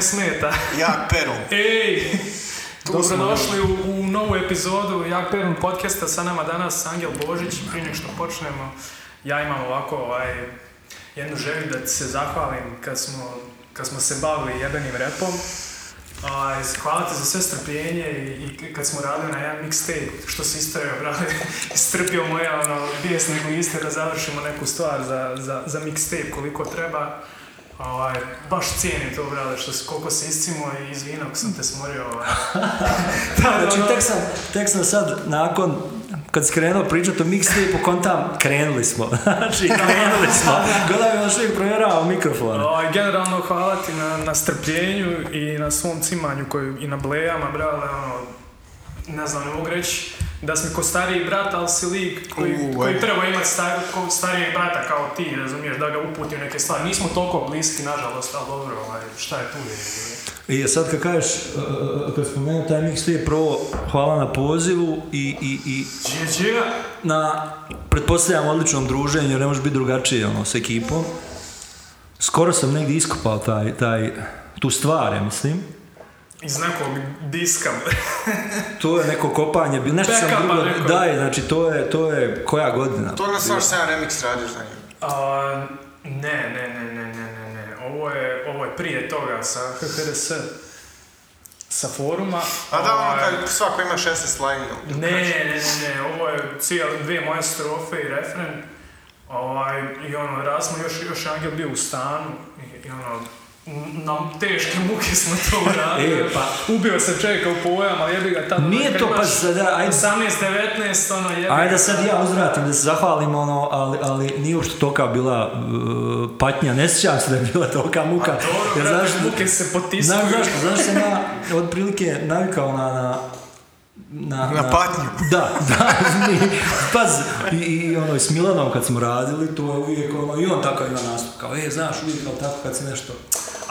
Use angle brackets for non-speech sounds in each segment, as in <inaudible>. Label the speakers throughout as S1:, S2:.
S1: smeta.
S2: Jak peru.
S1: Ej,
S2: Tu smo,
S1: dobrodošli u, u novu epizodu Jak Perun podcasta. Sa nama danas Angel Božić. Prije nego što počnemo, ja imam ovako ovaj, jednu želju da ti se zahvalim kad smo, kad smo se bavili jebenim repom. Ovaj, hvala ti za sve strpljenje i, i kad smo radili na jedan mixtape, što si istrpio, brate, <laughs> istrpio moje ono, bijes nego iste da završimo neku stvar za, za, za mixtape koliko treba. Ovaj, baš cijenim to, brale, što si, koliko se iscimo i izvino ako sam te smorio. Ovaj.
S3: <laughs>
S1: Da,
S3: Znači,
S1: ono,
S3: tek sam, tek sam sad, nakon, kad sam krenuo pričati o mixtape-u, kontam, krenuli smo. <laughs> Znači, krenuli smo. Gledaj mi još uvijek provjerava mikrofon.
S1: ovaj, generalno hvala ti na, na strpljenju i na svom cimanju koju, i na blejama, brale, ono, ne znam, ne mogu reći da si mi ko stariji brat, ali si lik koji,
S2: U,
S1: koji
S2: ajde.
S1: treba imati star, ko starijeg brata kao ti, razumiješ, da ga uputi u neke stvari. Nismo toliko bliski, nažalost, ali dobro, ovaj, šta je tu je.
S3: I sad kad kažeš, eh, kad spomenuo taj mixtape, prvo, hvala na pozivu i, i, i
S1: Čije, čije?
S3: na, pretpostavljam, odličnom druženju, jer ne može biti drugačije, ono, s ekipom. Skoro sam negdje iskopao taj, taj, tu stvar, ja mislim.
S1: Iz nekog diska.
S3: To je neko kopanje, bilo- nešto sam
S1: Backupa
S3: drugo,
S1: neko.
S3: daj, znači to je, to je koja godina?
S2: To na stvar sam remix radio za njim.
S1: A, ne, ne, ne, ne, ne, ne, ne. Ovo je, ovo je prije toga sa HHRS, sa foruma.
S2: A da, ono
S1: Ovaj,
S2: kad svako ima 16 line
S1: Ne, ne, ne, ne, ovo je cijel, dvije moje strofe i refren. Ovaj, I ono, raz smo još, još je Angel bio u stanu i, i ono, n- nam teške muke smo
S3: <laughs>
S1: to uradili.
S3: E,
S1: pa. Ubio se čovjeka u pojam, ali jebi ga tamo.
S3: Nije
S1: kad
S3: to,
S1: imaš
S3: pa sada, ajde,
S1: 18-19, ono, jebi
S3: ajde
S1: ga.
S3: da sad ja uzvratim, da se zahvalim, ono, ali, ali nije uopšte toka bila uh, patnja, ne sjećam se da je bila toka muka.
S1: Dobro,
S3: jer
S1: brate,
S3: znaš-
S1: muke se
S3: Znaš
S1: potiskuju.
S3: zašto, znaš sam ja otprilike navikao na, na, na,
S2: Na
S1: pa-
S2: patnju.
S3: Da, da, <laughs> mi- paz, i, i ono, i s Milanom kad smo radili, to je uvijek ono, i on tako ima nastup, kao, e, znaš, uvijek kao tako kad si nešto,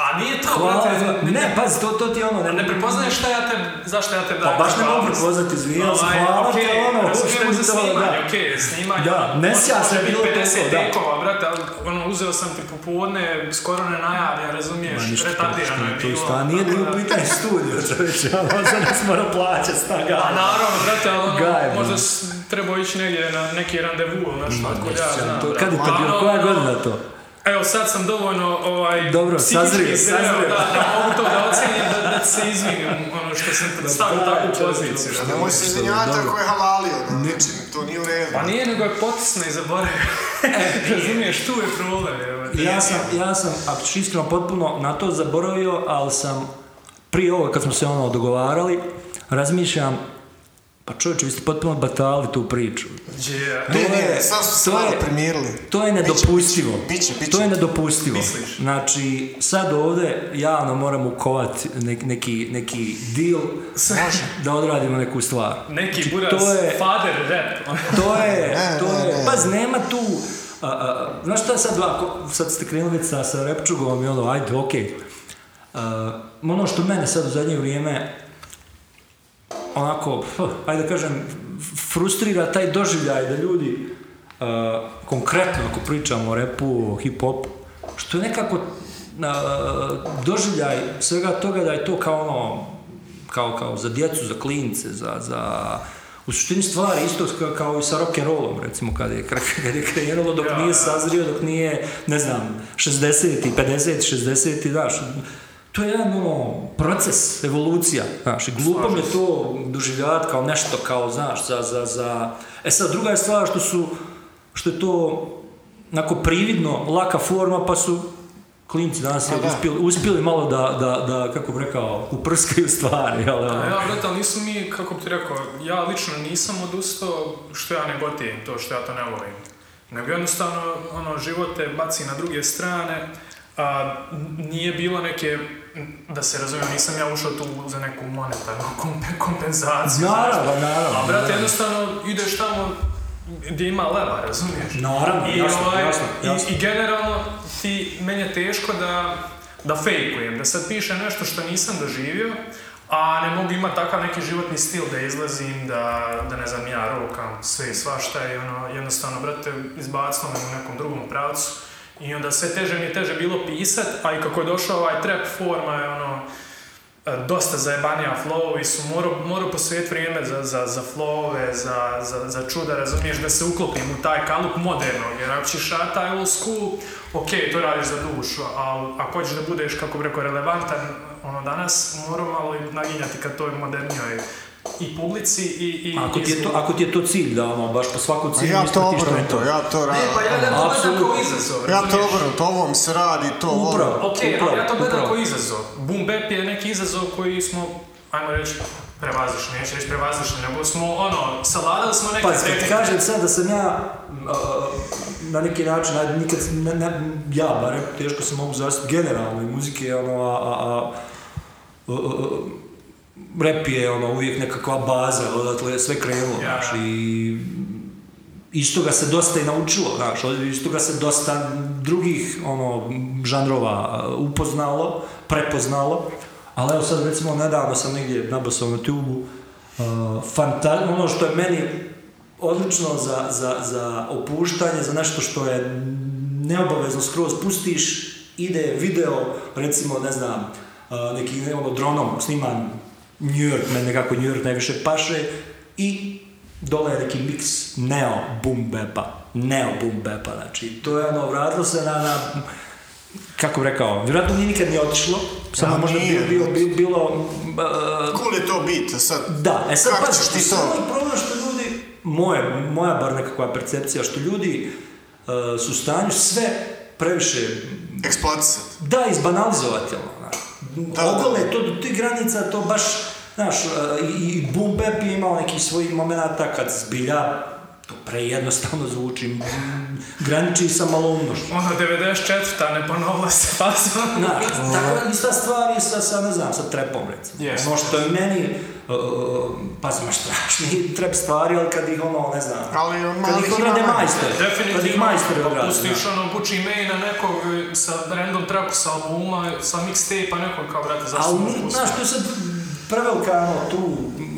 S1: A nije to,
S3: hvala,
S1: brate,
S3: hvala."
S1: ne,
S3: ne, pazi, to, to ti je ono, ne,
S1: ne prepoznaješ šta ja te, zašto ja te
S3: pa
S1: dajem.
S3: baš ne mogu
S1: hvala.
S3: prepoznati, izvijem se,
S1: Ovaj,
S3: hvala ti,
S1: okej,
S3: ono,
S1: razumijemo
S3: uopšte mi
S1: za
S3: to,
S1: snimanje,
S3: da.
S1: okej, snimanje,
S3: Da,
S1: ono,
S3: ne
S1: može-
S3: sja se
S1: može biti
S3: bilo to,
S1: 50
S3: da.
S1: tekova, brate, ali, ono, uzeo sam ti popodne, skoro nenajavljen, razumiješ,
S3: Ma ništa,
S1: retardirano je
S3: to
S1: bilo.
S3: isto, a nije ni
S1: tako <laughs>
S3: u
S1: da-
S3: pitanju studio, čovječe, <laughs> ono za nas mora plaćat snaga.
S1: A naravno, brate, ali ono,
S3: Gaj,
S1: možda
S3: bro.
S1: s- trebao ići negdje na neki randevu ili nešto, otkud ja znam,
S3: To-
S1: brate.
S3: Kad je to bilo,
S1: Uglavnom,
S3: koja je
S1: ono,
S3: godina to?
S1: Evo, sad sam dovoljno ovaj,
S3: Dobro,
S1: psihički
S3: sazrio,
S1: zreo,
S3: sazrio.
S1: Da, da mogu to da ocenim, da, da se izvinim, ono što sam stavio
S3: daj,
S1: takvu
S3: čovječe,
S1: poziciju.
S3: šta-
S2: Nemoj se izvinjavati
S3: Dobro.
S2: ako je halalio. ono, Znači, to nije u redu.
S1: Pa nije, nego je potisno i zaboravio. <laughs> Razumiješ, tu je problem. evo.
S3: E, Ja sam, ja sam, ako ću iskreno, potpuno na to zaboravio, ali sam prije ovoga kad smo se ono dogovarali, razmišljam, pa čovječe, vi ste potpuno batali tu priču.
S1: Yeah.
S2: Ne,
S3: to
S2: ne,
S3: je-
S2: sad su se
S3: to je-
S2: malo primirili.
S3: To je nedopustivo.
S2: Biće, biće.
S3: To je nedopustivo.
S1: Misliš?
S3: Znači, sad ovdje javno moramo ukovati nek- neki, neki deal da odradimo neku stvar.
S1: Neki
S3: Znači,
S1: buras,
S3: to je-
S1: father rap. ono.
S3: To je,
S2: Ne,
S3: to
S2: ne,
S3: je,
S2: ne.
S3: paz, nema tu, a, a, znaš šta je sad, ako, sad ste krenuli sa, sa Repčugom i ono, ajde, okej. A, ono što mene sad u zadnje vrijeme, onako, f, ajde da kažem, f- frustrira taj doživljaj da ljudi, a, konkretno ako pričamo o repu, o hip-hopu, što je nekako a, doživljaj svega toga da je to kao ono, kao, kao za djecu, za klince, za, za u suštini stvari isto kao, kao i sa rock'n'rollom recimo kad je, <laughs> kad je krenulo dok
S1: Ja, ja.
S3: nije sazrio, dok nije ne znam, 60 i 50, 60 i daš to je jedan ono, proces, evolucija znaš, i glupo mi je to doživljavati kao nešto kao, znaš, za, za, za e sad druga je stvar što su što je to onako prividno laka forma pa su klinci danas
S2: Pa da.
S3: uspjeli, uspjeli malo da, da, da, kako bi rekao, uprskaju stvari, jel, ono.
S1: A Ja, brate, ali nisu mi, kako bi ti rekao, ja lično nisam odustao što ja ne gotivim to, što ja to ne volim. Nego jednostavno, ono, život te baci na druge strane, a, n- nije bilo neke, n- da se razumijem, nisam ja ušao tu za neku monetarnu <laughs> kompe- kompenzaciju. znaš.
S3: Naravno, naravno.
S1: A brate, jednostavno ideš tamo gdje ima leva, razumiješ?
S3: Naravno,
S1: I,
S3: jasno,
S1: ovaj,
S3: jasno,
S1: i-
S3: jasno.
S1: I, generalno ti, meni je teško da, da fejkujem, da sad pišem nešto što nisam doživio, a ne mogu imati takav neki životni stil da izlazim, da, da ne znam, ja rokam sve i svašta i ono, jednostavno, brate, izbacilo me u nekom drugom pravcu I onda sve teže mi je teže bilo pisat, a i kako je došao ovaj trap forma je ono e, dosta zajebanija flow i su morao moro posvijet vrijeme za, za, za flowove, za, za, za čuda, razumiješ, da se uklopim u taj kalup modernog, jer ako ćeš rad taj old school, ok, to radiš za dušu, a ako hoćeš da budeš, kako bi rekao, relevantan, ono danas, morao malo i naginjati ka toj modernijoj i publici i... i
S3: Ako
S1: i
S3: ti je to,
S1: zvuku.
S3: ako ti je to cilj da ono, baš po svaku
S2: A
S3: cijenu
S2: ja to
S3: ispratiš Pa je
S2: obrnuto, ja to
S1: Ne, pa
S2: radim.
S1: ja gledam to gledam kao
S3: Apsolutno.
S1: izazov,
S2: Ja to
S1: razumiješ?
S2: obrnuto, ovom se radi, to
S3: Upravo.
S2: ovo.
S1: Ok, ali ja to gledam
S3: Upravo.
S1: kao izazov. Boom bap je neki izazov koji smo, ajmo reći, prevazišli, neću reći prevazišli, nego smo, ono, savladali smo neke
S3: Pa kad
S1: tehnike.
S3: kažem sad da sam ja a, na neki način, ajde, nikad, ne, ne, ja barem teško se mogu zastupiti generalno i muzike, ono, a, a, a, a, a, rap je ono, uvijek nekakva baza, odatle je sve krenulo,
S1: Ja.
S3: znaš, i iz toga se dosta i naučilo, znaš, od- iz toga se dosta drugih ono, žanrova a, upoznalo, prepoznalo, ali evo sad recimo nedavno sam negdje nabasao na tubu, fanta- ono što je meni odlično za, za, za opuštanje, za nešto što je neobavezno skroz pustiš, ide video, recimo, ne znam, a, neki ne, ono, dronom sniman New York, meni nekako New York najviše paše, i dole je neki miks neo boom bepa, neo boom bepa, znači to je ono, vratilo se na, na kako bi rekao, vjerojatno nije nikad ni otišlo, samo
S2: Da,
S3: možda
S2: nije.
S3: bilo, bilo, bilo, bilo e,
S2: Cool je to bit, sad.
S3: da, e sad
S2: Kako
S3: pazi,
S2: ćeš ti
S3: što
S2: to?
S3: je onaj problem što ljudi, moje, moja bar nekakva percepcija, što ljudi e, su u stanju sve previše,
S2: Eksploatisat.
S3: da, izbanalizovati, ono, znaš.
S2: da.
S3: Ogole to do tih granica, to baš, znaš, e, i, i boom bap je imao nekih svojih momenata kad zbilja, to prejednostavno zvuči, m, graniči sa maloumnošću.
S1: Ono, 94. ne ponovila se
S3: <laughs>
S1: faza.
S3: Znaš, tako ista stvar i sa, sa, ne znam, sa trepom recimo.
S1: Yes.
S3: Ono što je meni, uh, pa sam strašni trep stvari, ali kad ih ono, ne znam,
S2: Ali
S3: kad
S2: malo
S3: ih
S2: ih
S3: odrade
S2: ima manje.
S3: majstori, kad ih
S1: Definitivno,
S3: majstori
S1: pa
S3: odrade.
S1: pustiš
S3: znaš.
S1: ono Bucci Mane na nekog e, sa random trapu sa albuma, sa mixtape-a nekog kao, brate, zašto
S3: Ali,
S1: sam
S3: mi,
S1: ovo
S3: znaš, to je sad prevelika, ono, tu, mm,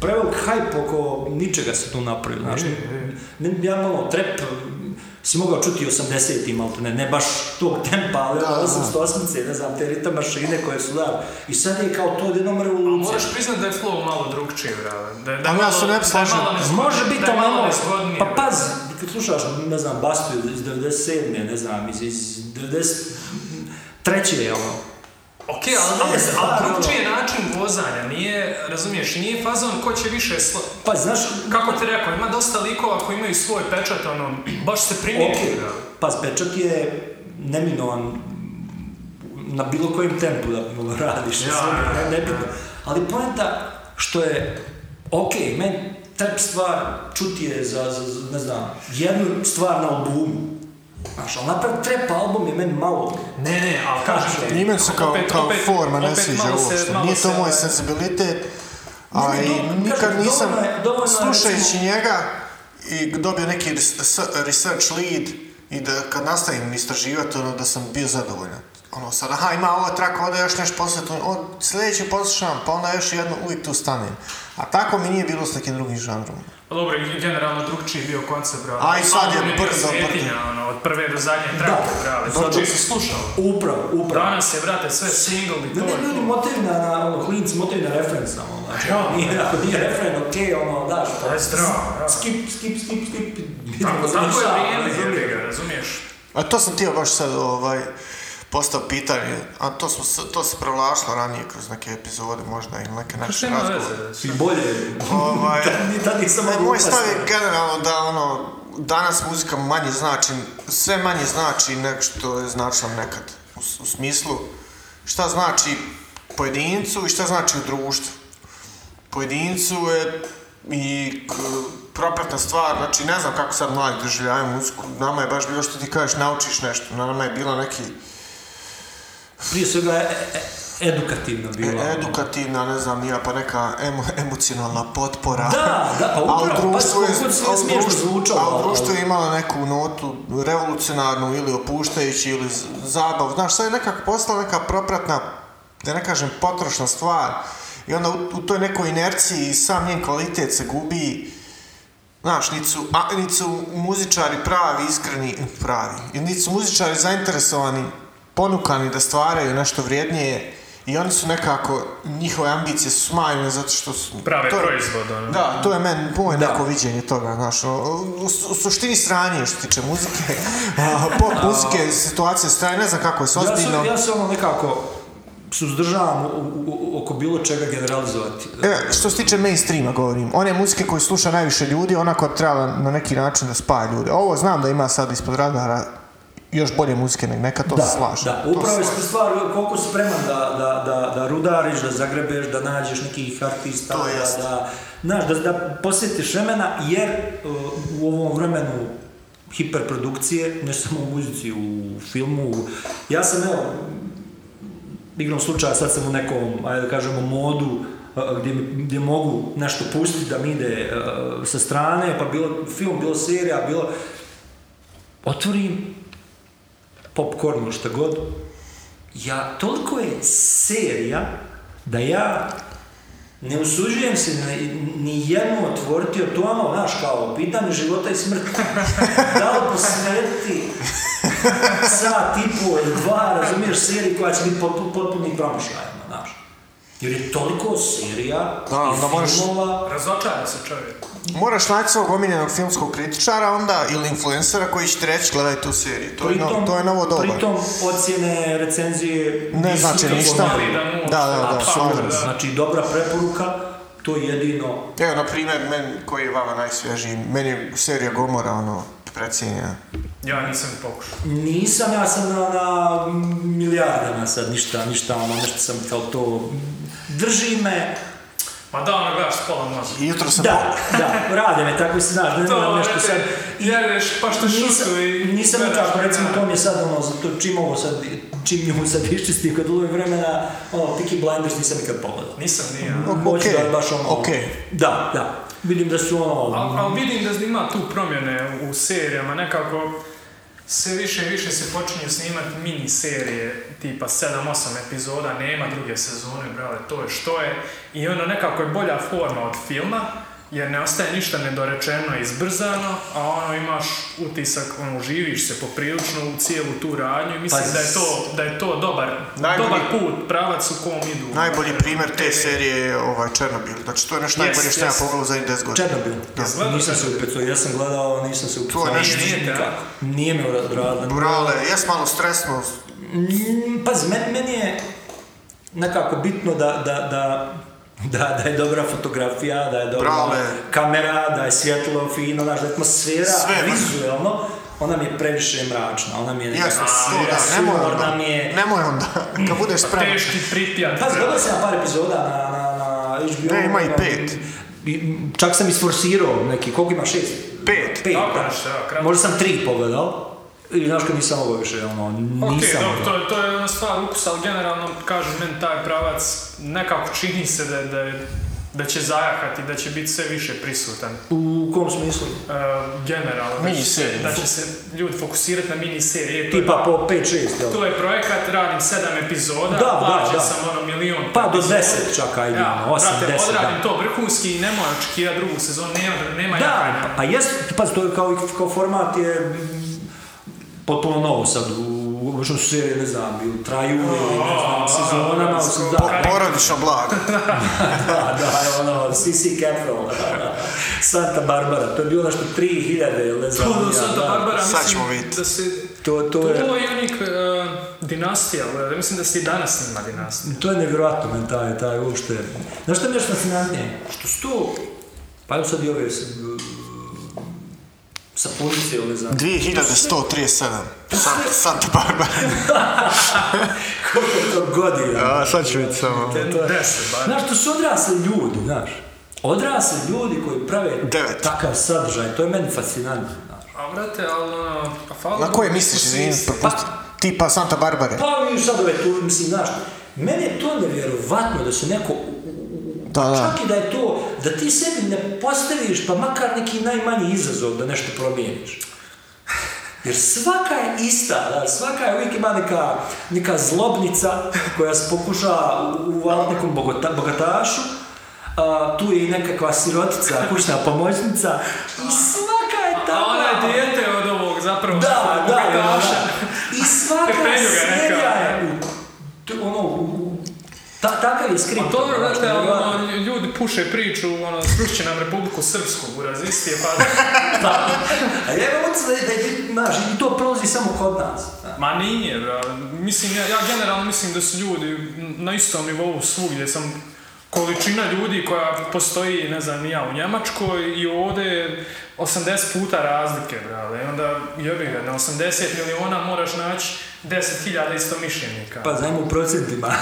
S3: prevelik hype oko ničega se tu napravili, znaš. Ne- Ja, ono, trep mm, si mogao čuti 80-im, ali ne, ne baš tog tempa, ali
S2: Da, da.
S3: 808-ce, ne znam, te ritam mašine koje su da. I sad je kao to odjednom revolucija.
S1: E, Moraš priznat da je flow malo drugčiji, brate. Da, je- da je
S2: Ali ja
S1: malo-
S2: se ne bi
S1: da je
S2: složio.
S1: malo nezgodnije-
S3: Može biti,
S1: da je
S3: ali
S1: malo
S3: ono,
S1: nezgodnije,
S3: pa
S1: brate.
S3: pazi, kad slušaš, ne znam, Bastu iz 97. ne znam, iz, iz 93. je ono,
S1: Ok, ali,
S3: Sve
S1: ali,
S3: stvarno.
S1: ali drugčiji je način vozanja, nije, razumiješ, nije fazon ko će više sla...
S3: pa znaš,
S1: Kako ti rekao, ima dosta likova koji imaju svoj pečat, ono, baš se primijeti.
S3: ok, pa pečat je neminovan na bilo kojem tempu da ono,
S1: Ja,
S3: radiš, sve,
S1: ja,
S3: ne- nebitno. Ali poenta što je, ok, meni trep stvar čuti je za, za, za, ne znam, jednu stvar na albumu. Znaš, ali napraviti trep album je meni malo,
S1: Ne, ne, ali kažem ti...
S2: Njime se kao,
S1: opet-
S2: kao
S1: opet-
S2: forma ne
S1: opet
S2: sviđa
S1: malo se-
S2: uopšte.
S1: malo
S2: Nije to
S1: se,
S2: moj
S1: e,
S2: senzibilitet. A
S3: Ne, ne,
S2: i
S3: dobro,
S2: nikad
S3: kažem,
S2: nisam,
S3: dovoljno je- dovoljno je,
S2: slušajući njega, i dobio neki res- s- research lead i da kad nastavim istraživati, ono, da sam bio zadovoljan. Ono sad, aha, ima ova traka, onda još nešto poslije, to- on, sljedeći poslušam, pa onda još jedno, uvijek tu stanem. A tako mi nije bilo s nekim drugim žanrom.
S1: Pa Dobro, i generalno drugčiji je bio koncept, bravo.
S2: A i sad je
S1: Album bio
S2: brzo, brzo.
S1: svetinja, ono, od prve do zadnje trake, bravo.
S3: Zato-
S1: Sad se slušao.
S3: upravo, upravo.
S1: Danas je, brate, sve single i
S3: Ne,
S1: to
S3: ne,
S1: je
S3: ljudi
S1: to.
S3: motaju na, na ono, klinci motaju na refren samo, znači,
S1: Ja.
S3: nije, ako nije refren, okej, ono, daš,
S1: To je strano, ja.
S3: skip, skip, skip, skip, idemo
S1: Tako,
S3: za
S1: tako
S3: šal,
S1: je vrijeme,
S3: razumiješ?
S1: jebi ga, razumiješ?
S2: A to sam htio baš sad ovaj, postao pitanje, a to, smo, s- to se provlašilo ranije kroz neke epizode možda ili neke naše
S1: Što Pa ima
S2: razgovore.
S1: veze? znači.
S3: I <laughs> bolje,
S1: <laughs>
S2: Ovaj,
S3: ni tad nisam
S2: Ne,
S3: mogu
S2: moj
S3: upast.
S2: stav je generalno da ono, danas muzika manje znači, sve manje znači nego što je značila nekad. U, s- u smislu šta znači pojedincu i šta znači u društvu. Pojedincu je i k- propratna stvar, znači ne znam kako sad mladi doživljavaju muziku, nama je baš bilo što ti kažeš, naučiš nešto, nama je bilo neki
S3: Prije svega, e, e, edukativna bila.
S2: e- edukativna, ne znam, nija pa neka emo, <laughs> emocionalna potpora.
S3: Da, da, pa
S2: A u
S3: upravo, pa
S2: društvu je,
S3: kako god
S2: a
S3: sve
S2: u
S3: smiješno
S2: društvu-
S3: zvučalo. ono.
S2: a u društvu
S3: ali-
S2: je imala neku notu revolucionarnu ili opuštajući ili z- zabavu. Znaš, sad je nekako postala neka propratna, da ne kažem potrošna stvar. I onda u, u toj nekoj inerciji sam njen kvalitet se gubi Znaš, niti su, a, niti su muzičari pravi, iskreni, pravi. I niti su muzičari zainteresovani, ponukani da stvaraju nešto vrijednije i oni su nekako, njihove ambicije su smanjene zato što su...
S1: Prave
S2: to-
S1: proizvod, ono.
S2: Da, to je meni, moje
S3: Da.
S2: neko viđenje toga, znaš, o, u, u suštini stranje što se tiče muzike, a, pop muzike, situacije stranje, ne znam kako je s
S3: Ja se,
S2: ozbiljno.
S3: ja se ono nekako suzdržavam u- u- u- oko bilo čega generalizovati.
S2: E, što se tiče mainstreama govorim, one muzike koje sluša najviše ljudi, ona koja bi trebala na neki način da spaja ljude. Ovo znam da ima sad ispod radara još bolje muzike nego nekad, to
S3: da,
S2: se slažem.
S3: Da,
S2: To
S3: upravo
S2: se
S3: je
S2: slažem.
S3: stvar koliko si spreman da, da, da, da rudariš, da zagrebeš, da nađeš nekih artista,
S2: To jest.
S3: da, da, znaš, da, da posjetiš vremena, jer uh, u ovom vremenu hiperprodukcije, ne samo u muzici, u filmu, u- ja sam evo, igrom slučaja sad sam u nekom, ajde da kažemo, modu a, gdje, mi- gdje mogu nešto pustiti da mi ide a, sa strane, pa bilo film, bilo serija, bilo... Otvorim popcorn ili šta god, ja, toliko je serija da ja ne usuđujem se ni, ni jednu otvoriti od to ono, znaš, kao, pitanje života i smrti. da li posvetiti sat i pol ili dva, razumiješ, seriji koja će biti potpuni potpunim promašajima, znaš. Jer je toliko serija
S2: Da, onda
S3: i
S2: moraš-
S3: filmova...
S1: Razočara se čovjek.
S2: Moraš naći svog omiljenog filmskog kritičara onda ili influencera koji će ti reći gledaj tu seriju. To, je, no, to je novo doba.
S3: Pritom, ocjene, recenzije...
S2: Ne
S3: nisu
S2: znači
S3: nikako
S2: ništa.
S3: mjerljive.
S1: mjerljive.
S2: Da, da, da,
S1: Apsolutno,
S2: slažem se.
S1: da.
S3: Znači, dobra preporuka, to je jedino
S2: Evo, na primjer, meni, koji je vama najsvježiji, meni je serija Gomora, ono, precijenjena.
S1: Ja nisam pokušao.
S3: Nisam, ja sam na, na milijardama sad, ništa, ništa, ono, nešto sam kao to... Drži me,
S1: Ma da, ono gledaš s pola mozga.
S2: I jutro sam...
S3: da, da, rade me, tako se znaš, ne
S1: To,
S3: znam nešto
S1: brate,
S3: sad.
S1: Jedeš pašta
S3: Nisam,
S1: šutu i...
S3: nisam
S1: gledaš
S3: nikako, recimo,
S1: vremena.
S3: to mi je sad, ono, za to čim ovo sad, čim nju sad iščistim, kad ulovim vremena, ono, Peaky Blinders nisam nikad pogledao.
S1: Nisam, nije.
S3: Ну,
S2: Ok,
S3: Hoću da baš ono...
S2: ok.
S3: Da, da, vidim da su ono...
S2: Mm.
S1: Ali vidim da ima tu promjene u serijama, nekako sve više i više se počinju snimati mini serije, tipa 7-8 epizoda, nema druge sezone, brale, to je što je. I ono nekako je bolja forma od filma, jer ne ostaje ništa nedorečeno i izbrzano, a ono imaš utisak, ono, živiš se poprilično u cijelu tu radnju i mislim
S3: Pa
S1: da je to, da je to dobar,
S2: Najbolji-
S1: dobar put, pravac u kom idu.
S2: Najbolji primjer te
S1: TV.
S2: serije je ovaj Černobil. Znači, to je nešto
S1: Yes,
S2: najbolje što ja
S1: yes.
S2: pogledao za 10 godina.
S3: Černobil.
S1: Gledao
S3: Nisam se
S1: sam.
S3: upecao, ja sam gledao, nisam se upecao.
S2: nešto-
S1: Nije te, a?
S3: nikako. Nije me odradilo.
S2: Brale, jes malo stresno.
S3: Mm, Pazi, meni, meni je nekako bitno da, da, da, da, da je dobra fotografija, da je dobra
S2: Brale.
S3: kamera, da je svjetlo fino, znaš, da je atmosfera,
S2: Sve, ma.
S3: vizuelno, ona mi je previše mračna, ona mi je
S2: Jasno, to
S3: sumorna,
S2: da, nemoj
S3: sumorna
S2: onda.
S3: mi je... Mm. Pa
S2: Nemoj onda, kad budeš spreman.
S1: Teški pripijak.
S3: Pazi, gledao sam ja par epizoda na, na, na HBO.
S2: Ne, ima i
S3: ono,
S2: pet.
S3: i- Čak sam isforsirao neki, koliko ima šest?
S2: Pet.
S3: Pet,
S1: Tako
S3: da.
S1: nešto, evo, kratko.
S3: Možda sam tri pogledao. I znaš kad nisam ovo više, ono,
S1: Ok,
S3: nisam
S1: dobro,
S3: ono.
S1: to, je- to je jedna stvar ukusa, ali generalno, kažem, meni taj pravac nekako čini se da, da, je- da će zajahati, da će biti sve više prisutan. E,
S3: U kom smislu?
S1: generalno, da će, se,
S2: Miniserije.
S1: da će se ljudi fokusirati na miniserije. To, je-
S3: Tipa po 5-6, jel?
S1: to je projekat, radim sedam epizoda,
S3: Da, da,
S1: plaćen
S3: da.
S1: sam ono milion.
S3: Pa do
S1: epizoda.
S3: 10 čak, ajde,
S1: Ja,
S3: ono, 8,
S1: brate,
S3: 10,
S1: odradim
S3: da.
S1: to vrhunski i nemoj očekivati drugu sezonu, nema, nema
S3: Da,
S1: jaja.
S3: pa- pa jest, pa to je kao, kao format je mm, potpuno novo sad, u, u- što su serije, ne znam, ili traju, ili ne znam,
S1: a,
S3: sezonama,
S1: a,
S3: osim-
S1: skoro.
S3: da,
S2: Porodično blago.
S3: da, da, ono, Sisi Caprell, da, da, Santa Barbara, to je bilo nešto 3000 ili ne znam,
S1: To do
S3: ja,
S1: Ono, Santa
S3: da.
S1: Barbara,
S2: Sad
S1: mislim
S2: ćemo vidjeti.
S1: da se...
S3: To, to je,
S1: To je onih e, dinastija, ali mislim da se i danas snima dinastija.
S3: to je nevjerojatno meni taj, taj uopšte. Znaš što mi je još fascinantnije? Što su to, pa evo sad i ove s- sapunice ili ne znam,
S2: 2137. Santa, Santa Barbara.
S3: <laughs> Koliko je to godina?
S2: A, sad ću vidjeti samo.
S1: Deset, bar.
S3: Znaš, to su odrasli ljudi, znaš. Odrasli ljudi koji prave
S2: Devet.
S3: takav sadržaj, to je meni fascinantno. znaš.
S1: A brate, ali ono, pa hvala
S2: Na
S1: Bogu,
S2: koje
S1: mi
S2: misliš,
S1: smo svi
S2: izvini,
S1: isti.
S2: propusti? Tipa Santa Barbare.
S3: Pa vidiš sad ove tu, mislim, znaš, meni je to nevjerovatno da se neko,
S2: Da, da.
S3: čak i da je to, da ti sebi ne postaviš pa makar neki najmanji izazov da nešto promijeniš. Jer svaka je ista, znaš, svaka je uvijek ima neka, neka zlobnica koja se pokuša uvaliti nekom bogota, bogatašu, a, tu je i nekakva sirotica, kućna pomoćnica i svaka je
S1: A
S3: takva...
S1: ona Pa, ono je dijete od ovog zapravo.
S3: Da, da, da, da.
S1: bogataša.
S3: I svaka
S1: Pepeljuga neka.
S3: serija je u- t- ono, u- u- ta, takav je skript.
S1: Pa to dobro,
S3: znači,
S1: znate, ali,
S3: nevjerojatno.
S1: ono, ljudi puše priču, ono, srušće nam Republiku Srpsku u razistije, pa...
S3: Da. A ja imam utisak da, je- da je, znaš, i to prolazi samo kod nas.
S1: Ma nije, bra. Mislim, ja, ja generalno mislim da su ljudi na istom nivou svugdje, sam količina ljudi koja postoji, ne znam, ni ja u Njemačkoj i ovdje je 80 puta razlike, brale. I onda jebi ga, na 80 miliona moraš naći 10.000 istomišljenika.
S3: Pa znamo u procentima. <laughs>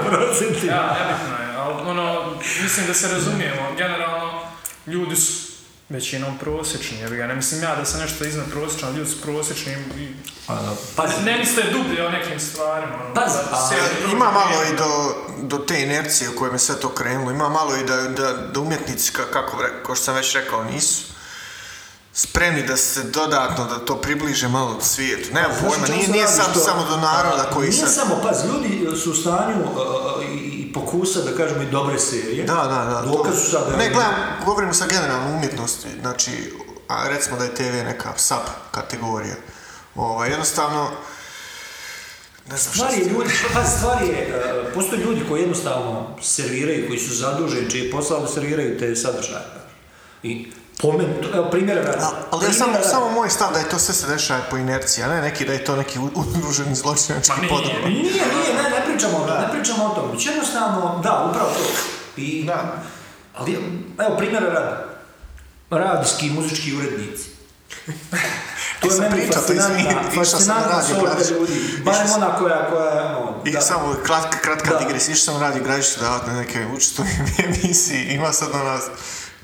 S3: u procentima.
S1: Ja, nebitno je, ali ono, mislim da se razumijemo, generalno ljudi su većinom prosječni, jebi ga, ne mislim ja da sam nešto iznad prosječan, ali ljudi su prosječni i
S3: Pa Pazi,
S1: Ne mislite dublje o nekim stvarima. ono,
S3: Pazi,
S1: da
S3: a-
S1: se-
S2: Ima malo i do, do te inercije u kojoj je sve to krenulo. Ima malo i da, da, da umjetnici, ka- kako bi rekao, kao što sam već rekao, nisu spremni da se dodatno, da to približe malo svijetu. Nemam
S3: Znaš o
S2: pojma,
S3: čemu
S2: nije,
S3: se
S2: nije
S3: radi,
S2: sad
S3: što-
S2: samo do naroda koji
S3: Nije
S2: sad...
S3: samo, pazi, ljudi su u stanju uh, i i pokusa, da kažemo, i dobre serije.
S2: Da, da, da.
S3: Dokaz
S2: to-
S3: su sad... da-
S2: Ne, gledam, govorim sa generalno umjetnosti, znači, a recimo da je TV neka sub kategorija. Ovaj, jednostavno, ne znam šta
S3: Stvar je
S2: se-
S3: ljudi, pa stvar je, e, postoje ljudi koji jednostavno serviraju, koji su zaduženi, čiji je posao da serviraju te sadržaje. I pomen, to- evo primjera radi.
S2: A- Ali ja
S3: Primjera
S2: samo,
S3: radi.
S2: samo moj stav da je to sve se dešava po inerciji, a ne neki da je to neki u- udruženi zločinački
S1: Ma nije,
S2: podugo.
S1: nije.
S3: Pa Nije, nije, ne, ne pričamo o tome, ne pričamo o tome. Već jednostavno, da, upravo to. I,
S2: Da.
S3: Ali, evo, primjera radi. Radijski i muzički urednici.
S2: Ti sam pričao, E, to izvini, išao sam na
S3: fascinantna
S2: radio
S3: sorta
S2: Gradištu.
S3: ljudi.
S2: Išao
S3: Barem
S2: sam-
S3: ona koja, koja je, ono,
S2: I
S3: da.
S2: samo kratka, kratka
S3: Da.
S2: digresija, išao sam radi građištu davat na neke <laughs> učestvujem emisiji, ima sad ona,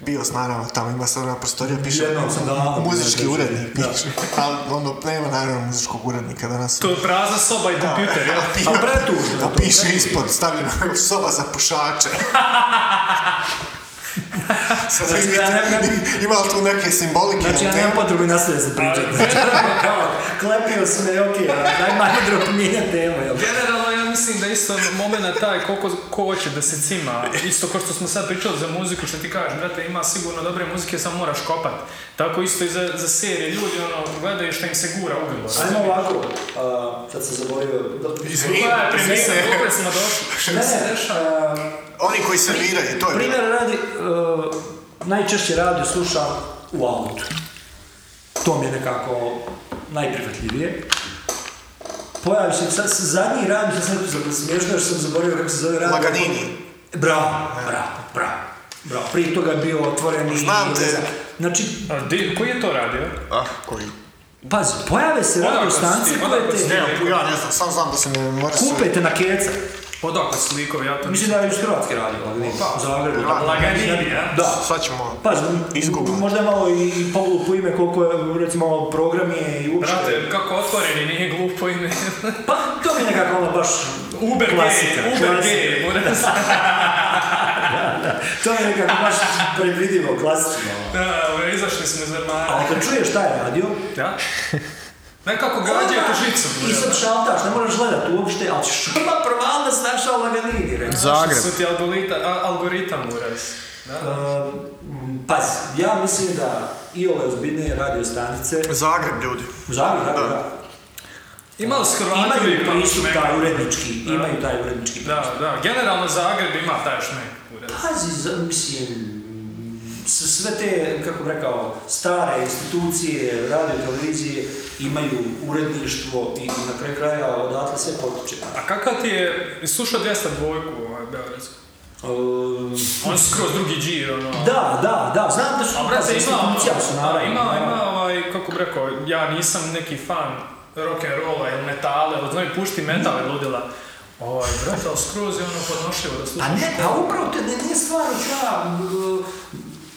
S2: bio s naravno tamo, ima sad ona prostorija, piše
S3: Jednom sam davno bio
S2: muzički
S3: na
S2: urednik,
S3: građištu, da.
S2: piše, ali ono, nema naravno muzičkog urednika danas.
S1: To je prazna soba i kompjuter, jel?
S2: Pi-
S3: Pa pretužno.
S2: Pa
S3: to,
S2: piše
S3: pretužno.
S2: ispod, stavljeno je soba za
S3: <laughs>
S2: pušače. Sad
S3: Znači,
S2: vidite,
S3: ja ne- ne-
S2: ima li tu neke simbolike?
S3: Znači, ja
S2: ali
S3: nemam
S2: nema?
S3: potrebu nastaviti se pričati.
S1: Ali-
S3: Znači, ono, kao, klepio sam me, okej, daj malo drop mijenja temu, jel?
S1: Generalno ja mislim da isto moment taj koliko ko hoće da se cima, isto kao što smo sad pričali za muziku, što ti kažeš, brate, ima sigurno dobre muzike, samo moraš kopat. Tako isto i za, za serije, ljudi ono, gledaju što im se gura u grlo.
S3: Ajmo ovako, a, sad sam zaboravio. da-
S1: Koja je premisa,
S2: Izvini.
S1: dokle smo došli?
S3: Ne,
S1: Šta se
S3: ne,
S1: dešava?
S3: a,
S2: Oni koji serviraju, to je bilo.
S3: Primjer radi, e, najčešće radio slušam u autu. To mi je nekako najprihvatljivije. Pojavi se, sad se zadnji radio, sad sam nekako smiješno, jer sam zaboravio kako se zove radio.
S2: Laganini.
S3: Bravo, bravo, bravo. Bravo, prije toga je bio otvoren i...
S2: Znam te.
S3: ne znam. Znači,
S1: A di- Koji je to radio?
S2: Ah, koji?
S3: Pazi, pojave se
S1: Odakle
S3: radio
S1: si
S3: stanice
S1: ti?
S3: koje
S1: Odakle si ti?
S3: te
S2: Ne, ja ne znam, samo znam da se ne mora
S3: kupe te na keca.
S1: Odakle su likovi, ja to
S3: Mislim da je iz Hrvatske radio, Laganini.
S1: Pa,
S3: U Zagrebu.
S1: Laganini, ja?
S3: Da.
S2: Sad ćemo...
S3: Pazi,
S2: Izgubljeno.
S3: možda je malo i i poglupo ime koliko je, recimo, program je i uopšte.
S1: Brate, kako otvoreni, nije glupo ime.
S3: Pa, to mi je nekako ono baš
S1: Uber
S3: klasika.
S1: gay, Uber
S3: klasika.
S1: gay, mora se-
S3: To mi je nekako baš predvidivo, klasično.
S1: Da, bre, izašli smo iz armara.
S3: Ali kad čuješ šta je radio,
S1: Da? Nekako gađaju po žicu. bre.
S3: I sad šaltaš, ne moraš gledat uopšte, ali šuma prvala da se našao u Laganini, rekao.
S4: Zagreb.
S1: ono. Su ti algorita, a- algoritam uraz. Da?
S3: Uh, pazi, ja mislim da i ove ozbiljne radio stanice,
S2: Zagreb, ljudi.
S3: u Zagrebu, da, da,
S1: Imali su Hrvati
S3: imaju
S1: i pa
S3: pristup
S1: šmek.
S3: taj urednički, imaju taj urednički.
S1: Da, da, generalno Zagreb ima taj šmek uraz.
S3: Pazi, za- mislim, s- sve te, kako bi rekao, stare institucije, radio, televizije, imaju uredništvo i na kraju kraja odatle sve potiče. Ehm,
S1: A kakav ti je, slušao 202-ku ovaj Beogradsku?
S3: Uh,
S1: On su skroz drugi džir, ono.
S3: da, da, da, znam da su
S1: A brate, ima, ono-
S3: institucija su naravno.
S1: ima, ima ovaj, kako bi rekao, ja nisam neki fan rock'n'rolla ili metale, ali znaju pušti metal je ludila. Ovaj, brate, ali skroz je ono podnošljivo da
S3: Pa
S1: slušaš.
S3: ne, pa upravo te ne, nije stvar ja e,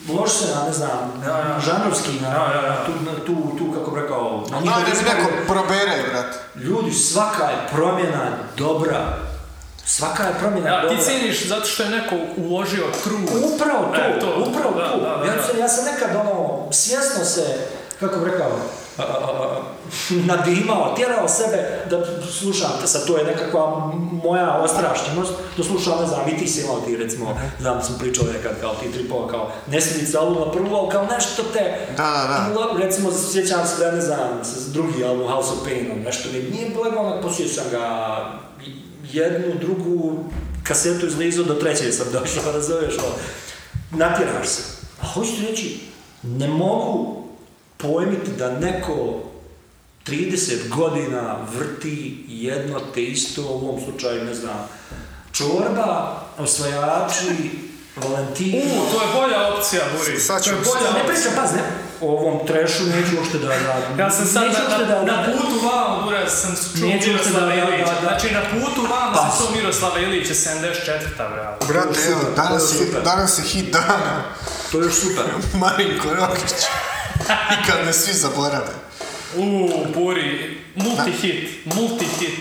S3: loš se na, ne znam,
S1: da.
S3: žanrovski, na,
S1: Da, da, da.
S3: na tu, na tu, tu, kako bi rekao, na
S2: Da,
S3: njihov
S2: da mi
S3: izbor.
S2: neko probere, brate.
S3: Ljudi, svaka je promjena dobra. Svaka je promjena
S1: Ja,
S3: dobra.
S1: ti ciniš zato što je neko uložio trud.
S3: Upravo to,
S1: E,
S3: upravo
S1: da,
S3: to.
S1: Da, da,
S3: ja,
S1: da.
S3: sam, ja sam nekad ono, svjesno se kako bih rekao, a, a, a, nadimao, tjerao sebe da slušam te, sad to je nekakva moja ostrašćenost, da slušam, ne znam, i ti si imao ti recimo, znam da sam pričao nekad kao ti tripova, kao nesmilica album na prvu, ali ono, kao nešto te,
S2: Da, da,
S3: Bilo, recimo, sjećam se da ne znam, s- drugi album House of Painom, nešto mi nije bilo ono, posio sam ga jednu, drugu kasetu izlizao, do treće sam došao, <laughs> pa razumiješ ovo. Natjeraš se. A hoću ti reći, ne mogu pojmiti da neko 30 godina vrti jedno te isto, u ovom slučaju, ne znam, čorba, osvajači, Valentino...
S1: U, to je bolja opcija, Buri.
S2: Sad
S1: to je
S2: ću-
S1: bolja
S3: Ne
S1: opcija.
S3: pričam, pazi, ne. O ovom trešu neću uopšte da radim.
S1: Ja sam sad
S3: neću
S1: na,
S3: uopšte
S1: na,
S3: da,
S1: na
S3: da,
S1: putu vam, Bura, sam čuo
S3: Neću uopšte
S1: Miroslava
S3: da- da-
S1: Ilića.
S3: da- da.
S1: Znači, na putu vam
S3: Pa.
S1: sam čuo Miroslava Ilića, 74. bravo.
S2: Brate, evo,
S3: super,
S2: danas
S3: to je
S2: je,
S3: super.
S2: danas je hit dana. <laughs>
S3: To je još super.
S2: Marinko Rokić. I kad me svi zaborave.
S1: U, Buri, multi-hit, multi-hit.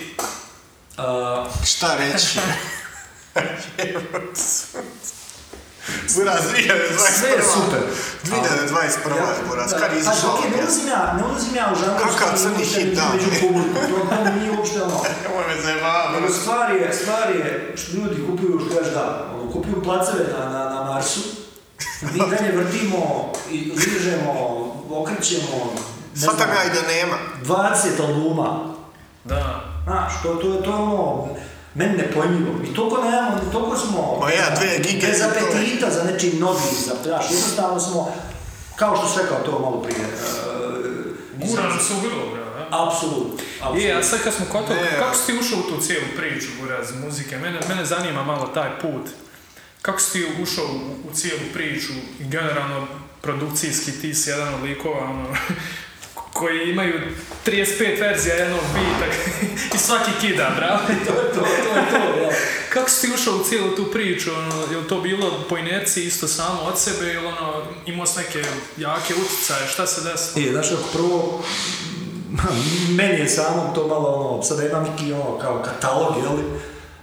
S3: A,
S2: Šta reći? Buraz, 2021.
S3: Sve je super.
S2: 2021. je Buraz, kad je izašao
S3: Pazi,
S2: ova
S3: okej, ne
S2: pjesma?
S3: ulazim ja, ne ulazim ja u žanru
S2: Kakav
S3: što je
S2: crni
S3: uopšte
S2: hit, da.
S3: među publiku. To to mi nije uopšte ono.
S2: Nemoj me zajebavati.
S3: Nego stvar je, stvar je, što ljudi kupuju, što kažeš da, ono, kupuju placeve na, na, na Marsu, mi dalje vrtimo, i ližemo, okrećemo, ne znam,
S2: Sva tam ja i da nema.
S3: 20 albuma,
S1: Da.
S3: Znaš, to, to, to je ono, meni nepojmljivo. Mi toliko nemamo, toliko smo...
S2: Ma ja, dve gige
S3: Bez
S2: za to.
S3: apetita za nečim novim, za, znaš, jednostavno smo, kao što sam rekao to malo prije, e,
S1: Gura nam se u grlo, bravo. ja.
S3: apsolutno,
S1: Je, a
S3: apsolutno.
S1: sad kad smo kod toga,
S2: Ne.
S1: kako si ti ušao u tu cijelu priču, Buraz, muzike? Mene, mene zanima malo taj put. Kako si ti ušao u, u cijelu priču i generalno produkcijski ti si jedan od likova, ono, <laughs> koji imaju 35 verzija jednog bita <laughs> i svaki kida, bravo.
S3: <laughs> To je to, to je to, ja.
S1: Kako si ti ušao u cijelu tu priču? Ono, je li to bilo po inerciji isto samo od sebe ili ono, imao si neke jake utjecaje? Šta se desilo?
S3: E, znaš, prvo, <laughs> meni je samo to malo ono, sada imam neki ono, kao katalog, jel?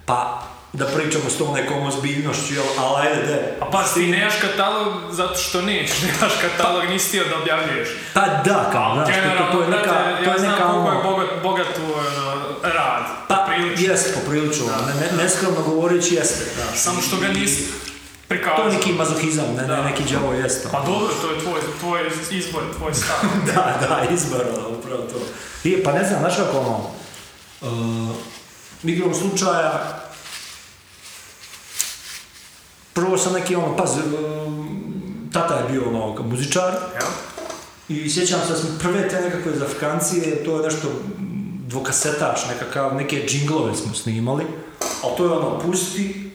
S3: Pa, da pričamo s tom nekom ozbiljnošću, jel? Ali, ajde, de.
S1: A pa ti nemaš katalog zato što nećeš, <laughs> nemaš katalog, nisi htio da objavljuješ.
S3: Pa da, kao, znaš, to, to, to je neka,
S1: brate,
S3: to
S1: ja
S3: je
S1: znam
S3: neka,
S1: koliko
S3: ono-
S1: je bogat, bogat tu ono, rad,
S3: Pa,
S1: prilično.
S3: jest, poprilično. Ne, ne, neskromno govoreći jeste. Da.
S1: Samo što ga nisi
S3: To
S1: prikazao.
S3: je neki mazohizam, ne,
S1: Da.
S3: ne neki djavo jesto.
S1: Pa dobro, to je tvoj, tvoj izbor, tvoj stav.
S3: <laughs> da, da, izbor, ono, upravo to. I, pa ne znam, znaš kako ono, uh, igrom slučaja, prvo sam neki ono, pazi, um, tata je bio ono, muzičar,
S1: Jel?
S3: I sjećam se da smo prve te nekakve zafkancije, to je nešto mm, dvokasetaš, nekakav, neke džinglove smo snimali, ali to je ono, pusti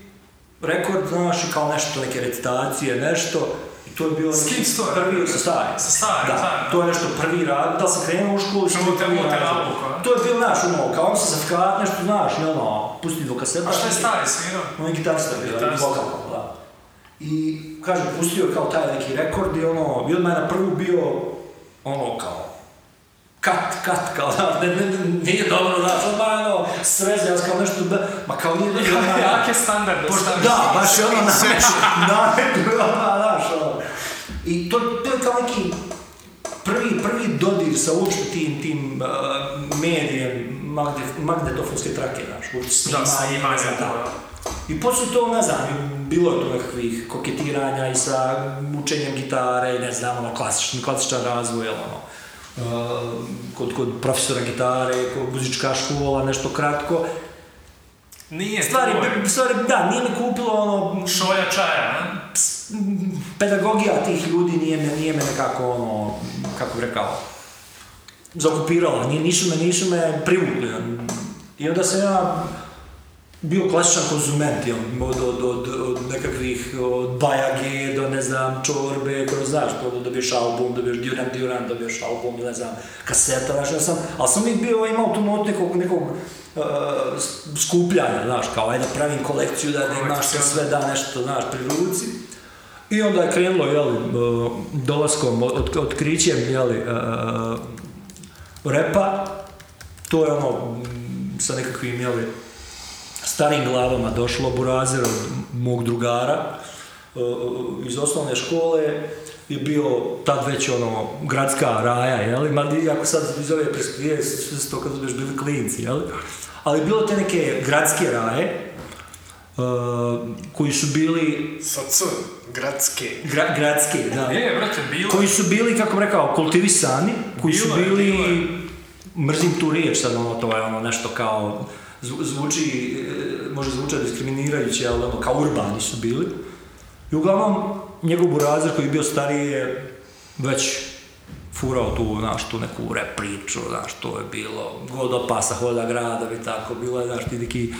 S3: rekord, znaš, i kao nešto, neke recitacije, nešto, i to je bio
S1: S kim
S3: neki
S1: story?
S3: prvi, sa starim.
S1: Sa starim,
S3: da,
S1: starim.
S3: to je nešto prvi rad, da li sam krenuo u školu, sam
S1: Prvo te-
S3: prvi
S1: prvo te
S3: rad.
S1: rabu, kao.
S3: To je bio, znaš, ono, kao on se zafkat, nešto, znaš, i ono, pusti dvokasetaš.
S1: A šta je stari svirao?
S3: On je gitarista bio, ali
S1: Gitarista.
S3: vokal, da. I, kažem, pustio je kao taj neki rekord i ono, i odmah je na prvu bio, ono, kao, kat, kat, kao, da, ne, ne, ne, nije dobro, znaš, odmah je ono, sreze, ja sam kao nešto, da, ma kao nije dobro,
S1: <laughs> Jake-
S3: ono,
S1: Jake standarde staviš.
S3: da, baš je ono <laughs> nameće,
S2: Inception.
S3: nameće, znaš, ono. I to, to je kao neki prvi, prvi dodir sa uopšte tim, tim uh, medijem magne, magnetofonske trake, znaš, uopšte
S1: Da, snimanje,
S3: ne znam,
S1: da.
S3: I poslije to, ne znam, bilo je tu nekakvih koketiranja i sa učenjem gitare i ne znam, ono, klasični, klasičan razvoj, jel, ono, uh, kod, kod profesora gitare, kod muzička škola, nešto kratko.
S1: Nije
S3: Stvari,
S1: tvoj.
S3: stvari, da, nije me kupilo ono,
S1: Šolja čaja, ne?
S3: pedagogija tih ljudi nije me, nije me nekako ono, kako bi rekao, zaokupirala, nije, nisu me, nisu me privukli. I onda sam ja bio klasičan konzument, jel, od, od, od, od nekakvih, od bajage do, ne znam, čorbe, kroz, znaš, to dobiješ album, dobiješ Duran Duran, dobiješ album, ne znam, kaseta, znaš, ja sam, ali sam uvijek bio, imao tu notu nekog, nekog e, s- skupljanja, znaš, kao, ajde, da pravim kolekciju, da, da imaš
S1: Kolekcija.
S3: sve, da, nešto, znaš, pri ruci. I onda je krenulo, jel, e, dolaskom, od, otkrićem, jel, e, repa, to je ono, mm, sa nekakvim, jel, starim glavama došlo burazer od mog drugara e, iz osnovne e, škole je bio tad već ono gradska raja, jel? Ma iako sad iz ove perspektive sve su to kad su još bili klinci, jel? Ali bilo te neke gradske raje e, koji su bili
S4: Sa C, gradske.
S3: gra- gradske, da.
S1: E, brate, bilo
S3: koji su bili, kako bih rekao, kultivisani, koji su
S1: Bilo je,
S3: bili,
S1: bilo je.
S3: mrzim tu riječ sad, ono, to je ono nešto kao, zvu- zvuči, e, može zvuča diskriminirajuće, ali ono, kao urbani su bili. I uglavnom, njegov burazer koji je bio stariji je već furao tu, znaš, tu neku rep priču, znaš, to je bilo god opasa hoda grada i tako, bilo je, znaš, ti neki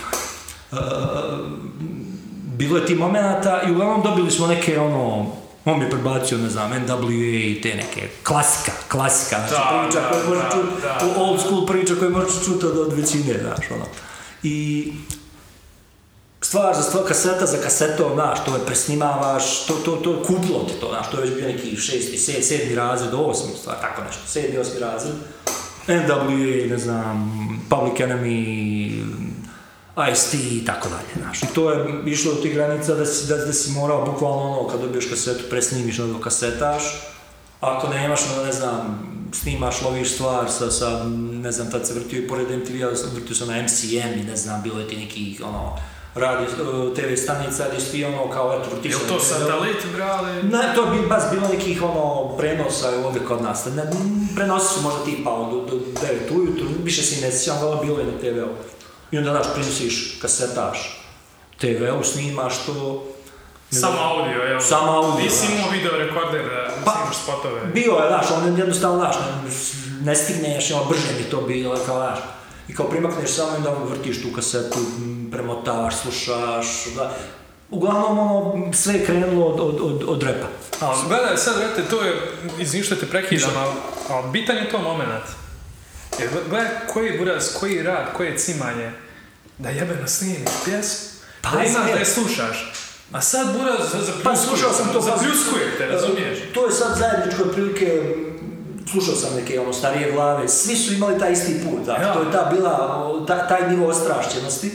S3: bilo je ti momenata i uglavnom dobili smo neke ono, on mi je prebacio, ne znam, NWA i te neke, klasika, klasika, znači
S1: Da,
S3: priča
S1: da,
S3: koju možeš
S1: da,
S3: čuti,
S1: da.
S3: to old school priča koju možeš čuti od, od većine, znaš, ono. I stvar za stvar, kaseta za kasetom, znaš, to je presnimavaš, to, to, to je kuplo ti to, znaš, to je već bio neki šesti, sed, sedmi razred, osmi, stvar, tako nešto, sedmi, osmi razred. NWA, ne znam, Public Enemy, IST i tako dalje, znaš. I to je išlo do tih granica da si, da, da si morao bukvalno ono, kad dobiješ kasetu, presnimiš ono do kasetaš, ako nemaš, onda ne znam, snimaš, loviš stvar sa, sa ne znam, tad se vrtio i pored MTV-a, sam- vrtio sam na MCM i ne znam, bilo je ti nekih, ono, radio, e, TV stanica gdje si ti ono, kao, eto, vrtio
S1: Jel
S3: sam
S1: to
S3: na TV-u.
S1: satelit, brale?
S3: Ne, to bi baš bilo nekih ono prenosa ovdje kod nas. Ne, m, prenosi su možda tipa od do 9 ujutru, više se i ne sjećam, ali bilo je na TV-u. I onda daš prinosiš kasetaš, TV-u snimaš to. ne
S1: Samo
S3: znam.
S1: audio, jel?
S3: Samo audio,
S1: Nisi
S3: znaš.
S1: imao video rekorder da
S3: Pa-
S1: snimaš spotove.
S3: Bio je, znaš, on jednostavno, znaš, ne, ne stigneš, ono, brže bi to bilo, kao, znaš. I kao primakneš samo i onda vrtiš tu kasetu, m, premotavaš, slušaš, da. Uglavnom, ono, sve je krenulo od, od, od, od repa.
S1: Ali gledaj, sad, vrate, to je, izvim što te prekidam, ali, ali bitan je to moment. Jer gle- gledaj koji buraz, koji rad, koje cimanje, da jebeno snimiš pjesmu,
S3: Pa,
S1: da imaš
S3: znam.
S1: da je slušaš. A sad buraz za- zapljuskuje,
S3: Pa slušao sam to.
S1: zapljuskuje te, razumiješ?
S3: E, To je sad zajedničko otprilike, slušao sam neke ono starije glave, svi su imali taj isti put, da.
S1: Ja.
S3: to je ta bila, o, ta, taj nivo ostrašćenosti,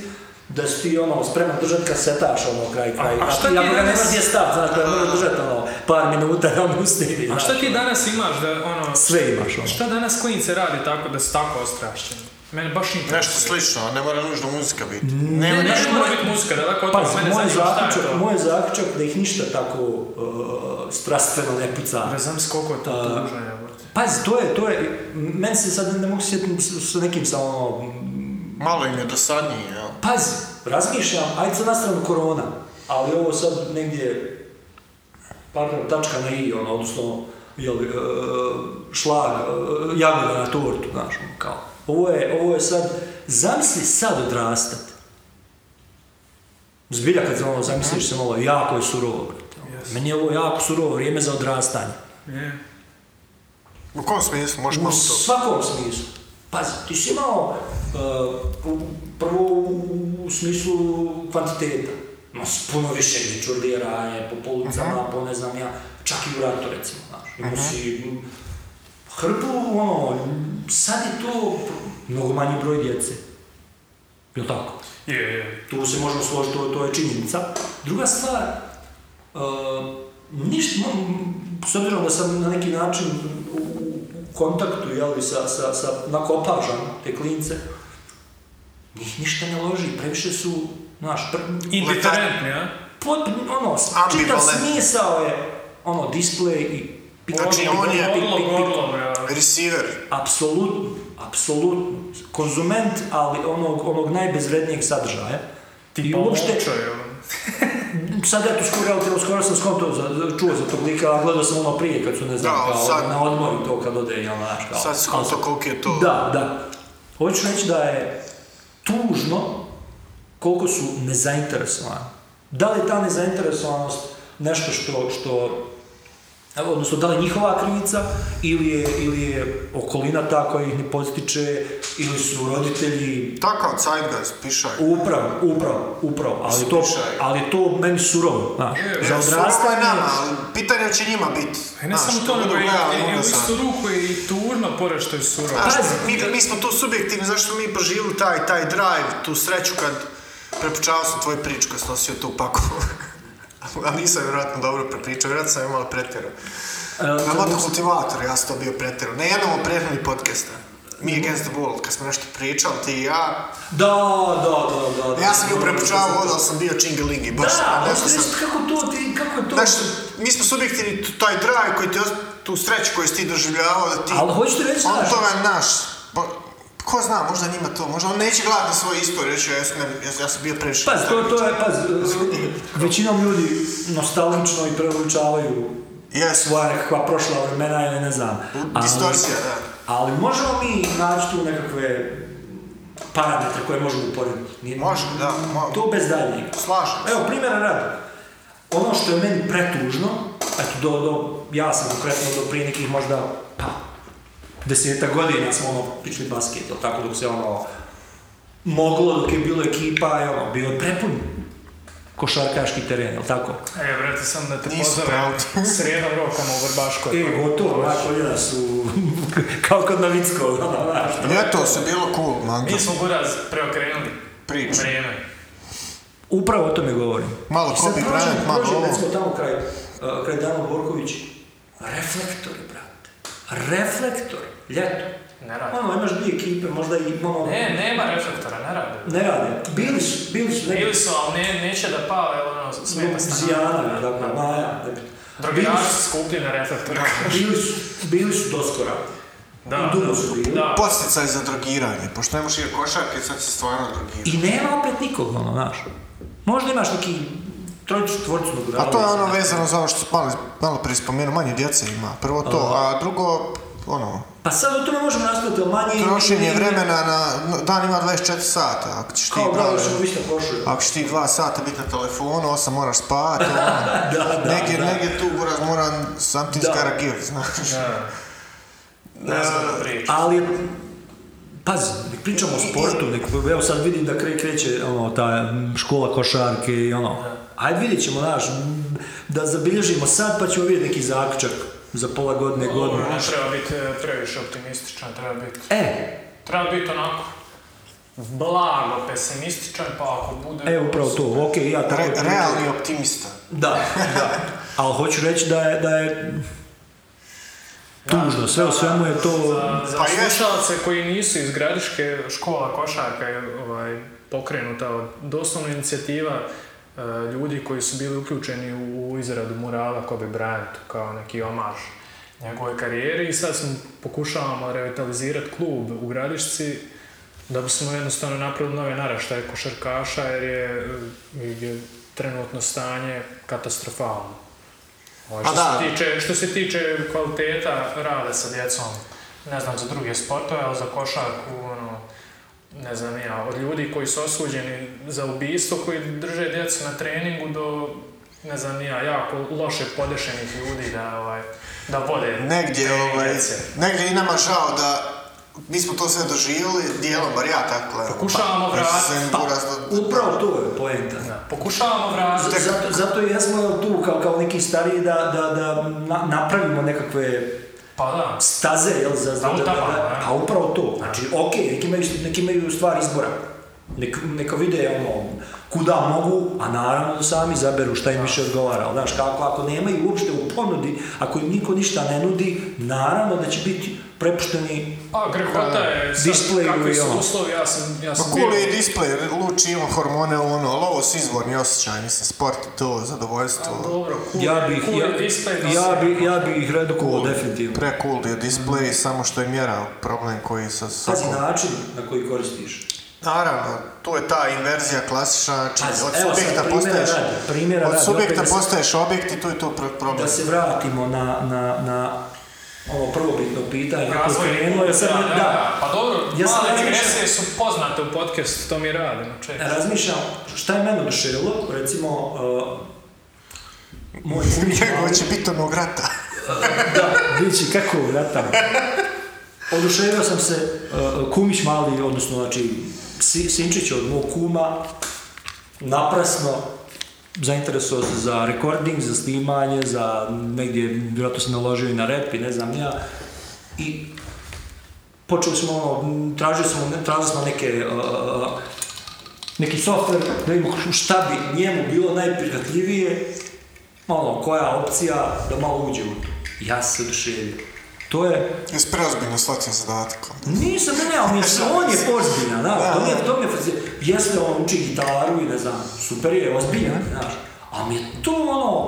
S3: da si ti ono spreman držati kasetaš ono kraj kraj.
S1: a šta ti
S3: ako ga
S1: danas-
S3: nemaš gdje stat, znaš, da moraš držati ono par minuta da on usnimi,
S1: A
S3: znaš.
S1: šta ti danas imaš da, ono,
S3: Sve imaš ono.
S1: šta danas klinice radi tako da su tako ostrašćeni? Mene baš interesuje.
S2: Nešto slično, a ne mora nužno muzika biti. Ne,
S1: Ne,
S2: ne,
S1: ne,
S2: ne,
S1: ne, mora biti muzika, da tako
S3: Pa,
S1: otvori, mene
S3: moj
S1: zanima šta
S3: zaključak,
S1: je to.
S3: moj zaključak da ih ništa tako uh, strastveno ne puca.
S1: Da znam s koliko je to
S3: A-
S1: tužno, jebote.
S3: Pazi, to je, to je, meni se sad ne mogu sjetiti s- sa nekim sa ono,
S2: malo im je dosadnije, jel?
S3: Pazi, razmišljam, ajde sad na stranu korona, ali ovo sad negdje, pardon, tačka na i, ono, odnosno, jel, e, šlag, e, jagoda na tortu, znaš, ono, kao. Ovo je, ovo je sad, zamisli sad odrastati. Zbilja kad ono, zamisliš se malo, jako je surovo, brate. ono.
S1: Yes.
S3: Meni je ovo jako surovo vrijeme za odrastanje.
S1: Je.
S2: U kom smislu možeš
S3: U
S2: malo to?
S3: svakom smislu. Pazi, ti si imao uh, u- prvo u- u smislu kvantiteta. Ima si puno više čurdira, je, po policama, po ne znam ja, čak i u ratu recimo, znaš. Imao si mm, hrpu, ono, sad je to mnogo manji broj djece. Jel' tako?
S1: Je, je.
S3: Tu se možemo složiti, to, to je činjenica. Druga stvar, uh, ništa, s obzirom da sam na neki način u u kontaktu jeli, sa, sa, sa nakopažan te klince, njih ništa ne loži, previše su, znaš, pr,
S1: Indiferentni, a?
S3: pot, ono, čitav
S2: Ambivalentni.
S3: smisao je, ono, display i ono,
S2: Znači, on je-
S3: pik, pik,
S1: Gorlo,
S3: pik, pik.
S1: gorlo, bravo.
S2: Receiver.
S3: Apsolutno, apsolutno. Konzument, ali onog, onog najbezvrednijeg sadržaja. I
S1: Tipa
S3: uopšte,
S1: Lončo je ono.
S3: sad ja tu skoro, evo, skoro sam skonto, za, za- čuo za tog lika, a gledao sam ono prije kad su, ne znam,
S2: Da,
S3: kao,
S2: sad-
S3: na odmoru to kad ode, jel, znaš, kao...
S2: Sad skonto koliko je to.
S3: Da, da. Hoću reći da je tužno koliko su nezainteresovani. Da li je ta nezainteresovanost nešto što, što evo, odnosno da li je njihova krivica ili je, ili je okolina ta koja ih ne postiče ili su roditelji
S2: Takav Zeitgeist, pišaj.
S3: upravo, upravo, upravo, ali to,
S2: Slušaj.
S3: ali to meni surovo, znaš,
S1: Je,
S3: za
S2: Za odrastanje
S3: odrastanje,
S2: je nama, ali pitanje će njima biti.
S1: E ne samo to, nego i- i- i u istu ruku je i tužno pored što je surovo.
S2: Znaš,
S3: Pazi,
S2: mi, mi smo tu subjektivni, zašto mi proživili taj, taj drive, tu sreću kad prepričavao sam tvoju priču <laughs> kad sam nosio tu paku. A nisam vjerojatno dobro prepričao, vjerojatno sam je malo pretjerao.
S3: E,
S2: Nama kultivator, ja sam to bio pretjerao. Na jednom od prethodnih podcasta. Mi against the wall, kad smo nešto pričali, ti i ja.
S3: Da, da, da, da. da.
S2: Ja sam bio prepučavao vodu, ali sam bio čingalingi. Baš,
S3: Da,
S2: nešto
S3: hoću
S2: sam-
S3: reći kako to, ti, kako je to...
S2: Znaš, mi smo subjektivni, t- taj drive koji ti, os- tu sreću koju si ti doživljavao, da ti...
S3: ali hoću ti reći,
S2: On
S3: znaš,
S2: toga je naš. Pa, ko zna, možda njima to, možda on neće gledati na svoju istoriju, reći, ja sam, ja, sam- ja sam bio previše.
S3: Paz, Pa, to, to je, paz,
S2: <laughs>
S3: većinom ljudi nostalgično i preučavaju
S2: Yes.
S3: svoja nekakva prošla vremena ili ne znam.
S2: Mm, Distorsija, da.
S3: Ali možemo mi naći tu nekakve parametre koje možemo uporediti? Nije-
S2: Može, da, mo-
S3: To bez daljnjega.
S2: Slažem se.
S3: Evo, primjera rada. Ono što je meni pretužno, eto, do, do, ja sam konkretno do prije nekih možda, pa, deseta godina smo ono, išli basket, jel tako, dok se ono, moglo, dok je bilo ekipa, i ono, bio je prepun košarkaški teren, jel tako?
S1: E, brate, sam da te
S2: Nisam
S1: pozovem <laughs>
S2: pravo.
S1: srijedom rokama u Vrbaškoj.
S3: E, gotovo, moja koljena su <laughs> kao kod Novickog, ono, znaš.
S2: Ljeto se bilo cool, man.
S1: Mi smo buraz preokrenuli.
S2: Priču.
S1: Vrijeme.
S3: Upravo o tome govorim.
S2: Malo
S3: I sad
S2: Kobe
S3: prođe-
S2: Bryant, malo
S3: prođe,
S2: ovo.
S3: Recimo tamo kraj, uh, kraj Dano Borković, reflektori, brate. Reflektori, ljeto.
S1: Ne radi.
S3: Ono, imaš dvije ekipe, možda i ono...
S1: Ne, nema reflektora, ne radi.
S3: Ne rade. Bili su, bili su neki...
S1: Ili su, ali ne, neće da pale, ono, smeta stana.
S3: Zijana, dakle, Maja, ne bi- Bili
S1: Drogiraši
S3: su,
S1: skuplji na reflektora.
S3: bili su, bili su doskora.
S1: Da,
S3: Dugo su bili.
S1: da.
S2: Posticaj za drogiranje, pošto nemaš jer košarke, sad se stvarno drogira.
S3: I nema opet nikog, ono, znaš. Možda imaš neki trojicu, četvorcu
S2: A to je ono
S3: naguravali se.
S2: vezano za ono što smo malo, malo prije spomenuo, manje djece ima, prvo to, a drugo, ono,
S3: Pa sad o tome možemo raspraviti, ali manje...
S2: trošenje vremena na, na- dan ima 24 sata, ako ćeš ti
S3: Kao da,
S2: brale,
S3: još ćemo ništa prošli.
S2: ako ćeš ti 2 sata biti na telefonu, 8 moraš spavati, ono,
S3: <laughs> Da, da,
S2: negdje,
S3: da.
S2: negdje tu buraz mora something's
S3: Da.
S2: gotta give, znaš.
S1: Da. Ne znam da pričam.
S3: Ali, pazi, nek pričamo o sportu, nek, evo sad vidim da kre, kreće ono, ta škola košarke i ono. Ajde vidjet ćemo, znaš, da zabilježimo sad pa ćemo vidjeti neki zaključak za pola godine, godinu.
S1: Ne treba biti e, previše optimističan, treba biti
S3: E,
S1: Treba biti onako blago pesimističan, pa ako bude...
S3: e, upravo to, ok, ja tako...
S2: Re, realni optimista.
S3: Da, da. Ali hoću reći da je, da je tužno, sve u svemu je to...
S1: Za, za
S2: Pa je.
S1: slušalce koji nisu iz gradiške škola košarka je ovaj, pokrenuta od doslovno inicijativa e, ljudi koji su bili uključeni u, u izradu murala Kobe Bryantu kao neki omaž njegove karijere i sad smo pokušavamo revitalizirati klub u Gradišci da bismo jednostavno napravili nove naraštaje košarkaša jer je, e, je trenutno stanje katastrofalno. Ovo,
S2: Pa
S1: što,
S2: da.
S1: se tiče, što se tiče kvaliteta rada sa djecom, ne znam za druge sportove, ali za košarku, ono, ne znam ni ja, od ljudi koji su osuđeni za ubijstvo, koji drže djecu na treningu do, ne znam ni ja, jako loše podešenih ljudi da, ovaj, da vode
S3: E,
S2: Negdje,
S1: trening
S2: ovaj,
S1: djece.
S2: negdje i nama žao da mi smo to sve doživjeli, dijelom, bar ja tako gledam.
S1: Pokušavamo
S2: Pa, ja
S1: vratiti,
S2: sam
S3: Pa,
S2: buraz do-
S3: upravo to je poenta.
S1: Da, Pokušavamo vratiti.
S3: Zato, zato i jesmo jel, tu kao, kao neki stariji da, da, da na- napravimo nekakve
S1: Pa da.
S3: staze, jel, za, za,
S1: Da
S3: da, da,
S1: utapamo,
S3: da,
S1: ne?
S3: a upravo to, znači, ok, neki imaju, neki imaju stvar izbora, Nek, neka vide ono, kuda mogu, a naravno da sami izaberu šta im više odgovara, ali znaš, kako, ako nemaju uopšte u ponudi, ako im niko ništa ne nudi, naravno da će biti prepušteni
S1: A grehota je sad
S3: Displeju
S1: kakvi
S3: i
S1: su
S3: ono.
S1: uslovi, ja sam, ja
S2: Pa
S1: sam
S2: cool
S1: bio-
S2: je i display, luči ima hormone ono, ali ovo su izvorni osjećaj, mislim, sport je to, zadovoljstvo.
S1: Dobro, cool,
S3: ja
S1: je-
S3: bih,
S1: cool
S3: ja,
S1: je display da
S3: ja,
S1: se-
S3: bi, ja bi ih redukovao definitivno.
S2: Pre cool je display, samo što je mjera problem koji sa
S3: Pazi
S2: svakom...
S3: način na koji koristiš.
S2: Naravno, tu je ta inverzija klasična, znači
S3: Pazi,
S2: od
S3: evo sad
S2: subjekta
S3: primjera
S2: postaješ...
S3: radi, primjera
S2: Od
S3: radi, opet
S2: subjekta
S3: da se-
S2: postaješ objekt i tu je to pro- problem.
S3: da se vratimo na, na, na ovo prvobitno pitanje koje
S1: Razvoj-
S3: krenulo, jer sad ne- da,
S1: Pa dobro,
S3: Ja sam
S1: male
S3: najviše-
S1: digresije su poznate u podcastu, to mi radimo, čekaj.
S3: E, razmišljam šta je mene oduševilo, recimo, uh, moj kum
S2: Njegov će biti onog rata. <laughs>
S3: da, bit će kako vrata. Oduševio sam se, uh, kumić mali, odnosno, znači, Si- Sinčić od mog kuma, naprasno zainteresuo se za recording, za snimanje, za negdje, vjerojatno se naložio i na rep i ne znam ni ja. I počeli smo, ono, m, tražili smo, ne, tražili smo neke, uh, neki software, da vidimo šta bi njemu bilo najprihvatljivije, ono, koja opcija da malo uđe u to. Ja se oduševio. To je,
S2: Jesi preozbiljno shvatio zadatak. onda?
S3: nisam, ne, ne, on je, on je ozbiljan, da, to mi je, to mi je, fasci- jeste on uči gitaru i ne znam, super je, ozbiljan, znaš, ali mi je to ono,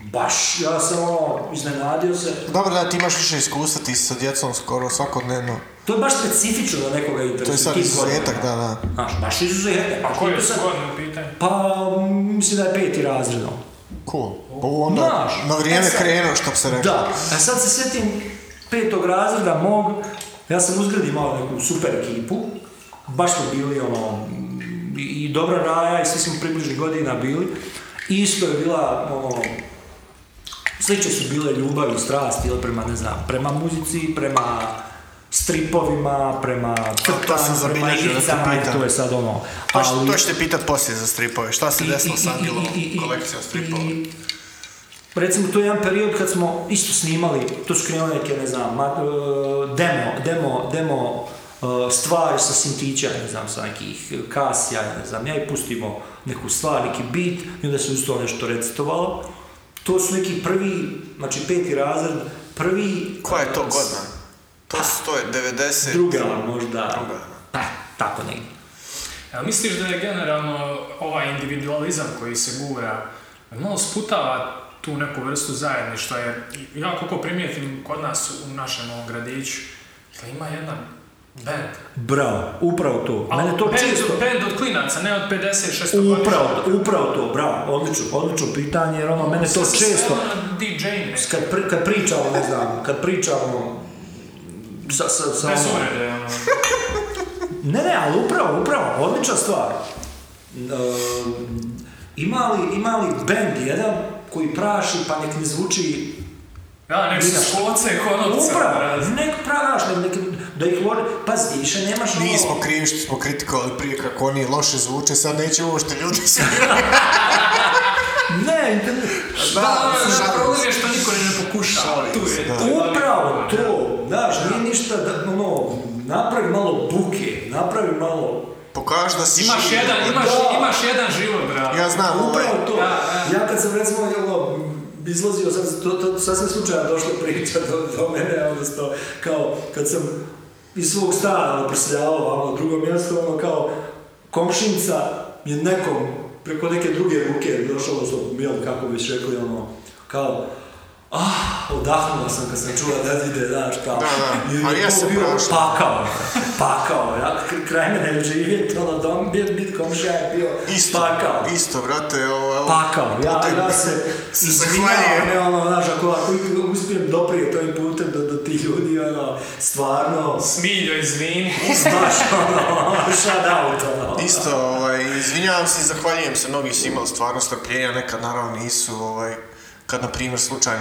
S3: baš, ja sam ono, iznenadio se,
S2: Dobro da ti imaš više iskustva, ti si sa djecom skoro svakodnevno.
S3: to je baš specifično da nekoga interesuje.
S2: To je sad
S3: tim godinama.
S2: izuzetak, da, da.
S3: Znaš, baš izuzetak,
S1: A koji je
S3: to sad-
S1: zgodno u pitanju?
S3: Pa, mislim da je peti razred, ono.
S2: Cool. Pa u onda
S3: Znaš,
S2: na vrijeme
S3: e sad-
S2: krenuo, što bi se rekao.
S3: Da, a sad se sjetim petog razreda mog, ja sam uzgradi imao neku super ekipu, baš smo bili ono, i i dobra raja i svi smo približnih godina bili, I isto je bila ono, slične su bile ljubav i strast, jel, prema, ne znam, prema muzici, prema stripovima, prema
S4: Pa to sam
S3: crtanju, prema
S4: zabilježio da te
S3: igricama, i
S4: pitam.
S3: to je sad ono,
S4: To, š-
S3: ali-
S4: to ćete pitat poslije za stripove. Šta se
S3: i-
S4: desilo
S3: i-
S4: s
S3: i-
S4: Angelovom
S3: i- i- i-
S4: kolekcijom stripova?
S3: i- Recimo, to je jedan period kad smo isto snimali, to su krenule neke, ne znam, ma- e, demo, demo, demo e, stvari sa sintića, ne znam, sa nekih kasija, ne znam, ja i pustimo neku stvar, neki beat, i onda se uz to nešto recitovalo. To su neki prvi, znači peti razred, prvi...
S2: Koja je to
S3: e, s-
S2: godina? To su to
S3: Pa,
S2: je 90...
S3: Druga možda,
S2: Druga.
S3: pa, tako negdje.
S1: Jel misliš da je generalno ovaj individualizam koji se gura malo sputava tu neku vrstu zajedništva, jer ja koliko primijetim kod nas u našem ovom gradiću, da ima jedan band.
S3: Bravo, upravo to.
S1: Ali
S3: Mene to
S1: band,
S3: često...
S1: band od klinaca, ne od 56
S3: Upravo, upravo to, bravo, odlično, odlično pitanje, jer ono, mene to često,
S1: DJ ne.
S3: kad, pri, kad pričamo, ne znam, kad pričamo, sa, sa, sa
S1: Bez
S3: ono-
S1: uvrede, ono.
S3: ne, ne, ali upravo, upravo, odlična stvar. E, ima, li, ima li band jedan koji praši pa nek ne zvuči
S1: Da, nek
S3: Vidiš.
S1: su školce i konopce.
S3: upravo,
S1: brate.
S3: nek pravaš, nek, nek, da ih loži, pazi, više nemaš ono-
S2: Nismo krivi što smo kritikovali prije kako oni loše zvuče, sad neće uopšte ljudi svi.
S3: ne, internet,
S2: Da,
S1: Da,
S2: šalim
S1: da,
S2: se.
S1: problem je što niko ne pokušava.
S2: Šalim
S1: Tu
S2: se,
S1: je.
S2: da.
S1: tu je glavni
S3: Upravo
S1: problem.
S3: to, znaš, nije ništa, da, ono, napravi malo buke, napravi malo,
S2: Pokaži da si
S1: Imaš
S2: živ.
S1: jedan, imaš,
S3: Da.
S1: imaš jedan život, brate.
S2: Ja znam, ovo je...
S3: upravo to.
S1: Ja, ja.
S3: Ja kad sam recimo, jelo, izlazio, sad, to, to, sasvim slučajno došla priča do, do mene, odnosno, kao, kad sam iz svog stana ono, preseljavao vamo na drugo mjesto, ono, kao, komšinica je nekom, preko neke druge ruke, došao, odnosno, jel, kako bi rekli, ono, kao, Ah, odahnuo sam kad sam čula da ide, znaš, kao,
S2: Da, da,
S3: jer je
S2: ali ja
S3: to
S2: sam
S3: bio
S2: prošao.
S3: pakao, pakao, ja k- kraj mene živjeti, ono, dom, bit, bit komšija je bio
S2: Isto,
S3: pakao
S2: isto, brate, ovo, ovo...
S3: pakao. Ja,
S2: putem-
S3: ja se
S2: se
S3: izvinjavam,
S2: zahvaljujem.
S3: ne ono, znaš, ako, ako uspijem doprije tojim putem do, do tih ljudi, ono, stvarno,
S1: Smiljo, izvini.
S3: baš ono, <laughs> shut out, ono.
S2: Isto, ovaj, izvinjavam se i zahvaljujem se, mnogi su imali stvarno strpljenja, nekad naravno nisu, ovaj, kad na primjer slučajno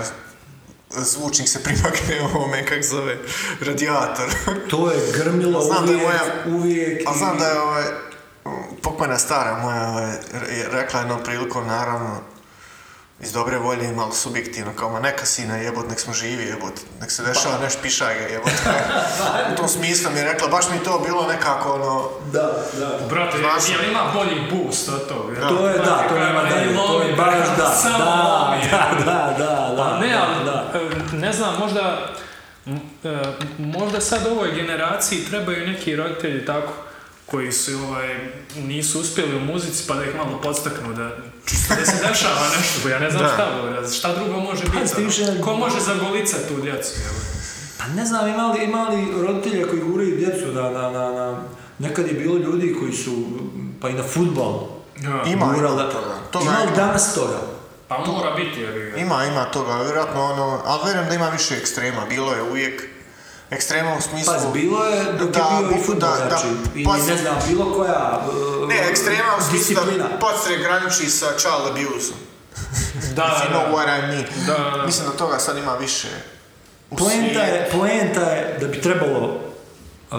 S2: zvučnik se primakne ovome, kak zove, radijator.
S3: To je grmilo
S2: Znam da je
S3: uvijek,
S2: moja-
S3: uvijek.
S2: A znam
S3: i-
S2: da je ovaj, pokojna stara moja ovaj, re- rekla jednom prilikom, naravno, iz dobre volje i malo subjektivno, kao ma neka sina jebot, nek smo živi jebot, nek se dešava neš pišaj ga jebot. U tom smislu mi je rekla, baš mi je to bilo nekako ono,
S3: Da, da.
S1: Brate,
S2: Znaš-
S1: jel ima bolji boost od toga?
S3: To je, da, to nema dalje, to je baš da,
S1: Samo
S3: da,
S1: lomi.
S3: da, da, da, da,
S1: Pa ne,
S3: da,
S1: ali
S3: da.
S1: e, ne znam, možda, m, e, možda sad ovoj generaciji trebaju neki roditelji tako koji su ovaj, nisu uspjeli u muzici pa da ih malo podstaknu da, da
S3: <laughs>
S1: se dešava nešto, ja ne znam
S2: Da.
S1: šta, bro, šta drugo može
S3: Ajde,
S1: biti,
S3: ti više-
S1: ono? ko može zagolicat tu djecu, jel?
S3: Pa ne znam, imali, imali roditelja koji guraju djecu na, na, na, na, nekad je bilo ljudi koji su, pa i na futbal,
S1: Ja.
S2: ima, ima
S3: Gurala-
S2: toga. To
S3: ima li
S2: ima.
S3: danas toga?
S1: Pa mora biti, jel?
S2: Ima, ima toga, vjerojatno ono, ali vjerujem da ima više ekstrema, bilo je uvijek ekstrema u smislu...
S3: Pazi, Pa, bilo je dok
S2: Da,
S3: je bio i
S2: bu-
S3: futbol,
S2: da, da,
S3: znači, ili
S2: pazi.
S3: ne znam, bilo koja uh,
S2: Ne, ekstrema pa- u smislu
S3: disciplina.
S2: da podstrek graniči sa child abuse-om.
S1: Da,
S2: If you
S1: da,
S2: know what I mean.
S1: Da, da, da.
S2: Mislim da toga sad ima više. u
S3: Poenta je,
S2: svijetu.
S3: poenta je da bi trebalo uh,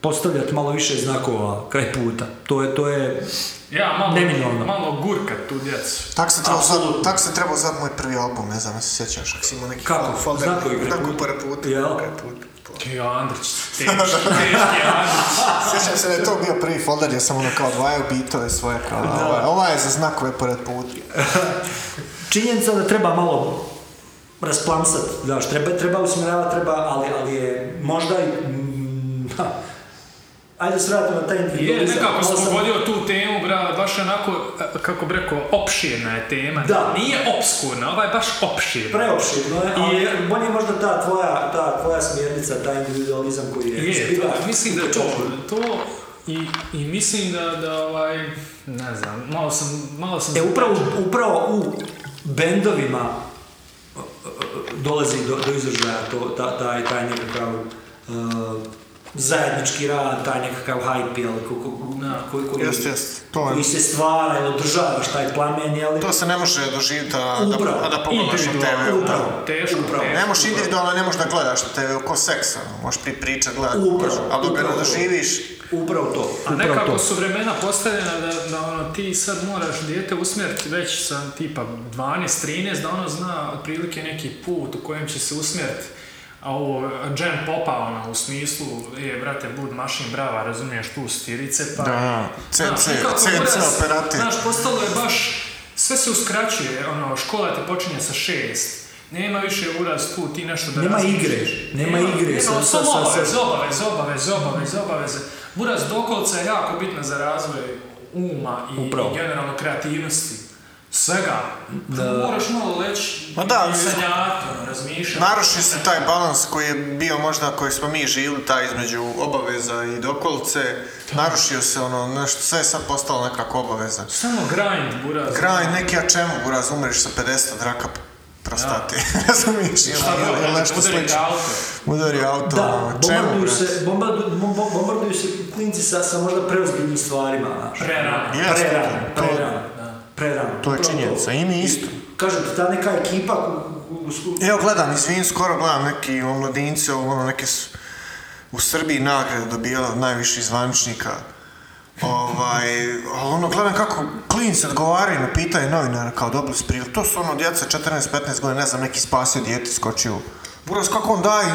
S3: postavljati malo više znakova kraj puta. To je, to je,
S1: Ja, malo,
S3: Neminovno.
S1: malo gurkat tu djecu.
S2: Tak se trebao sad,
S3: Apsolutno.
S2: tak se trebao zvat moj prvi album, ne znam, ne se sjećaš. Kako si imao neki
S3: Kako?
S2: fol- folder,
S3: Znakovi
S2: neki-
S3: kraj
S2: tako
S3: puta.
S2: par puta,
S3: Jel?
S2: kraj puta.
S1: Ti Andrić, teški,
S3: <laughs>
S1: teški Andrić.
S2: Sjećam se da je to bio prvi folder, ja sam ono kao dvajao bitove svoje, ovaj- kao, a ova, ova je za znakove pored puta.
S3: činjenica da treba malo rasplansat, znaš, treba, treba usmjeravati, treba, ali, ali je možda i... mm, ha. ajde da se vratimo na taj
S1: Je,
S3: individualizam.
S1: nekako
S3: Malo
S1: sam
S3: sam-
S1: pogodio tu temu, bra, baš onako, e, kako bi rekao, opširna je tema.
S3: Da.
S1: Nije opskurna, ova je baš opširna.
S3: preopširno je, ali
S1: Je.
S3: bolje je možda ta tvoja, ta tvoja smjernica, taj individualizam koji je,
S1: Je,
S3: zbilja-
S1: to, mislim da je to, to i, i mislim da, da ovaj, ne znam, malo sam, malo sam...
S3: E, upravo, upravo u bendovima e, e, dolazi do, do izražaja to, ta, taj, taj nekakav e, zajednički rad, taj nekakav hype, jel, ko, ko,
S1: Da.
S3: koji, koji,
S4: Jest, jest.
S2: To je-
S3: koji se stvara ili održavaš taj plamen, jel?
S2: E, To se ne može doživjeti, a da,
S3: Upravo.
S2: a da pogledaš na
S1: Individualno,
S2: TV.
S3: upravo.
S1: Teško,
S3: Upravo.
S1: teško.
S2: Ne možeš individualno, ne možeš da gledaš na TV, ko seks, ono, možeš pripričat, gledat,
S3: Upravo,
S2: možeš, ali dok ga ne
S3: upravo.
S2: doživiš,
S3: Upravo to.
S1: A
S3: upravo
S1: nekako
S3: to.
S1: su vremena postavljena da, da ono, ti sad moraš dijete usmjeriti već sa tipa 12-13, da ono zna otprilike neki put u kojem će se usmjeriti. A ovo, Jen Popa, ono, u smislu, je, brate, bud mašin brava, razumiješ, tu stirice, pa...
S2: Da, CC,
S1: Znaš, nekako
S2: CC
S1: mora se-
S2: operativ.
S1: Znaš, postalo je baš, sve se uskraćuje, ono, škola ti počinje sa šest, nema više uraz tu, ti nešto da
S3: Nema
S1: razmišljaš.
S3: igre, nema igre sa-
S1: Nema,
S3: sa-
S1: samo
S3: sa-
S1: obaveze,
S3: sa-
S1: obaveze, obaveze, obaveze, obaveze. Buraz dokolca je jako bitna za razvoj uma i,
S3: Upravo.
S1: i generalno kreativnosti. Svega.
S3: Da.
S1: Moraš malo leći
S2: Ma da, ali se-
S1: sanjati, ono, razmišljati.
S2: Naruši se taj balans koji je bio možda koji smo mi živili, taj između obaveza i dokolice. Narušio se ono, nešto, sve je sad postalo nekako obaveza.
S1: Samo grind, buraz.
S2: Kraj neki, a čemu, buraz, umreš sa 50 raka prostate, <laughs> razumiješ? Ili-
S1: Šta
S2: ili
S1: god,
S2: nešto
S1: udari te
S2: slično.
S1: auto.
S2: Udari auto,
S3: Da,
S2: ono, čemu,
S3: bombarduju
S2: buraz?
S3: se, bombardu, bom- bombarduju se klinci sa, sa možda preozbiljnim stvarima, znaš.
S1: Prerano.
S2: Jeste,
S3: prerano,
S2: to-
S3: prerano,
S1: da.
S3: prerano.
S2: To je
S3: Upravo
S2: činjenica, i mi isto.
S3: Kažem ti, ta neka ekipa u, u, u sku-
S2: Evo gledam, izvin, skoro gledam neki omladinci, ovo, ono, neke su u Srbiji nagrade dobijala od najviših zvaničnika. Ovaj, ali ono, gledam kako klinci odgovaraju na pitanje novinara kao dobili su priliku. To su ono djeca 14-15 godina, ne znam, neki spasio djete, skočio. Buras, kako on daje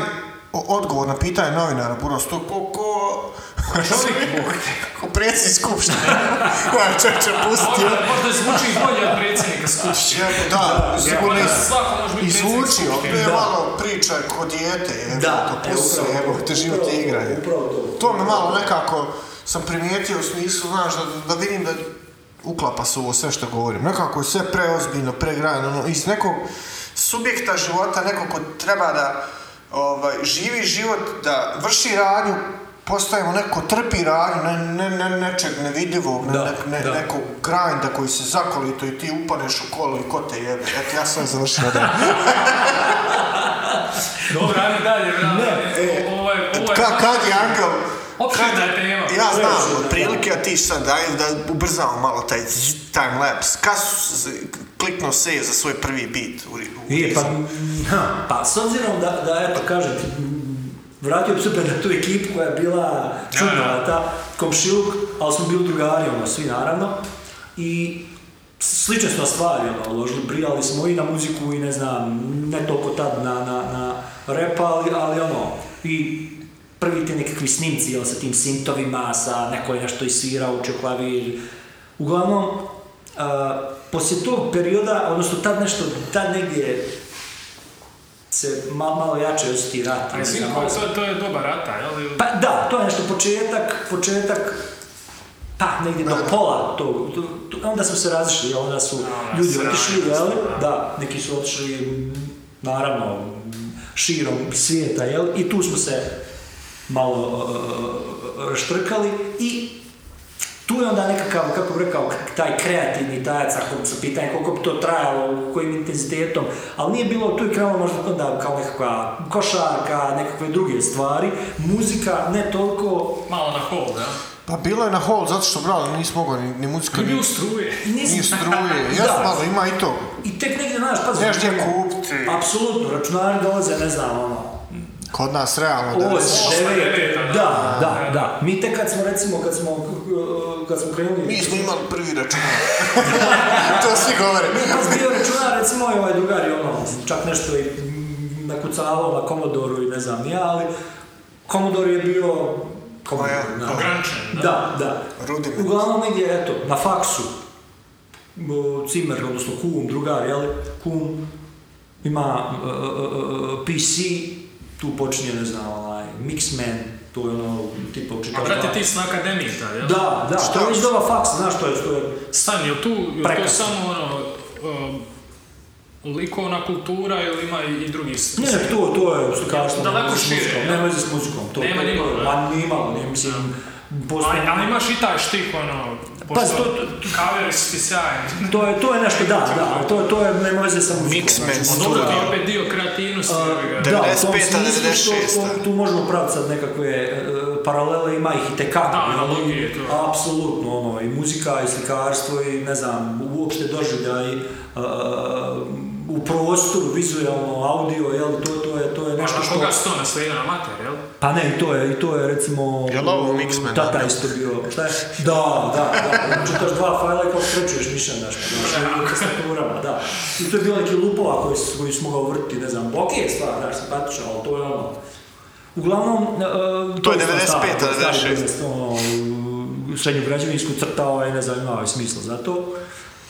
S2: o- odgovor na pitanje novinara, Buras, to ko... ko...
S1: Pa Čovjek, Bog te.
S2: <laughs> Ko predsjednik skupštine. <laughs> Koja čovječe pustio.
S1: Možda, možda zvuči bolje od predsjednika Skupštine.
S2: Da, sigurno
S1: Možda
S2: isto.
S1: Svako može biti
S2: I
S1: predsjednik
S2: zvuči,
S1: Skupštine.
S2: opet je malo priča ko dijete, je,
S3: Da,
S2: to
S3: e,
S2: pusti se,
S3: upravo to,
S2: evo, te život
S3: upravo
S2: je
S3: to,
S2: igra. je.
S3: upravo to.
S2: To me malo nekako sam primijetio u smislu, znaš, da, da vidim da uklapa se u ovo sve što govorim. Nekako je sve preozbiljno, pregrajeno, ono, iz nekog subjekta života, nekog ko treba da ovaj, živi život, da vrši radnju, postajemo neko trpi radnju, ne, ne, ne, nečeg nevidljivog, ne,
S3: Da,
S2: ne, ne,
S3: da.
S2: nekog grinda koji se zakolito i ti upaneš u kolo i ko te jebe. Eto, ja sam završio
S3: <laughs>
S2: da
S1: Dobro, ajde dalje, bravo.
S2: e,
S1: Ovo je, ovo je...
S2: Ka, kad je Angel?
S1: Opširna
S2: kad-
S1: je tema.
S2: Ja
S3: Preopširna,
S2: znam, otprilike, a ti sad daj da ubrzamo malo taj time lapse. Kad su se- kliknuo se je za svoj prvi beat u, ri- u
S3: Je, pa,
S2: ritmu?
S3: ha, pa s obzirom da, da eto, kažem ti, vratio bi se opet na tu ekipu koja je bila čudnovata, komšiluk, ali smo bili drugari, ono, svi naravno, i slične smo stvari, ono, ložili, brijali smo i na muziku i ne znam, ne toliko tad na, na, na rap, ali, ali ono, i prvi ti nekakvi snimci, jel, sa tim sintovima, sa neko je nešto isvirao, učio klavir, uglavnom, a, poslije tog perioda, odnosno tad nešto, tad negdje se malo, malo jače osjeti rat.
S1: A
S3: ne
S1: jesi
S3: znam,
S1: ko-
S3: malo-
S1: to, to je dobar rata, jel?
S3: Pa da, to je nešto početak, početak, pa negdje do pola tog, to, to- onda smo se razišli, jel, onda su
S1: Ona,
S3: ljudi
S1: Ono, sranje,
S3: otišli, jel,
S1: da.
S3: da, neki su otišli, m, naravno, m, širom svijeta, jel, i tu smo se malo e, raštrkali i tu je onda nekakav, kako bi rekao, k- taj kreativni tajac, ako se pitanje koliko bi to trajalo, kojim intenzitetom, ali nije bilo, tu je krenulo možda onda kao nekakva košarka, nekakve druge stvari, muzika ne toliko,
S1: Malo na hold, jel?
S2: Pa bilo je na hol, zato što, brale, nisi mogao ni, ni muzika,
S1: Ti
S2: ni,
S1: bio struje.
S2: ni
S3: nisam,
S2: struje.
S3: Da.
S2: Jes, malo, ima i to.
S3: i tek negdje, znaš, pazi,
S2: Nemaš gdje kupiti.
S3: apsolutno, računari dolaze, ne znam, ono,
S2: Kod nas, realno, Pa da
S3: Ovo
S1: Osma,
S3: je
S1: deveta,
S3: deveta,
S1: da.
S3: da, da, da. Mi tek kad smo, recimo, kad smo, uh, kad smo krenuli...
S2: Mi smo imali prvi račun. <laughs> to svi govore.
S3: Kad sam bio računa, recimo, i ovaj drugar je ono, čak nešto i mm, nakucavao na Komodoru i ne znam ni ja, ali Komodor je bio... Commodore,
S2: A ja,
S3: da.
S1: Ograničen, da.
S3: Da, da.
S2: Rudiment.
S3: Uglavnom negdje, eto, na faksu, o, Cimer, odnosno kum, drugar, jel, kum, ima e, e, e, PC, tu počinje, ne znam, onaj, Mixman, tu je ono, tipa
S1: A
S3: učitava.
S1: brate, ti si na akademiji tad, jel?
S3: Da, da, to
S2: Šta?
S3: je već doba faksa, znaš što je, što je,
S1: Stan, jel tu, jel to
S3: Prekrasno.
S1: samo ono, um, likovna kultura ili ima i, i drugih s-
S3: ne, ne, to, to je slikarstvo, nema
S1: Daleko
S3: veze s
S1: šire,
S3: muzikom,
S1: jel?
S3: nema veze s muzikom, to
S1: Nema
S3: to-
S1: nimalo, jel?
S3: ma nimalo, ne, mislim, postoji,
S1: Ali, ali imaš i taj štih, ono,
S3: Pa,
S1: pošto
S3: to- to-
S1: kaveri su ti sjajni.
S3: to je, to je nešto, da, da, ali to, to je, nema veze sa muzikom.
S2: Mixman,
S3: znači,
S2: Kultura.
S1: Dobro, to je opet dio kreativnosti. jebi ga.
S3: Da, u tom
S2: 95-a,
S3: smislu što-
S2: 96-a.
S3: što tu možemo praviti sad nekakve e, paralele, ima ih i
S1: Da, analogije, to.
S3: Apsolutno, ono, i muzika, i slikarstvo, i ne znam, uopšte doživljaj e, u prostoru, vizualno, audio, jel, to, to, je, to je nešto
S1: Pa
S3: što...
S1: koga su to naslijedili na mater, jel?
S3: Pa ne, i to je, i to je recimo... ono,
S2: Jel ovo Mixman
S3: Tata
S2: napravio?
S3: isto bio, šta je? Da, da, da, čitaš dva fajla i kao krećuješ nišan daš, pa znaš, u tastaturama, da. I to je bilo neki lupova koji, s- koji smo ga vrtiti, ne znam, ok je stvar, znaš, simpatično, ali to je ono... Uglavnom... e,
S4: To je
S3: sam stari,
S4: 95,
S3: stari
S4: 96.
S3: biznis, ono, u srednju građevinsku crtao je, ne znam, imao je smisla za to.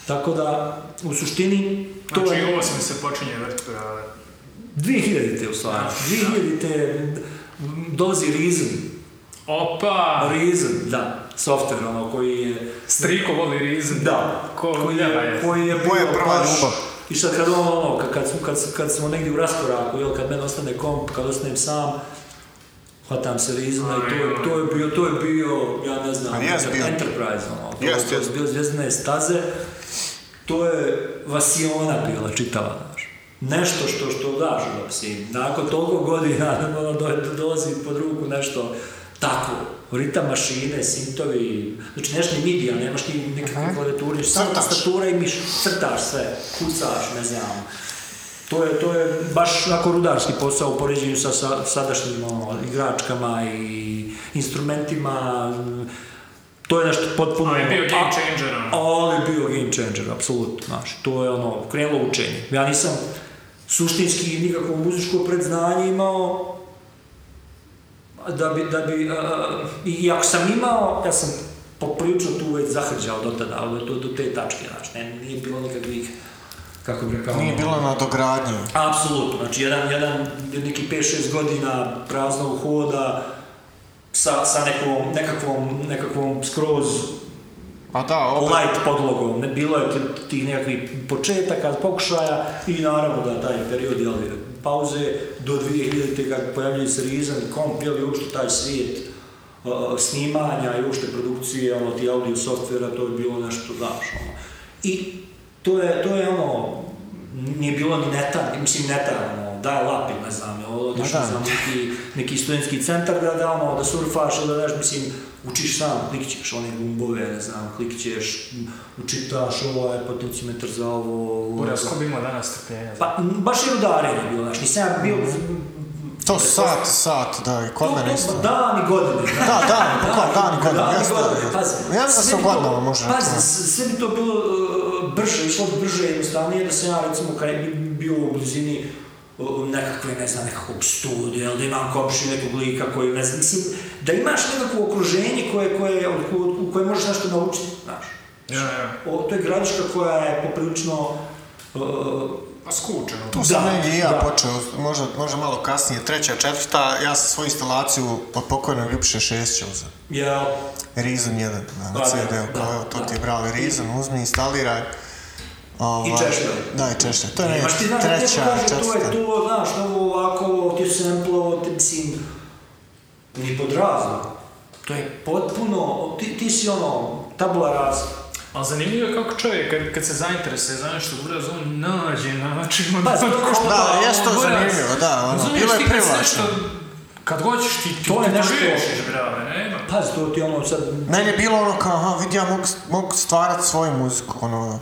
S3: Tako da, u suštini, to
S1: Znači,
S3: je...
S1: ovo sam se počinje vrtiti, ali...
S3: 2000-te u stvari, 2000-te dolazi Reason,
S1: Opa!
S3: Reason, da, software ono koji je...
S1: Striko voli rizm.
S3: Da,
S1: Ko
S3: koji
S1: ljeva
S3: je,
S1: je.
S3: koji je bio
S2: Moja prva
S3: baš-
S2: ljubav.
S3: I sad kad ono, ono, kad, kad, smo- kad, kad smo negdje u raskoraku, jel, kad meni ostane komp, kad ostanem sam, hvatam se Reasona i to je, to je bio, to je bio, ja ne znam,
S2: A jes
S3: nekak
S2: bio.
S3: Enterprise, ono, to,
S2: Jest,
S3: to je
S2: jest.
S3: bio zvijezdne staze, to je Vasiona bila čitava, znaš. Nešto što, što daš u psi. Nakon toliko godina <laughs> ono, do- dolazi pod ruku nešto tako. Ritam mašine, sintovi, znači nemaš ni midija, nemaš ni nekakve klavijature, samo
S2: Crtaš.
S3: tastatura i miš, crtaš sve, kucaš, ne znam. To je, to je baš onako rudarski posao u poređenju sa, sa sadašnjim ono, igračkama i instrumentima. To je nešto potpuno...
S1: Ali Ono je bio game
S3: A-
S1: changer, ono.
S3: ali je bio game changer, apsolutno, znaš, to je ono, krenulo učenje. Ja nisam suštinski nikakvo muzičko predznanje imao, da bi, da bi, a, i ako sam imao, ja sam poprilično tu već zahrđao do tada, ali do, do te tačke, znaš, ne, nije bilo nikakvih, kako bi rekao,
S2: Nije
S3: ono,
S2: bilo na dogradnju.
S3: Apsolutno, znači jedan, jedan neki 5-6 godina praznog hoda sa, sa nekom, nekakvom, nekakvom skroz
S2: A da, opet,
S3: light podlogom, ne bilo je ti- tih nekakvih početaka, pokušaja i naravno da taj period jel, pauze do 2000. kad pojavljaju se Reason, komp, jel, i uopšte taj svijet uh, snimanja i uopšte produkcije, ono, ti audio softvera, to je bilo nešto, znaš, ono. I to je, to je ono, nije bilo ni neta, mislim neta, ono, da je lapi, ne znam, jel, otišao
S2: Ma da.
S3: sam neki, neki studentski centar da da, ono, da surfaš ili da daš, mislim, učiš sam, klikćeš one gumbove, ne znam, klikćeš, učitaš ovaj potencimetar za ovo... ovo,
S1: Buras,
S3: za-
S1: ko bi imao danas strpljenja? za-
S3: Pa, m, baš je rudarenje bilo, znaš, nisam ja bio...
S2: to sat, sat, da, i kod mene Pa isto.
S3: pa Dan i godine. znaš.
S2: Da, dan, pa kao dan i godine,
S3: Dan i
S2: jasno,
S3: godine,
S2: jasno.
S3: pazi.
S2: Ja mislim da
S3: sve
S2: sam
S3: bi to-
S2: godinama možda na
S3: Pazi,
S2: tome.
S3: s- sve bi to bilo e, brže, išlo bi brže i jednostavnije da sam ja recimo kad bi bio u blizini e, nekakve, ne znam, nekakvog studija, ili da imam kopši nekog lika koji, ne znam, mislim, da imaš nekakvo okruženje koje, koje, u koje možeš nešto naučiti, znaš.
S1: Ja, ja.
S3: O, to je gradiška koja je poprilično e,
S1: Pa skučeno.
S2: Tu sam
S3: Da,
S2: negdje i ja
S3: da.
S2: počeo, možda, možda malo kasnije, treća, četvrta, ja sam svoju instalaciju od pokojnog Ljubiše Šestića uzeo.
S3: ja,
S2: Reason 1, da,
S3: Da,
S2: na CD,
S3: da,
S2: kao
S3: da,
S2: evo, to
S3: da.
S2: ti je bravo, Reason, uzmi, instaliraj. Ovaj,
S3: češljaj.
S2: Da, i češljaj. To je
S3: Ma
S2: negdje
S3: ti znaš, neko
S2: E, treća,
S3: kaže, to je
S2: četvrta.
S3: to, znaš, ovo ovako, ovo ti je sample, ovo ti, mislim, ni pod razno. To je potpuno, ti, ti si ono, tabula rasa.
S1: Ali zanimljivo je kako čovjek, kad, kad se zainteresuje za nešto buraz, on nađe način. ono,
S3: Pa, zato
S1: kako
S3: što-
S1: ono,
S2: Da, jest to
S1: ono, buraz.
S2: zanimljivo, da, ono,
S1: Razumiješ
S2: bilo je
S1: ti kad se
S2: privlačno.
S1: nešto- Kad hoćeš ti, ti
S3: To je
S1: ti
S3: nešto-
S1: riješiš, brave, nema.
S3: Pazi, to ti ono sad,
S2: Meni je bilo ono kao, aha, vidi, ja mogu, mogu stvarat svoju muziku, ono,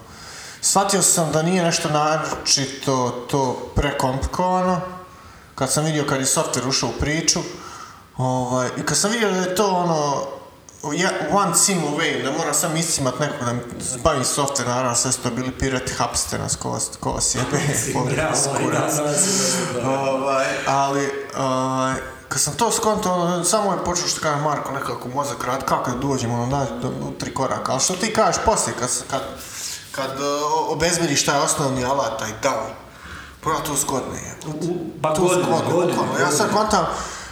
S2: shvatio sam da nije nešto naročito to prekomplikovano, kad sam vidio kad je software ušao u priču, ovaj, i kad sam vidio da je to ono, ja, one sim away, da moram sam iscimat nekog da mi zbavi software, naravno sve su to bili pirati hapste nas ko vas, ko vas jebe,
S3: ja,
S2: kurac.
S3: ovaj, da, da, da, da, da.
S2: Ovaj, ali, ovaj, kad sam to skonto, ono, samo je počeo što kaže Marko, nekako mozak rad, kako da dođem, ono, da, do, do tri koraka. Ali što ti e, kažeš poslije, kad, s- kad, kad uh, obezbediš taj osnovni alat, taj down, Bro, to zgodno je.
S3: U, u, pa
S2: To
S3: godine,
S2: zgodno,
S3: godine,
S2: bukvalno. Ja sad kontam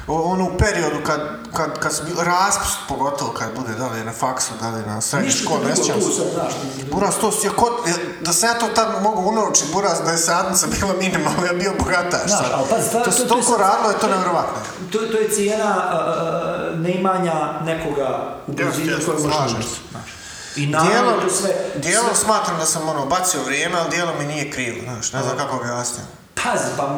S2: o- ono u periodu kad, kad, kad sam bio, raspust pogotovo kad bude, da li je na faksu, da li je na srednjoj
S3: Ništa
S2: školi, ne
S3: drugo
S2: sjećam
S3: tu
S2: se.
S3: sad, znaš,
S2: Buras, to si, ako, da se ja to tad mogu unovčiti, Buras, da je sadnica bila minimalna, ja bio bogataš.
S3: Znaš,
S2: sad.
S3: ali pazi, stvar-
S2: to
S3: to-
S2: se
S3: to
S2: toliko
S3: je-
S2: radilo, je to nevjerovatno.
S3: to, to je cijena uh, neimanja nekoga u
S4: Jeste,
S3: blizini
S4: jeste,
S3: kojeg možeš
S2: slažem
S3: naučiti,
S2: se.
S3: znaš. I naravno
S2: Dijelom,
S3: to sve...
S2: dijelom
S3: sve-
S2: smatram da sam ono bacio vrijeme, ali dijelom mi nije krivo, znaš, ne znam kako objasnim.
S3: Pazi, pa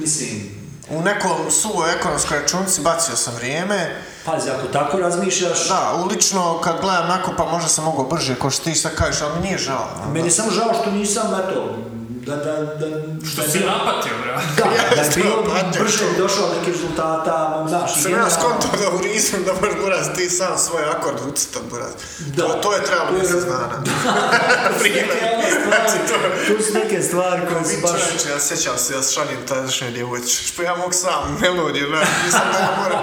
S3: mislim...
S2: U nekom suvo ekonomskoj računici bacio sam vrijeme,
S3: Pazi, ako tako razmišljaš...
S2: da, ulično kad gledam nako pa možda sam mogao brže, ko što ti sad kažeš, ali mi nije žao. ono.
S3: Meni je samo žao što nisam, eto, da, da, da,
S1: Što
S3: da,
S1: si napatio, bro.
S3: da, da je
S4: Jeste,
S3: bilo
S4: platio
S3: brže
S4: čovjek.
S3: došao do nekih rezultata, ono, znaš, i
S4: Sam ja
S3: generalno-
S4: skonto
S2: Da urizam da možeš buraz ti sam svoj akord ucitat buraz.
S3: Da.
S2: To, to je trebalo
S3: To je-
S2: mjesec
S4: <laughs>
S2: dana.
S3: To su neke ono
S4: Znači,
S3: stvari- to su neke stvari koje su
S4: Vi
S3: baš...
S4: čovječe, ja sjećam se, ja šaljem tadašnje djevojče, što ja mogu sam melodiju, ne, nisam da ja moram,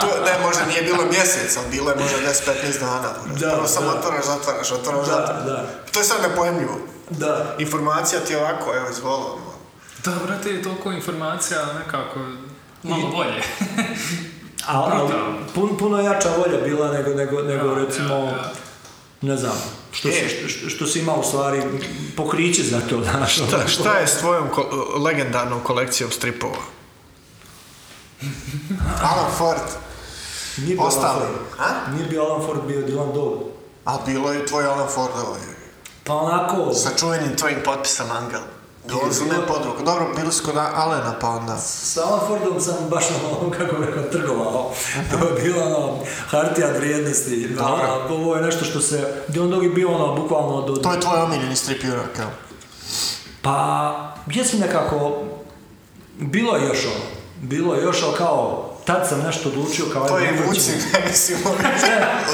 S4: to, ne, možda nije bilo mjesec, ali bilo je možda 10-15 dana, buraz.
S3: Da,
S4: Prvo sam
S3: da.
S4: otvaraš, zatvaraš, otvaraš,
S3: Da,
S4: zatvaraš.
S3: da.
S4: To je sad nepojemljivo.
S3: Da.
S4: Informacija ti je ovako, evo, izvoli, ono.
S1: Da, brate, je toliko informacija, nekako... Malo
S3: I-
S1: bolje.
S3: A, a
S1: Brutalno.
S3: pun, puno jača volja bila nego, nego, nego
S1: Ja,
S3: recimo,
S1: ja, ja.
S3: ne znam, što,
S4: E.
S3: si, što, što si imao u stvari pokriće za to, <laughs> znaš. ono.
S4: Šta, šta je s tvojom ko- legendarnom kolekcijom stripova?
S2: Alan Ford.
S3: Nije bio
S2: ostali,
S3: Alan
S2: a?
S3: Ford. Nije bio Alan Ford, bio Dylan Dole.
S2: A bilo je i tvoj Alan Fordovo. je.
S3: Pa onako,
S2: Sa čuvenim tvojim potpisom Angel. Dolazi me podruku. Dobro, bili su kod Alena pa onda.
S3: sa Alan Fordom sam baš <laughs> ono, kako bih rekao, trgovao. To je bilo ono, hartija vrijednosti.
S2: Dobro.
S3: A, a ovo je nešto što se, Dylan Dog je bio ono, bukvalno do...
S2: To je tvoj omiljeni strip jurak, jel?
S3: Pa, jesam nekako, bilo je još ono, bilo je još, ali kao, tad sam nešto odlučio kao...
S4: To
S3: ajde,
S4: je
S3: napravit
S4: Vucin,
S3: ćemo-
S2: <laughs>
S4: ne mislim, ono.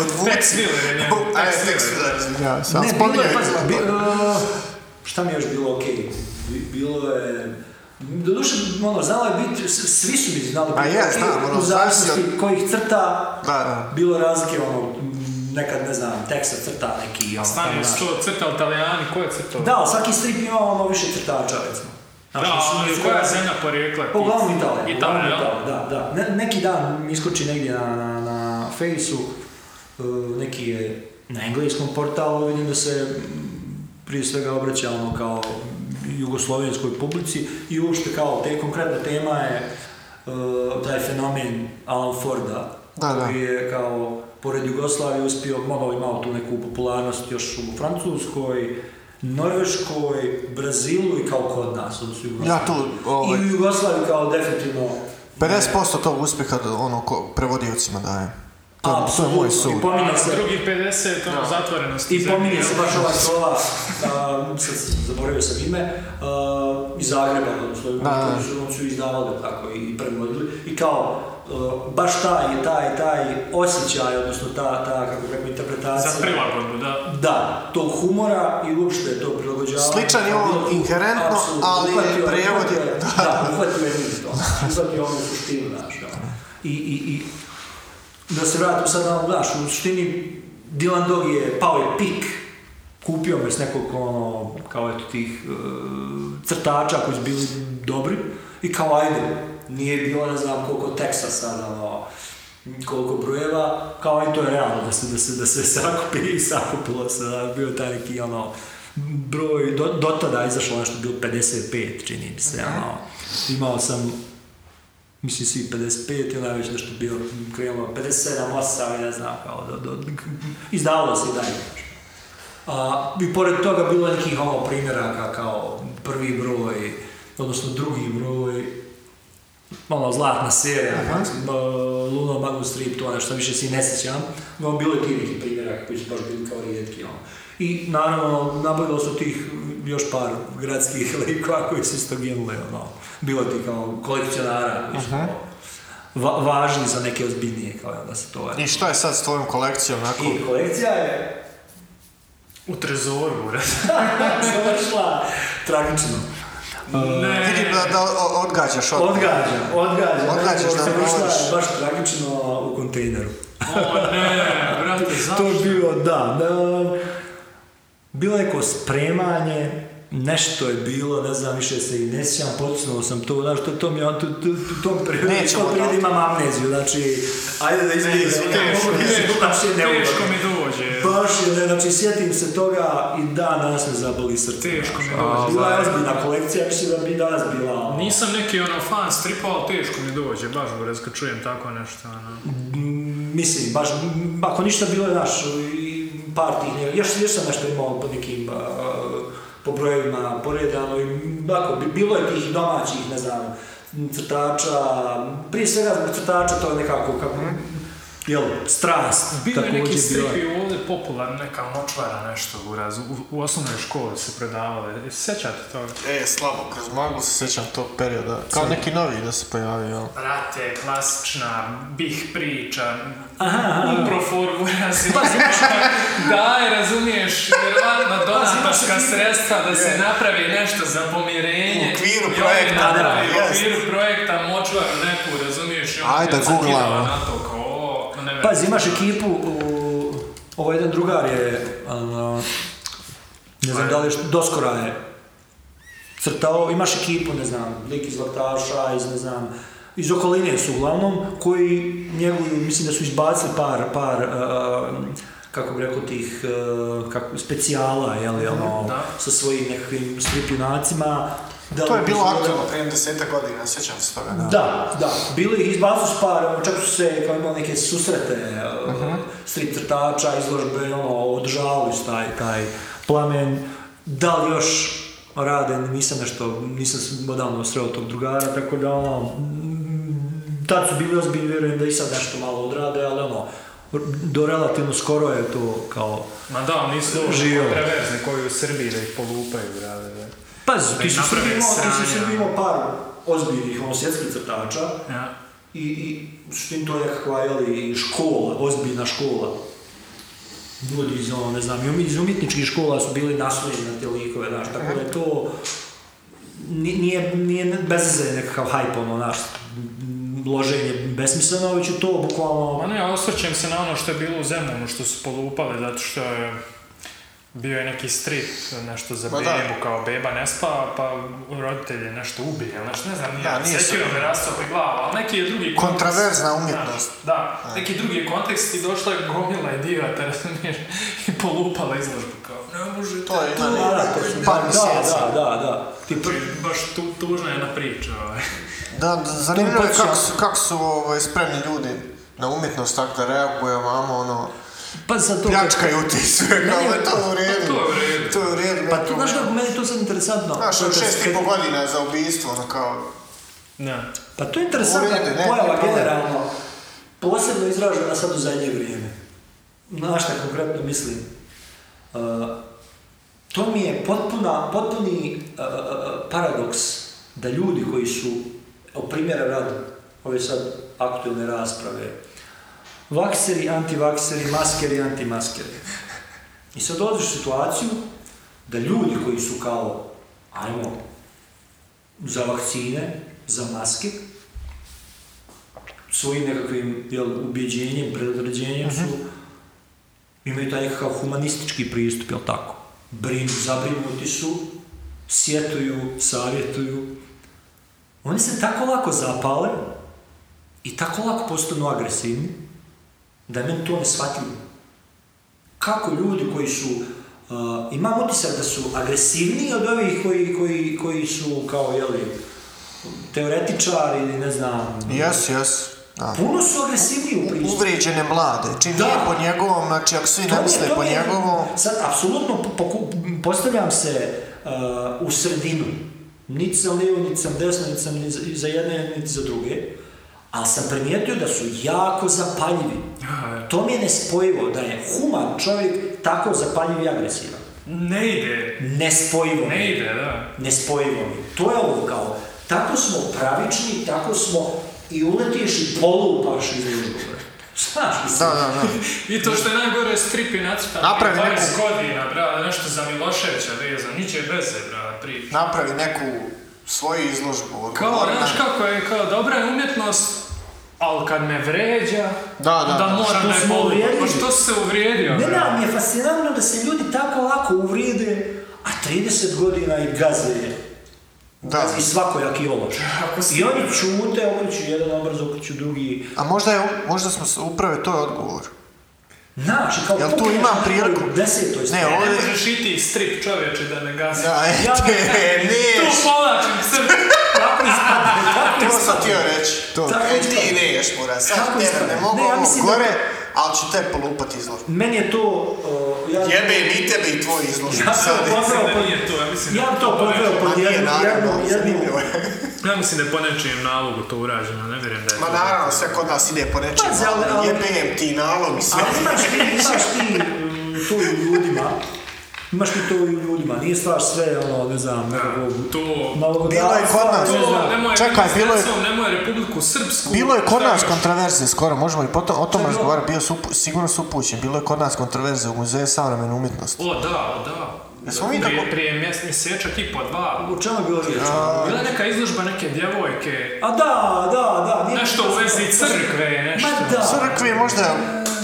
S4: od
S1: Tek
S4: Vucin.
S1: snile je njemu.
S4: Ajde,
S1: Tek
S4: tek
S1: snile.
S4: se-
S2: Ja,
S3: ne, bilo je, pazi, bi, uh, šta mi je još bilo okej? Bi- Bilo je... Doduše, ono, znalo je biti, s- svi su mi znali
S2: A
S3: biti
S2: je,
S3: okej,
S2: znam, ono,
S3: u zavisnosti
S2: zavisi
S3: kojih crta,
S2: Da, da.
S3: bilo je razlike, ono, m, nekad, ne znam, teksta crta neki, ono,
S1: <laughs> Stani,
S3: tamo
S1: što
S3: naš.
S1: crtao Italijani, ko je crtao?
S3: Da, ali svaki strip ima ono više crtača, recimo. Znaš,
S1: Da,
S3: mislim,
S1: ali
S3: sve-
S1: koja je zemlja porijekla?
S3: Pa uglavnom Italija.
S1: Italija,
S3: uglavnom
S1: jel?
S3: Italija, da, da. Ne- neki dan mi iskoči negdje na, na, na Fejsu, e, neki je na engleskom portalu, vidim da se m, prije svega obraća ono kao jugoslovenskoj publici i uopšte kao te konkretna tema je e, taj fenomen Alan Forda,
S2: Da, da.
S3: koji je kao pored Jugoslavije uspio, malo imao tu neku popularnost još u Francuskoj, Norveškoj, Brazilu i kao kod nas, odnosno Jugoslaviji.
S2: Ja tu, ovaj,
S3: I u Jugoslaviji kao definitivno...
S2: 50% tog uspjeha ono ko prevodiocima daje. To, je- to je
S3: Apsolutno.
S2: moj sud.
S3: I pominje se,
S1: Ono, Drugi 50, ono, zatvorenost.
S3: i pominje se
S1: zemlje,
S3: baš ovaj- ova slova, um, sad sam zaboravio sam ime, uh, iz Zagreba, odnosno,
S2: da.
S3: koji su, oni su izdavali tako i prevodili. I kao, uh, baš taj, taj, taj osjećaj, odnosno ta, ta kako bih rekao, interpretacija.
S1: Za prilagodbu, da.
S3: Da, tog humora i uopšte to prilagođavanje.
S2: Sličan je on
S3: Bilo-
S2: inherentno,
S3: Apsolutno,
S2: ali
S3: uhvatio je-
S2: prevod je-
S3: uhvatio Da, uhvatio je njih to. Uhvatio je onu suštinu, znaš, ono. I, i, i da se vratim sad na ono, znaš, u suštini Dylan Dog je pao je pik, kupio me s nekog ono, kao eto tih e, crtača koji su bili dobri i kao ajde, nije bilo ne znam koliko teksta sad, ono, koliko brojeva, kao i to je realno da se, da se, da se sakupi i sakupilo se, da je bio taj neki ono, broj, do, do tada je izašlo nešto bilo 55, čini mi se, ono, imao sam mislim svi 55 i onda je već nešto bio krenulo 57, 8 i ne znam kao do, do, izdavalo se i dalje. A, I pored toga bilo je nekih ono primjeraka kao prvi broj, odnosno drugi broj, ono zlatna serija, Max- ba- Luna Magnus Strip, to nešto više se i ne sjećam, no bilo je ti neki primjeraka koji su baš bili kao rijetki. Ono. I naravno, nabavilo su tih još par gradskih <laughs> likova koji su isto ginuli, ono, bilo ti kao kolekcionara koji su kao va- važni za neke ozbiljnije, kao da se to...
S2: I šta je sad s tvojom kolekcijom onako?
S3: I kolekcija je
S1: U trezoru, brate.
S3: završila tragično. E,
S1: Ne.
S2: Vidim da, da o- odgađaš od...
S3: Odgađa, odgađa.
S2: Odgađaš
S3: nego
S2: da
S3: završila
S2: provodiš.
S3: je baš tragično u kontejneru.
S1: O, ne, brate, zašto?
S3: To je bilo, da, da. Bilo je neko spremanje, nešto je bilo, ne znam, više se i ne sjećam, podsnuo sam to, znaš, to, to mi je on, to, to, to, to periodu,
S2: Nećemo
S3: to periodu
S2: tako.
S3: imam amneziju, znači, ajde da izbjegnemo,
S1: teško,
S3: mogu reći,
S1: teško,
S3: baš je neugodno.
S1: teško mi dođe.
S3: Baš je, ne, znači, sjetim se toga i dan danas me zaboli srce.
S1: Teško mi
S3: A, Bila je
S1: dođe.
S3: ozbiljna kolekcija, mislim da bi i danas bila. ono,
S1: Nisam neki ono fan stripa, ali teško mi dođe, baš brez kad čujem tako nešto. Ono.
S3: Mm, mislim, baš, mm, ako ništa bilo je naš, i par tih, ne- još, još sam nešto imao po nekim, a, po brojevima poredano i mm, ako, bi- bilo je tih domaćih, ne znam, m, crtača, prije svega zbog crtača to je nekako, kako, jel, strast,
S1: Mhm. Bilo je neki
S3: također bila.
S1: stripi ovdje popularni, neka nočvara nešto u razu. U, u osnovnoj školi se predavale. Jel se Sjećate toga?
S2: E, slabo, kroz maglu se sjećam tog perioda. Kao neki novi da se pojavio, jel?
S1: Brate, klasična, bih priča,
S3: Aha, aha.
S1: proformu <laughs> razumiješ, daj, razumiješ, vjerovatno <laughs> donatorska sredstva da se napravi nešto za pomirenje.
S4: U okviru
S1: I oni
S4: projekta,
S1: naprave,
S4: da,
S1: U okviru projekta močvaru neku, razumiješ, i on
S2: Ajde,
S1: je zakidao
S2: googlamo.
S1: na to kao ovo, ne vem.
S3: Pazi, imaš ekipu, u, ovo jedan drugar je, ono, ne znam da li je, doskora je crtao, imaš ekipu, ne znam, lik iz Laktaša, iz ne znam, iz okoline su uglavnom, koji njeguju, mislim da su izbacili par, par, em, kako bi rekao, tih em, kako, specijala, jel, jel, ono,
S1: Da.
S3: sa svojim nekakvim stripinacima. Da,
S2: To je bilo
S3: mislim,
S2: aktualno.
S4: Prije desetak godina, sjećam se toga, da.
S3: da, da. Bili ih izbacu s par, ono, čak su se kao imali neke susrete uh strip crtača, izložbe, ono, održavali su taj, taj plamen. Da li još rade, nisam nešto, nisam s- odavno sreo tog drugara, tako da ono, mm, tad su bili ozbiljni, vjerujem da i sad nešto malo odrade, ali ono, do relativno skoro je to kao
S1: Ma da, nisu
S3: Živo.
S1: ovo kontraverzni koji u Srbiji da ih polupaju, brate. da.
S3: Pazi,
S1: Da
S3: ti
S1: im
S3: si sad
S1: naprave
S3: imao, ti si
S1: sranja.
S3: sad imao par ozbiljnih ono, svjetskih crtača
S1: Ja.
S3: i, i u suštini to je nekakva jeli, škola, ozbiljna škola. Ljudi iz, ono, ne znam, i umj- iz umjetničkih škola su bili naslonjeni na te likove, znaš, tako da je to ni- nije, nije bez veze nekakav hype, ono, znaš, m, loženje besmisleno, već je to
S1: Ma
S3: bukvalno...
S1: Pa ne, osvrćem se na ono što je bilo u Zemunu, što su polupali, zato što je bio je neki strip, nešto za
S2: Ma da.
S1: bebu, kao beba ne spava, pa roditelj je nešto ubije, ili nešto, ne znam, nije,
S2: Da, nije se-
S1: sekirom je rastopi glava, ali neki je drugi kontekst.
S2: Kontraverzna
S1: znaš,
S2: umjetnost.
S1: Da, neki drugi je kontekst i došla je gomila idiota, <laughs> razumiješ, i polupala izložbu, kao, ne može,
S2: To je
S3: Da,
S2: ima
S3: da,
S2: neki
S3: to su-
S2: par
S3: da,
S2: mjeseci.
S3: da, da, da. Ti
S1: to je baš tu, tužna jedna priča, ovaj. <laughs>
S2: Da, da, zanimljivo je
S3: podsjeća-
S2: kako su, kako su ovaj, spremni ljudi na umjetnost tako da reaguje vamo, ono,
S3: Pa sad to...
S2: pljačkaju ti sve, kao da je to u
S1: To
S2: redu.
S1: je u redu.
S2: To je u redu.
S3: Pa
S2: neko,
S3: tu, znaš
S2: ono.
S3: kako, meni je to sad interesantno.
S2: Znaš,
S3: To je
S2: od šest i
S3: kad-
S2: pol godina za ubijstvo, ono kao...
S1: Ne.
S3: Pa to je interesantna
S2: U redu, ne,
S3: pojava
S2: ne, ne.
S3: generalno, posebno izražena sad u zadnje vrijeme. Na šta konkretno mislim? Uh, to mi je potpuna, potpuni uh, uh, paradoks da ljudi koji su, evo primjera radi, ove sad aktualne rasprave, vakseri, antivakseri, maskeri, antimaskeri. I sad dođeš u situaciju da ljudi koji su kao, ajmo, za vakcine, za maske, svojim nekakvim jel, ubjeđenjem, predodređenjem su, imaju taj nekakav humanistički pristup, jel tako? Brinu, zabrinuti su, sjetuju, savjetuju. Oni se tako lako zapale i tako lako postanu agresivni, da je meni to neshvatljivo. Kako ljudi koji su, uh, imam utisak da su agresivniji od ovih koji, koji, koji su kao, jeli, teoretičari ili ne znam,
S2: Jes, jes. Da.
S3: puno su agresivniji u pristupu.
S2: Uvrijeđene mlade, čim
S3: Da.
S2: nije po njegovom, znači ako svi
S3: To
S2: ne
S3: mi-
S2: misle
S3: to
S2: po
S3: mi je-
S2: njegovom,
S3: Sad, apsolutno po- poku- postavljam se uh, u sredinu. Niti sam lijevo, niti sam desno, niti sam ni za- za jedne, niti za druge. Ali sam primijetio da su jako zapaljivi.
S1: Aj,
S3: To mi je nespojivo, da je human čovjek tako zapaljiv i agresivan.
S1: Ne ide,
S3: Nespojivo. mi je
S1: ne ide, da.
S3: nespojivo. To je ovo kao, tako smo pravični, tako smo i uletiš i polupaš iz drugoga. <laughs> Znaš,
S2: da, da, da.
S1: I to što je najgore strip je nacrtan
S2: Napravi
S1: prije 20
S2: neku-
S1: godina, bra, nešto za Miloševića vezan, niće veze, bra, priča.
S2: Napravi neku svoju izložbu.
S1: Kao,
S2: odgovorna.
S1: znaš kako je, kao, dobra je umjetnost, ali kad me vređa,
S2: Da, da.
S1: onda
S3: Što
S1: moram da je
S3: smo
S1: bolu.
S3: uvrijedili?
S1: Pa što si se uvrijedio,
S3: Ne,
S1: bra?
S3: ne, ali mi je fascinantno da se ljudi tako lako uvrijede, a 30 godina i gaze je.
S2: Da.
S3: I svakojaki ološ. I oni čute, oni će jedan obraz okreću drugi.
S2: A možda, je, možda smo se uprave, to je odgovor.
S3: Znaš, i kao...
S2: Jel tu
S3: pogledaš
S2: imam
S3: na
S2: priliku?
S3: kraju Desetoj
S2: Ne,
S3: strani.
S1: Ne, ne
S2: ovdje...
S1: možeš iti strip čovječe da ne gasi.
S2: Da,
S4: <laughs>
S3: Ja
S2: eto,
S3: ne-
S1: Tu
S2: neš,
S1: povlačim
S3: <laughs>
S1: srce.
S3: Kako ispadne, kako
S4: To sam
S3: ispadne?
S4: htio reći.
S2: To.
S3: Tako
S4: E,
S3: ispadne.
S4: ti ne ješ, mora,
S3: Kako
S4: sad tebe
S3: ispadne?
S4: ne mogu
S3: Ne, ja
S4: ovo
S3: mislim da-
S4: gore, ali ću te polupati izlog.
S3: Meni je to... Uh, ja,
S4: Jebem i tebe i tvoj izlog.
S3: <laughs> Ja sam
S4: Sad,
S3: to
S1: Mislim
S3: podveo
S1: da
S3: pod...
S1: nije to, ja mislim da
S3: Ja
S1: je
S3: bi to podveo
S1: po
S3: pod
S4: Ma nije,
S3: jednu, jednu,
S4: naravno,
S3: jednu...
S4: zanimljivo je. <laughs>
S1: nečem- Ja mislim da je po nečijem nalogu to urađeno, ne vjerujem da je
S4: Ma
S1: to-
S4: naravno, sve kod nas ide po nečem,
S3: Pazi, ali- ali-
S4: ali jebem ti nalog i sve.
S3: Ali imaš ti, imaš ti mm, to i u ljudima. Imaš ti to i u ljudima. Nije stvar sve, ono, ne znam, nekakvog...
S1: To...
S3: nalogodavstva,
S2: Bilo je kod nas.
S3: ne znam.
S1: To, nemoj
S2: Čekaj,
S1: Čekaj,
S2: bilo je-
S1: nemoj Republiku Srpsku.
S2: Bilo je kod
S1: šta
S2: nas
S1: još?
S2: kontroverze skoro, možemo i potom o tom
S3: bilo?
S2: razgovarati, bio su, upu- sigurno su upućen, bilo je kod nas kontroverze u Muzeju savremene umjetnosti.
S1: O, da, o, da.
S2: Jesmo mi
S1: prije,
S2: tako-
S1: prije mjesec, mjesečak i po dva.
S3: O čemu je bilo riječ?
S1: Bila je neka izložba neke djevojke,
S3: A da, da, da. nije-
S1: nešto u vezi crkve, nešto.
S3: Ma da.
S2: Crkvi je možda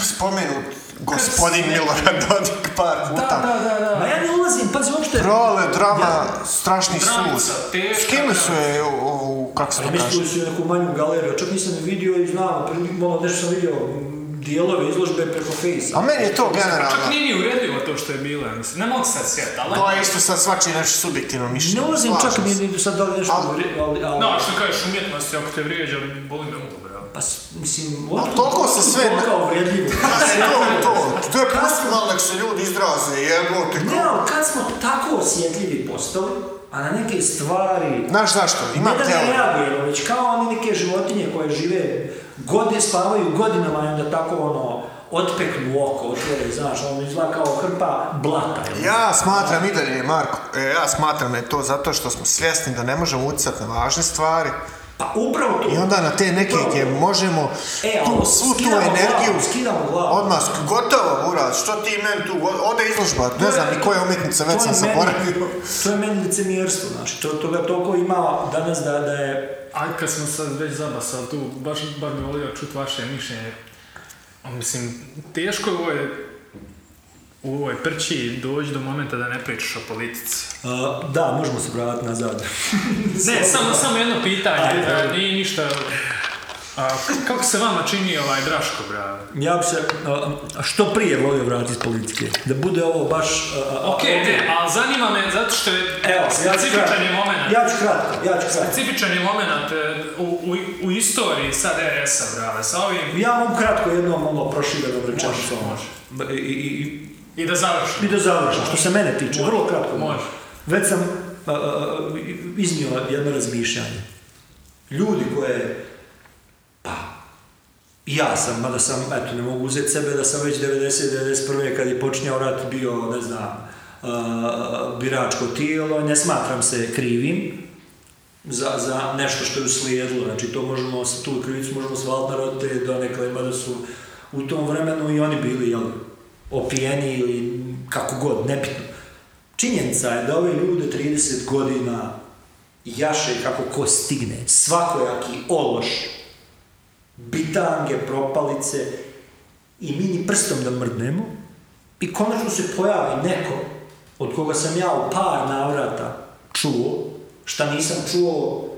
S2: spomenut gospodin Milorad Dodik par puta.
S1: da, da,
S3: Ma ja ne ulazim, pazi uopšte...
S2: Prole, drama, strašni
S1: Dramica,
S2: sud.
S1: teška
S2: Skinuli su je ovu, kako se to
S3: Ali
S2: kaže?
S3: mislili su i neku manju galeriju, čak nisam ni vidio i znam, prilikom ono nešto sam vidio m, dijelove izložbe preko fejsa.
S2: A meni je to
S1: Čak
S2: generalno.
S1: nije ni uredljivo to što je bilo, ja mislim. Ne mogu se sjetiti, ali...
S2: To je isto sad svači naše subjektivno mišljenje.
S3: Ne ulazim čak
S2: slažem se.
S3: ni ni sad da li nešto...
S2: Ali-
S3: govori- ali, ali,
S1: No, što kažeš umjetnosti, ako te vrijeđa, boli me uvo, bravo.
S3: Pa, s- mislim, ovo je
S2: toliko se sve-
S3: Kao
S2: <laughs>
S3: vrijedljivo.
S4: Pa se to, to, to je pustimo, ali nek se ljudi izraze, jebo te
S3: Ne, ali kad smo tako osjetljivi postali, a na neke stvari...
S2: Znaš zašto? Imam
S3: ne da ne
S2: teoriju.
S3: reagujemo, već kao one neke životinje koje žive godine, spavaju godinama i onda tako ono, otpeknu oko, otvore, znaš, ono izgleda kao hrpa blata. jel?
S2: Ja smatram i dalje, Marko, e, ja smatram da je to zato što smo svjesni da ne možemo utjecati na važne stvari
S3: Pa upravo to.
S2: i onda na te neke gdje možemo
S3: E,
S2: tu,
S3: ali
S2: svu tu
S3: skidamo
S2: energiju
S3: glavu, skidamo glavu.
S2: odmah sk-
S4: Gotovo, buraz, što ti meni tu, go- ode izložba,
S2: ne znam ni koja je umjetnica, već
S3: To
S2: sam
S3: je meni-
S2: zaboravio.
S3: To je meni licemjerstvo, znači, to, toga toliko ima danas da, da je...
S1: Aj, kad smo sad već zabasali tu, baš, baš bi volio čuti vaše mišljenje. A, Mislim, teško je u ovoj, u ovoj prči doći do momenta da ne pričaš o politici.
S3: a, e, da, možemo se vratiti nazad.
S1: Ne, samo, samo jedno pitanje,
S3: Ajde,
S1: e,
S3: ajde.
S1: nije ništa... A, kako se vama čini ovaj Draško, bravo?
S3: Ja bi se a, što prije volio vratiti iz politike. Da bude ovo baš... a, a,
S1: Ok, ne, ali zanima me, zato što je
S3: Evo, ja ću
S1: specifičan
S3: kratko.
S1: je moment.
S3: Ja ću kratko, ja ću kratko.
S1: Specifičan je moment e, u, u, u istoriji sad RS-a, brale, sa ovim...
S3: Ja mogu kratko jednom malo prošireno rečenicu.
S1: može.
S3: Može, I, i,
S1: I da završimo.
S3: I da završim, što se mene tiče,
S1: Može,
S3: vrlo kratko.
S1: može.
S3: Već sam a, a, iznio jedno razmišljanje. Ljudi koje, pa, i ja sam, mada sam, eto, ne mogu uzeti sebe da sam već 90-91. kad je počinjao rat bio, ne znam, a, biračko tijelo, ne smatram se krivim za, za nešto što je uslijedilo. Znači, to možemo, s- tu krivicu možemo svaliti na roditelje donekle, mada su u tom vremenu i oni bili, jel, opijeni ili kako god, nebitno. Činjenica je da ove ljude 30 godina jaše kako ko stigne, svakojaki ološ, bitange, propalice i mi ni prstom da mrdnemo i konačno se pojavi neko od koga sam ja u par navrata čuo, šta nisam čuo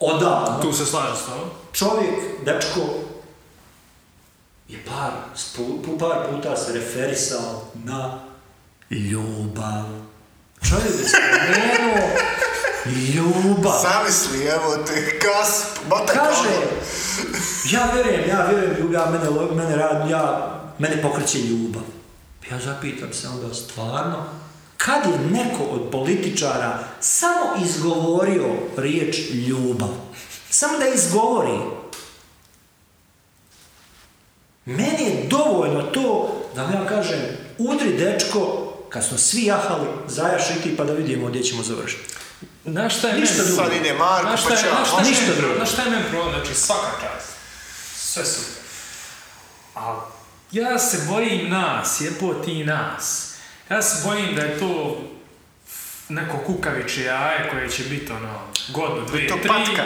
S3: odavno
S1: Tu se slažem s tobom.
S3: čovjek, dečko, je par, spu- pu- par puta se referisao na ljubav. Čovjek je spomenuo ljubav.
S4: Zamisli, evo te, kas, bata
S3: Kaže, ja vjerujem, ja vjerujem ljubav, mene, lo- mene rad, ja, mene pokreće ljubav. Ja zapitam se onda stvarno, kad je neko od političara samo izgovorio riječ ljubav, samo da izgovori, meni je dovoljno to da vam ja kažem, udri dečko, kad smo svi jahali, zajašiti pa da vidimo gdje ćemo završiti.
S1: Znaš šta je
S3: Ništa
S1: meni-
S3: drugo.
S4: Sad ide Marko,
S1: Znaš šta
S4: pa
S1: je- znaš šta
S4: ćao.
S1: je
S3: ništa
S1: meni-
S3: drugo.
S1: Znaš šta je meni problem? Znači, svaka čast. Sve super. A ja se bojim nas, jepo ti nas. Ja se bojim da je to neko kukavičje jaje koje će biti ono godno, dvije,
S4: to
S1: tri.
S4: patka.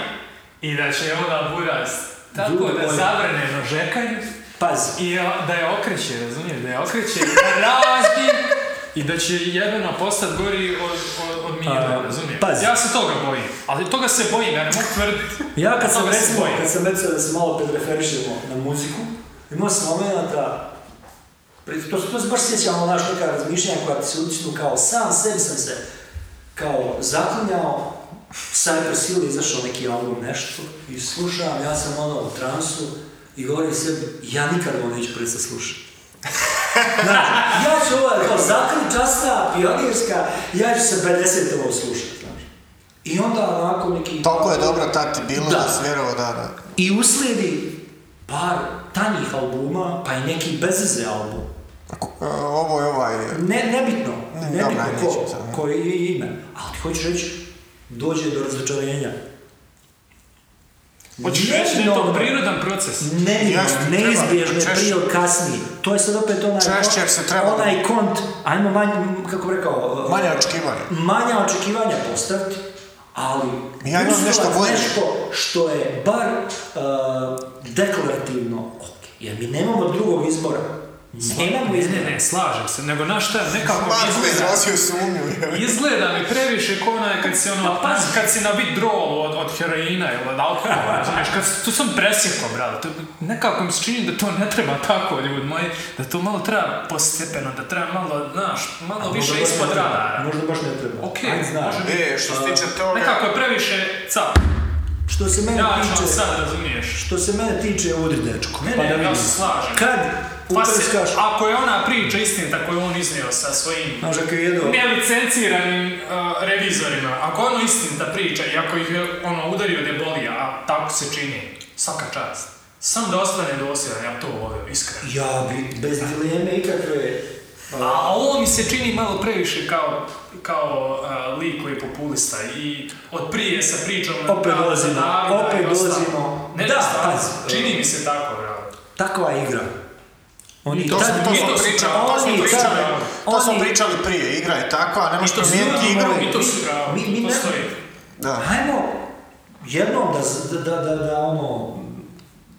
S1: I da će onda buraz tako
S3: Drugo
S1: da
S3: bolje.
S1: zabrane nožekanju
S3: Pazi,
S1: i ja- da je okreće, razumiješ, da je okreće, da razbi I da će Jebena postat gori od, od, od Miljana,
S3: A,
S1: razumiješ?
S3: pazi.
S1: Ja se toga bojim, ali toga se bojim, ja ne mogu tvrditi.
S3: Ja kad sam
S1: Toga se
S3: recimo,
S1: bojim.
S3: kad sam recimo da se malo preferišemo na muziku, imao sam momenata, pri- to, to se baš sjećam ono naš neka razmišljanja koja ti se uličnu kao sam sebi sam se kao zaklinjao, Cypress Hill je izašao neki album nešto i slušam, ja sam ono u transu i govorim sebi, ja nikad ovo neću prestati
S2: <laughs>
S3: slušati. Znači, ja ću ovo kao zakon časta, pionirska, ja ću se 50 ovo slušati, znaš. I onda onako neki...
S2: Toliko je dobro tati bilo da,
S3: Da.
S2: si vjerovao da, da.
S3: I uslijedi par tanjih albuma, pa i neki bezveze album.
S2: Ko- e, Ovo je ovaj...
S3: Ne, nebitno,
S2: Ne,
S3: nebitno
S2: dobra, neću
S3: ko,
S2: sad, ne.
S3: koji je ime. Ali ti hoću reći, dođe do razočarenja.
S1: Hoćeš reći da je to
S3: Neminovno.
S1: prirodan proces.
S2: Jasno,
S3: Neminovno,
S2: treba,
S3: neizbježno je
S2: češće.
S3: prije ili kasnije. To je sad opet onaj,
S2: Češće, jer se treba-
S3: onaj kont, ajmo manj, kako bi rekao,
S2: Manje očekivanja.
S3: manja očekivanja postaviti, ali
S2: Ja imam
S3: uslovat
S2: nešto bolje.
S3: nešto što je bar uh, deklarativno ok. Jer mi nemamo drugog izbora. Nemamo
S1: Ne, ne,
S3: izbora.
S1: ne, slažem se, nego naš šta, nekako
S4: Marko je
S1: izgleda,
S4: izrazio sumnju. je.
S1: izgleda mi previše ko onaj kad si ono,
S3: Pa pazi.
S1: kad si nabit drol od, od heroina ili od alkohola, razumiješ, kad s- tu sam presjekao, brate, to- nekako mi se čini da to ne treba tako, ljudi moji, da to malo treba postepeno, da treba malo, znaš, malo
S3: Možda
S1: više
S3: baš
S1: ispod
S3: ne treba.
S1: radara.
S3: Možda baš ne treba.
S1: Ok,
S3: Ajde, znaš.
S1: može
S4: E, što se tiče toga,
S1: Nekako je previše cap,
S3: Što se mene
S1: ja ću vam
S3: tiče,
S1: sad, razumiješ.
S3: što se mene tiče, udri dečko.
S1: Ne,
S3: pa
S1: ne,
S3: da
S1: ja
S3: vidim.
S1: se slažem.
S3: Kad
S1: Pa se-
S3: uprskaš,
S1: ako je ona priča istinita koju je on iznio sa svojim
S3: znaš, ako je jedo,
S1: nelicenciranim uh, revizorima. Ako je ono istinita priča i ako ih je ono udario debolija, a tako se čini, svaka čast. Sam da ostane dosljedan, ja to volio, iskreno.
S3: ja bi bez dileme ikakve, a,
S1: A ovo mi se čini malo previše kao, kao uh, lik koji je populista i od prije sa pričom na
S3: Opet
S1: pravdu za
S3: dolazimo,
S1: naroda
S3: opet
S1: i ostalo.
S3: dolazimo.
S1: Ne,
S3: Da,
S1: da, stvarno,
S3: pazi.
S1: čini mi se tako, bravo.
S3: takva je igra. Oni
S2: To smo,
S3: tad-
S2: to
S1: mi
S2: smo
S1: to- ono.
S2: pričali, to smo
S3: oni tad-
S2: pričali, to smo
S3: oni-
S2: pričali prije, igra je takva, a ne možeš
S1: I to su
S2: promijeniti igru.
S1: i to su
S3: Mi-
S1: pravo,
S3: mi- mi
S1: to
S3: ne-
S1: stoji.
S2: Da.
S3: Hajmo jednom da, z- da, da, da, da ono,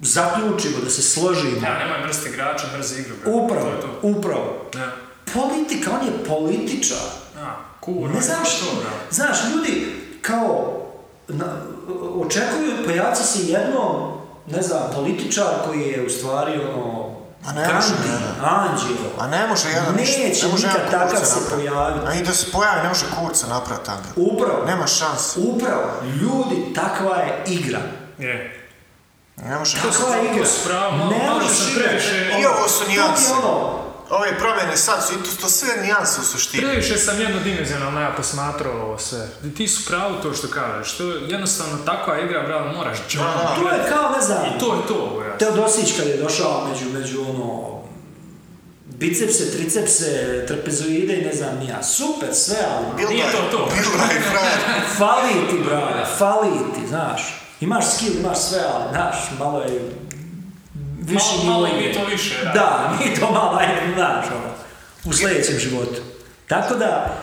S3: zaključimo, da se složimo.
S1: Ja, nemoj mrziti igrača, mrzi igru, bravo.
S3: Upravo,
S1: To je to.
S3: upravo.
S1: Ne,
S3: Politika, on je političar.
S1: a, kurva,
S3: Ne znam što,
S1: to, bravo.
S3: znaš, ljudi kao na, očekuju, pojavi se jednom, ne znam, političar koji je u stvari ono,
S2: A ne može,
S3: Gandhi,
S2: ne, ne.
S3: Anđelo.
S2: A ne može jedan ništa,
S3: Neće
S2: ne može
S3: nikad
S2: jedan
S3: takav
S2: kurca
S3: se
S2: napraviti.
S3: pojaviti.
S2: A i da se pojavi, ne može kurca napraviti Angel.
S3: Upravo,
S2: Nema šanse.
S3: upravo, ljudi, takva je igra.
S1: Je.
S2: Ne može
S3: Takva je igra.
S1: s pravom, malo-
S3: Ne
S1: malo
S3: možeš
S1: si
S3: igrati.
S1: previše-
S3: Ono,
S2: I ovo su
S3: to ti je
S2: nijanse.
S3: ono,
S2: Ove promjene sad su, i to, to sve nijanse u suštini.
S1: Previše sam jednodimenzionalno ja posmatrao ovo sve. I Ti su pravo to što kažeš, to je jednostavno takva igra, bravo, moraš džon.
S3: To je kao, ne znam,
S1: To je to, bravo.
S3: Teodosić kad je došao među, među ono, bicepse, tricepse, trapezoide i ne znam ni ja. Super, sve, ali
S1: Nije to to.
S2: Bilda je frajer.
S3: fali ti, brale, fali ti, znaš. Imaš skill, imaš sve, ali, znaš, malo je...
S1: Malo- malo
S3: nivo
S1: i mi
S3: je.
S1: to više, da.
S3: Da, mi to malo, ajde, znaš, ono, u sljedećem životu. Tako da,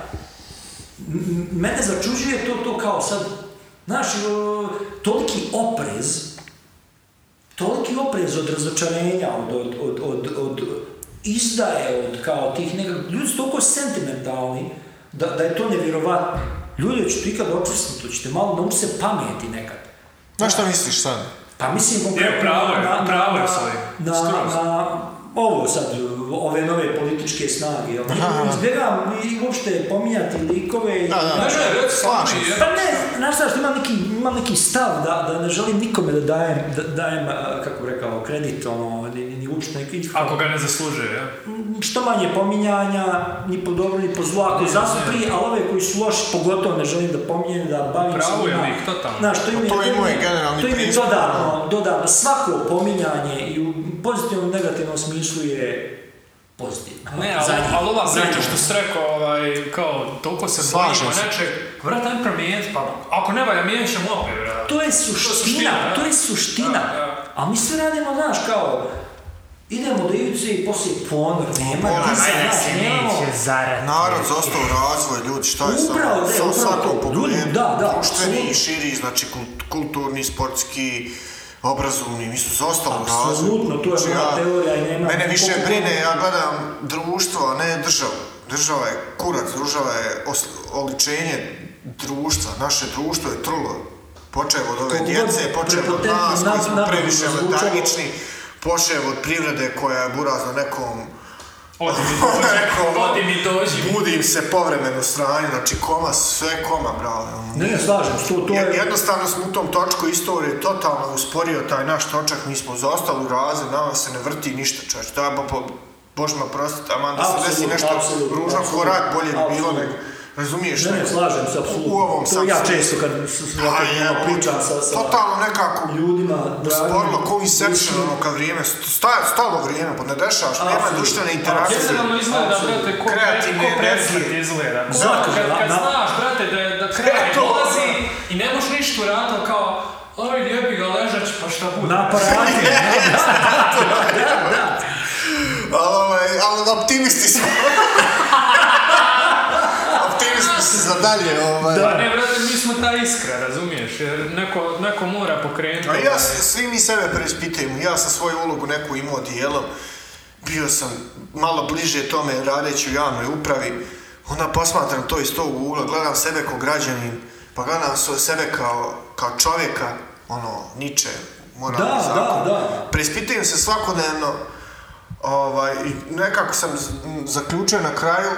S3: m- m- mene začuđuje to, to kao sad, znaš, o, toliki oprez, toliki oprez od razočarenja, od, od, od, od, od izdaje, od kao tih nekakvih, ljudi su toliko sentimentalni da, da je to nevjerovatno. Ljudi, hoćete ikad očistiti, hoćete malo naučiti se pameti nekad.
S2: Znaš šta misliš sad?
S3: Pa mislim konkretno...
S1: Je, pravo je,
S3: na- na-
S1: pravo je
S3: na-
S1: s ovim,
S3: Na,
S1: skroz.
S3: na ovo sad, ove nove političke snage, jel? Izbjegavam i uopšte pominjati likove i...
S2: Da, da.
S1: Ne, ne, reci,
S2: Slažem
S1: ti,
S2: se.
S1: jer-
S3: Pa ne, znaš šta, što imam neki, imam neki stav da, da ne želim nikome da dajem, da, dajem a, kako bi rekao, kredit, ono, ni, ni, ni uopšte neki,
S1: Ako ga ne zaslužuje, ja.
S3: m, što manje pominjanja, ni po dobro, ni po zlo, ako zasupri, a ove koji su loši, pogotovo ne želim da pominjem, da bavim
S1: Pravo je
S3: njima.
S1: lik, totalno.
S3: Znaš, to im je,
S2: Pa to je
S3: im je-
S2: moj generalni
S3: to im je
S2: pristup.
S3: dodatno, dodatno, svako pominjanje i u pozitivnom i negativnom smislu je pozitivno.
S1: Ne,
S3: Za
S1: ali,
S3: njih.
S1: ali ova
S3: Za
S1: priča
S3: njih.
S1: što si rekao, ovaj, kao, toliko se
S2: Slažem
S1: bojimo
S2: se.
S1: nečeg, vrat, ajmo promijeniti, pa ako ne valja, mijenit ćemo opet, bravo.
S3: To je
S1: suština,
S3: suština,
S1: da.
S3: to je suština.
S1: Da, da.
S3: A mi sve radimo, znaš, kao, idemo do ivice i poslije ponor, nema,
S2: Ponor,
S3: ti se,
S2: ajde,
S3: znaš,
S1: Znači,
S3: nemamo.
S1: zarati.
S2: Narod zostao u razvoj, ljudi, šta je sad?
S3: Upravo, da,
S2: Sa-
S3: upravo
S2: svakom
S3: to.
S2: pogledu,
S3: Ljudi, da, da,
S2: društveni i
S3: apsolutno.
S2: širi, znači kult- kulturni, sportski, obrazovni, mi su zostali u razvoju.
S3: Apsolutno, to je
S2: Znači,
S3: moja
S2: ja-
S3: teorija i nema-
S2: Mene više
S3: koliko-
S2: brine, ja gledam društvo, a ne državu. Država je kurac, država je os- oličenje društva, naše društvo je trulo. Počeo od ove
S3: Koliko
S2: djece,
S3: god
S2: počeo od
S3: prepotentno
S2: nas koji smo
S3: nap-
S2: previše
S3: napredno zvučalo.
S2: letargični, počeo od privrede koja je burazno nekom
S1: Odi mi dođi,
S2: Rekao,
S1: odi mi dođi.
S2: budim se povremeno sranju, znači koma, sve koma, bravo.
S3: Ne, ne, slažem, se, to, to
S2: Jer
S3: je...
S2: jednostavno smo u tom točku istorije totalno usporio taj naš točak, mi smo zaostali u razred, nama se ne vrti ništa čovječ. To je, bo, bo, bož me prostiti, aman da se desi
S3: Apsolutno,
S2: nešto
S3: apsolutno,
S2: ružno ko
S3: apsolutno,
S2: rak, bolje bi bilo
S3: apsolutno.
S2: nego, razumiješ?
S3: Ne, ne,
S2: nego-
S3: slažem se, apsolutno.
S2: U ovom
S3: to
S2: sam
S3: ja
S2: smislu.
S3: često kad s- s-
S2: Pa
S3: s-
S2: je,
S3: pričam sa, sa
S2: totalno nekako
S3: ljudima, dragim,
S2: sporno, ko
S3: bližim.
S2: Inception, ono, kad vrijeme, staje, stalo vrijeme, pa ne dešavaš, nema
S3: Apsolutno.
S2: društvene interakcije.
S1: Jednostavno izgleda, brate, ko, pre,
S2: Kreativne
S1: ko predsmrt
S2: energije.
S1: izgleda. Ko,
S3: Zakaže,
S1: kad, kad
S3: na-
S1: znaš, brate, da, je- da kraj
S2: E, to,
S1: dolazi i ne možeš ništa uraditi, ali kao, oj, jebi ga ležać, pa šta
S2: ono.
S1: bude?
S3: Na
S2: <laughs>
S3: aparati, da, da, da, da.
S2: Ali, ovaj, ali optimisti smo. optimisti su za dalje, ovaj.
S1: Pa ne, brate, mi smo ta iskra, razumiješ? Jer neko, neko mora pokrenuti.
S2: A ja, s- svi mi sebe preispitajmo, ja sam svoju ulogu neku imao dijelom, bio sam malo bliže tome radeći u javnoj upravi, onda posmatram to iz tog ugla, gledam sebe kao građanin, pa gledam so- sebe kao, kao čovjeka, ono, niče, moralni
S3: Da, da,
S2: zakon.
S3: da.
S2: Preispitujem se svakodnevno, ovaj, i nekako sam z- m, zaključio na kraju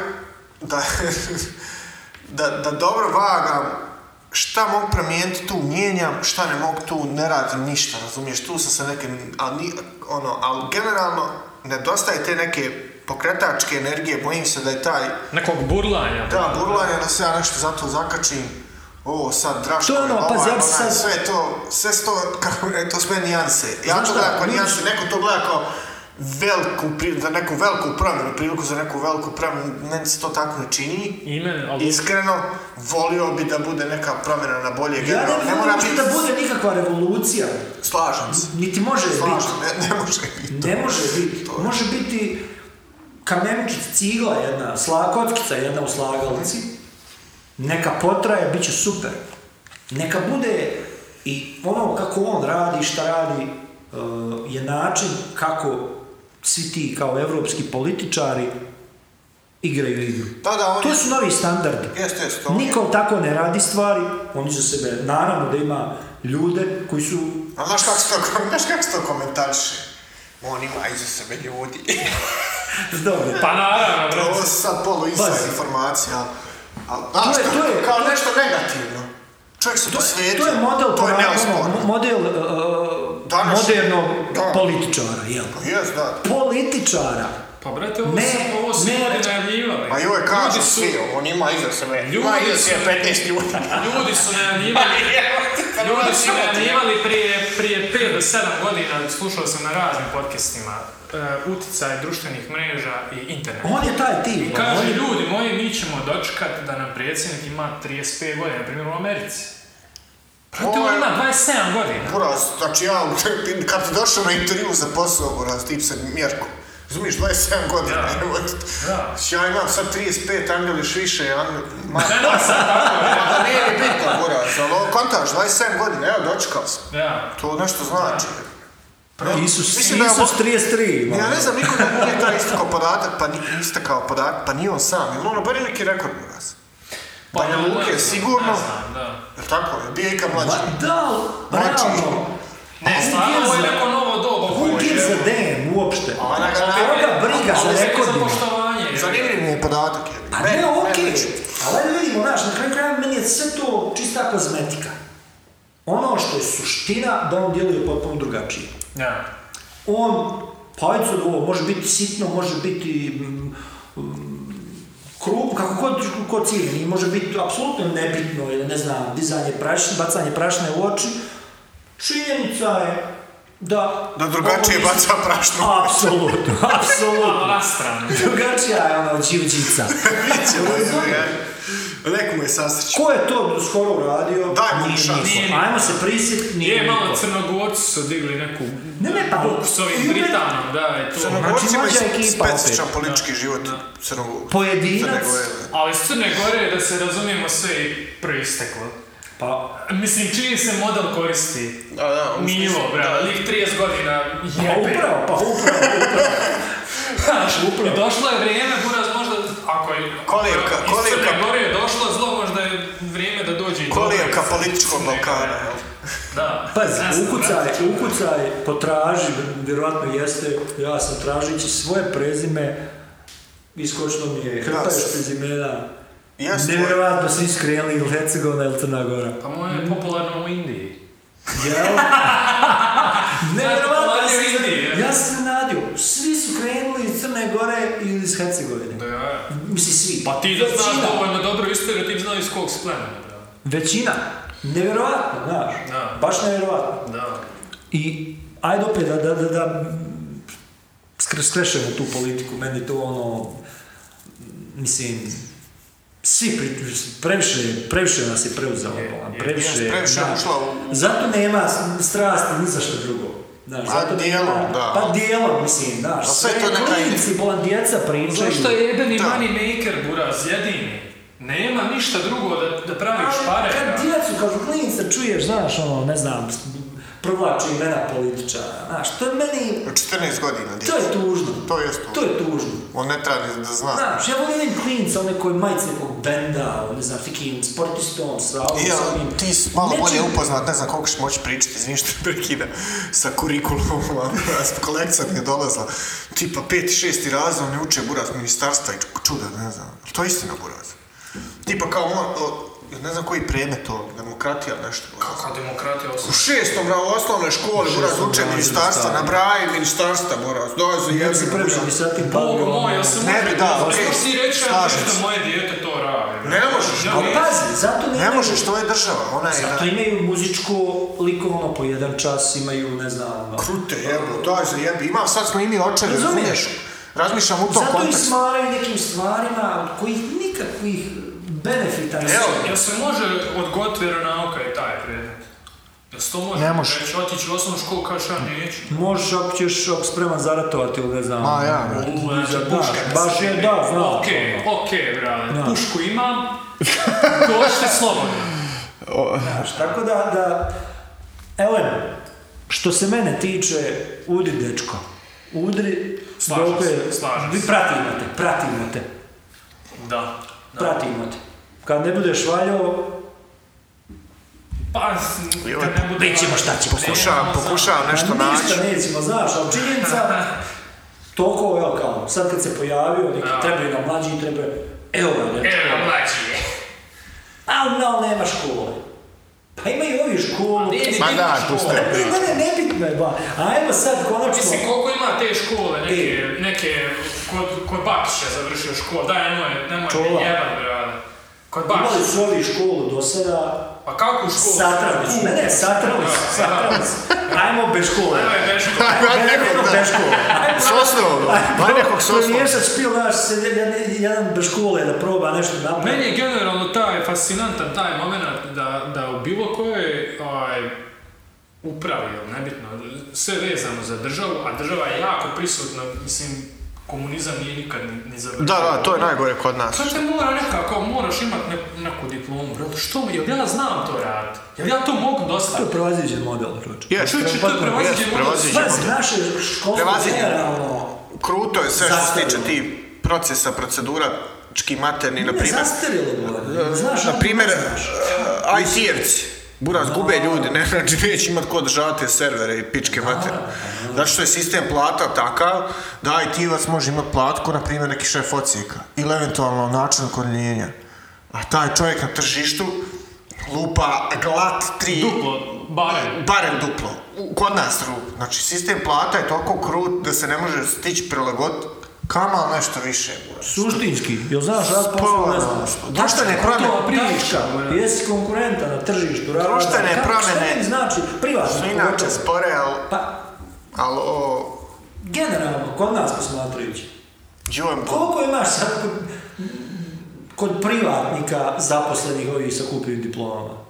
S2: da, <laughs> da, da dobro vagam šta mogu promijeniti tu mijenjam, šta ne mogu tu ne radim ništa, razumiješ, tu sam se neke, ali, ni- ono, ali generalno nedostaje te neke pokretačke energije, bojim se da je taj,
S1: Nekog burlanja.
S2: ta burlanja da se ja nešto zato zakačim, ovo sad Draško,
S3: To je ono,
S2: ovaj,
S3: pazi, ja bi
S2: onaj,
S3: sad-
S2: sve to, sve sto, kako, e, to su sve nijanse, ja
S3: Znaš
S2: to
S3: šta,
S2: gledam kao
S3: vidiš-
S2: nijanse, neko to gleda kao veliku, pri- za neku veliku promjenu, priliku za neku veliku promjenu, meni se to tako ne čini,
S1: Ime, ali...
S2: Iskreno, volio bi da bude neka promjena na bolje
S3: Ja ne
S2: generalno.
S3: bih volio da bude nikakva revolucija,
S2: Slažem se.
S3: niti može biti.
S2: Slažem, ne, ne može biti.
S3: Ne može biti. Može biti kamenčić, cigla jedna, sla, kockica jedna u slagalici. Neka potraje, bit će super. Neka bude i ono kako on radi, šta radi, eh, je način kako svi ti kao evropski političari igraju igru.
S2: Da, da, on
S3: To
S2: je...
S3: su novi standardi.
S2: Jeste, jeste, on je-
S3: Niko tako ne radi stvari, on iza sebe, naravno da ima ljude koji su...
S2: A znaš kako se to, <laughs> kom- znaš kako se to komentariše? On ima iza sebe ljudi.
S3: Dobro,
S1: Pa naravno, brate.
S2: Ovo su sad polu inside
S3: Pazi.
S2: informacija, ali... ali
S3: To
S2: znaš,
S3: je-
S2: to,
S3: to je-
S2: kao nešto negativno. Čovjek se posvetio.
S3: To je model,
S2: to je
S3: ponašanja,
S2: neosporno.
S3: model e,
S2: Danas-
S3: modernog
S2: da.
S3: političara, jel?
S2: Jes, da.
S3: Političara.
S1: Pa brate, ovo,
S3: Ne,
S1: su, ovo su
S3: ne.
S1: ljudi najavljivali.
S2: Pa joj kažu
S1: Ljudi su-
S2: svi, on ima iza sebe. Ima
S1: Ljudi
S2: iza
S1: su-
S2: sebe 15 ljudi.
S1: Ljudi su najavljivali. Ljudi su najavljivali prije, prije 5 do 7 godina, slušao sam na raznim podcastima, e, uticaj društvenih mreža i interneta.
S3: On je taj tip.
S1: I
S3: on
S1: kaže,
S3: je-
S1: ljudi moji, mi ćemo dočekati da nam predsjednik ima 35 godina, na primjer u Americi. Prate,
S2: Ovo
S1: on
S2: je-
S1: ima 27 godina.
S2: Buraz, znači ja, <laughs> kad ti došao na intervju za posao, Buraz, tip sam Mjerko. Razumiješ, 27 godina,
S1: Da.
S2: evo ti. Znači,
S1: Da.
S2: Ja imam sad 35, Angel još više, Angel... Ma,
S1: Ne, ne, sad tako, ne.
S2: ma nije ni bitno, Buraz, ali ovo kontaš, 27 godina, evo, dočekao sam.
S1: Da.
S2: To nešto znači.
S3: Isus,
S2: Mislim da je
S3: Isus
S2: ovo-
S3: 33 ima.
S2: Ja ne znam niko da nije taj istakao podatak, pa ni, istakao podatak, pa nije on sam. Jel ono, bar je neki rekord, Buraz.
S3: Pa
S2: Banja
S1: ne, ne
S2: Pa Luke,
S1: znam,
S2: sigurno.
S1: Ne znam, da.
S2: Jel tako? Jel bio ikad
S3: Ma
S2: mlađi?
S3: da, ali,
S2: Znači-
S3: realno.
S1: Ne,
S3: Who
S1: stvarno,
S3: gives
S1: ovo je
S3: a-
S1: neko novo doba.
S3: Who gives a damn uopšte?
S2: A ona ga
S3: Koga briga
S1: Ali
S3: za
S1: za za
S3: rekordima?
S1: poštovanje. jer-
S2: Zanimljiv mi je podatak, je.
S3: Pa ne, okej.
S2: <laughs>
S3: Ali ajde vidimo, znaš, na kraju kraja meni je sve to čista kozmetika. Ono što je suština, da on djeluje potpuno drugačije.
S1: Da.
S3: on, pa ajde sad ovo, može biti sitno, može biti mm, mm, krup, kako god, ko cilj, i može biti apsolutno nebitno, ili ne znam, dizanje prašine, bacanje prašine u oči. Činjenica je da...
S2: Da drugačije
S3: ovo
S2: baca prašnu. <laughs>
S3: Apsolutno,
S1: Malo
S3: apsolutno.
S1: na stranu.
S3: Drugačija je ona živđica.
S2: Leku mu je sastrić.
S3: Ko je to skoro uradio?
S2: Daj mu
S3: Nije
S2: šansu.
S3: niko.
S1: Nije niko.
S3: Ajmo se prisjetiti, nije
S1: Je, malo
S3: niko.
S1: crnogorci su digli neku
S3: Ne, ne, pa-
S1: buku s
S3: i
S1: ovim
S3: opet-
S1: Britanom, da, i to.
S3: Znači,
S2: Crnogorcima je
S3: mlađa ekipa opet.
S2: specičan politički život Crnog-
S3: Pojedinac,
S2: Crne Gore.
S1: Ali s Crne Gore, da se razumijemo, sve je proisteklo.
S3: pa
S1: Mislim, čiji se model koristi?
S2: Da, da, u smislu-
S1: Milo, bra, lik 30 godina
S3: Pa
S1: jebe. <laughs>
S3: upravo, pa upravo, upravo.
S1: Znaš, I došlo je vrijeme, buraz, možda, ako koji...
S2: Kolivka,
S1: iz Crne
S2: kolivka.
S1: Gore je došlo zlo, možda je vrijeme da dođe i dobro
S2: Kolivka
S1: iz-
S2: političkog
S1: iz Crne Gore.
S2: Balkana, jel?
S1: Da.
S3: Pazi,
S1: Jasno,
S3: ukucaj, ukucaj, potraži, vjerojatno jeste, ja sam tražići svoje prezime, iskočno mi je hrpa
S2: Jas.
S3: još prezimena.
S2: Jas, tvoje.
S3: Nevjerojatno svi skrenuli ili Hercegovina ili Crna Gora.
S1: Pa moje je popularno u Indiji.
S3: Jel? Nevjerojatno,
S1: Mladi
S3: ja
S1: u
S3: sam-
S1: Indiji, je.
S3: ja sam se nadio, svi su krenuli iz Crne Gore ili iz Hercegovine.
S1: Da, ja.
S3: Mislim, svi.
S1: Pa ti da znaš
S3: Većina.
S1: dovoljno dobro istoriju, ti bi znao iz kog si plemena. da.
S3: Većina. Nevjerojatno, znaš.
S1: Da.
S3: Baš nevjerojatno.
S1: Da.
S3: I ajde opet da, da, da, da skre- skrešemo tu politiku, meni to ono, mislim, svi pri, previše, previše nas je preuzela
S1: Je,
S3: bolan,
S1: je,
S3: previše,
S2: jes, previše je
S3: znaš.
S2: ušla u-
S3: Zato nema strasti ni za što drugo. Znaš,
S2: Pa
S3: zato nema-
S2: dijelom, da. Pa
S3: Pa dijelom, mislim, znaš.
S2: sve to neka ide.
S3: klinici, bolan, djeca pričaju.
S1: Zašto je jedini
S2: Da.
S1: money maker, buraz, jedini? Nema ništa drugo da, da praviš
S3: Ali
S1: pare.
S3: Kad
S1: da.
S3: djecu, kao klinica čuješ, znaš, ono, ne znam, provlači imena političara, znaš, to je meni,
S2: 14 godina,
S3: To je tužno.
S2: To jest tužno.
S3: To je tužno.
S2: On ne treba ni da zna.
S3: Znaš, ja volim vidim klinca, one koji je majice nekog benda, ne znam, nekim sportistom, sravom,
S2: Ja,
S3: s onim.
S2: ti si malo
S3: Pa, Nečim-
S2: bolje upoznat, ne znam koliko ćeš moći pričati, izvini <laughs> što te prekidam, sa kurikulumom, <laughs> kolekcija mi je dolazila, tipa peti, šesti razred, ne uče buraz ministarstva i čuda, ne znam, to je istina buraz. Tipa kao on, o, ne znam koji predmet to, demokratija, nešto.
S1: Kakva demokratija
S2: U
S1: osnovna?
S2: šestom ra osnovne škole, buraz
S3: šestom
S2: uče
S3: razredu
S2: ministarstva,
S3: stavio.
S2: nabraji ministarstva, buraz, dolazi
S3: Ja se
S2: jebina,
S3: previše
S2: buraz.
S3: bi sa tim
S1: Bog
S3: bavio,
S1: moj,
S3: ono.
S1: ja sam
S2: Ne bi,
S1: uvijek-
S2: da,
S1: Pa
S2: okej,
S1: što ti reći, ja
S2: slažem
S1: nešto
S2: se.
S1: moje dijete to radi.
S2: Ne možeš,
S1: Ja
S3: Ali
S1: ne-
S3: pa pazi, zato
S2: Ne
S3: nemaju-
S2: možeš, to je država, ona je...
S3: Zato imaju muzičko likovno po jedan čas, imaju, ne znam, ono.
S2: Krute jebo, daj za jebi. Imam, sad smo i mi očeve,
S3: Razumiješ?
S2: razumiješ? Razmišljam u tom
S3: Zato i
S2: kontekstu.
S3: smaraju nekim stvarima od kojih nikakvih benefita ne
S2: Evo,
S1: Jel se može odgoditi vjeronauka i taj predmet? Jel se to može?
S2: Ne može.
S1: Reći, otići u osnovnu školu, kažeš ja neću.
S3: Možeš, ako ćeš, ako spreman zaratovati ili ne znam.
S2: Ma, ja,
S3: ono,
S1: U, znači,
S3: znaš,
S1: puška me
S3: baš
S1: se
S3: je,
S1: tebi.
S3: da, znam.
S1: Okej, okej, brale.
S3: Da.
S1: Pušku imam, došte slobodno.
S3: Znaš, tako da, da, elem, što se mene tiče, udri dečko, udri,
S1: Slažem
S3: dokle-
S1: se, slažem
S3: vi
S1: se.
S3: pratimo te, pratimo te,
S1: Da. da.
S3: pratimo te. Kad ne budeš valjao,
S1: Pa,
S2: Joj,
S1: kad ne bude...
S3: bit ćemo šta ćemo.
S2: Pokušavam, pokušavam nešto
S3: Ma
S2: naći.
S3: pa ništa nećemo, znaš, ali činjenica, toliko, evo kao, sad kad se pojavio, neki
S1: Da. E.
S3: trebaju nam mlađi, trebaju, evo ga, ne,
S1: Evo, mlađi.
S3: ali no, nema škole. Pa imaju ovi školu,
S2: Ma
S1: Vidi,
S2: da,
S1: vidi
S2: tu
S1: škole.
S2: ste.
S3: Ne, ne, nebitno je, ba, ajmo sad konačno,
S1: Mislim, koliko ima te škole, neke,
S2: E.
S1: neke, kod, kod Bakiša završio školu, daj, nemoj, nemoj,
S3: Čula.
S1: mi jeban, brale. Kod
S3: imali
S1: Bakiša,
S3: su ovi školu do sada,
S1: pa kako u školu?
S3: Satrali su, ne, ne, satrali
S1: Da,
S3: su, satrali su. Ajmo bez škole.
S1: Evo je
S2: <laughs>
S1: Beško.
S2: Ajde nekog da-
S3: bez škole.
S2: S osnovom, ajde nekog s osnovom.
S3: Pomiješat špil naš, se jedan- jedan bez škole da proba nešto napraviti.
S1: Meni je generalno taj fascinantan taj moment da, da u bilo kojoj ovaj, upravi, jel, nebitno, sve vezano za državu, a država je jako prisutna, mislim, komunizam nije nikad ni, ni završio.
S2: Da, da, to je najgore kod nas.
S1: Sad te mora nekako, moraš imat ne, neku diplomu, brate, što mi, jel ja znam to raditi? Jel ja to mogu
S3: To
S1: dosta?
S3: je prevaziđen model, Ruč.
S2: Jes,
S1: Čuči, to je prevaziđen
S2: Jest,
S1: model.
S2: prevaziđen.
S3: Pazi, naše školstvo
S2: Prevaziđen.
S3: generalno...
S2: Kruto je sve što se
S3: Zastarjelo.
S2: tiče ti procesa, procedura, čki materni, na
S3: Ne,
S2: primjer.
S3: zastarjelo bilo. Znaš,
S2: Na
S3: ono,
S2: primjer, e,
S3: znaš.
S2: IT-evci. Buraz, gube ljudi, ne, znači neće imat ko održava te servere i pičke matere. Zato što je sistem plata takav da IT-evac može imat platku, na primjer, neki šef ocijeka. Ili eventualno način koordinjenja. A taj čovjek na tržištu lupa glat tri...
S1: Duplo, barem.
S2: Barem duplo. U- Kod nas rup. Znači, sistem plata je toliko krut da se ne može stići prilagoditi. Kamal nešto više, buraz.
S3: Suštinski, jel znaš rad posao,
S2: Spolno.
S3: ne znaš.
S2: ono, Društvene promjene.
S3: Kako to priča, jesi konkurenta na tržištu, rada.
S2: Društvene
S3: kako- Šta
S2: promjene.
S3: meni znači, privatno.
S2: Su inače
S3: pogotovo.
S2: spore, ali...
S3: Pa,
S2: Ali o...
S3: generalno, kod nas posmatrajući,
S2: Đujem,
S3: koliko imaš sad kod, kod privatnika zaposlenih ovih sa kupim diplomama?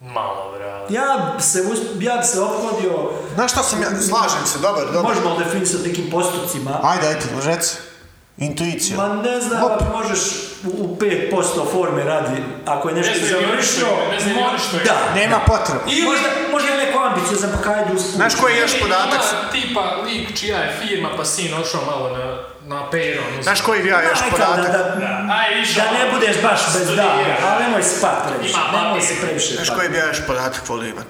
S1: Malo, brate.
S3: Ja bi se, us, ja bi se ophodio,
S2: Znaš šta sam ja, slažem se, dobar, dobar.
S3: možemo definisati nekim postupcima,
S2: Ajde, ajde, reci. Intuicija.
S3: ma ne znam,
S2: Hop.
S3: ako možeš u, u 5% forme radi, ako je nešto
S1: Ne znam ni oni što
S3: završio,
S1: je, ne znam ni
S3: mo-
S1: oni što je.
S3: da,
S2: Nema potrebe.
S3: Možda, možda je neko ambiciozan, pa kaj idu
S2: Znaš koji je još
S1: E,
S2: podatak?
S1: ima tipa lik čija je firma, pa sin ošao malo na, na payroll. mislim.
S2: Znaš koji je ja još podatak?
S1: Aj, išao.
S3: Da ne budeš baš bez dana,
S1: Studira.
S3: ali nemoj spat previše,
S1: Ima
S3: nemoj
S1: papir.
S3: se previše
S2: Znaš
S3: pat.
S2: koji bi ja još podatak volio imat?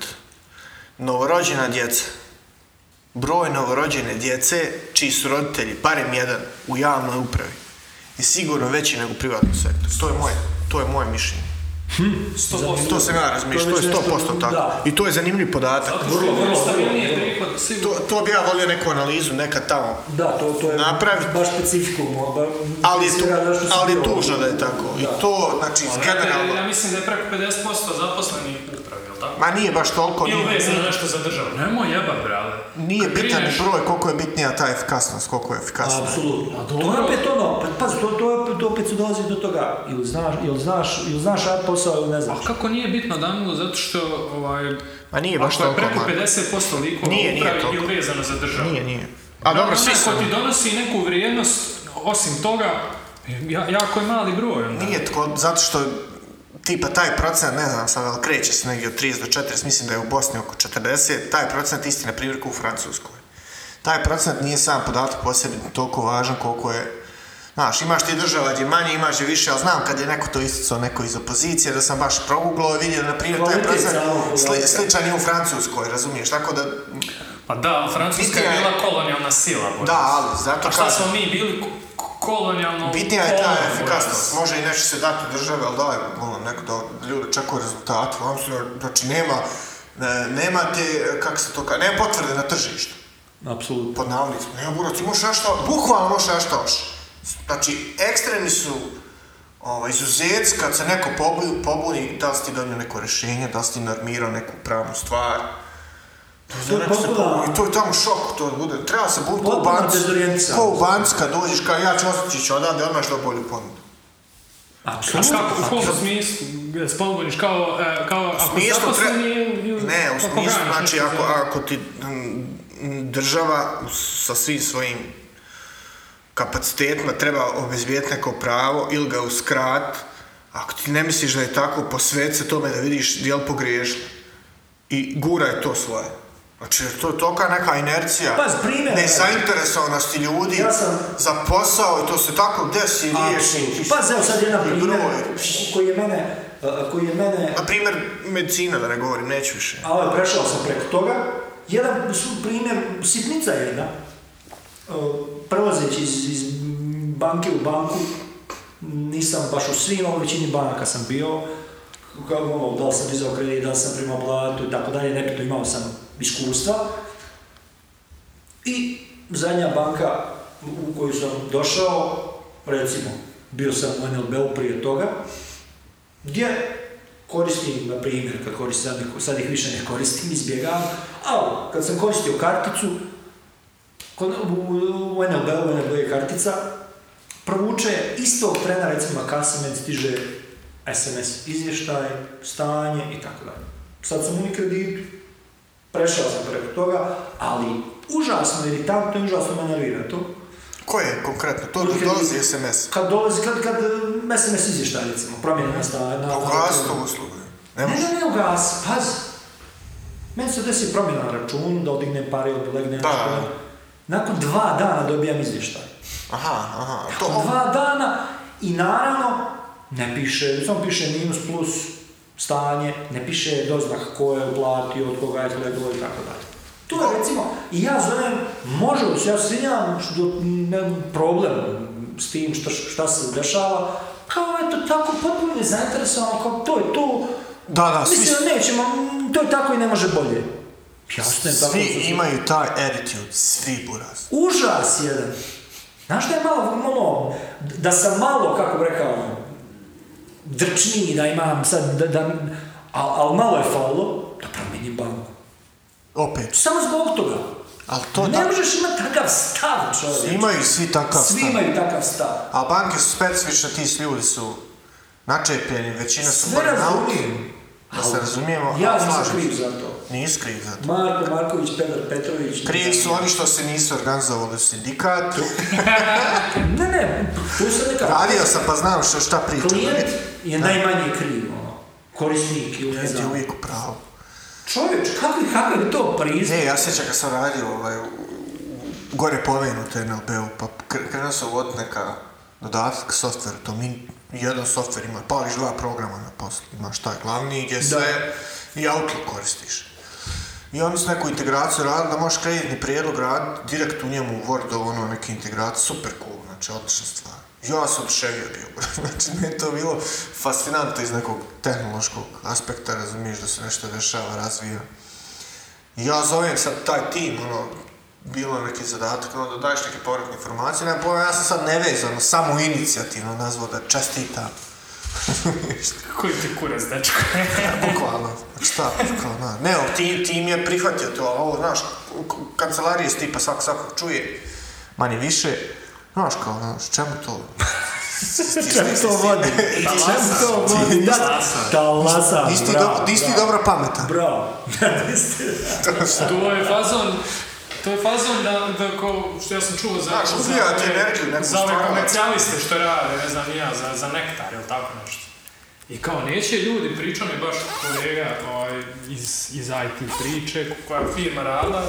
S2: Novorođena djeca. Broj novorođene djece čiji su roditelji, barem jedan, u javnoj upravi je sigurno veći nego u privatnom sektoru. To je moje, to je moje mišljenje. To sam ja razmišljao,
S3: To
S2: to
S3: je
S2: je
S3: već
S2: 100%
S3: nešto,
S2: tako.
S3: da.
S2: I to je zanimljiv podatak.
S1: Vrlo, vrlo,
S3: vrlo.
S1: prihod, sigurno.
S2: To, to bi ja volio neku analizu nekad tamo.
S3: Da, to, to je
S2: Napravi.
S3: baš specifikum, ba,
S2: Ali je, tu,
S3: svega zašto sam
S2: ali je
S3: bio.
S2: tužno da je tako. I to, znači,
S1: Ali znate, Ja
S2: generalno...
S1: mislim da je preko 50% zaposlenih u upravi, jel tako?
S2: Ma nije baš toliko,
S1: I
S2: nije,
S1: uvezano nešto za državu. Nemoj jeba, brale.
S2: nije
S1: Kad
S2: bitan
S1: kreneš-
S2: broj koliko je bitnija ta efikasnost, koliko je efikasnost.
S3: Apsolutno. To je opet ono, pa, pazi, to, to, je opet- to opet se dolazi do toga, ili znaš, ili znaš, ili znaš rad posao ili ne znaš.
S1: A kako nije bitno Danilo, zato što ovaj,
S2: Ma nije baš
S1: ako je
S2: toliko.
S1: preko
S2: ma.
S1: 50% likova
S2: Nije,
S1: u
S2: nije
S1: upravi
S2: toliko.
S1: je uvezano za državu.
S2: Nije, nije. A dobro, svi su.
S1: Ako ti donosi neku vrijednost, osim toga, ja, jako je mali broj. Onda.
S2: Nije tko, zato što tipa taj procent, ne znam sad, ali kreće se negdje od 30 do 40, mislim da je u Bosni oko 40, taj procent isti na primjer kao u Francuskoj. Taj procent nije sam podatak po sebi toliko važan koliko je Znaš, imaš ti država gdje manje, imaš gdje više, ali znam kad je neko to isticao, neko iz opozicije, da sam baš proguglao i vidio, na primjer, taj
S3: Kvalitet
S2: procent
S3: samog podatka.
S2: sli, sličan je u Francuskoj, razumiješ? Tako da,
S1: Pa da, ali Francuska je
S2: Bitnija je-
S1: bila kolonijalna sila. Bože.
S2: da, ali, zato
S1: A šta
S2: kažem,
S1: smo mi bili ko- ko- kolonijalno...
S2: bitnija je ta
S1: kolonijalno
S2: efikasnost. Može i nešto se dati države, ali daj, ono, neko da ljudi čekaju rezultate. Vam se, znači, nema, e, nema te, kako se to kaže, nema potvrde na tržištu,
S3: Apsolutno.
S2: pod navodnicom. Nema burac, imaš našta, bukvalno imaš našta oš. Znači, ekstremni su ovaj, izuzec kad se neko pobuni, pobuni da li si ti donio neko rješenje, da li si ti normirao neku pravnu stvar.
S3: To je
S2: Neko Pa se
S3: potpuno-
S2: pobuni, I to je tamo šok, to bude. Treba se buniti ko u
S3: Potpuno
S2: banci,
S3: dezorijentisano.
S2: ko u banci kad dođeš, kao ja ću ostići odavde, odmah što bolju ponudu.
S1: A
S3: Apsolutno.
S1: kako, u kom smislu spomeniš, kao, e, kao
S2: U
S1: ako
S2: smislu tre...
S1: zaposleni ili- ili-
S2: Ne, u
S1: kako
S2: smislu,
S1: graniš
S2: znači,
S1: nešto
S2: ako,
S1: za-
S2: ako ti m, m, država sa svim svojim kapacitetima treba obezbijediti neko pravo ili ga uskrat, ako ti ne misliš da je tako, posvet se tome da vidiš jel pogriješno. I guraj to svoje. Znači, jer to je toka neka inercija.
S3: Pazi, primjer,
S2: Nezainteresovanosti ljudi
S3: Ja sam-
S2: za posao i to se tako desi i riješi.
S3: Pa evo sad jedan
S2: I
S3: primjer
S2: broj.
S3: koji je mene, uh, koji je mene,
S2: Na primjer, medicina, da ne govorim, neću više.
S3: a ovaj, prešao sam preko toga, jedan su primjer, sitnica jedna, Uh, prelazeći iz, iz banke u banku, nisam baš u svim, ali u većini banaka sam bio, kao ono, da li sam dizao kredit, da li sam primao platu i tako dalje, nebitno imao sam iskustva. I zadnja banka u koju sam došao, recimo, bio sam u NLB-u prije toga, gdje koristim, na primjer, kad koristim, sad ih- sad ih više ne koristim, izbjegavam, ali kad sam koristio karticu, Kod, u, u NLB, u NLB je kartica, provuče istog trena, recimo na kasi meni stiže SMS izvještaj, stanje i tako dalje. Sad sam u kreditu, prešao sam preko toga, ali užasno iritantno i užasno me nervira to.
S2: Ko je konkretno? To ti dolazi SMS.
S3: Kad dolazi, kad, kad e, SMS izvještaj recimo, promjena na stanje.
S2: Pa
S3: na- na-
S2: ugasi to uslugu. Ne
S3: Ne
S2: može.
S3: da ne ugas, pazi. Meni se desi promjena na računu, da odignem pare ili legnem
S2: Da.
S3: nešto. Nakon dva dana dobijam izvještaj.
S2: Aha, aha. To,
S3: Nakon dva dana i naravno ne piše, samo piše minus plus stanje, ne piše doznak ko je uplatio, od koga je to leglo i tako dalje. To je recimo, i ja zovem, može li se, ja se izvinjavam, što nemam problem s tim šta, šta se dešava, kao eto tako potpuno nezainteresovano, kao to je to,
S2: Da, da, svi,
S3: Mislim, nećemo, m, to je tako i ne može bolje. Jasno je tako.
S2: svi
S3: su-
S2: imaju taj attitude, svi buraz.
S3: Užas jedan. Znaš da je malo, ono, da sam malo, kako bi rekao, drčniji, da imam sad, da, da, al, al malo je falilo, da promijenim banku.
S2: Opet.
S3: Samo zbog toga.
S2: Ali to
S3: ne
S2: da,
S3: možeš imati takav stav, čovječe.
S2: imaju svi takav
S3: Svi
S2: stav.
S3: imaju takav stav.
S2: A banke su specifične, ti ljudi su načepljeni, većina su
S3: Sve
S2: burnout.
S3: razumijem.
S2: Da se
S3: Ali
S2: razumijemo,
S3: Ja
S2: ali
S3: nisam
S2: Pa, slažem se.
S3: kriv za to.
S2: Nisi kriv za to.
S3: Marko Marković, Petar Petrović.
S2: Krivi su oni što se nisu organizovali u sindikatu.
S3: Ne, ne, tu se neka...
S2: Radio sam pa znam što šta pričam.
S3: Klijent je najmanje kriv, ono. Korisnik ili ne
S2: Klijent je
S3: znam.
S2: uvijek u pravu.
S3: Čovječ, kakvi, kakav je to pristup?
S2: E, ja sjećam kad sam radio ovaj, u- u- gore pomenuto NLP-u, pa kre- krenuo sam uvoditi neka dodatak software, to mi jedan software ima, pališ dva programa na poslu, imaš taj glavni gdje sve i Outlook koristiš. I oni su neku integraciju radili da možeš kreditni prijedlog raditi direkt u njemu u Wordu, ono neke integracije, super cool, znači odlična stvar. Ja sam oduševio bio, <laughs> znači meni je to bilo fascinantno iz nekog tehnološkog aspekta, razumiješ da se nešto dešava, razvija. Ja zovem sad taj tim, ono, bilo je neki zadatak, ono, da daješ neke povratne informacije, nema pojma, ja sam sad nevezano, samo inicijativno nazvao da čestitam.
S1: Koji ti kurac, dečko?
S2: Bukvalno, znači šta, kao, na, ne, ali tim, tim je prihvatio to, ali ovo, znaš, u- u kancelariji s tipa svak svakog čuje, manje više, znaš, kao, znaš, čemu to?
S3: <laughs> Čemu to <laughs> vodi? Čemu to vodi? Da, talasa,
S2: Nisi ti,
S3: bravo.
S2: dobro- nisi ti dobro pametan.
S3: Bravo. <laughs> Di ste-
S1: To je fazon, to je fazon da, da ko, što ja sam čuo za...
S2: Znaš,
S1: za
S2: ubija ti
S1: ove-
S2: energiju, neku
S1: Za ove
S2: stvaralac.
S1: komercijaliste što rade, ne znam ni ja, za, za nektar ili tako nešto. I kao, neće ljudi, pričao mi baš kolega ovaj, iz, iz IT priče, koja je firma radila,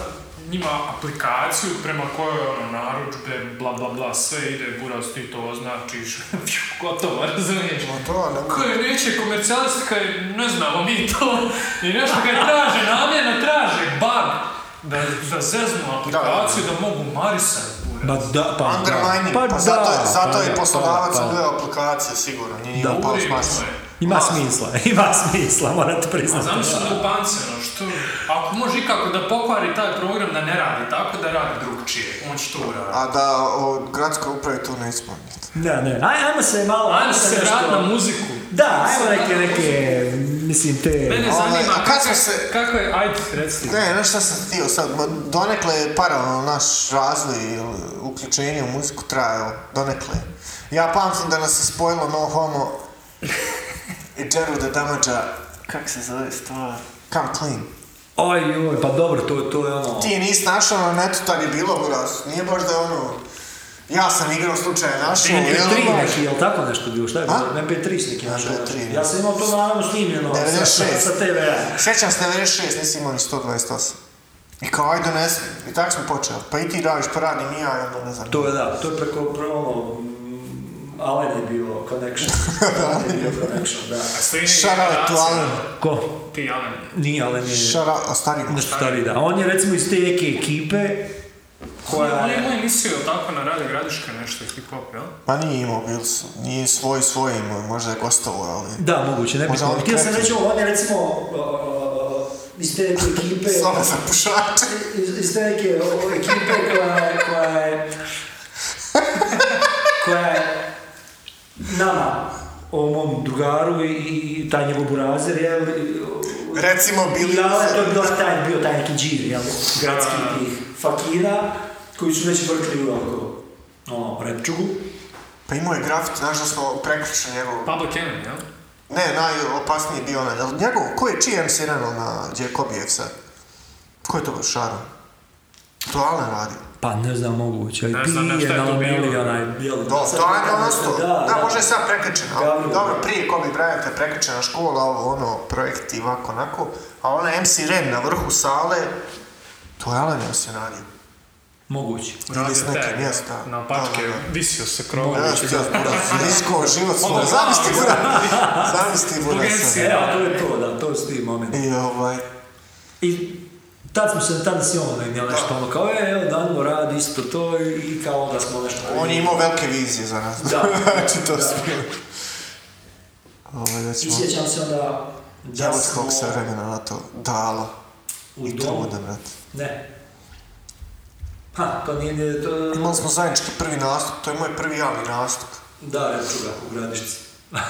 S1: njima aplikaciju prema kojoj ono naručbe, bla bla bla, sve ide, buraz ti to označiš, <laughs> gotovo, razumiješ?
S2: To, ne mogu.
S1: Koje neće komercijalist kaj ne znamo mi to i nešto kaj traže namjerno traže bug da, da zeznu aplikaciju da, mogu marisati bure.
S3: Ma da, pa
S2: Undermining, pa,
S3: da,
S2: zato, je, zato
S3: pa
S2: je
S3: da,
S2: poslodavac
S3: pa da,
S2: pa,
S3: pa da.
S2: aplikacije sigurno, nije
S3: Da.
S2: imao pao
S1: Uvijek
S2: smasu.
S1: moje.
S3: Ima smisla, <laughs> ima smisla, morate
S1: A
S3: priznati.
S1: zamislim da upanceno, što, ako može ikako da pokvari taj program da ne radi tako, da radi drugčije, on će to uraditi.
S2: A da o gradskoj upravi to ne ispunite.
S3: Ne, ne, aj, ajmo se malo...
S1: Ajmo se
S3: nešto-
S1: vratiti na muziku.
S3: Da, ajmo
S1: se
S3: neke,
S1: vratiti na
S3: neke, mislim, te...
S1: Mene
S2: Ovaj,
S1: zanima
S2: a kad
S1: kako,
S2: smo se-
S1: kako je, ajde, reci.
S2: Ne, znaš šta sam htio sad, ma donekle je paralelno naš razvoj i uključenje u muziku trajao, donekle. Ja pamtim da nas je spojilo No Homo i Jeru da Damađa, kak se zove stvar? Come Clean.
S3: Oj, joj, pa dobro, to, to je ono...
S2: Ti nisi našao na netu, tad je bilo buraz, nije baš da je ono... Ja sam igrao slučaj našao, jel?
S3: MP3 neki, jel tako nešto bio, šta je
S2: A?
S3: bilo? MP3 s nekim.
S2: MP3,
S3: nešto.
S2: ne.
S3: Ja sam imao to naravno snimljeno sa, sa,
S2: 96.
S3: sa TV-a.
S2: Sjećam se 96, nisi imao ni 128. I kao, ajde donesem. I tako smo počeli. Pa i ti radiš, pa radim i ja, i onda ne znam.
S3: To je da, to je preko, prvo ono, mm, Alen je bio
S2: <laughs>
S3: connection. Alen je bio connection, da.
S2: Shout out to Alan.
S3: Ko?
S1: Ti Alan.
S3: Nije Alen je
S2: Šara, a stari mu.
S3: nešto stari, da. On je recimo iz te neke ekipe koja
S1: On je
S3: je...
S1: imao emisiju, jel tako, na Radio Gradiška nešto, hip hop, jel?
S2: Pa nije imao Bills, nije svoj svoj imao, možda je gostovo, ali...
S3: Da, moguće, ne bih
S2: Možda on
S3: Htio sam
S2: krepi.
S3: reći, ovo, on je recimo uh, iz te neke ekipe...
S2: Samo za pušače.
S3: iz, iz te neke o, ekipe koja je, koja je, koja je nama, ovom mom drugaru i, i taj njegov burazer, jel, i-
S2: Recimo Billy
S3: i Ale, to je
S2: Wilson.
S3: bio taj, bio taj neki džir, jel, gradski tih fakira, koji su već vrtli u oko, ono, repčugu.
S2: Pa imao je grafit, znaš da smo prekričili njegov...
S1: Public Enemy, jel?
S2: Ne, najopasniji je bio onaj, jel njegov, ko je, čiji MC Renal na Djekobijev sad? Ko je to bio Šaran? To Alan radio.
S3: Pa ne znam, moguće, ali
S1: Ne znam, ne, šta je to bilo?
S3: jel,
S2: Do,
S3: sad-
S2: to je ono ostalo.
S3: Da,
S2: Da,
S3: da.
S2: možda je sad prekrčena.
S3: Gavrilo.
S2: Dobro, prije Kobe Bryant je prekrčena škola, ovo ono, projekti ovako, onako. A ona MC Ren na vrhu sale, to je Alan MC radio.
S3: Moguće.
S2: Ili s
S1: Radite
S2: nekim mjesta.
S1: Na patke,
S2: Da, da, da.
S1: visio se krovo.
S2: Ja ću ti riskovo život svoj.
S1: Onda
S2: Zamisli
S1: znam.
S3: <laughs>
S2: kura. Zamisli kura
S1: Agencije.
S2: sam.
S3: Evo, to je to, da, to su ti momenti.
S2: I ovaj...
S3: I tad smo se, tad si on negdje nešto ono kao, e, evo, Danilo radi isto to i, i kao onda smo nešto...
S2: On je imao velike vizije za nas.
S3: Da.
S2: <laughs> Znači to
S3: Da.
S2: smo... Ovaj, da
S3: I
S2: ćemo...
S3: sjećam se onda da
S2: Djavod
S3: smo
S2: kog se vremena na to dalo.
S3: u
S2: I to
S3: domu,
S2: budem, brate.
S3: ne. Ha, to nije, nije to...
S2: Imali smo zajednički prvi nastup, to je moj prvi javni
S3: <laughs>
S2: nastup.
S3: Da, rečuga u gradišci.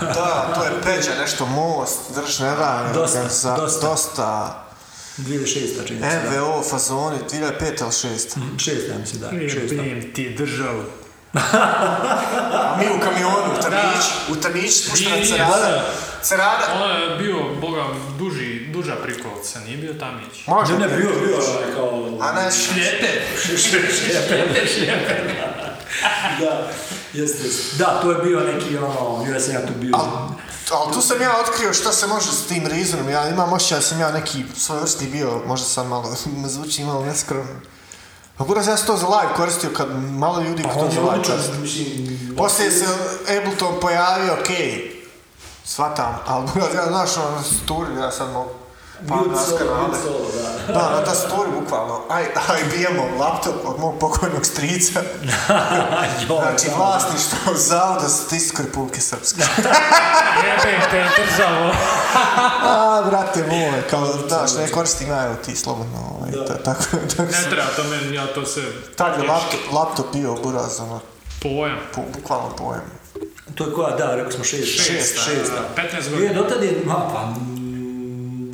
S2: Da, to je Peđa, nešto most, drž ne da,
S3: Dosta,
S2: za-
S3: dosta.
S2: dosta.
S3: 2006. čini
S2: E,
S3: se, da.
S2: MVO fazoni, 2005 ali 6.
S3: Mm, Šest, ja mislim, da. Šesta.
S1: Jebim ti državu.
S2: A mi u kamionu, u Tamić, u Tamić, spuštena
S1: Nije,
S2: Cerada.
S1: nije.
S2: Cerada,
S1: Ono je bio, boga, duži, duža prikolica, nije bio tamić.
S2: Može.
S3: Ne, ne, bio, bio, ovaj, kao...
S2: A naš...
S1: Šljepe! Šljepe, šljepe.
S3: Da, jeste, jeste. Da, to je bio neki, ono, ja sam ja tu bio...
S2: Al- pa Ali tu sam ja otkrio šta se može s tim rizonom, ja imam osjećaj da sam ja neki svojvrstni bio, možda sam malo, <laughs> me zvuči malo neskromno. A buraz, ja sam to za live koristio kad malo ljudi
S3: Pa
S2: kad to za live ovaj čast. Poslije se Ableton pojavio, okej, shvatam, ali buraz, ja znaš ono na tasturi, ja sam mogu. Pa,
S3: Ljud
S2: nas
S3: solo,
S2: kanale.
S3: ljud solo, da. <laughs>
S2: Da, na tasturi, bukvalno. Aj, aj, bijemo laptop od mog pokojnog strica.
S3: Joj,
S2: Znači,
S3: da.
S2: vlasništvo Zavoda za statistiku Republike Srpske.
S1: Jebem te državo.
S2: A, brate moj, kao, znaš, ne koristim ja, evo ti slobodno, ovaj, ta- tako, tako
S1: Ne
S2: sam.
S1: treba to meni, ja to se...
S2: Tad je laptop, laptop bio buraz, ono,
S1: Pojam.
S2: po, bukvalno pojam.
S3: To je koja, da, rekli smo šest.
S1: Šest,
S3: šest,
S1: a,
S3: da.
S1: 15
S3: Je,
S1: godina.
S3: dotad je, ma, pa, mm,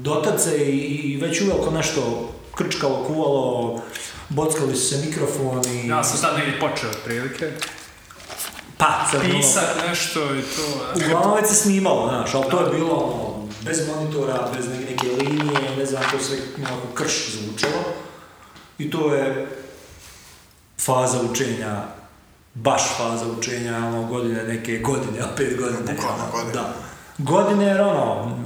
S3: dotad se i, i već uveliko nešto krčkalo, kuvalo, bockali su se mikrofoni.
S1: Ja sam sad negdje počeo otprilike.
S3: pa, sad ono-
S1: Pisat nešto i to. ne.
S3: Uglavnom već se snimalo, znaš, ali to je bilo ono, bez monitora, bez ne- neke linije, ne znam, to sve onako krš zvučalo. I to je faza učenja, baš faza učenja, ono, godine, neke godine, a pet godine.
S2: Bukvalno
S3: ono,
S2: godine.
S3: Da. Godine jer ono,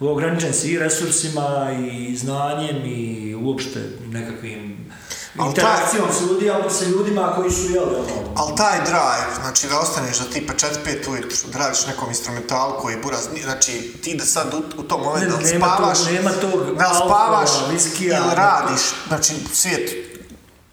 S3: ograničen si i resursima, i znanjem, i uopšte nekakvim
S2: Ali ta-
S3: interakcijom s ljudima, sa ljudima koji su, jeli, ono,
S2: Ali taj drive, znači da ostaneš do tipa 4-5 ujutru, draviš nekom instrumentalu koji je buraz, ni- znači ti da sad u, u tom momentu da li
S3: nema tog-
S2: spavaš,
S3: nema tog
S2: da li spavaš
S3: alkohola, viskija,
S2: ili
S3: nema
S2: radiš, znači svijet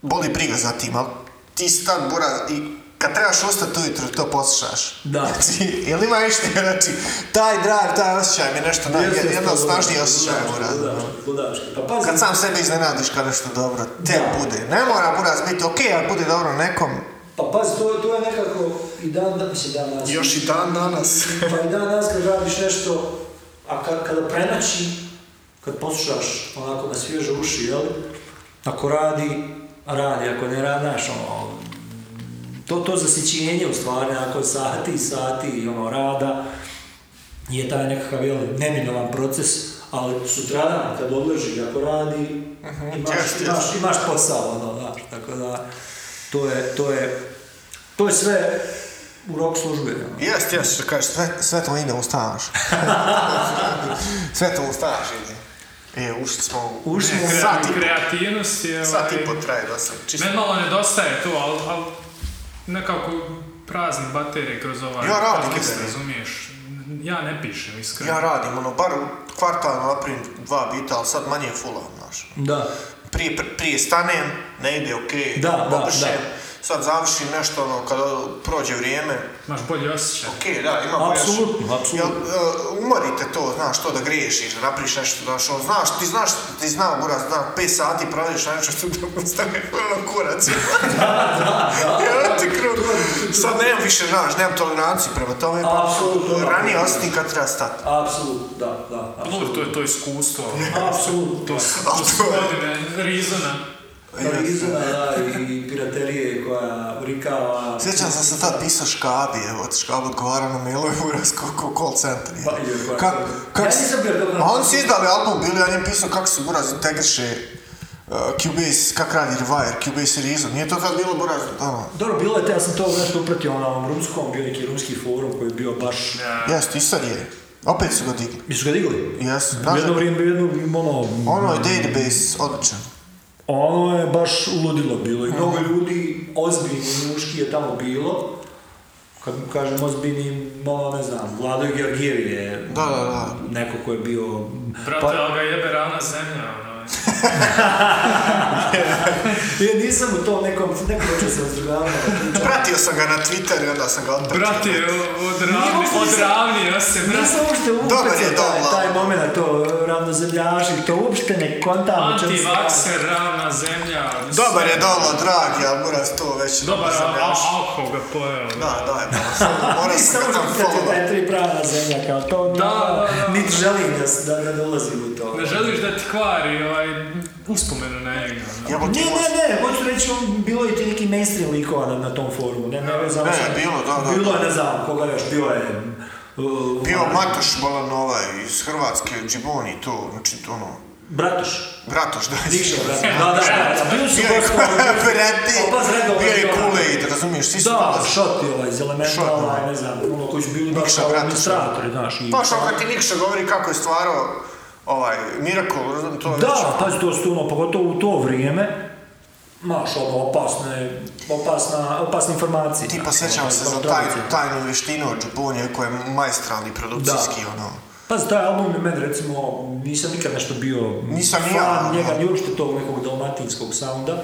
S2: boli briga za tim, ali ti si tad buraz i kad trebaš ustati ujutru to poslušaš.
S3: Da.
S2: Znači, jel ima nešto, znači, taj drive, taj osjećaj mi je nešto, naj,
S3: Jeste,
S2: jedan od
S3: jeste,
S2: snažnijih
S3: ludački,
S2: osjećaja buraz.
S3: ludački, ludački. Pa pazi,
S2: Kad sam sebe iznenadiš kad nešto dobro, te
S3: Da.
S2: bude. Ne mora buraz biti okej, ali bude dobro nekom,
S3: pa pazi, to, je- to je nekako i dan, da, mislim dan danas.
S4: Još i dan danas.
S3: Pa i dan danas kad radiš nešto, a ka, kada prenoći, kad poslušaš onako na svježe uši, jel? Ako radi, radi, ako ne radaš, ono, to, to zasićenje u stvari, nakon sati i sati ono, rada, je taj nekakav jel, neminovan proces, ali sutradan kad odleži, ako radi, imaš,
S2: jest,
S3: imaš, imaš posao, ono, znaš, tako da, to je, to je, to je sve u rok službe, ono.
S4: Jest, jest, što kažeš.
S2: Sve, sve to ide u staž. sve to u staž ide. E, ušli smo u...
S3: Ušli smo u
S2: sat i po.
S1: Kreativnost je...
S2: Sat i
S1: ovaj,
S2: po traje, da sam čisto.
S1: Meni malo nedostaje to, ali al, nekako prazni baterije kroz ovaj...
S2: Ja radim,
S1: podcast,
S2: ide.
S1: razumiješ? Ja ne pišem, iskreno.
S2: Ja radim, ono, bar u kvartalno napravim dva bita, ali sad manje fula, znaš.
S3: Da.
S2: Prije, pr- prije stanem, ne ide okej,
S3: Da, da,
S2: pobršem,
S3: da.
S2: Sad završim nešto, ono, kada prođe vrijeme,
S1: Imaš bolji osjećaj.
S2: okej, da, ima bolje-
S3: Apsolutno,
S2: Jel,
S3: apsolutno.
S2: e, umori te to, znaš, to da griješiš, da napriš nešto, znaš, ono, znaš, ti znaš, ti znao, buraz, da, 5 sati praviš nešto što da postane ono
S3: <laughs>
S2: kurac. Ja ti krug. Sad nemam više, znaš, nemam toleranciju prema tome, pa
S3: Apsolutno, da.
S2: ranije osjetim kad treba stati.
S3: Apsolutno, da, da.
S1: Dobro, to je to iskustvo.
S3: Apsolutno.
S1: To su to su godine Rizona.
S3: Rizona, da, i piraterije koja urikava...
S2: Sjećam sam se tad pisao Škabi, evo, od Škabi odgovara na mailove, buraz, kako call center je.
S3: Pa, je, pa,
S2: Kako,
S3: ja
S2: kako,
S3: nisam bio dobro.
S2: A on si izdali album, bili on je pisao kako se Buraz integriše uh, Cubase, kak radi Rewire, Cubase i Reason. Nije to tad bilo Buraz, ono,
S3: Dobro, bilo je te, ja sam to nešto upratio na ovom rumskom, bio je neki rumski forum koji je bio baš...
S2: jes, i sad je. Opet su ga digli.
S3: Mi su ga digli?
S2: Jes,
S3: U
S2: znaš,
S3: jedno vrijeme, bio jedno, ono...
S2: ono je database, odličan.
S3: Ono je baš uludilo bilo i mnogo ljudi ozbiljni muški je tamo bilo. Kad kažem ozbiljni, malo ne znam, Vlado Georgijev je
S2: Da, da, da.
S3: neko ko je bio...
S1: Brate,
S3: Pa-
S1: ali ga jebe rana zemlja, ono.
S3: Ja nisam u tom nekom, nekom ču sam zdravljavao.
S2: <laughs> Pratio sam ga na Twitteru i onda sam ga odpratio.
S1: Brate, od ravni,
S3: uopšte
S1: od
S3: nisam-
S1: ravni, ja se, brate.
S3: Nisam uopšte
S2: Dobar je
S3: uopšte
S2: Dom
S3: taj,
S2: Vlado.
S3: taj moment, to ravnozemljaši, to uopšte ne kontam o čemu se radi.
S1: Antivakser, ravna zemlja. ono, sve.
S2: Dobar je doma, dragi, ali Buraz to već...
S1: Dobar,
S2: sam
S1: a-
S2: ja
S1: a-
S2: još-
S1: alkohol ga pojeo. ono.
S2: Da, da, je Buraz. Moram sam
S3: Nisam
S2: ga tam
S3: uopšte da
S2: follow.
S3: je tri prava zemlja, kao to
S1: Da, da, da.
S3: niti želim da, s- da ne dolazim u to.
S1: Ne želiš da ti kvari ovaj uspomenu na njega. ono.
S2: Jebo
S3: Ne,
S2: ti
S3: ne, ne, hoću reći, on, bilo je ti neki mainstream likova na, na tom forumu, ne, ne, vezano
S2: Ne,
S3: sad.
S2: bilo, da, da,
S3: Bilo je,
S2: da.
S3: ne znam, koga još, bilo je... uh,
S2: ovaj, Bio Matoš Balanova iz Hrvatske, Džiboni, to, znači, ono...
S3: Bratuš.
S2: Bratoš, da.
S3: Nikša Bratuš. Da, da, da. Bili su
S2: <laughs>
S3: gotovo...
S2: Brati,
S3: Oba zredova.
S2: bio je Kool-Aid, razumiješ, svi su
S3: Da,
S2: tada-
S3: šot je ovaj iz
S2: Šot, da.
S3: elementa, ovaj, ne znam, ono koji su bili baš
S2: Nikša
S3: kao
S2: Bratuš.
S3: administratori, znaš. i-
S2: Pa što kad ti Nikša govori kako je stvarao ovaj Miracle, razum- to je već-
S3: Da, pazi, to su ono, pogotovo u to vrijeme, maš ono, opasne, opasna, opasne informacije.
S2: Tipa
S3: znaš,
S2: pa, sjećam
S3: ono,
S2: se za taj,
S3: kontracije.
S2: tajnu vještinu od Džubonija koja je majstralni produkcijski, ono.
S3: Pazi, taj album je meni, recimo, nisam nikad nešto bio
S2: Nisam ni
S3: fan
S2: ja,
S3: njega,
S2: da.
S3: ni uopšte tog nekog dalmatinskog sounda,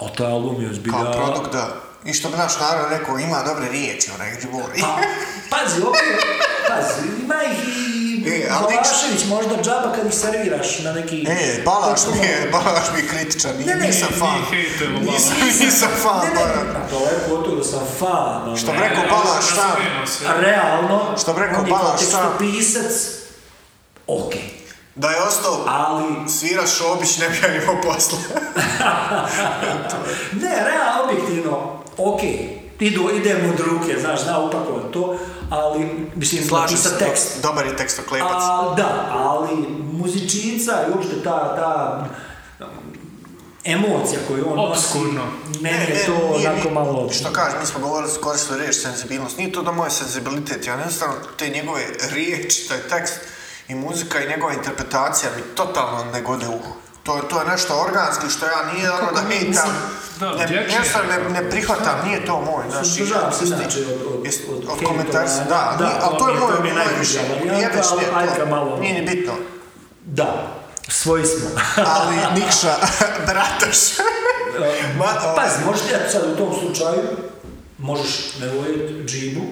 S3: a taj album je zbilja...
S2: Kao pa produkt, da. I što bi naš narod rekao, ima dobre riječi, onaj Džuboni.
S3: Pa, <laughs> pazi, opet, pazi, ima ih i...
S2: E, ali nek-
S3: Balašević možda džaba kad ih serviraš na neki...
S2: E, Balaš mi je, Balaš mi je kritičan,
S3: Ne, ne,
S2: nisam fan.
S1: Mi hejtujemo
S2: Nisam,
S1: Balaša.
S2: nisam fan, pa.
S3: Ne, ne,
S2: Balaš.
S3: ne, daleko od toga da sam fan, ono. Pa
S2: Što bi rekao Balaš, šta?
S1: Razumijemo se.
S3: realno,
S2: Što bi rekao
S3: on je kao
S2: Balaš, šta?
S3: tekstopisac, ok,
S2: Da je ostao
S3: ali,
S2: svira Šobić, ne bi ja imao posla.
S3: ne, realno, objektivno, ok, Idu, ide mu od ruke, znaš, zna upakovat to, ali, mislim,
S2: Slažem
S3: napisat
S2: se,
S3: tekst.
S2: Dobar je tekstoklepac.
S3: A, da, ali muzičica i uopšte ta, ta um, emocija koju on
S1: Obskurno.
S3: meni
S2: Ne,
S3: je
S2: ne,
S3: to
S2: nije,
S3: onako
S2: nije.
S3: malo...
S2: Što kažeš, mi smo govorili s koristili riječ senzibilnost. Nije to da moj senzibilitet, ja jednostavno te njegove riječi, taj tekst i muzika i njegova interpretacija mi totalno ne gode u to, je- to je nešto organski što ja nije ono da hejtam,
S1: da,
S2: ne,
S1: dječje je
S2: jednostavno ne, ne prihvatam, nije to moj, znaš, i
S3: Suzdržavam se
S2: što se
S3: inače
S2: tiče-
S3: od- od-
S2: jest-
S3: od
S2: od
S3: hejtovanja.
S2: komentarstva, da,
S3: Da,
S2: nije- ali to
S3: to
S2: je
S3: mi je-
S2: moj,
S3: to mi je
S2: moj
S3: najbliža
S2: mišljenje,
S3: varijanta,
S2: jebeš
S3: ali
S2: nije to,
S3: Aljka malo-
S2: nije ni bitno,
S3: Da, svoji smo. <laughs>
S2: ali Nikša, <laughs> brataš, Ma, ovaj-
S3: Pazi, možeš ti ja sad u tom slučaju, možeš ne voljeti džibu,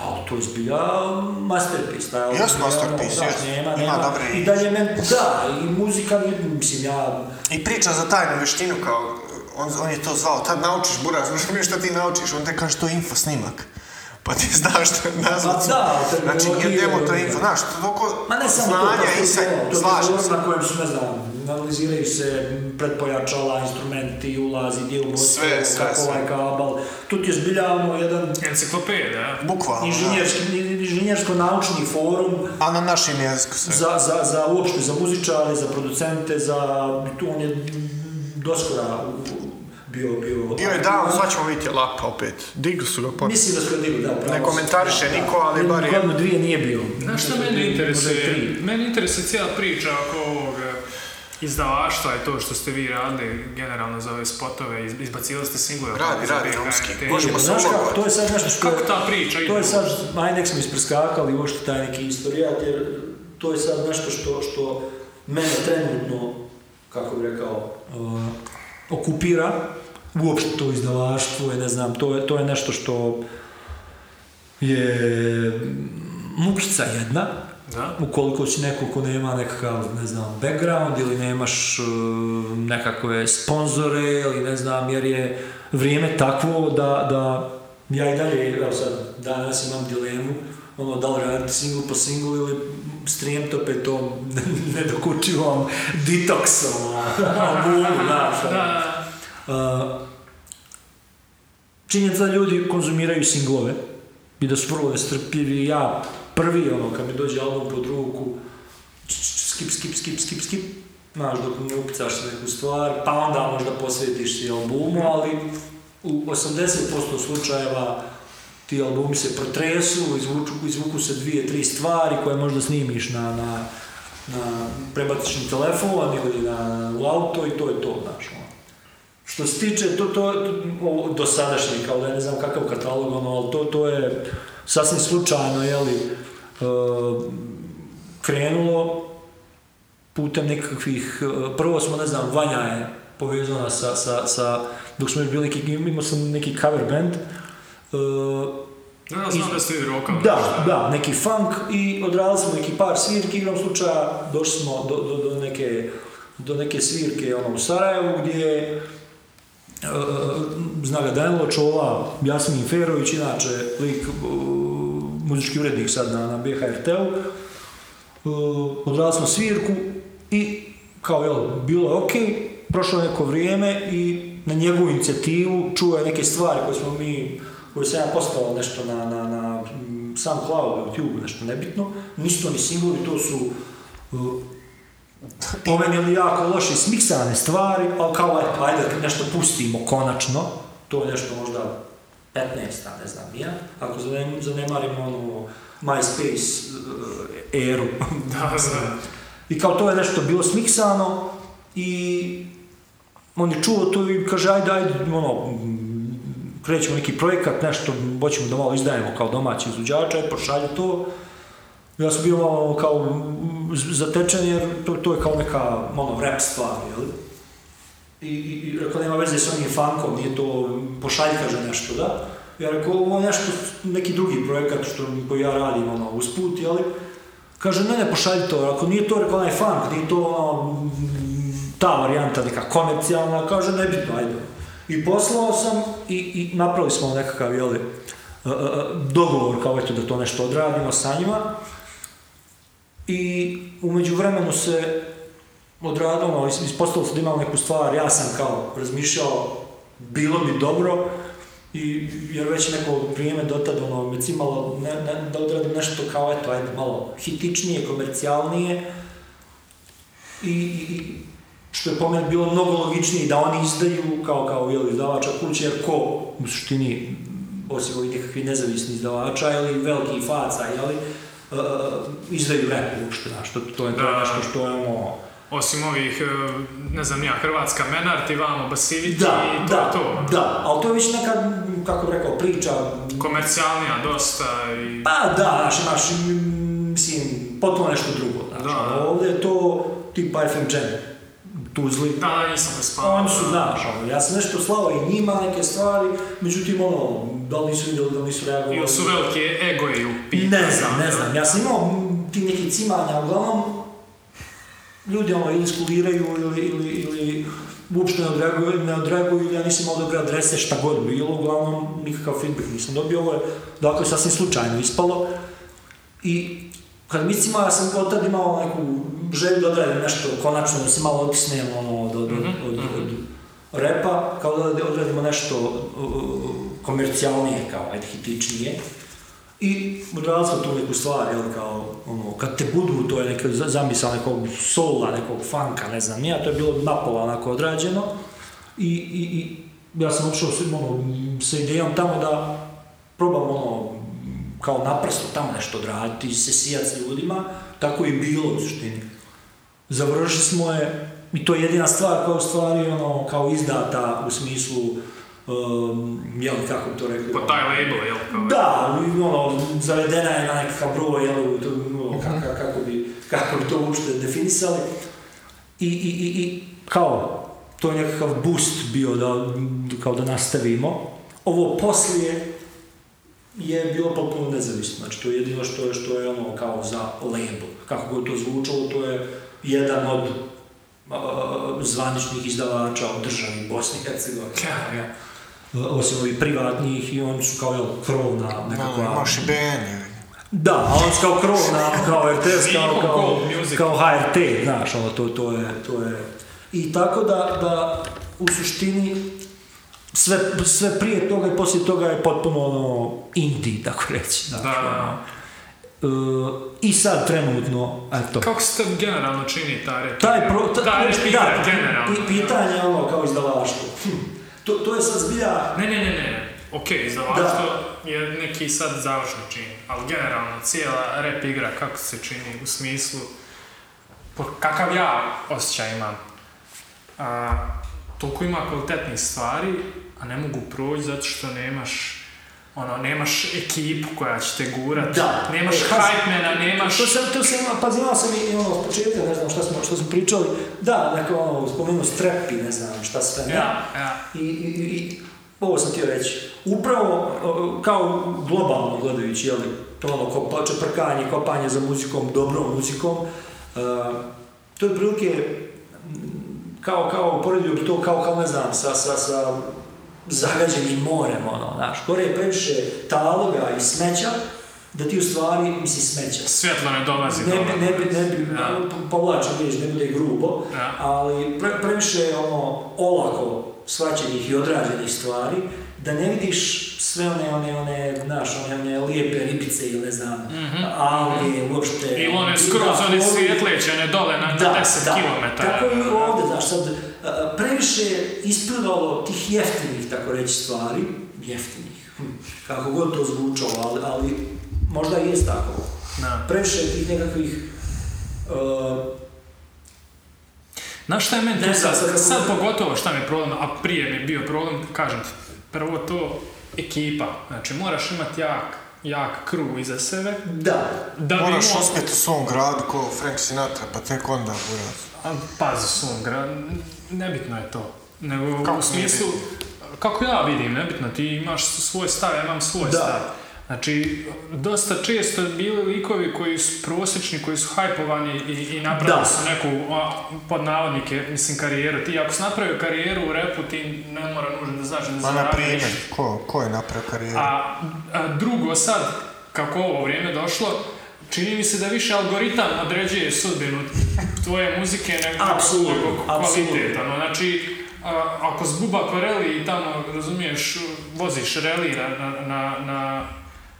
S3: ali to je zbilja masterpiece. Taj, album,
S2: Jest
S3: ono,
S2: masterpiece,
S3: znaš,
S2: jest.
S3: Nema,
S2: Ima
S3: nema.
S2: dobre-
S3: I dalje men, da, i muzika, nije- mislim, ja...
S2: I priča za tajnu vještinu kao, on, on je to zvao, tad naučiš buraz, znaš mi šta ti naučiš, on te kaže to je info snimak. Pa ti znaš što je nazvat.
S3: Pa da, ali
S2: znači,
S3: terminologija
S2: idemo
S3: je
S2: to je
S3: druga.
S2: info, znaš, to toliko
S3: Ma ne samo to,
S2: znanja
S3: to,
S2: i
S3: je
S2: sve,
S3: to, to, je
S2: slažem
S3: razgovor
S2: se.
S3: na kojem su, ne znam, analiziraju se pretpojačala, instrumenti, ulazi, gdje u bocu,
S2: Sve, sve,
S3: kako
S2: sve.
S3: ovaj kabal. Tu ti je zbilja ono jedan
S1: Enciklopedija, da.
S2: Bukvalno, da.
S3: inženjerski, inženjersko-naučni forum
S2: A na našem jeziku sve.
S3: za, za, za uopšte, za muzičare, za producente, za... Tu on je doskora u- u- bio... Bio,
S2: Bio je down, sad ćemo vidjeti lapa opet. Digli su ga pa.
S3: Mislim da su ga digli, da, pravo.
S2: Ne komentariše niko, ali
S3: Jednu
S2: bar je.
S3: Godinu dvije nije bio.
S1: Znaš šta
S3: Možda
S1: mene
S3: tri, možda i
S1: interesuje?
S3: tri.
S1: Mene interesuje cijela priča oko ovog e, izdavaštva i to što ste vi radili generalno za ove spotove, iz- izbacivali ste singlove.
S2: Radi,
S1: za
S2: radi,
S1: BKRT.
S2: romski. Možemo
S3: Jer,
S2: se
S3: Znaš kako,
S2: ulogovati.
S3: to je sad nešto što... je-
S1: Kako ta priča ide?
S3: Znači, To je sad, ajde nek smo ispreskakali uopšte taj neki istorijat, jer to je sad nešto što, što mene trenutno, kako bi rekao, uh, okupira, uopšte to izdavaštvo, je, ne znam, to je, to je nešto što je mm, mukica jedna,
S1: Da.
S3: ukoliko si neko ko nema nekakav, ne znam, background ili nemaš e, nekakve sponzore ili ne znam, jer je vrijeme takvo da, da ja i dalje, evo sad, danas imam dilemu, ono, da li raditi single po single ili strijem to petom <laughs> nedokučivom detoksom, <laughs> albumu, ono, znaš, ono.
S1: Da,
S3: Uh, činjenica da ljudi konzumiraju singlove i da su vrlo nestrpljivi. Ja prvi, ono, kad mi dođe album pod ruku, č- č- č- skip, skip, skip, skip, skip, znaš, dok ne upicaš na neku stvar, pa onda možda posvetiš si albumu, ali u 80% slučajeva ti albumi se protresu, izvuču, izvuku se dvije, tri stvari koje možda snimiš na, na, na prebaciš na telefon ili na, u auto i to je to, znaš, ono. Što se tiče to, to, to dosadašnji, kao da ja ne znam kakav katalog, ono, ali to, to je sasvim slučajno, jeli, e, krenulo putem nekakvih, e, prvo smo, ne znam, Vanja je povezao nas sa, sa, sa dok smo još bili neki, imao sam neki cover band, e,
S1: da, da, znam da ste vi rokali.
S3: da, da, neki funk i odradili smo neki par svirki, igrom slučaja došli smo do, do, do, neke, do neke svirke ono, u Sarajevu gdje je zna ga Danilo Čola, Jasmin Ferović, inače lik, e, muzički urednik sad na, na BHRT-u, E, odradili smo svirku i kao jel, bilo je okej, prošlo je neko vrijeme i na njegovu inicijativu čuo je neke stvari koje smo mi, koje sam ja postao nešto na, na, na mm, SoundCloud, YouTube, nešto nebitno, nisu to ni singlovi, to su e, po meni ono jako loše smiksane stvari, ali kao ajde, ajde kad nešto pustimo konačno, to je nešto možda 15, a ne znam ja, ako zanem- zanemarimo ono MySpace eh, eru.
S1: Da, da.
S3: I kao to je nešto bilo smiksano i on je čuo to i kaže ajde, ajde, ono, mm, krećemo neki projekat, nešto, hoćemo da malo izdajemo kao domaći izvođača, aj pošalje to. Ja sam bio malo kao mm, z- zatečen jer to, to je kao neka ono, rap stvar, jel? I, i, i rekao, nema veze s onim funkom, nije to, pošalj kaže nešto, da? Ja rekao, ovo je nešto, neki drugi projekat što, koji ja radim, ono, usput, jel? Kaže, ne, ne, pošalji to, ako nije to, rekao, onaj funk, nije to, ono, mm, ta varijanta neka komercijalna, kaže, nebitno, ajde. I poslao sam i, i napravili smo nekakav, jel, e, e, dogovor kao eto da to nešto odradimo sa njima. I umeđu vremenu se odradilo, ono, is- ispostavilo se da imam neku stvar, ja sam kao razmišljao, bilo bi dobro, i, jer već neko vrijeme dotad ono, me cimalo ne, ne, da odradim nešto kao, eto, ajde, malo hitičnije, komercijalnije, i, i, i što je po meni bilo mnogo logičnije da oni izdaju kao kao jel, izdavača kuće, jer ko u suštini, osim ovih nekakvih nezavisnih izdavača ili velikih faca, jeli, uh, izdaju rap uopšte, znaš, to, to je to
S1: Da.
S3: nešto što je ono...
S1: Osim ovih, e, ne znam nija, Hrvatska Menart i vamo Basilić
S3: Da,
S1: i to
S3: da,
S1: je to.
S3: da, ali to je već neka, kako bi rekao, priča,
S1: Komercijalnija dosta i...
S3: pa da, znaš, imaš, mm, mislim, potpuno nešto drugo, znaš,
S1: Da,
S3: ali
S1: da.
S3: ovdje je to tipa FM Jam, Tuzli,
S1: Da, da, nisam ga spavao.
S3: Oni su, znaš, ono, ja sam nešto slao i njima neke stvari, međutim, ono, da li nisu vidjeli, da li nisu reagovali.
S1: Ili su velike egoje u pitanju.
S3: Ne znam, ne znam. Ja sam imao mm, ti neki cimanja, uglavnom, ljudi ono ili skuliraju ili, ili, ili uopšte ne odreaguju, ne odreaguju ili ja nisam imao dobre adrese, šta god bilo, uglavnom nikakav feedback nisam dobio, ovo je, dakle, sasvim slučajno ispalo. I kad mi cimao, ja sam od tad imao neku želju da odradim nešto konačno, da se malo otisnem ono, od, od,
S1: Mhm,
S3: od, od, repa, kao da odradimo nešto uh, uh, komercijalnije, kao, ajde, hitičnije. I odradili smo tu neku stvar, jel, kao, ono, kad te budu, to je neka za- zamisao nekog sola, nekog funka, ne znam, ja, to je bilo napola onako odrađeno. I, i, i ja sam otišao s, ono, sa idejom tamo da probam, ono, kao naprsto tamo nešto odraditi, se sijat s ljudima, tako je i bilo u suštini. Završili smo je, i to je jedina stvar koja je u stvari, ono, kao izdata u smislu, um, jel, kako bi to rekli?
S1: Po taj label, jel? Kao
S3: Da, ono, zavedena je na nekakav broj, jel, to, ono, ka- ka- kako, bi, kako bi to uopšte definisali. I, i, i, i kao, to je nekakav boost bio da, kao da nastavimo. Ovo poslije je bilo potpuno nezavisno, znači to je jedino što je, što je ono kao za label. Kako god to zvučalo, to je jedan od a, zvaničnih izdavača u državi Bosni i Hercegovine. Eh, Osim ovih privatnih i oni su kao jel, krovna
S2: Malo
S3: nekakva...
S2: imaš i Ben.
S3: Da, a on su kao krovna, kao RTS, kao,
S1: Nikom
S3: kao,
S1: Gold Music.
S3: kao HRT, znaš, ono, to, to je, to je. I tako da, da u suštini sve, sve prije toga i poslije toga je potpuno ono indie, tako reći. Znaš,
S1: Da, da.
S3: ono. E, I sad trenutno, eto.
S1: Kako se to generalno čini ta rep?
S3: Taj pro, ta,
S1: da, reč pitanje,
S3: da,
S1: generalno.
S3: pi- pitanje ono kao izdavaštvo. Hm, To, to je sad zbilja
S1: Ne, ne, ne, ne. Ok, izdavaštvo je neki sad završni čin, ali generalno cijela rep igra kako se čini u smislu po- kakav ja osjećaj imam. A, toliko ima kvalitetnih stvari, a ne mogu proći zato što nemaš ono, nemaš ekipu koja će te gurat,
S3: Da.
S1: nemaš
S3: E, pazi,
S1: hypemana, nemaš...
S3: To sam, to sam, ima- pazi, imao sam i ono, od početka, ne znam šta smo, što smo pričali, da, dakle, ono, spomenuo strepi, ne znam šta sve, ne.
S1: Ja, ja.
S3: I, i, i- i, ovo sam htio reći, upravo, o, kao globalno gledajući, jel, to ono, kopa, čeprkanje, kopanje za muzikom, dobrom muzikom, e, to je prilike, kao, kao, poredio bi to kao, kao, ne znam, sa, sa, sa zagađenim morem, ono, znaš, gore je previše taloga i smeća, da ti u stvari, mislim, smeća,
S1: Svjetlo ne dolazi
S3: ne
S1: dobro.
S3: bi, ne bi, ne bi,
S1: Ja.
S3: po- povlačim riječ, ne bude grubo,
S1: Ja.
S3: ali pre, previše je ono olako shvaćenih i odrađenih stvari, da ne vidiš sve one, one, one, znaš, one, one lijepe ribice ili ne znam, alge, uopšte...
S1: Mhm. I one
S3: da,
S1: skroz, one
S3: floru.
S1: svijetleće, one dole na
S3: Da,
S1: 10
S3: da.
S1: kilometara.
S3: Tako i ovdje, znaš, sad, a, previše je isplivalo tih jeftinih, tako reći, stvari, jeftinih, hm, kako god to zvučalo, ali, ali možda i jest tako.
S1: Da.
S3: Previše je tih nekakvih uh,
S1: Znaš šta je meni tu
S3: Ne znam,
S1: sad,
S3: sad kako-
S1: sad pogotovo šta mi je problem, a prije mi je bio problem, kažem ti, prvo to ekipa, znači moraš imati jak, jak crew iza sebe,
S3: da,
S1: da bi
S2: Moraš
S1: imao-
S2: uspjeti u svom gradu ko Frank Sinatra, pa tek onda, buraz.
S1: A pazi sungra, nebitno je to. Nego
S2: Kako
S1: u smislu,
S2: nije
S1: kako ja vidim, nebitno, ti imaš svoj stav, ja imam svoj
S3: Da.
S1: stav. Znači, dosta često bili likovi koji su prosječni, koji su hajpovani i, i napravili
S3: Da.
S1: su neku, a, pod navodnike, mislim, karijeru. Ti ako si napravio karijeru u repu, ti ne mora nužno da znaš da
S2: Ma na
S1: zaradio
S2: primjer,
S1: ništa.
S2: ko, ko je napravio karijeru?
S1: A, a drugo sad, kako ovo vrijeme došlo, čini mi se da više algoritam određuje sudbinu tvoje muzike nego,
S3: Apsolutno,
S1: nego
S3: apsolutno.
S1: kvalitet. Ono, znači, a, ako zbuba kvareli i tamo, razumiješ, voziš reli na, na, na, na,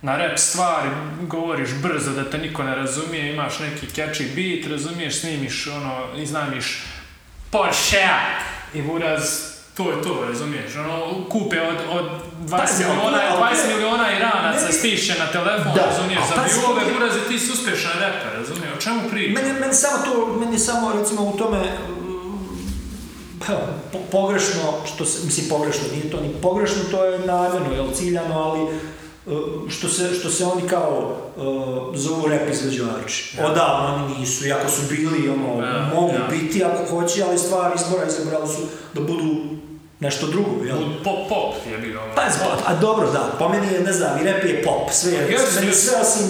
S1: na rap stvari, govoriš brzo da te niko ne razumije, imaš neki catchy beat, razumiješ, snimiš, ono, iznajmiš Porsche i buraz to je to, razumiješ? Ono, kupe od, od 20
S3: Pazi, ali
S1: miliona,
S3: to je- ali to je-
S1: 20 miliona iranaca stišće na telefon,
S3: Da,
S1: razumiješ?
S3: ali
S1: Za
S3: pazi,
S1: viewove,
S3: ali-
S1: buraz, i ti si uspješan reper, razumiješ? O čemu pričaš?
S3: Meni, meni samo to, meni samo recimo u tome mm, pa, po- pogrešno, što se, mislim pogrešno, nije to ni pogrešno, to je namjerno, jel, ciljano, ali e, što se, što se oni kao e, zovu rap izvođači. Odavno oni nisu, iako su bili, ono,
S1: Ja,
S3: mogu
S1: ja.
S3: biti ako hoće, ali stvar izbora izabrali su da budu nešto drugo, jel?
S1: Bud- Pop, pop je bio ono.
S3: Pazi, pa-
S1: pop.
S3: a dobro, da, po meni je, ne znam, i rap je pop, sve je,
S1: Yes,
S3: meni
S1: yes.
S3: sve osim,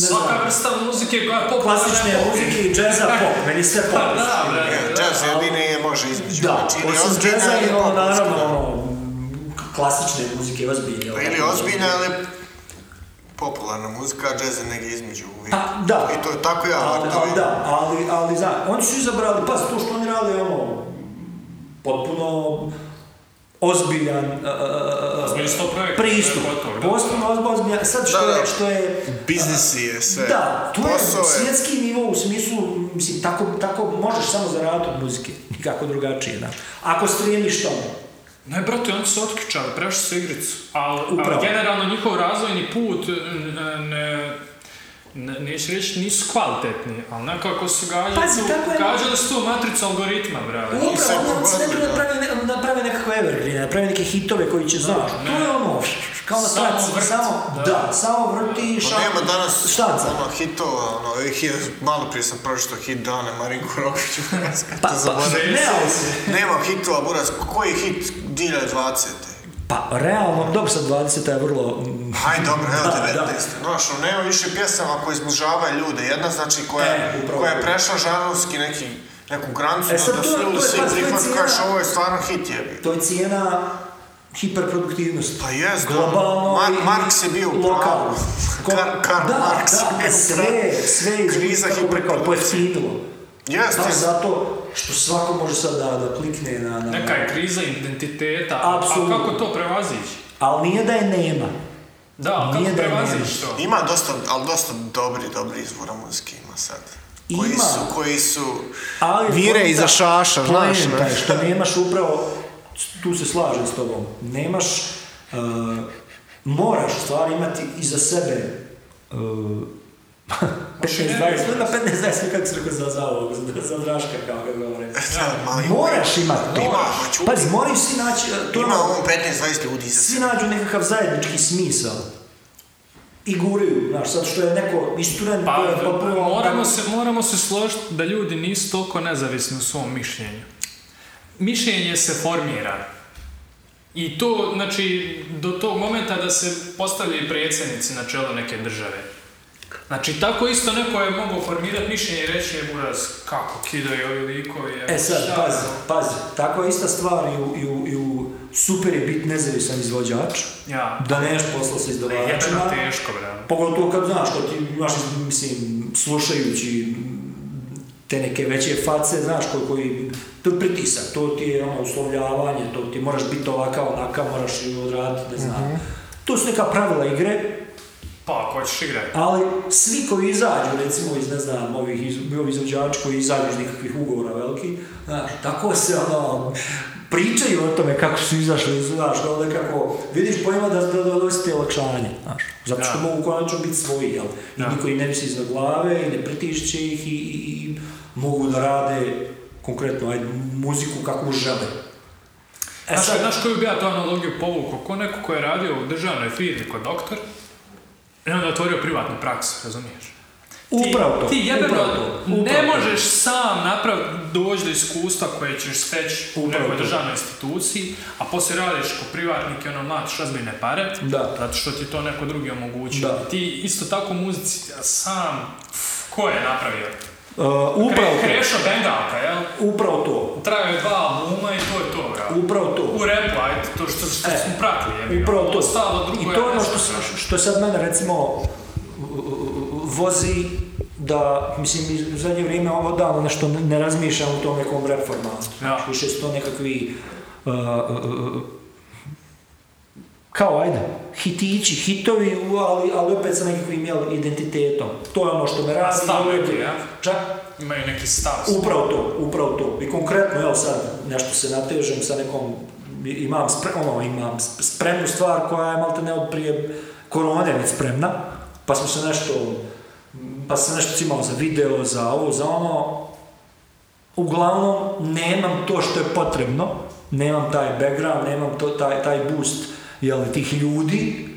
S1: Pa Svaka
S3: znam,
S1: vrsta muzike koja je pop,
S3: klasične
S1: ona je pop.
S3: muzike i džeza pop, meni sve pop.
S1: Pa <laughs> da, bre,
S2: Ja,
S1: da.
S2: Jazz jedini je može između.
S3: Da,
S2: Znači, ili
S3: osim
S2: ozbiljna
S3: džeza i
S2: ili
S3: ono,
S2: popovska.
S3: naravno, ono, k- klasične muzike, ozbiljne.
S2: Pa
S3: ono.
S2: Ili ozbiljna ili popularna muzika, a jazz je negdje između uvijek.
S3: Pa, da.
S2: I to je tako ja,
S3: Ali,
S2: to
S3: ali
S2: vidim.
S3: da, ali, ali znaš, oni su izabrali, pa to što oni rade, ono, potpuno ozbiljan e, e,
S1: Ozbiljan sto
S3: e,
S1: projekat,
S3: pristup,
S1: to je gotovo, da.
S3: potpuno ozbiljan, ozbiljan, sad što
S2: Da, da.
S3: je, što je,
S4: Biznis je sve.
S3: da, to je
S2: Posao je.
S3: svjetski nivo u smislu, mislim, tako, tako možeš samo zaraditi od muzike, nikako drugačije, da. Ako strijeliš tome,
S1: Ne, brate, oni su otkičali, prešli su igricu. Ali,
S3: Upravo.
S1: ali generalno njihov razvojni put, n- ne, ne, neću reći, nisu kvalitetni, ali nekako su gađali,
S3: Pazi, kako je-
S1: gađali su tu matricu algoritma, brate.
S3: Upravo,
S2: sve
S3: onda
S2: Pa pogodili,
S3: se najprije
S2: da.
S3: naprave, ne- naprave nekakve evergreene, naprave neke hitove koji će, znaš, to je ono, kao na
S1: Samo
S3: traci,
S1: vrt,
S3: samo,
S1: da.
S3: da, samo vrti i
S2: Pa nema danas
S3: štanca.
S2: ono hitova, ono, ovih hit, malo prije sam pročito hit Dane Marinko Rokiću. to
S3: Pa, pa,
S2: zaboravim.
S3: realno, se-
S2: Nema hitova, Buras, koji hit 2020.
S3: pa, realno, dobro sad 20 je vrlo... mm,
S2: Hajde, dobro, evo
S3: Da,
S2: 19.
S3: da.
S2: Znaš, ono, nema više pjesama koje izbližavaju ljude. Jedna, znači, koja,
S3: E, upravo.
S2: koja je prešla žanovski neki, neku granicu,
S3: E, sad
S2: da
S3: to-
S2: su
S3: to je,
S2: ljudi svi
S3: pa, to je
S2: prihvatili,
S3: cijena.
S2: kažeš, ovo je stvarno hit jebi.
S3: To je cijena hiperproduktivnosti.
S2: Pa jes, da.
S3: globalno
S2: Mar-
S3: i
S2: Marks je bio u pravu.
S3: lokalno. Ko-
S2: Karl- Karl
S3: da,
S2: Marks je bio
S3: Da,
S2: u
S3: sve,
S2: pravu.
S3: sve je
S2: Kriza
S3: kako bi rekao,
S2: hiperprodukcije.
S3: pojeftinilo.
S2: Jes,
S3: Da,
S2: jes.
S3: zato što svako može sad da, da klikne na... na
S1: Neka je kriza identiteta,
S3: Apsolutno.
S1: a kako to prevazići?
S3: Ali nije da je nema.
S1: Da, ali
S3: Nije
S1: kako
S3: da je
S1: prevazići to?
S2: Ima dosta, ali dosta dobri, dobri izvora muzike ima sad. Koji
S3: Ima.
S2: su, koji su... <laughs>
S3: Ali
S4: Vire
S3: poenta-
S4: iza šaša, znaš, ne?
S3: poenta je što nemaš upravo, tu se slažem s tobom, nemaš, e, moraš u stvari imati iza sebe e, <laughs> 15-20 godina, 15-20 kako se rekao za, za ovog, za, za Draška, kao ga govore.
S2: mali-
S3: Moraš imati to.
S2: Ima, hoću-
S3: Pazi, moraju svi naći, e, to je
S2: Ima
S3: ono-
S2: on 15-20 ljudi iza
S3: svi
S2: sebe.
S3: nađu nekakav zajednički smisao. I guraju, znaš, sad što je neko isturen,
S1: Pa,
S3: to je potpuno-
S1: moramo, se, moramo se složiti da ljudi nisu toliko nezavisni u svom mišljenju. Mišljenje se formira. I to, znači, do tog momenta da se postavljaju predsjednici na čelo neke države. Znači, tako isto neko je mogao formirati mišljenje i reći je buraz kako kidaju ovi likovi. evo,
S3: E sad,
S1: šta
S3: pazi,
S1: je ovo?"
S3: pazi, takva je ista stvar i u, i u, i u super je bit nezavisan izvođač,
S1: Ja,
S3: da neš posla sa
S1: jebeno
S3: izdavačima,
S1: teško, bravo.
S3: pogotovo kad znaš, kad ti imaš, mislim, slušajući te neke veće face, znaš, koji, koji, to je pritisak, to ti je ono uslovljavanje, to ti moraš biti ovakav, onakav, moraš i odraditi, ne znam. To su neka pravila igre,
S1: Pa, ako ćeš igrati.
S3: ali svi koji izađu, recimo iz, ne znam, ovih, iz, ovi izvođači koji izađu iz nikakvih ugovora veliki, znaš, tako se ono, pričaju o tome kako su izašli, iz- znaš, kao nekako, vidiš pojma da, da, da donosite olakšanje, znaš, zato što
S1: Da.
S3: mogu konačno biti svoji, jel, i
S1: Da.
S3: niko ih ne misli iznad glave, i ne pritišće ih, i, i, i mogu da rade konkretno ajde, muziku kakvu žele. E
S1: Znaš,
S3: sad,
S1: znaš koju bi ja tu analogiju povukao? Ko neko ko je radio u državnoj firmi kod doktor i onda otvorio privatnu praksu, razumiješ? Ti-
S3: upravo to,
S1: Ti jebeno
S3: upravo to,
S1: ne
S3: upravo to.
S1: možeš sam napraviti, doći do iskustva koje ćeš steći u
S3: Upravo
S1: nekoj
S3: to.
S1: državnoj instituciji, a poslije radiš kao privatnik i ono mladiš razbine pare,
S3: Da.
S1: zato što ti to neko drugi omogućio.
S3: Da.
S1: Ti isto tako u muzici a sam, ko je napravio?
S3: Uh, upravo
S1: Kre,
S3: to,
S1: Krešo Bengalka, jel?
S3: upravo to,
S1: Trajao je dva albuma i to je to, brate.
S3: upravo to.
S1: U repu, ajde, to što, što
S3: E,
S1: smo pratili, jebi.
S3: Upravo to.
S1: Ostalo drugo
S3: I to
S1: ja
S3: je ono
S1: ne
S3: što,
S1: znam.
S3: što sad mene recimo vozi da, mislim, u zadnje vrijeme ovo davno nešto ne- ne razmišljam u tom nekom rap formatu.
S1: Da.
S3: Više su to nekakvi uh, uh, uh, kao ajde, hitići, hitovi, u- ali, ali opet sa nekakvim jel, identitetom. To je ono što me radi.
S1: Stav
S3: dovodi-
S1: neki, ja?
S3: Čak,
S1: Imaju neki stav.
S3: Upravo to, upravo to. I konkretno, evo sad, nešto se natežem sa nekom, imam, spre, ono, imam sp- spremnu stvar koja je malte ne od prije korone već spremna, pa smo se nešto, pa sam se nešto cimao za video, za ovo, za ono. Uglavnom, nemam to što je potrebno, nemam taj background, nemam to, taj, taj boost jel, tih ljudi,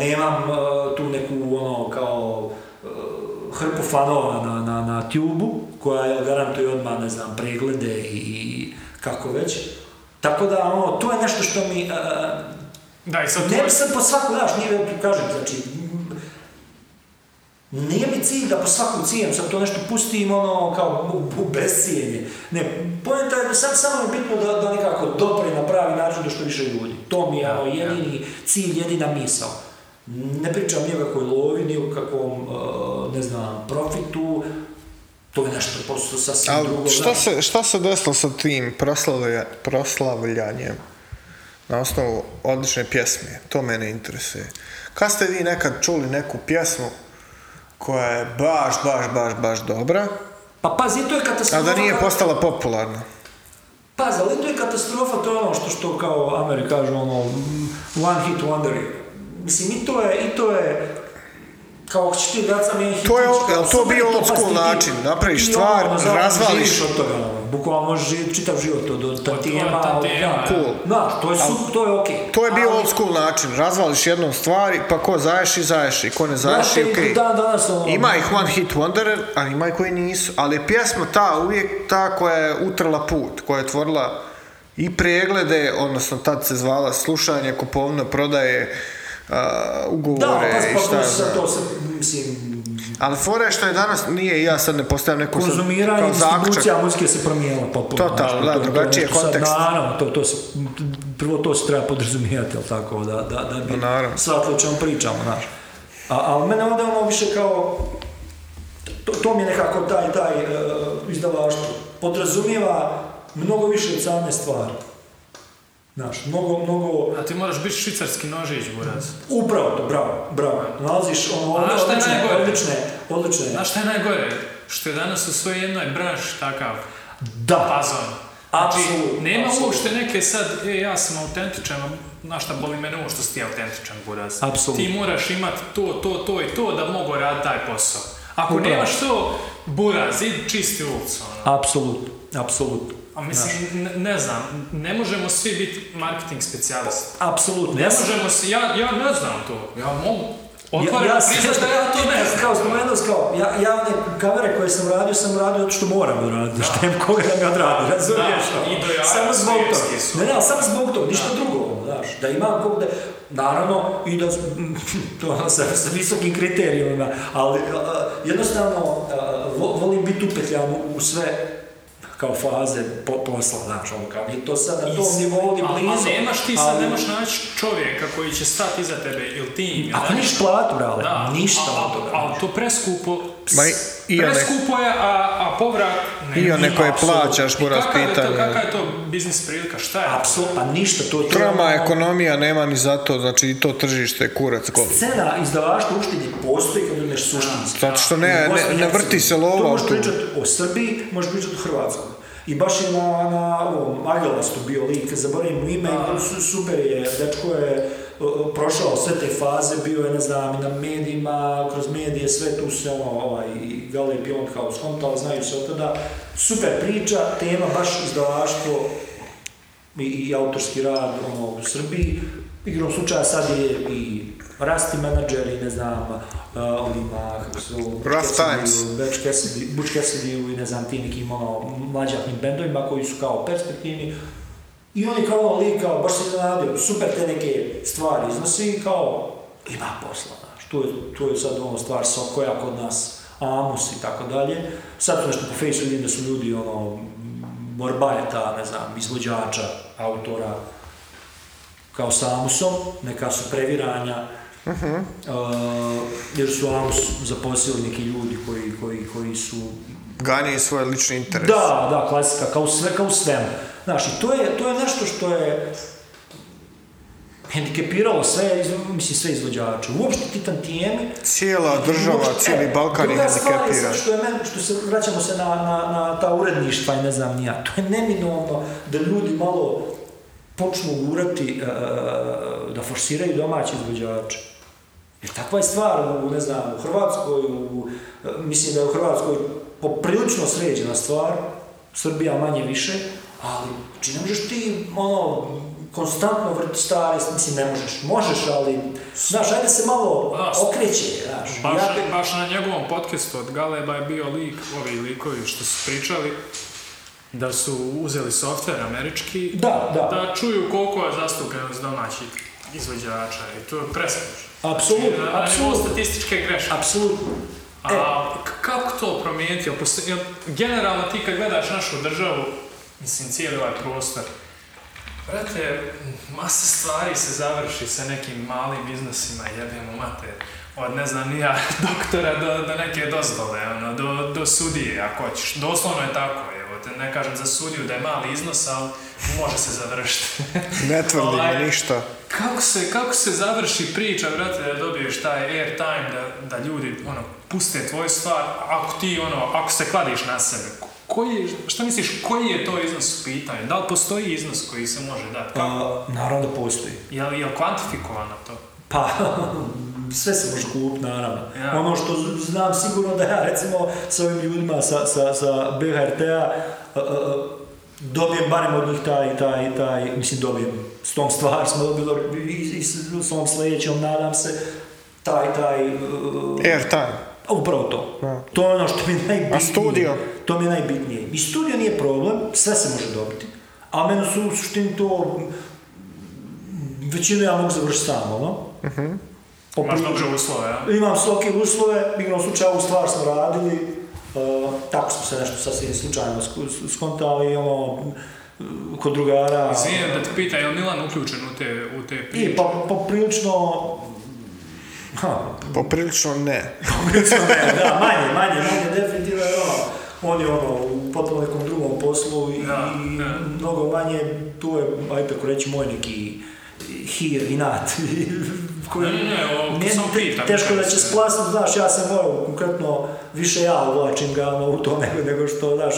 S3: e, nemam e, tu neku ono kao hrpu fanova na, na, na tubu, koja je garantuje odmah, ne znam, preglede i, i kako već. Tako da, ono, to je nešto što mi... e,
S1: Da, i sad
S3: ne
S1: tvoj-
S3: bi sam po svaku, znaš, nije, kažem, znači, nije mi cilj da po svaku cijenu sad to nešto pustim, ono, kao u- u bescijenje. Ne, pojenta je, sam, samo je bitno da, da nekako dopre na pravi način do što više ljudi. To mi je ono, jedini cilj, jedina misao. Ne pričam ni o kakvoj lovi, ni o kakvom, e, ne znam, profitu, to je nešto prosto sasvim drugo.
S2: Ali šta
S3: znaš.
S2: se, šta se desilo sa tim proslavlja, proslavljanjem na osnovu odlične pjesme? To mene interesuje. Kad ste vi nekad čuli neku pjesmu koja je baš, baš, baš, baš dobra,
S3: Pa pazi, to je
S2: a
S3: katastrofa.
S2: da nije postala popularna?
S3: Pazi, ali to je katastrofa, to je ono što, što kao Ameri kažu, ono, mm, one hit wonder. Mislim, i to je, i to je, kao ako ćeš ti igrat sa meni hitić,
S2: To je o-
S3: kao
S2: jel to
S3: super,
S2: bio old
S3: pa
S2: school
S3: si ti-
S2: način, napraviš
S3: ti
S2: stvar,
S3: ono, zapravo
S2: razvališ.
S3: živiš od toga, ono, bukvalno možeš živjeti čitav život od, od tantijema,
S1: tantijema,
S3: od- da.
S2: Cool.
S3: Da, to je, su, to je okej.
S2: To je bio
S3: Ali-
S2: old school način, razvališ jednom stvari, pa ko zaješ i zaješ i ko ne zaješ i
S3: Brate,
S2: okej.
S3: dan danas, ono,
S2: Ima ih one hit wonder, ali ima i koji nisu. Ali je pjesma ta uvijek ta koja je utrla put, koja je tvorila i preglede, odnosno tad se zvala slušanje, kupovno, prodaje, a, ugovore
S3: Da, pa,
S2: i
S3: pa,
S2: šta
S3: to
S2: ja
S3: se,
S2: znam.
S3: to se, mislim,
S2: Ali fora je što je danas, nije ja sad ne postavljam neku sad
S3: konzumiranje
S2: kao
S3: i distribucija muzike se promijenila potpuno. znači,
S2: Totalno,
S3: znaš,
S2: da,
S3: to- to je
S2: drugačiji je
S3: nešto sad,
S2: kontekst.
S3: Naravno, to, to se, prvo to se treba podrazumijati, jel tako, da, da, da bi
S2: Pa naravno.
S3: shvatili o čemu pričamo, znaš. A, ali mene onda ono više kao, to, to mi je nekako taj, taj e, izdavaštvo, podrazumijeva mnogo više od same stvari. Znaš, mnogo, mnogo,
S1: A ti moraš biti švicarski nožić, buraz.
S3: upravo to, bravo, bravo. Nalaziš ono,
S1: A znaš šta je
S3: odlične,
S1: najgore?
S3: odlične, odlične,
S1: Znaš šta je najgore? Što je danas u svojoj jednoj branši takav
S3: da,
S1: fazon.
S3: Apsolutno,
S1: nema
S3: apsolutno.
S1: uopšte neke sad, e, ja sam autentičan, znaš šta boli mene ovo što si ti autentičan, buraz.
S3: Apsolutno.
S1: Ti moraš imat to, to, to i to da mogu raditi taj posao. Ako
S3: Upravo.
S1: nemaš to, buraz, idi čisti ulicu. ono.
S3: apsolutno, apsolutno.
S1: A mislim, ne, ne znam, ne možemo svi biti marketing specijalisti.
S3: Apsolutno.
S1: Ne
S3: Ja sam-
S1: možemo se, ja, ja ne znam to, ja mogu
S3: Ja,
S1: otvoreno
S3: ja
S1: ja,
S3: sam-
S1: priznat da ja to ne znam.
S3: Kao spomenuo, sam, kao, ja, ja one kavere koje sam radio, sam radio zato što moram odraditi, što nemam koga da mi odradi, razumiješ?
S1: Da,
S3: ono?
S1: i do jaja
S3: samo zbog
S1: svjetski su.
S3: toga. Ne, ne, ali samo zbog toga, ništa drugo, ono, znaš, da imam kog da, naravno, i da, <laughs> to ono, sa, sa visokim kriterijumima, ali a, jednostavno a, vo- volim biti upetljan u- u sve kao faze po, posla, znaš, ono, kao, nije to sad na tom nivou ni
S1: A- a
S3: blizu.
S1: nemaš ti sad,
S3: ali-
S1: nemaš naći čovjeka koji će stati iza tebe ili ti ili
S3: Ako
S1: nešto.
S3: niš platu, brale,
S1: Da,
S3: ništa
S1: a- a-
S3: od toga. znači.
S1: Ali to preskupo ps,
S2: Ma i- i one-
S1: preskupo je, a, a povrat... Ne,
S2: I one
S1: ima,
S2: koje
S1: apsolutno.
S2: plaćaš,
S1: I
S2: moraš
S1: kakva je to-
S2: pitanje.
S1: Kakva je to biznis prilika, šta je?
S3: Apsolutno, pa ništa, to je... to je
S2: Troma
S3: ono-
S2: ekonomija nema ni za to, znači i to tržište je kurac gol.
S3: Scena izdavaštva uopšte ne postoji kad odneš suštinski.
S2: Zato što ne-
S3: U
S2: ne-
S3: Bosni i
S2: ne vrti se lova
S3: Hercegovini. To možeš
S2: tu.
S3: pričati o Srbiji, možeš pričati o Hrvatskoj. I baš je na, na ovom Agelastu bio lik, zaboravim mu ime, i su, super je, dečko je uh, prošao sve te faze, bio je, ne znam, i na medijima, kroz medije, sve tu se ono, ovaj, i Gale je bio on kao skontao, znaju se od tada. Super priča, tema, baš izdavaštvo, i, i autorski rad ono, u Srbiji. Igrom slučaja sad je i Rasti menadžer i ne znam, uh, ovima, kako se zove, Butch
S2: Rough
S3: Cassidyu,
S2: Times.
S3: Butch Cassidy, Butch Cassidy i ne znam, tim nekim ono, mlađakim bendovima koji su kao perspektivni. I on je kao ono lik, kao, baš se iznenadio, super te neke stvari iznosi i kao, ima posla, znaš. Tu je, tu je sad ono stvar koja kod nas, Amos i tako dalje. Sad tu nešto po Facebooku vidim da su ljudi ono, borbajeta, ne znam, izvođača, autora, kao s Amusom, neka su previranja, E, jer su Amus zaposlili neki ljudi koji, koji, koji su
S2: Ganjaju svoj lični interes.
S3: da, da, klasika, kao sve, kao u svemu. Znaš, i to je, to je nešto što je hendikepiralo sve, iz- mislim, sve izvođače. Uopšte ti tantijemi...
S2: Cijela država,
S3: uopšte-
S2: cijeli
S3: e,
S2: Balkan je
S3: druga stvar je
S2: hendikepiran.
S3: sad Što, je meni, što se, vraćamo se na, na, na ta uredništva i ne znam ni ja. To je neminovno da ljudi malo počnu gurati, e, da forsiraju domaći izvođače. Jer takva je stvar, u, ne znam, u Hrvatskoj, u, e, mislim da je u Hrvatskoj poprilično sređena stvar, Srbija manje više, ali znači ne možeš ti ono, konstantno vrti stare, mislim ne možeš, možeš, ali, znaš, ajde se malo
S1: Da,
S3: okreće, znaš.
S1: Baš,
S3: Ja-
S1: baš na njegovom podcastu od Galeba je bio lik, ovi likovi što su pričali, da su uzeli softver američki,
S3: Da, da.
S1: da čuju koliko je zastupljenost domaćih izvođača i to je prestrašno.
S3: Apsolutno,
S1: Znači, na- na nivou
S3: apsolutno,
S1: statističke greške.
S3: apsolutno.
S1: A E, k- kako to promijeniti? Jel postoji- jel generalno ti kad gledaš našu državu, mislim cijeli ovaj prostor, Brate, masa stvari se završi sa nekim malim iznosima, jebimo mater. Od ne znam ni ja, <laughs> doktora do, do neke dozvole, ono, do, do sudije, ako hoćeš. Doslovno je tako, evo te ne kažem za sudiju da je mali iznos, ali može se završiti. <laughs>
S2: Ne tvrdimo
S1: Ovaj,
S2: ništa.
S1: Kako se, kako se završi priča, brate, da dobiješ taj airtime, da, da ljudi, ono, puste tvoju stvar, ako ti, ono, ako se kladiš na sebe, ko- koji, šta misliš, koji je to iznos u pitanju? Da li postoji iznos koji se može dati? Kako-
S3: Pa, naravno da postoji.
S1: Je li, je li kvantifikovano to?
S3: Pa, <laughs> sve se može kupiti, naravno.
S1: Ja.
S3: Ono što z- znam sigurno da ja, recimo, s ovim ljudima sa, sa, sa BHRT-a, e, e, dobijem barem od njih taj, taj, taj, mislim dobijem, s tom stvar smo dobili i, i s, s ovom sljedećom, nadam se, taj, taj, e,
S2: Airtime.
S3: a Upravo to. To je ono što mi je najbitnije.
S2: A studio?
S3: To mi je najbitnije. I studio nije problem, sve se može dobiti. A meni su u suštini to... Većinu ja mogu završiti sam, ono.
S2: Mhm.
S1: Imaš
S3: Popri-
S1: dobre uslove, a?
S3: Imam sloke uslove, igrom slučaja ovu stvar smo radili, e, tako smo se nešto sasvim slučajno sk- skontali, ono, m, kod drugara.
S1: Izvijem da te pita, je li Milan uključen u te, u te priče?
S3: I pa, poprilično... Ha,
S2: Poprilično ne.
S3: da, manje, manje, manje, definitivno je ono, on je ono, u potpuno nekom drugom poslu i,
S1: Da,
S3: i
S1: da.
S3: mnogo manje, tu je, ajde tako reći, moj neki hir, inat, <laughs> koji
S1: Ne, ne, ne, ovo
S3: ne,
S1: samo
S3: pa, te-
S1: pitam.
S3: teško da će splasnuti, znaš, ja sam morao, konkretno, više ja uvlačim ga ono, u to nego, <laughs> nego što, znaš,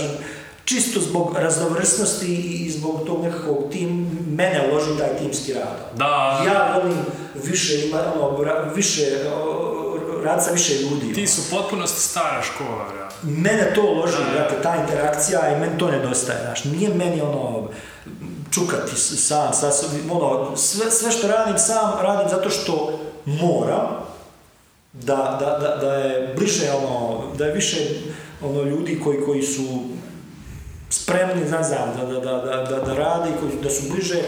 S3: čisto zbog raznovrsnosti i zbog tog nekakvog tim, mene uloži u taj timski rad.
S1: Da,
S3: Ja volim više, ima, ono, ra- više, o, rad sa više ljudi.
S1: ti
S3: ono.
S1: su u potpunosti stara škola, bra.
S3: Mene to loži, brate, ta interakcija i meni to nedostaje, znaš, nije meni ono čukati s- sam, sa sobom, ono, sve, sve što radim sam, radim zato što moram, da, da, da, da je bliže ono, da je više ono ljudi koji, koji su spremni, ne znam, da, da, da, da, da, da rade i koji, da su bliže,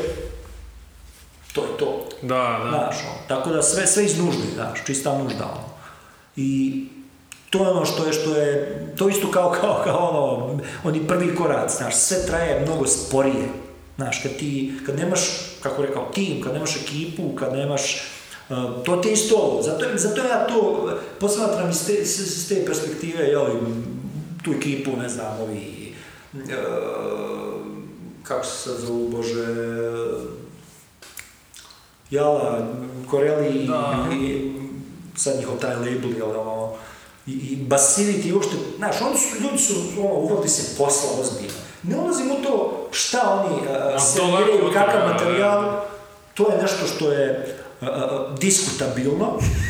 S3: to je to.
S1: Da, da.
S3: Znaš, ono, tako da sve, sve iz nužde, znaš, čista nužda, ono. I to je ono što je, što je, to isto kao, kao, kao ono, oni prvi korac, znaš, sve traje mnogo sporije. Znaš, kad ti, kad nemaš, kako je rekao, tim, kad nemaš ekipu, kad nemaš Uh, to te isto ovo. Zato, zato ja to e, posmatram iz te, s, s te perspektive, jel, tu ekipu, ne znam, ovi, uh, kako se sad zovu, Bože, Jala, Koreli
S1: Da.
S3: i sad njihov taj label, jel, ono, i, i Basiliti, i uopšte, znaš, oni su, ljudi su, ono, uhvatili se posla ozbiljno. Ne ulazim u to šta oni
S1: Ma,
S3: uh,
S1: to
S3: se
S1: lako
S3: igraju,
S1: otvara,
S3: kakav
S1: da.
S3: materijal, to je nešto što je uh, uh, diskutabilno,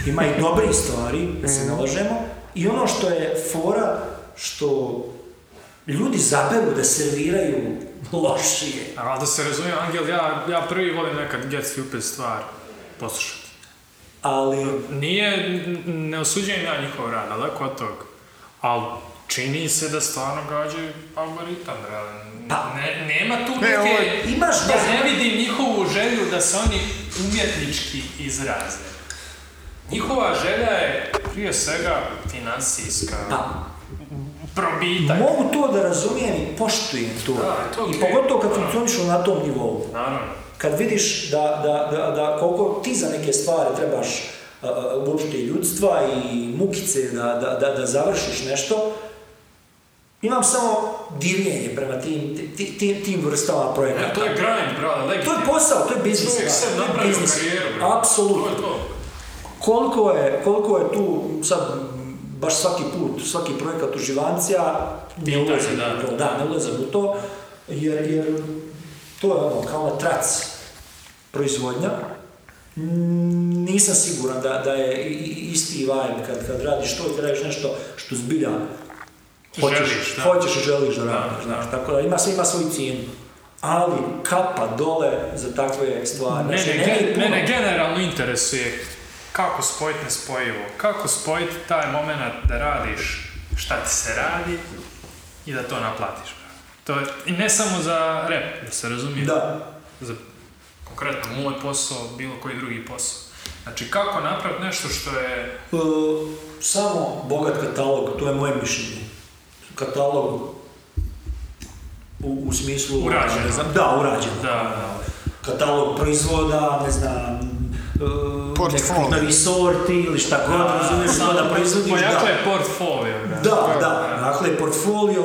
S3: ima i dobrih stvari, da se nalažemo, i ono što je fora, što ljudi zaberu da serviraju lošije.
S1: A da se razumije, Angel, ja, ja prvi volim nekad get stupid stvar poslušati.
S3: Ali,
S1: Nije, n- ne osuđujem ja njihov rad, daleko od tog. Ali čini se da stvarno gađaju algoritam, realno.
S3: Pa-
S1: Ne, nema
S5: Ne,
S1: tu neke...
S5: ovo
S3: je- Imaš
S1: ja
S3: da-
S1: ne vidim njihovu želju da se oni umjetnički izraze. Njihova želja je prije svega financijska.
S3: pa,
S1: Probitak.
S3: Mogu to da razumijem i poštujem to.
S1: Da, to je
S3: I
S1: okej.
S3: pogotovo kad
S1: Da.
S3: funkcionišu na tom nivou.
S1: Naravno.
S3: Kad vidiš da, da, da, da koliko ti za neke stvari trebaš a, a, uopšte i ljudstva i mukice da, da, da, da završiš nešto, imam samo divljenje prema tim, ti- ti- tim vrstama
S1: E,
S3: projekata.
S1: to je grind, brale,
S3: To je
S1: legitimno.
S3: posao, to je biznis.
S1: Čovjek
S3: da,
S1: sebi
S3: to je
S1: napravio
S3: biznis.
S1: karijeru, bre.
S3: Apsolutno.
S1: To je to.
S3: Koliko je, koliko je tu sad baš svaki put, svaki projekat uživancija, ne
S1: Pitanje,
S3: ulazim
S1: da.
S3: u to, da, ne ulazim u to, jer, jer to je ono, kao na trac proizvodnja. Mm, Nisam siguran da, da je i- i- isti vibe kad, kad radiš to i kad radiš nešto što zbilja hoćeš,
S1: Želiš, da.
S3: hoćeš i želiš da radiš,
S1: da.
S3: znaš, tako da ima, sve ima svoju cijenu. Ali kapa dole za takve stvari.
S1: Mene,
S3: Znači,
S1: gen-
S3: nema ih puno.
S1: mene generalno interesuje kako spojiti nespojivo, kako spojiti taj moment da radiš šta ti se radi i da to naplatiš. To je, I ne samo za rep, da se razumije,
S3: Da,
S1: za konkretno moj posao, bilo koji drugi posao. Znači kako napraviti nešto što je
S3: E, samo bogat katalog, to je moje mišljenje. Katalog u, u smislu...
S1: Urađeno.
S3: ne znam, Da, urađeno.
S1: Da, da.
S3: Katalog proizvoda, ne znam, e,
S2: Portfolio.
S3: nekakvih novi sorti ili šta god, razumiješ što da proizvodiš, da.
S1: Pojačaj portfolio. brate.
S3: Da, da. Dakle, portfolio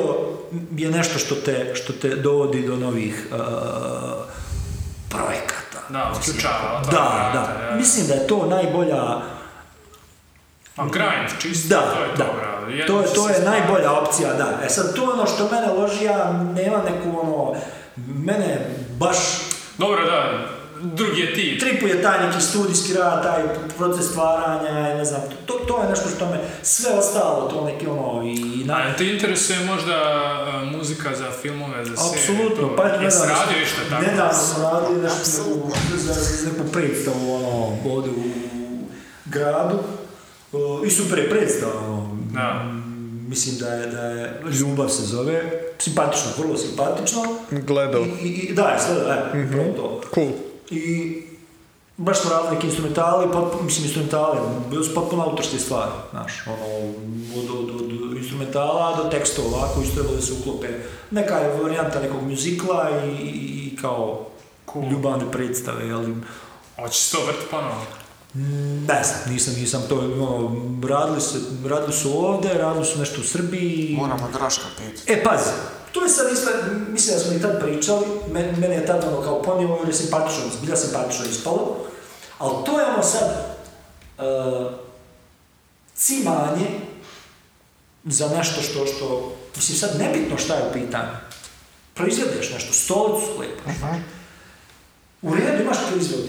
S3: je nešto što te, što te dovodi do novih e, projekata.
S1: Da, uključava. otvara
S3: Pa, Da,
S1: vrata,
S3: da. Mislim da je to najbolja
S1: A Pa grind, čisto,
S3: Da,
S1: to je
S3: da.
S1: to, bravo.
S3: To je, to
S1: Jedno
S3: je
S1: se-
S3: najbolja opcija, da. E sad, to je ono što mene loži, ja nema neku ono... Mene baš...
S1: Dobro, da, drugi je tip.
S3: Tripu je taj neki studijski rad, taj proces stvaranja, ne znam, to, to je nešto što me sve ostalo, to neki ono i...
S1: A
S3: Na,
S1: jel te interesuje možda e, muzika za filmove, za serije?
S3: apsolutno,
S1: to?
S3: pa eto,
S1: Jesi
S3: nedavno
S1: radio išta
S3: smo-
S1: tako?
S3: Nedavno smo radili nešto neku, za, za neku predstavu, ono, ovdje u gradu. O, I super je predstava, ono,
S1: Da.
S3: no. mislim da je, da je Ljubav se zove, simpatično, vrlo simpatično.
S5: Gledao.
S3: I, i, i- da, je sve, da, je, upravo to.
S5: Cool.
S3: I baš smo radili neke instrumentale, potpuno, mislim instrumentale, bili su potpuno autorske stvari, znaš, ono, od, od, od instrumentala do tekstova koji su trebali da se uklope. Neka je varijanta nekog mjuzikla i, i, i kao ljubavne predstave, jel,
S1: Hoćeš to vrti ponovo?
S3: ne znam, nisam, nisam to, ono, radili, se, radili su ovde, radili su nešto u Srbiji.
S2: Moramo Draška pitati.
S3: E, pazi, to je sad isto, mislim da smo i tad pričali, men- mene je tad ono kao ponijelo jer je simpatično, zbilja simpatično ispalo, ali to je ono sad e, cimanje za nešto što, što, mislim sad nebitno šta je u pitanju. Proizvedeš nešto, stolicu lepaš. U redu imaš proizvod.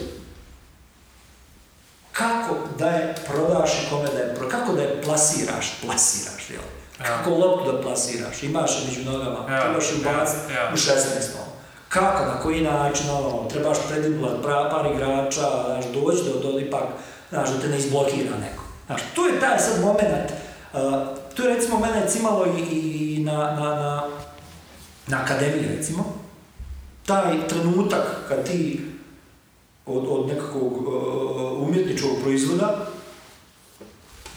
S3: Kako da je prodaš i kome da je prodaš, kako da je plasiraš, plasiraš, jel? Kako loptu da plasiraš, imaš je među nogama,
S1: Ja,
S3: trebaš ju
S1: ja,
S3: baciti
S1: ja.
S3: u 16. Kako, na koji način, ono, trebaš prediblat pra- par igrača, znaš, doći do, do ipak, znaš, da te ne izblokira neko. Znaš, tu je taj sad moment, uh, tu je recimo mene cimalo i, i i na, na, na, na akademiji recimo, taj trenutak kad ti od, od nekakvog uh, umjetničkog proizvoda,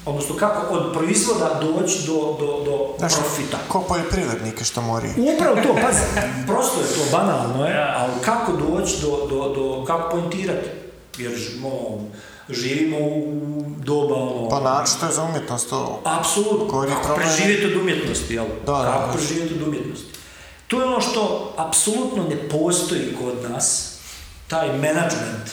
S3: odnosno kako od proizvoda doći do, do, do
S2: Znaš,
S3: profita.
S2: Ko poljoprivrednike što moraju.
S3: Upravo to, pazi, prosto je to, banalno je,
S1: Ja.
S3: ali kako doći do, do, do kako poentirati, jer ono, živimo u doba ono...
S2: Pa naročito je za umjetnost ovo.
S3: Apsolutno.
S2: Koji je
S3: Kako
S2: problem-
S3: preživjeti od umjetnosti, jel?
S2: Da, da,
S3: Kako
S2: da.
S3: preživjeti od umjetnosti. To je ono što apsolutno ne postoji kod nas, taj management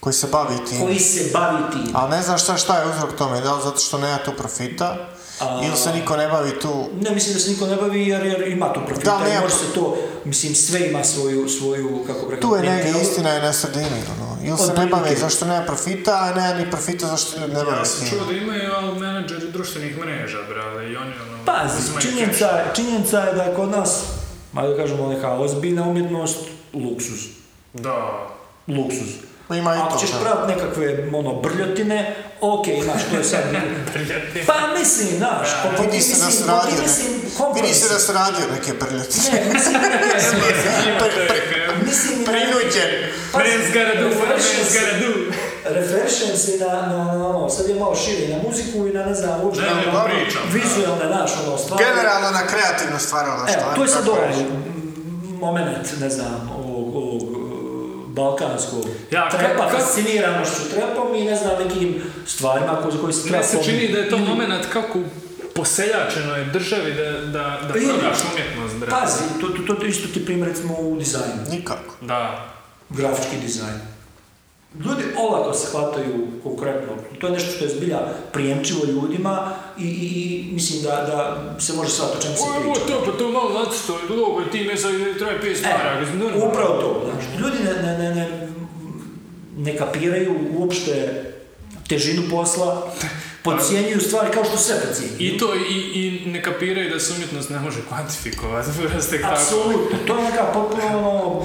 S2: Koji se bavi tim.
S3: koji se bavi tim.
S2: Ali ne znam šta, šta je uzrok tome, da li zato što nema tu profita,
S3: A-
S2: ili se niko ne bavi tu...
S3: Ne mislim da se niko ne bavi jer, jer ima tu profita,
S2: Da,
S3: da,
S2: nema.
S3: može se to, mislim sve ima svoju, svoju kako bi rekao,
S2: Tu je negdje,
S3: klientelu.
S2: istina je na sredini, ono. Ili se ne
S3: Otprilike.
S2: bave zašto nema profita, a nema ni profita zašto ljudi ne
S1: Ja
S2: bave s
S1: sam
S2: njim.
S1: čuo da imaju, ali menadžeri društvenih mreža, brale, i oni ono...
S3: Pazi,
S1: uzimaju
S3: činjenica, je- činjenica je da je kod nas, ma da kažemo neka ozbiljna umjetnost, luksuz.
S1: cash. Da.
S3: Luksuz.
S2: Ma Ima i to,
S3: Ako ćeš
S2: da.
S3: praviti nekakve ono, brljotine, okej, znaš, to je sad... pa mislim, znaš, po, po,
S2: Vidi se da se
S3: mislim, po,
S2: radio,
S3: ti
S2: ne-
S3: mislim,
S2: vidi
S3: kompromis.
S2: se da se radio neke prljete.
S3: Ne, mislim,
S1: Imate, eh,
S3: mislim,
S2: <laughs> Prinuđen.
S3: Pazi,
S1: Men's gotta do what
S3: refreshing
S1: men's
S3: se-
S1: gotta do.
S3: refrešen se na, na, na, ono, sad je malo šire i na muziku i na ne znam, uopće
S1: Ne, ne,
S3: na-
S1: ne
S3: ono,
S1: pričam, da.
S3: vizualne, znaš, ono, stvari.
S2: Generalno na ono, kreativno
S4: Pa
S2: stvarala
S3: Evo, to je sad ovaj
S2: reći.
S3: moment, ne znam, ovog, ovog e, balkanskog
S1: Ja, kad-
S3: trepa,
S1: kad-
S3: fasciniranošću trepom i ne znam, nekim stvarima koje, koje se treba
S1: Meni se čini
S3: pomniti.
S1: da je to moment kako u poseljačenoj državi da, da, da
S3: Ili-
S1: prodaš umjetnost, brate.
S3: Pazi, to, to, to isto ti primjer recimo u dizajnu,
S2: Nikako.
S1: Da.
S3: grafički dizajn. Ljudi olako se hvataju konkretno. To je nešto što je zbilja prijemčivo ljudima i, i, i mislim da, da se može shvatiti o čemu se
S1: Ovo
S3: priča.
S1: to, pa to malo nacisto, logo i ti mesa i traje 5 stara.
S3: E, upravo to. Znači, ljudi ne, ne, ne, ne, ne kapiraju uopšte težinu posla, podcjenjuju stvari kao što sve podcjenjuju.
S1: I to i, i ne kapiraju da se umjetnost ne može kvantifikovati, <laughs> vrste tako.
S3: Apsolutno, to je neka potpuno ono,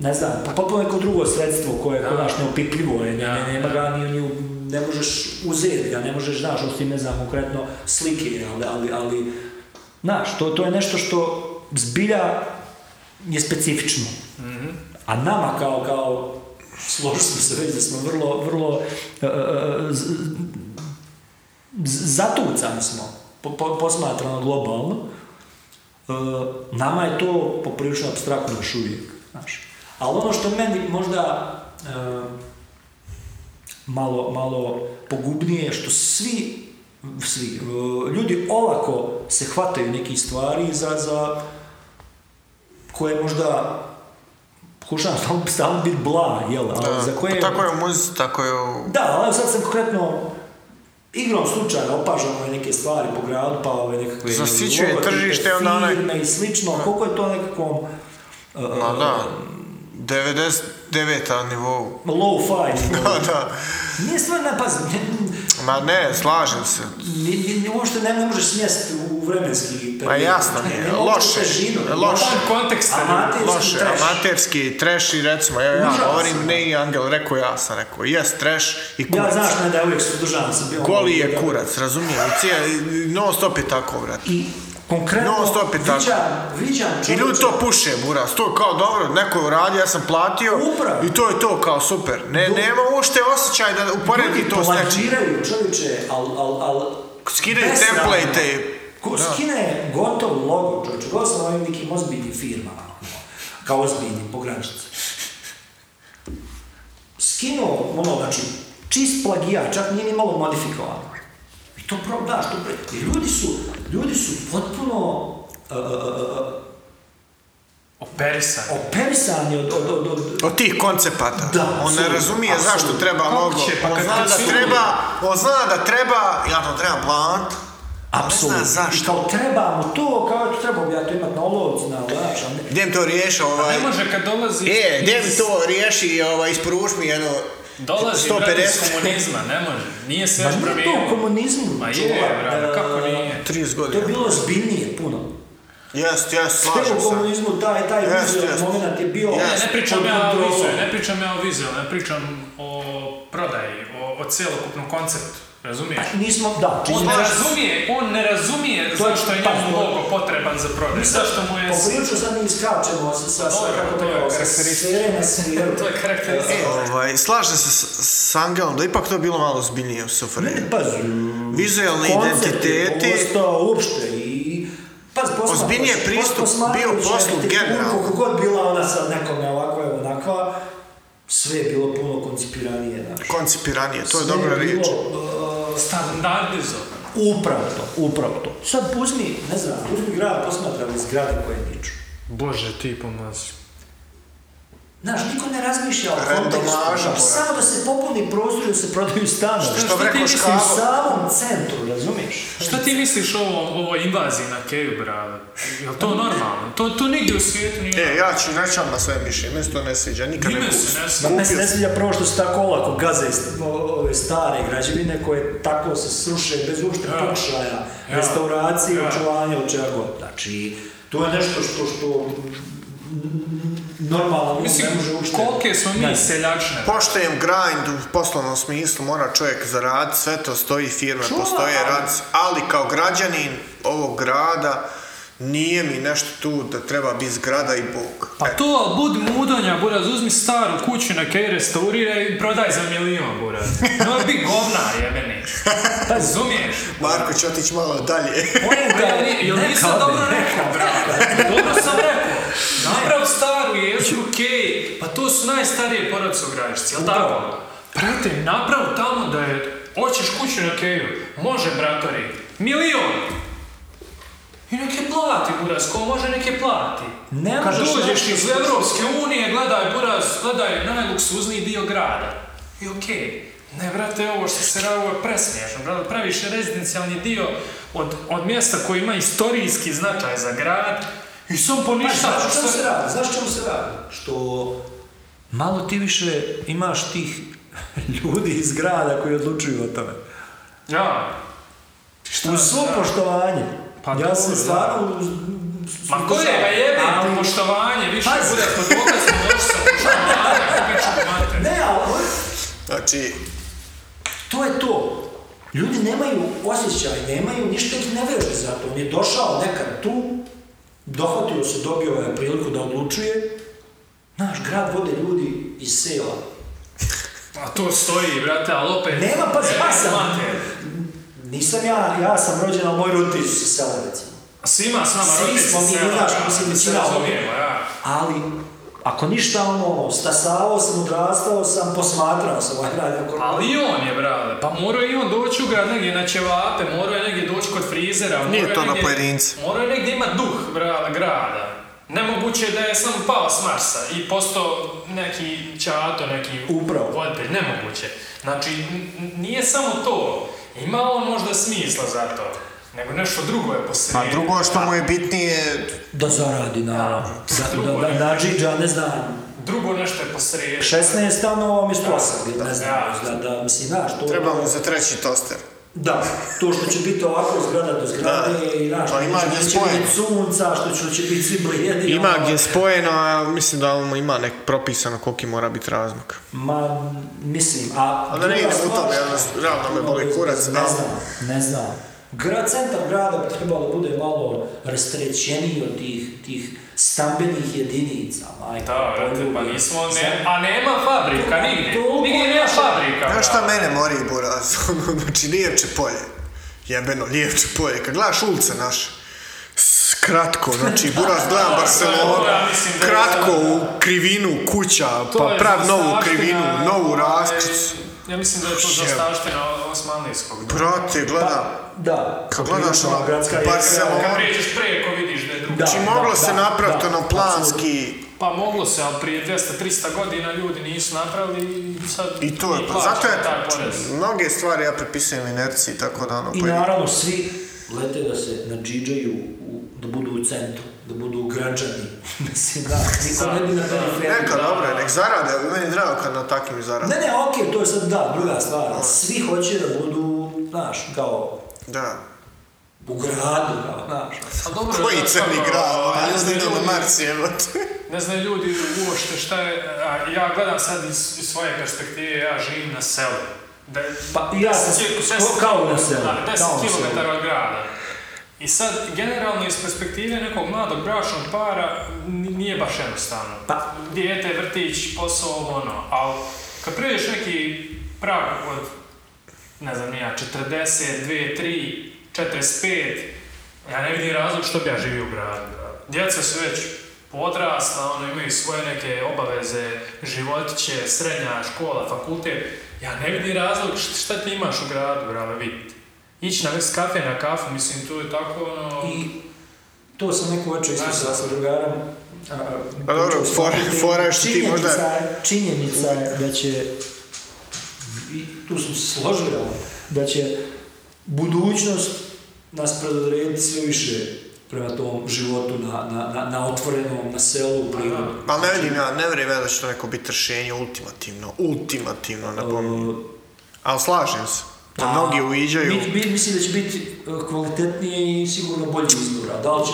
S3: ne znam, pa potpuno neko drugo sredstvo koje je
S1: Da.
S3: kod naš neopipljivo, je, ne,
S1: Da,
S3: ne, nema ga ni, ni, u- ne možeš uzeti ga, ne možeš, znaš, osim ne znam, konkretno slike, ali, ali, ali znaš, to, to je nešto što zbilja je specifično.
S1: Mhm.
S3: A nama kao, kao, složili smo se već da smo vrlo, vrlo, e, e, z- z- zatucani smo, po, po, posmatrano globalno, E, nama je to poprilično abstraktno još uvijek. Znaš. Ali ono što meni možda e, malo, malo pogubnije je što svi, svi e, ljudi olako se hvataju nekih stvari za, za koje možda pokušavam stalno, <laughs> stalno biti blag, jel? Ali za koje...
S2: Pa Tako je u muzici, tako je u...
S3: Da, ali evo sad sam konkretno igrom slučaja opažao ove neke stvari po gradu, pa ove nekakve...
S2: Zasićuje
S3: logotipe,
S2: tržište, onda onaj-
S3: firme i slično, koliko je to nekakvom... Uh,
S2: Ma da, 99. nivou. <laughs>
S3: Low-fi.
S2: Da, da.
S3: Nije stvar, ne, pazi,
S2: Ma ne, slažem se.
S3: ni, ni, ni, uopšte ne, ne možeš smjestiti u vremenski period.
S2: Ma Pa jasno mi je,
S3: Ne, ne možeš
S2: loše,
S3: u težinu.
S2: loše.
S1: Van konteksta.
S3: Amaterski
S2: Loše,
S3: trash.
S2: amaterski, trash i recimo, evo ja
S3: Užasno.
S2: govorim, ne i Angel, rekao ja sam rekao, jes trash i
S3: Ja
S2: kurac.
S3: znaš me da je uvijek suzdržavan sam bio. ono
S2: Goli je kurac, razumijem, i cija, i non stop je tako, vrat.
S3: I konkretno
S2: Non stop je tako.
S3: viđam, viđam
S2: I ljudi
S3: čovječe-
S2: to puše, buras, to je kao dobro, neko je uradio, ja sam platio
S3: Upravo.
S2: i to je to kao super. Ne, nema uopšte osjećaj da uporedi
S3: Ljudi
S2: to s nečim.
S3: plagiraju, čovječe, al, al, al...
S2: Skidaju
S3: besramno.
S2: template
S3: Ko
S2: Da.
S3: skine gotov logo, čovječe, gotov sam na ovim nekim ozbiljnim firmama, ono, kao ozbiljnim, pograničnici. Skinuo, ono, znači, čist plagijat, čak nije ni malo modifikovano. I to pro, da, što pre... I ljudi su, ljudi su potpuno... e, e, e, e,
S1: Operisan.
S3: operisani od, od, od, od
S2: od tih koncepata.
S3: Da,
S2: on ne
S3: apsolutno,
S2: razumije zašto
S3: apsolutno.
S2: treba
S1: Kako
S2: logo.
S1: će, pa
S2: on
S1: kad
S2: zna
S1: kad
S2: da
S1: su-
S2: treba, on zna da treba, ja to treba plant.
S3: Apsolutno.
S2: Ne zna
S3: I
S2: zašto.
S3: kao treba mu to, kao eto treba bi ja to imat na olovcu, na lač, a ne.
S2: Gdje mi to riješi
S3: Pa
S2: ovaj...
S1: Ne može kad dolazi...
S2: E, gdje mi
S1: iz-
S2: to riješi, ovaj, isporuč mi jedno...
S1: Dolazi, brate, iz
S2: 150.
S1: komunizma, ne može. Nije se još
S3: Ma nije to u
S1: promijenio.
S3: komunizmu,
S1: Ma je,
S3: čuvaj.
S1: brate,
S3: E,
S1: kako nije?
S2: 30
S3: To je
S2: godina.
S3: bilo zbiljnije puno.
S2: Jest, jest,
S3: Sve
S2: slažem
S3: u
S2: se.
S3: komunizmu taj, taj
S2: Jeste,
S3: vizualni
S2: jeste.
S3: moment je bio
S1: Ne, ne pričam
S3: pod
S1: ja o
S3: kontrolom.
S1: vizu, ne pričam ja o vizu, ne pričam o prodaji, o, o cjelokupnom konceptu. Razumiješ?
S3: A Nismo, da,
S1: On
S3: čini-
S1: ne razumije, on ne razumije
S3: Pa, To je-
S1: zašto je
S3: pa,
S1: njemu
S3: to-
S1: logo potreban za prodaju, zašto mu je...
S3: Poprilično sad mi iskačemo sa, sa, sa
S1: Dobro,
S3: kako
S1: to
S3: bi
S1: je
S3: rekao, sa
S1: karakteristika.
S3: sfere na sferu.
S1: <laughs> To je karakteristika.
S2: E, ovaj, slažem se s, s Angelom da je ipak to bilo malo zbiljnije u suferi.
S3: Pazi,
S2: Vizualni
S3: pa, koncept je
S2: identiteti,
S3: postao uopšte i Pazi, posma-
S2: Ozbiljniji je
S3: pos-
S2: pristup
S3: posmatrajući
S2: bio poslu
S3: arhitekturu,
S2: generalno.
S3: Koliko god bila ona sad nekome ovako je onakva, sve je bilo puno koncipiranije, znaš.
S2: Koncipiranije, to je
S3: Sve
S2: dobra
S3: bilo,
S2: riječ.
S3: uh,
S1: Standardizovano.
S3: upravo to, upravo to. Sad uzmi, ne znam, uzmi grad posmatrali zgrade koje niču.
S1: Bože, ti pomazi.
S3: Znaš, niko ne razmišlja o kontekstu,
S2: Randomaža,
S3: znaš,
S2: moram.
S3: samo da se popuni prostor i da se prodaju stanovi.
S2: Što bi
S1: ti
S2: rekao
S1: misliš?
S3: U
S2: Škabo?
S3: samom centru, razumiješ?
S1: Šta ti misliš o ovoj invaziji na Keju, brale? Jel to normalno? To, to nigdje u svijetu nije.
S2: E, ja ću reći odmah svoje mišljenje, meni se to ne sviđa, nikad ne
S1: Nime se
S2: pustim.
S1: ne smije.
S3: Ma, Meni se ne sviđa prvo što se tako olako gaze iz- o- ove stare građevine koje tako se sruše bez uopšte
S1: Ja.
S3: pokušaja,
S1: Ja.
S3: restauracije,
S1: Ja.
S3: očuvanja, od čega god. Znači, to je nešto što, što normalno
S1: Mislim,
S3: ne može uopšte.
S1: kolike smo mi seljačne.
S2: Poštajem grind u poslovnom smislu, mora čovjek zaraditi, sve to stoji, firme
S3: Čuva,
S2: postoje,
S3: ali-
S2: rad, ali kao građanin ovog grada nije mi nešto tu da treba biti zgrada i bog. E,
S1: Pa to, ali bud mudonja, buraz, uzmi staru kuću na Keju, restauriraj i prodaj za milijun, buraz. No, bi govna, jebeni. Razumiješ?
S2: Marko će otići malo dalje. <laughs>
S1: Pa jel ni- jel
S3: Neka
S1: nisam
S3: ode,
S1: dobro
S3: neka
S1: rekao, brate? Dobro sam rekao. Naprav staru jezgru kej, pa to su najstarije porodce u Gražišci, jel tako? Brate, naprav tamo da je, hoćeš kuću na keju, može, bratori, milion. I nek je plati, buraz, ko može nek je plati.
S3: Ne
S1: Kad
S3: možeš
S1: dođeš
S3: naći
S1: iz
S3: slučaj.
S1: Evropske unije, gledaj, buraz, gledaj najluksuzniji dio grada. I okej. Ne, brate, ovo što se radi, ovo je presmiješno, brate. Praviš rezidencijalni dio od, od mjesta koji ima istorijski značaj za grad i sam poništa.
S3: Znaš čemu Pa, se radi? Znaš čemu se radi? Što malo ti više imaš tih ljudi iz grada koji odlučuju o tome.
S1: Ja. Šta?
S3: U svo poštovanje.
S1: Pa
S3: ja
S1: dobro,
S3: sam
S1: da.
S3: stvarno...
S1: Ma ko je ga jebe,
S3: Ali-
S1: poštovanje, više
S3: Pazi.
S1: bude pod dokazom još sa poštovanjem, pičku mater.
S3: Ne, ali
S2: Znači,
S3: to je to. Ljudi nemaju osjećaj, nemaju ništa ih ne veže za to. On je došao nekad tu, dohvatio se, dobio je priliku da odlučuje. Naš grad vode ljudi iz sela.
S1: A Pa to stoji, brate, ali opet...
S3: Nema, pa
S1: Jebe
S3: spasan.
S1: mater.
S3: Nisam ja, ja sam rođen, ali moji roditelji su se sela, recimo.
S1: Svima s nama
S3: Svi
S1: roditelji
S3: smo mi,
S1: sela,
S3: znaš,
S1: da,
S3: mislim,
S1: da se
S3: većina
S1: razumijemo, ja.
S3: Ali, ako ništa ono, stasavao sam, odrastao sam, posmatrao sam ovaj grad. Ako...
S1: Ali i on je, brale, pa morao je i on doći u grad negdje na ćevape, morao je negdje doći kod frizera. morao
S2: Nije
S1: je
S2: to na
S1: negdje-
S2: pojedince.
S1: Morao je negdje imat duh, brale, grada. Nemoguće je da je samo pao s Marsa i postao neki čato, neki
S3: Upravo.
S1: voditelj, nemoguće. Znači, n- n- nije samo to, ima on možda smisla za to, nego nešto drugo je
S2: a
S1: posrijedi.
S2: Pa drugo što mu je bitnije,
S3: Da zaradi, naravno. Da, da,
S1: Drugo
S3: da,
S1: je.
S3: da, džidža, ne znam, ono
S1: Drugo nešto je posrijedi.
S3: 16 stanova umjesto 8, ili ne znam,
S1: da.
S3: da, da, mislim, znaš, to...
S2: treba mu za treći toster.
S3: Da, to što će biti ovako zgrada do zgrade i znaš,
S2: Pa
S3: što
S2: ima
S3: će-
S2: gdje
S3: će
S2: spojen.
S3: biti sunca, što će, će biti svi blijedi.
S2: Ima
S3: ono.
S2: gdje spojeno, a mislim da on ima nek propisano koliki mora biti razmak.
S3: Ma, mislim, a...
S2: A da ne
S3: druga
S2: idem u
S3: stvar
S2: to,
S3: što-
S2: ja- realno me boli kurac,
S3: Ne
S2: ali-
S3: znam, ne znam. Grad, centar grada bi trebalo da bude malo rastrećeniji od tih, tih stambenih jedinica, majka.
S1: Da, brate, pa
S3: poljubi.
S1: nismo, ne,
S3: Sad-
S1: a nema fabrika, nigdje,
S3: Toliko
S1: nigdje nema
S3: naše-
S2: Znaš
S1: fabrika. brale.
S2: šta mene mori, Buraz? Ono, <laughs> znači, Lijevče polje. Jebeno, Lijevče polje. Kad gledaš ulice naše, s- kratko, znači, Buraz gledam Barcelonu,
S1: <laughs> to ja mislim da je-
S2: kratko u krivinu kuća,
S1: To
S2: pa
S1: je
S2: prav novu
S1: zaostavština,
S2: krivinu, novu
S1: ovaj,
S2: raskricu.
S1: Ja mislim da je to
S2: Jebe.
S1: zastavština osmanlijskog.
S2: Brate, gledam,
S3: Pa, da.
S2: kad gledaš
S3: Prilično
S2: ono,
S3: gradska jezgra,
S2: Barcelonu,
S1: Kad prijeđeš preko vidiš da je drugo.
S3: Da.
S2: znači, moglo se
S3: da,
S2: napraviti
S3: da,
S2: ono planski,
S1: Pa moglo se, ali prije 200-300 godina ljudi nisu napravili i sad...
S2: i to je,
S1: mi
S2: pa
S1: plaćamo
S2: zato je,
S1: taj porez.
S2: mnoge stvari ja prepisujem inerciji, tako da ono,
S3: I
S2: pa-
S3: naravno svi lete da se nadžiđaju, u, da budu u centru, da budu građani. <laughs> Mislim, da, niko ne bi na periferiji.
S2: Neka, dobro, je, nek zarade, ali meni je drago kad na takvim zarade.
S3: Ne, ne, okej, to je sad da, druga stvar. ali Svi hoće da budu, znaš, kao
S2: Da.
S3: u gradu, kao, znaš.
S1: A dobro,
S2: Koji
S1: znaš
S2: crni
S1: kako,
S2: grad,
S1: ovaj,
S2: ali
S1: ne
S2: ja znam
S1: znaju
S2: idemo
S1: ljudi-
S2: Mars jebote.
S1: Ne znaju ljudi uošte šta je... A ja gledam sad iz, iz svoje perspektive, ja živim na selu. Da,
S3: Pa i ja sam ko- kao na selu,
S1: Da, 10
S3: kao na selu.
S1: km od grada. I sad, generalno iz perspektive nekog mladog bračnog para n- nije baš jednostavno.
S3: Pa-
S1: Dijete, vrtić, posao, ovo, ono. Ali kad prijeđeš neki prag od, ne znam ni ja, 40, 2, 3, 45, ja ne vidim razlog što bi ja živio u gradu. brate. Djeca su već odrasla, ono, imaju svoje neke obaveze, životiće, srednja škola, fakultet. Ja ne vidim razlog šta, šta ti imaš u gradu, brale, vidite. Ići na već kafe na kafu, mislim, tu je tako, ono...
S3: I to sam neko večer isto sa sa drugarom. a,
S2: Pa dobro,
S3: pričao sam,
S2: fora-
S3: ali
S2: fora je što ti
S3: činjenica
S2: možda-
S3: je- Činjenica je da će, i tu smo se složili, ali, da će budućnost nas predodrediti sve više prema tom životu na, na, na, na otvorenom, na selu, u prirodi.
S2: Pa ne vidim ja, ne vjerujem ja da će to neko biti rješenje ultimativno, ultimativno, napominjem.
S3: E,
S2: Ali slažem se, da mnogi uviđaju.
S3: Bit- bit- mislim da će biti e, kvalitetniji i sigurno bolji izbora. Da li će...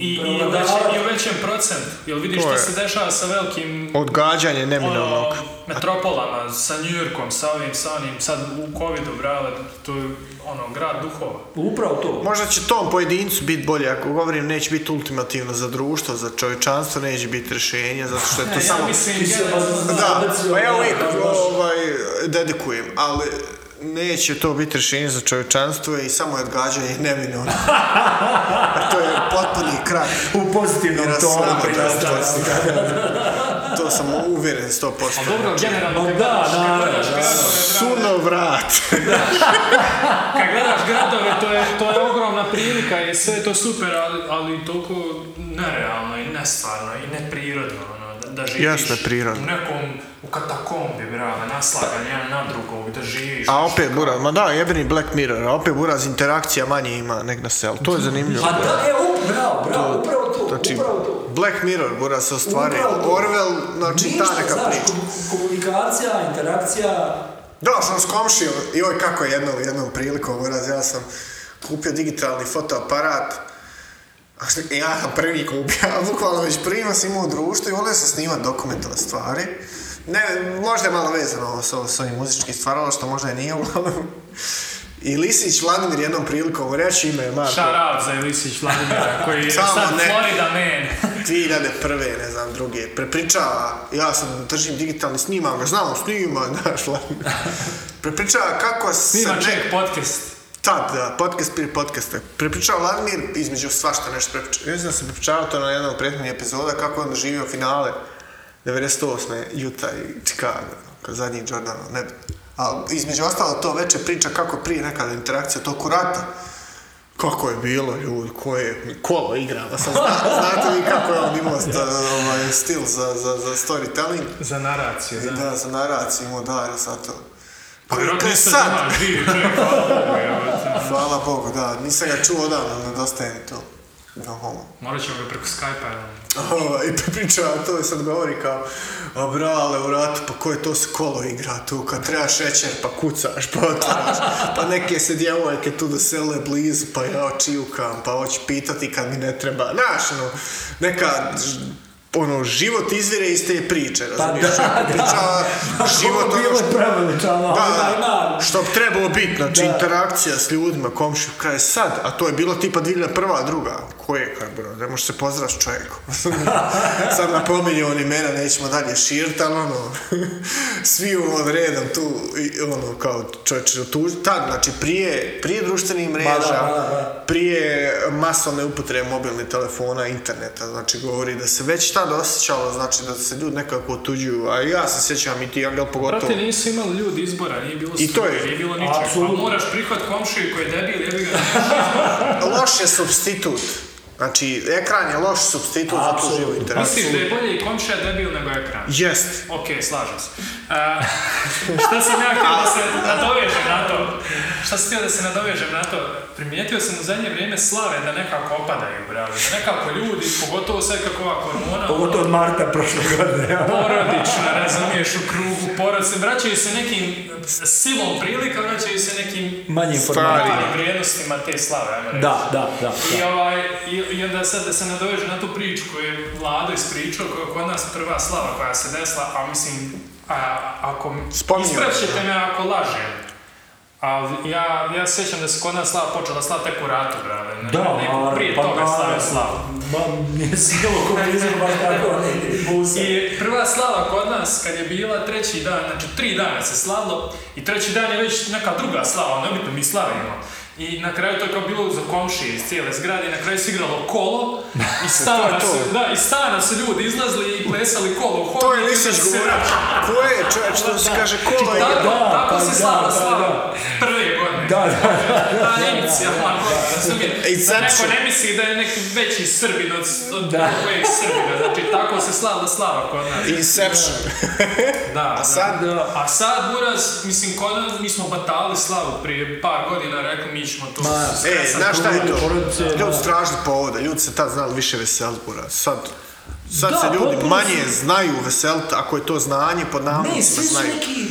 S1: I, i, u
S3: prevladavati-
S1: većem, i u većem procentu. Jel vidiš
S2: To
S1: šta
S2: je.
S1: se dešava sa velikim
S2: Odgađanje
S1: ono,
S2: neminovnog.
S1: metropolama, sa Njujorkom, sa ovim, sa onim, sad u covidu, brale, to je ono, grad duhova.
S3: Upravo to.
S2: Možda će tom pojedincu biti bolje, ako govorim, neće biti ultimativno za društvo, za čovječanstvo, neće biti rješenje, zato što je to
S1: E, Ja
S2: samo...
S1: mislim,
S3: Ti si
S1: generalno-
S3: vas-
S2: Da,
S3: Obrcio,
S2: pa ja
S3: da,
S2: uvijek
S3: da, baš.
S2: ovaj, dedikujem, ali neće to biti rješenje za čovječanstvo i samo je odgađanje neminovno. Jer to je potpuni kraj.
S3: U pozitivnom
S2: Jer nas
S3: tonu
S2: sramota
S3: prikazuju.
S2: nas To sam uvjeren 100%.
S1: Ali dobro, generalno,
S3: Ma
S1: kad
S3: da,
S1: gledaš, kad
S3: naravno,
S1: gledaš gradove, brale,
S2: Suno vrat.
S1: kad gledaš gradove, to je, to je ogromna prilika i sve je to super, ali, ali toliko nerealno i nestvarno i neprirodno, ono, da, da živiš
S2: Jasno, prirodno.
S1: u nekom, u katakombi, brale, naslagan jedan na drugog, da živiš.
S2: A opet Buraz, ma da, jebeni Black Mirror, a opet Buraz interakcija manje ima nek na selu, to je zanimljivo.
S3: Pa da, e, up, bravo, bravo, upravo to,
S2: Znači,
S3: upravo to.
S2: Black Mirror, Buraz se ostvari,
S3: Upravo to.
S2: Orwell, znači
S3: Ništa,
S2: ta neka
S3: znaš,
S2: priča.
S3: kom- komunikacija, interakcija,
S2: Došao sam s komšijom, joj kako je jednom, jednom prilikom, Buraz, ja sam kupio digitalni fotoaparat, a što- ja sam prvi kupio, a bukvalno već prima sam imao u društvu i volio sam snimat dokumentove stvari. Ne, možda je malo vezano ovo s, s ovim muzičkim stvaralaštvom, možda i nije uglavnom. I Lisić Vladimir jednom prilikom, reći ime je Marko.
S1: Šarab za Ilisić Vladimira, koji je
S2: Samo
S1: sad
S2: ne.
S1: Florida man.
S2: 2001. ne znam druge, prepričava, ja sam držim digitalni snimam ga, znam snima, znaš, Vladimir. prepričava kako se
S1: Snima
S2: ne-
S1: Jack podcast.
S2: tad, da, podcast prije podcasta, prepričava Vladimir između svašta nešto prepričava, ja znam da sam prepričavao to na jednom od prethodnih epizoda, kako je on doživio finale 98. Utah i Chicago, ono, kad zadnji Jordan, ne A između ostalo to veće priča kako je prije nekada interakcija toliko rata, kako je bilo, ljudi, koje kolo igrava, sad zna, <laughs> znate vi kako je on imao sta, ovaj, stil za, za, za storytelling,
S1: Za naraciju,
S2: i da, za naraciju imao dar za to. Pa,
S1: Vjerojatno
S2: kaj
S1: je sad
S2: sad?
S1: imaš živi čovjek, hvala Bogu, evo.
S2: Hvala Bogu, da, nisam ga čuo odavno, nedostaje mi to. No homo.
S1: Morat ćemo ga preko Skype-a. evo.
S2: Ovaj, I pričava to i sad govori kao, a brale u ratu, pa koje to se kolo igra tu, kad treba šećer, pa kucaš, pa otvaraš, pa neke se djevojke tu dosele blizu, pa ja očijukam, pa hoću pitati kad mi ne treba, znaš, ono, neka, ž- ono, život izvire iz te priče, razumiješ?
S3: Pa da, Pa
S2: Pričava život ono
S3: bilo
S2: što
S3: je preveličano,
S2: da,
S3: ali
S2: da,
S3: ima,
S2: što bi trebalo biti, znači interakcija s ljudima, komšiju, kraj sad, a to je bilo tipa 2001. druga, koje, kaj bro, ne može se pozdrav s
S3: <laughs>
S2: čovjekom. sad napominje on imena, nećemo dalje širiti, ali ono, <laughs> svi on redom tu, i ono, kao čovječe, tu, tad, znači prije, prije društvenih mreža,
S3: da, da.
S2: prije masovne upotrebe mobilnih telefona, interneta, znači govori da se već tad osjećalo, znači da se ljudi nekako otuđuju, a ja se sjećam i ti, Angel, pogotovo.
S1: Brate, nisu imali ljudi izbora, nije bilo
S2: I to je-
S1: struje, nije bilo ničeg.
S3: Apsolutno.
S1: Pa moraš prihvat komšiju koji je debil, jebi ga.
S2: loš je substitut. Znači, ekran je loš substitut za tu živu
S3: Apsolutno.
S2: interakciju.
S1: Misliš da je bolje i komšija debil nego ekran?
S2: Jest.
S1: Ok, slažem se. E, šta sam ja htio da se nadovežem na to? Šta sam htio da se nadovežem na to? Primijetio sam u zadnje vrijeme slave da nekako opadaju, bravo. Da nekako ljudi, pogotovo sad kako ova korona...
S3: pogotovo od Marta prošle godine.
S1: porodično, razumiješ, u krugu porodice, vraćaju se nekim silom prilika, vraćaju se nekim
S2: Stvari.
S3: Manje informacije.
S1: malim vrijednostima te slave, ajmo reći.
S3: Da, da, da.
S1: I, ovaj, i, i onda sad da se nadoveže na tu priču koju je Vlado ispričao, koja je kod nas prva slava koja se desila, a mislim, a, ako...
S2: Spominjao si,
S1: Ispraćete me ako lažem. Ali ja, ja se sjećam da se kod nas slava počela slava tek u ratu, brale. Ne,
S3: Da,
S1: neko
S3: naravno,
S1: prije
S3: pa
S1: toga slave
S3: naravno.
S1: slavu.
S3: Ma, nije sigurno komunizam baš tako, ne, busa.
S1: I prva slava kod nas kad je bila treći dan, znači tri dana se slavilo i treći dan je već neka druga slava, ono bitno mi slavimo. I na kraju to je kao bilo za komšije iz cijele zgrade i na kraju se igralo
S3: <laughs>
S1: kolo i stana,
S2: to.
S1: Su, da, i stana su ljudi izlazili i plesali kolo. u
S2: To je
S1: hodniku i
S2: Lisać
S1: se-
S2: govorio. Ko je, čovječ, to se kaže kola
S1: Da,
S2: je.
S3: Da,
S1: tako
S3: pa
S1: se
S3: da,
S1: slava
S3: pa
S1: slava
S3: da.
S1: prve godine.
S3: Da, da,
S1: Ta inicijalna godina,
S2: I
S1: razumiješ? Da
S2: sad
S1: neko
S2: će-
S1: ne misli da je neki veći srbin od, od
S3: Da.
S1: kojeg srbina. Znači, tako se slavila slava kod nas.
S2: Inception.
S1: Da,
S2: A sad,
S3: da.
S1: A sad, Buraz, mislim, kod nas, mi smo batali slavu prije par godina, rekli mi ćemo to
S3: Ma,
S2: E,
S1: skresati.
S2: znaš šta je to?
S3: porodice,
S2: Ljudi
S3: da.
S2: stražni povoda, ljudi se tad znali više veselit, buraz. Sad, sad
S3: Da,
S2: se ljudi
S3: potpuno
S2: manje
S3: su-
S2: znaju veselit, ako je to znanje, pod
S3: Ne,
S2: navodnicima
S3: svi su
S2: znaju.
S3: neki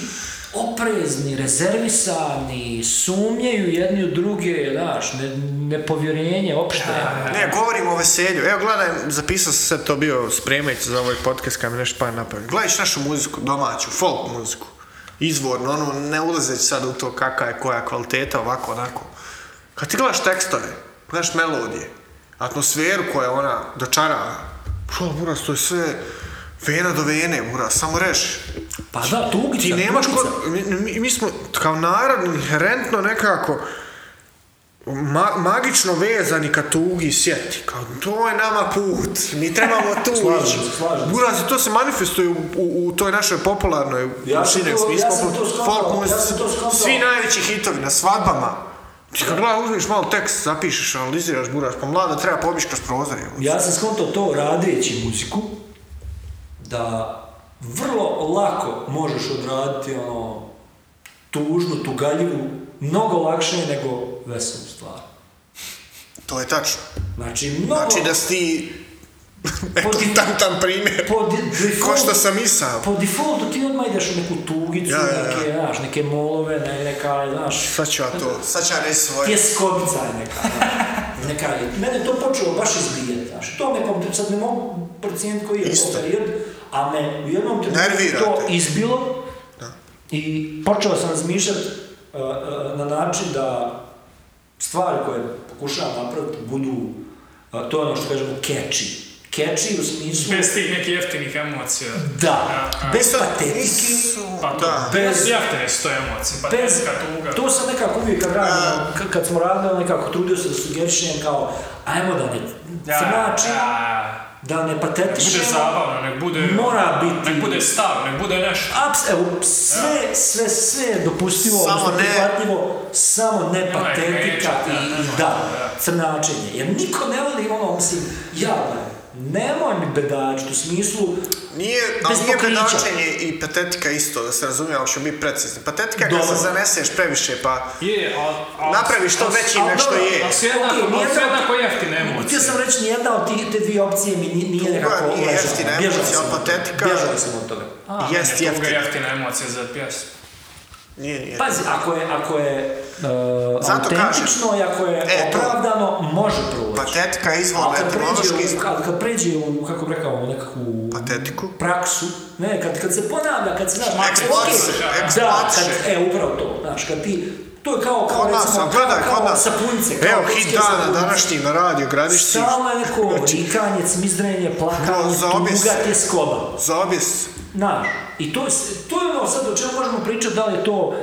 S3: oprezni, rezervisani, sumnjaju jedni u druge, znaš, ne, nepovjerenje opšte.
S2: Ne, govorimo o veselju. Evo, gledaj, zapisao sam se to bio spremajući za ovaj podcast kad mi nešto pa napravio. Gledaš našu muziku, domaću, folk muziku. Izvorno, ono, ne ulazeći sad u to kakva je koja kvaliteta, ovako, onako. Kad ti gledaš tekstove, gledaš melodije, atmosferu koja ona dočarava, Bro, buras, to je sve vena do vene, buras, samo reši.
S3: Pa da, tugica,
S2: Ti nemaš
S3: tugica.
S2: ko... Mi, mi, mi smo kao narod inherentno nekako ma, magično vezani ka tugi i sjeti. Kao, to je nama put, mi
S3: <laughs>
S2: trebamo tu
S3: Slažem
S2: ići.
S3: se, slažem se.
S2: Buraz, i to se manifestuje u, u, u toj našoj popularnoj
S3: Ja sam
S2: širem
S3: to-
S2: smislu,
S3: ja sam
S2: popul-
S3: to skontao,
S2: folk
S3: ja
S2: muzici.
S3: sam to skontao.
S2: Svi najveći hitovi na svadbama. Ti kad gledaj, uzmiš malo tekst, zapišeš, analiziraš, buraš, pa mlada treba pobići kroz prozor. je.
S3: Ja sam skontao to radeći muziku, da vrlo lako možeš odraditi ono tužnu, tugaljivu, mnogo lakše nego veselu stvar.
S2: To je tačno.
S3: Znači, mnogo...
S2: Znači da si ti... Eto,
S3: Podi-
S2: tantan primjer.
S3: po di-
S2: Ko
S3: defaultu-
S2: što sam i sam.
S3: Po defaultu ti odmah ideš u neku tugicu,
S2: Ja, ja, ja.
S3: neke, znaš, neke molove, ne, neka, znaš,
S2: Sad ću ja to, sad ću ja reći svoje.
S3: tjeskobica je neka. znaš, neka je. Mene je to počelo baš izbijati, znaš, to nekom, sad ne mogu procijeniti koji je
S2: Isto.
S3: to period, a me u jednom trenutku
S2: Nervira
S3: to
S2: te.
S3: izbilo i počeo sam razmišljati uh, uh, na način da stvari koje pokušavam napraviti budu, uh, to je ono što kažemo, catchy. Catchy u smislu...
S1: Bez tih nekih jeftinih emocija.
S3: Da,
S1: A, a,
S3: bez
S2: to-
S3: patetike,
S1: Pa to,
S2: Da.
S1: bez
S3: Bez-
S1: jeftine su to emocije, pa
S3: bez,
S1: teška tuga.
S3: to sam nekako uvijek kad radim,
S2: Da.
S3: k- kad smo radili, nekako trudio se da sugerišem kao, ajmo da ne
S1: Ja,
S3: cmači,
S1: ja.
S3: da ne
S1: Nek bude
S3: patetišemo,
S1: zabavno, nek bude...
S3: Mora biti.
S1: Nek bude stav, nek bude nešto.
S3: Aps, evo, sve, sve, sve je dopustivo,
S2: Samo
S3: odnosno
S2: ne-
S3: prihvatljivo, samo ne
S1: Nemoj
S3: patetika
S1: krečati,
S3: i
S1: da, nemoj,
S3: da,
S1: da.
S3: crnačenje, jer niko ne voli ono, mislim, ja, nemoj mi bedačiti u smislu,
S2: Nije, ali
S3: Bez
S2: nije
S3: pokrića.
S2: predačenje i patetika isto, da se razumijemo, ćemo biti precizni. Patetika je kad
S3: Dobro.
S2: se zaneseš previše, pa
S1: Je, ali... al,
S2: napraviš to veći
S3: al-
S2: nego što
S3: dobro,
S2: je.
S1: Ali su jednako,
S3: Okej, nije
S1: ali su
S3: to-
S1: jednako jeftine emocije.
S3: Htio sam reći, nijedna od tih, te dvije opcije mi nije, nije nekako
S2: nije
S3: ležala.
S2: jeftina
S3: Bježao
S2: emocija,
S3: sam od toga.
S2: patetika.
S3: Bježao sam od toga.
S1: A,
S2: Jest
S1: meni je tuga
S2: jeftina.
S1: jeftina emocija za pjesmu.
S2: Nije, nije.
S3: Pazi, ako je, ako je uh,
S2: Zato kažem.
S3: autentično i ako je
S2: E, to. Pa
S3: opravdano, može proći.
S2: Patetika je izvor,
S3: Ali kad
S2: etimološki
S3: pređe, u,
S2: izvor.
S3: kad, kad pređe u, kako bi rekao, u nekakvu
S2: Patetiku.
S3: praksu, ne, kad, kad se ponavlja, kad se, znaš,
S2: Eksploatiše,
S3: okej, Da, kad,
S2: eksploatiše.
S3: e, upravo to, znaš, kad ti, to je kao, kao
S2: Kod nas,
S3: recimo,
S2: ali gledaj,
S3: kao,
S2: kod
S3: kao
S2: nas.
S3: sapunice, kao
S2: Evo, hit
S3: kutske
S2: dana
S3: sapunice.
S2: današnji na radio Gradišci.
S3: Stalno je neko vikanje, cmizdrenje, plakanje,
S2: za obje
S3: tuga,
S2: se-
S3: tjeskoba.
S2: Za objes.
S3: Znaš, i to, je s- to je ono sad o čemu možemo pričati, da li je to,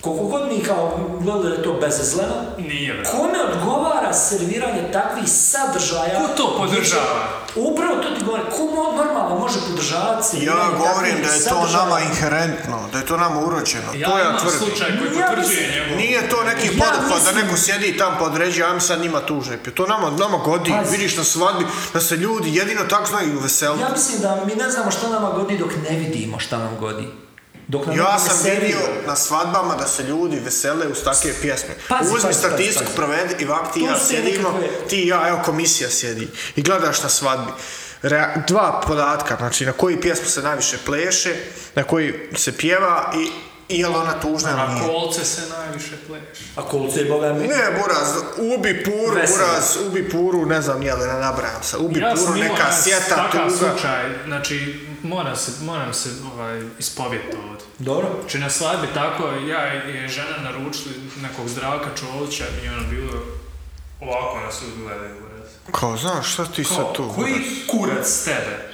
S3: koliko god mi kao gledali da je to bezazleno,
S1: Nije, bre.
S3: kome odgovara serviranje takvih sadržaja?
S1: Ko to podržava?
S3: Upravo to ti govorim, ko mo- normalno može podržavati
S2: Ja
S3: serviranje
S2: govorim
S3: takvih
S2: da je to
S3: sadržaja?
S2: nama inherentno, da je to nama uročeno.
S1: Ja
S2: to ja
S1: imam
S2: tvrdim.
S1: slučaj koji
S3: Ja
S1: potvrđuje
S3: mislim-
S1: njegovu...
S2: Nije to neki
S3: Ja
S2: poduhvat da
S3: mislim-
S2: neko sjedi i tam pa određuje, ajme sad njima tužne. To nama, nama godi,
S3: Pazi.
S2: vidiš na svadbi, da se ljudi jedino tako znaju veseliti.
S3: Ja mislim da mi ne znamo šta nama godi dok ne vidimo šta nam godi. Dok nam neko
S2: Ja
S3: ne
S2: sam
S3: servira.
S2: vidio na svadbama da se ljudi vesele uz takve pjesme.
S3: Pazi,
S2: Uzmi
S3: pazi, pazi,
S2: statistiku,
S3: pazi.
S2: provedi i vak ti i
S3: To
S2: ja
S3: su
S2: sjedimo,
S3: nekakve-
S2: ti i ja, evo komisija sjedi i gledaš na svadbi. Rea- dva podatka, znači na koji pjesmu se najviše pleše, na koji se pjeva i, i je li ona tužna ili
S1: Na
S2: nije.
S1: kolce se najviše pleš.
S3: A kolce je boga mi...
S2: Ne, Buraz, ubi puru,
S3: Vesela.
S2: Buraz, ubi puru, ne znam je li, ne nabrajam se, ubi
S1: Ja
S2: puru,
S1: sam imao
S2: neka
S1: jedan
S2: sjeta,
S1: takav
S2: tuga.
S1: slučaj, znači moram se, moram se ovaj, ispovjeti ovdje.
S3: Dobro.
S1: Znači na svadbi tako, ja i žena naručili nekog zdravka Čolića i ono bilo ovako nas ljudi gledaju u raz.
S2: Kao, znaš, šta ti sad tu?
S1: koji
S2: Buraz?
S1: kurac tebe?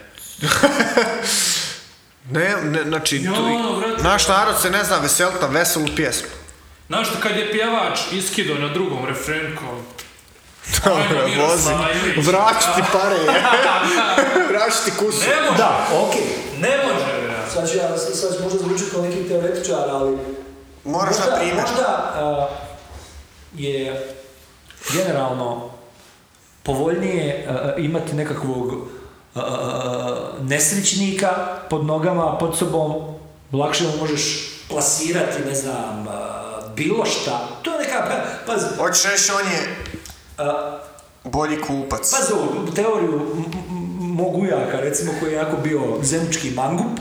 S2: Ne, ne, znači,
S1: Ja,
S2: tu-
S1: ono, brate.
S2: znači, naš narod se ne zna veselit na veselu pjesmu.
S1: Znaš što kad je pjevač iskido na drugom refrenu
S2: <laughs>
S1: kao,
S2: Dobro,
S1: Ajmo,
S2: vozi.
S1: Miroslav Ilić.
S2: Vraći ti
S1: <laughs>
S2: pare, je. Vraći ti kusu.
S1: Ne može,
S3: Da, okej.
S1: ne može, brate.
S3: Sad ću ja, sad ću možda zvučiti kao neki teoretičar, ali...
S6: Moraš
S3: možda,
S6: na primjer.
S3: Možda a, je generalno povoljnije a, a, imati nekakvog a, a, nesrećnika pod nogama, pod sobom, lakše mu možeš plasirati, ne znam, a, bilo šta. To je neka, pa- pazi, eh,
S6: Hoćeš reći, on je
S3: a,
S6: bolji kupac.
S3: Pazi ovu teoriju m- m- Mogujaka, recimo, koji je jako bio zemljički mangup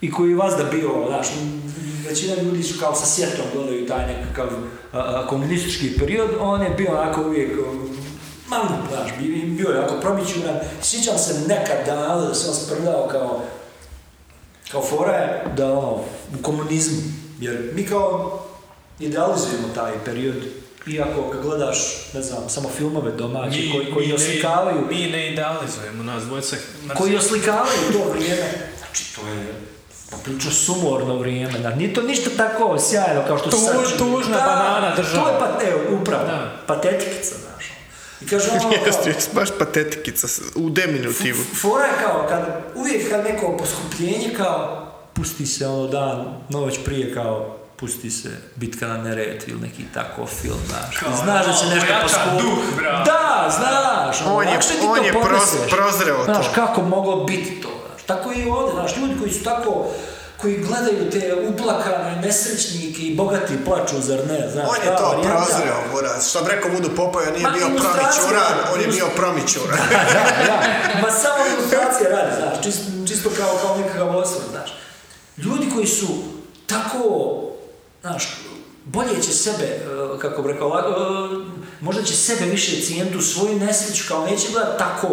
S3: i koji je vazda bio, znaš, m- većina ljudi su kao sa sjetom gledaju taj nekakav a, a, komunistički period, on je bio onako uvijek um, mangup, znaš, bi- bio je jako promičuran. Sjećam se nekad dana da sam sprdao kao kao fora je da ono, u komunizmu, jer mi kao idealizujemo taj period, iako kad gledaš, ne znam, samo filmove domaće Znači, koji, koji
S1: ne-
S3: oslikavaju,
S1: Mi ne idealizujemo nas dvojice. Znači,
S3: koji oslikavaju to vrijeme, znači to je poprilično sumorno vrijeme, znači nije to ništa tako sjajno kao što
S1: Tuž-
S3: sad čini.
S1: tužna
S3: Da,
S1: banana država.
S3: To je pa, evo, upravo,
S1: Da.
S3: patetikica, znaš. I
S1: <laughs>
S3: kažem ono
S2: Jeste,
S3: kao,
S2: jeste, baš patetikica s- u deminutivu.
S3: F- Fora je kao, kad, uvijek kad neko poskupljenje kao, pusti se ono dan, noć prije kao, pusti se bitka na Neretvi ili neki tako film, znaš.
S1: Kao,
S3: znaš da će
S1: ono,
S3: nešto
S1: ojača
S3: poskupiti.
S1: duh, bravo.
S3: Da, znaš, ono,
S2: On je-
S3: lakše ti to
S2: on je pros-
S3: podneseš.
S2: prozreo to.
S3: Znaš, kako moglo biti to, znaš. Tako i ovdje, znaš, ljudi koji su tako, koji gledaju te uplakane nesrećnike i bogati plaču, zar ne, znaš,
S6: On je
S3: ta
S6: to
S3: varijanta.
S6: prozreo, Buraz. Što bi rekao Vudu Popoja, nije
S3: Ma,
S6: bio
S3: ilustracija.
S6: promićuran, on je bio promićuran.
S3: Pa da, da. Ma samo ilustracije radi, znaš, čisto, čisto kao, kao nekakav osvrt, znaš. Ljudi koji su tako, znaš, bolje će sebe, e, kako bi rekao, ovako, e, možda će sebe više cijeniti u svoju nesreću, kao neće gledati tako,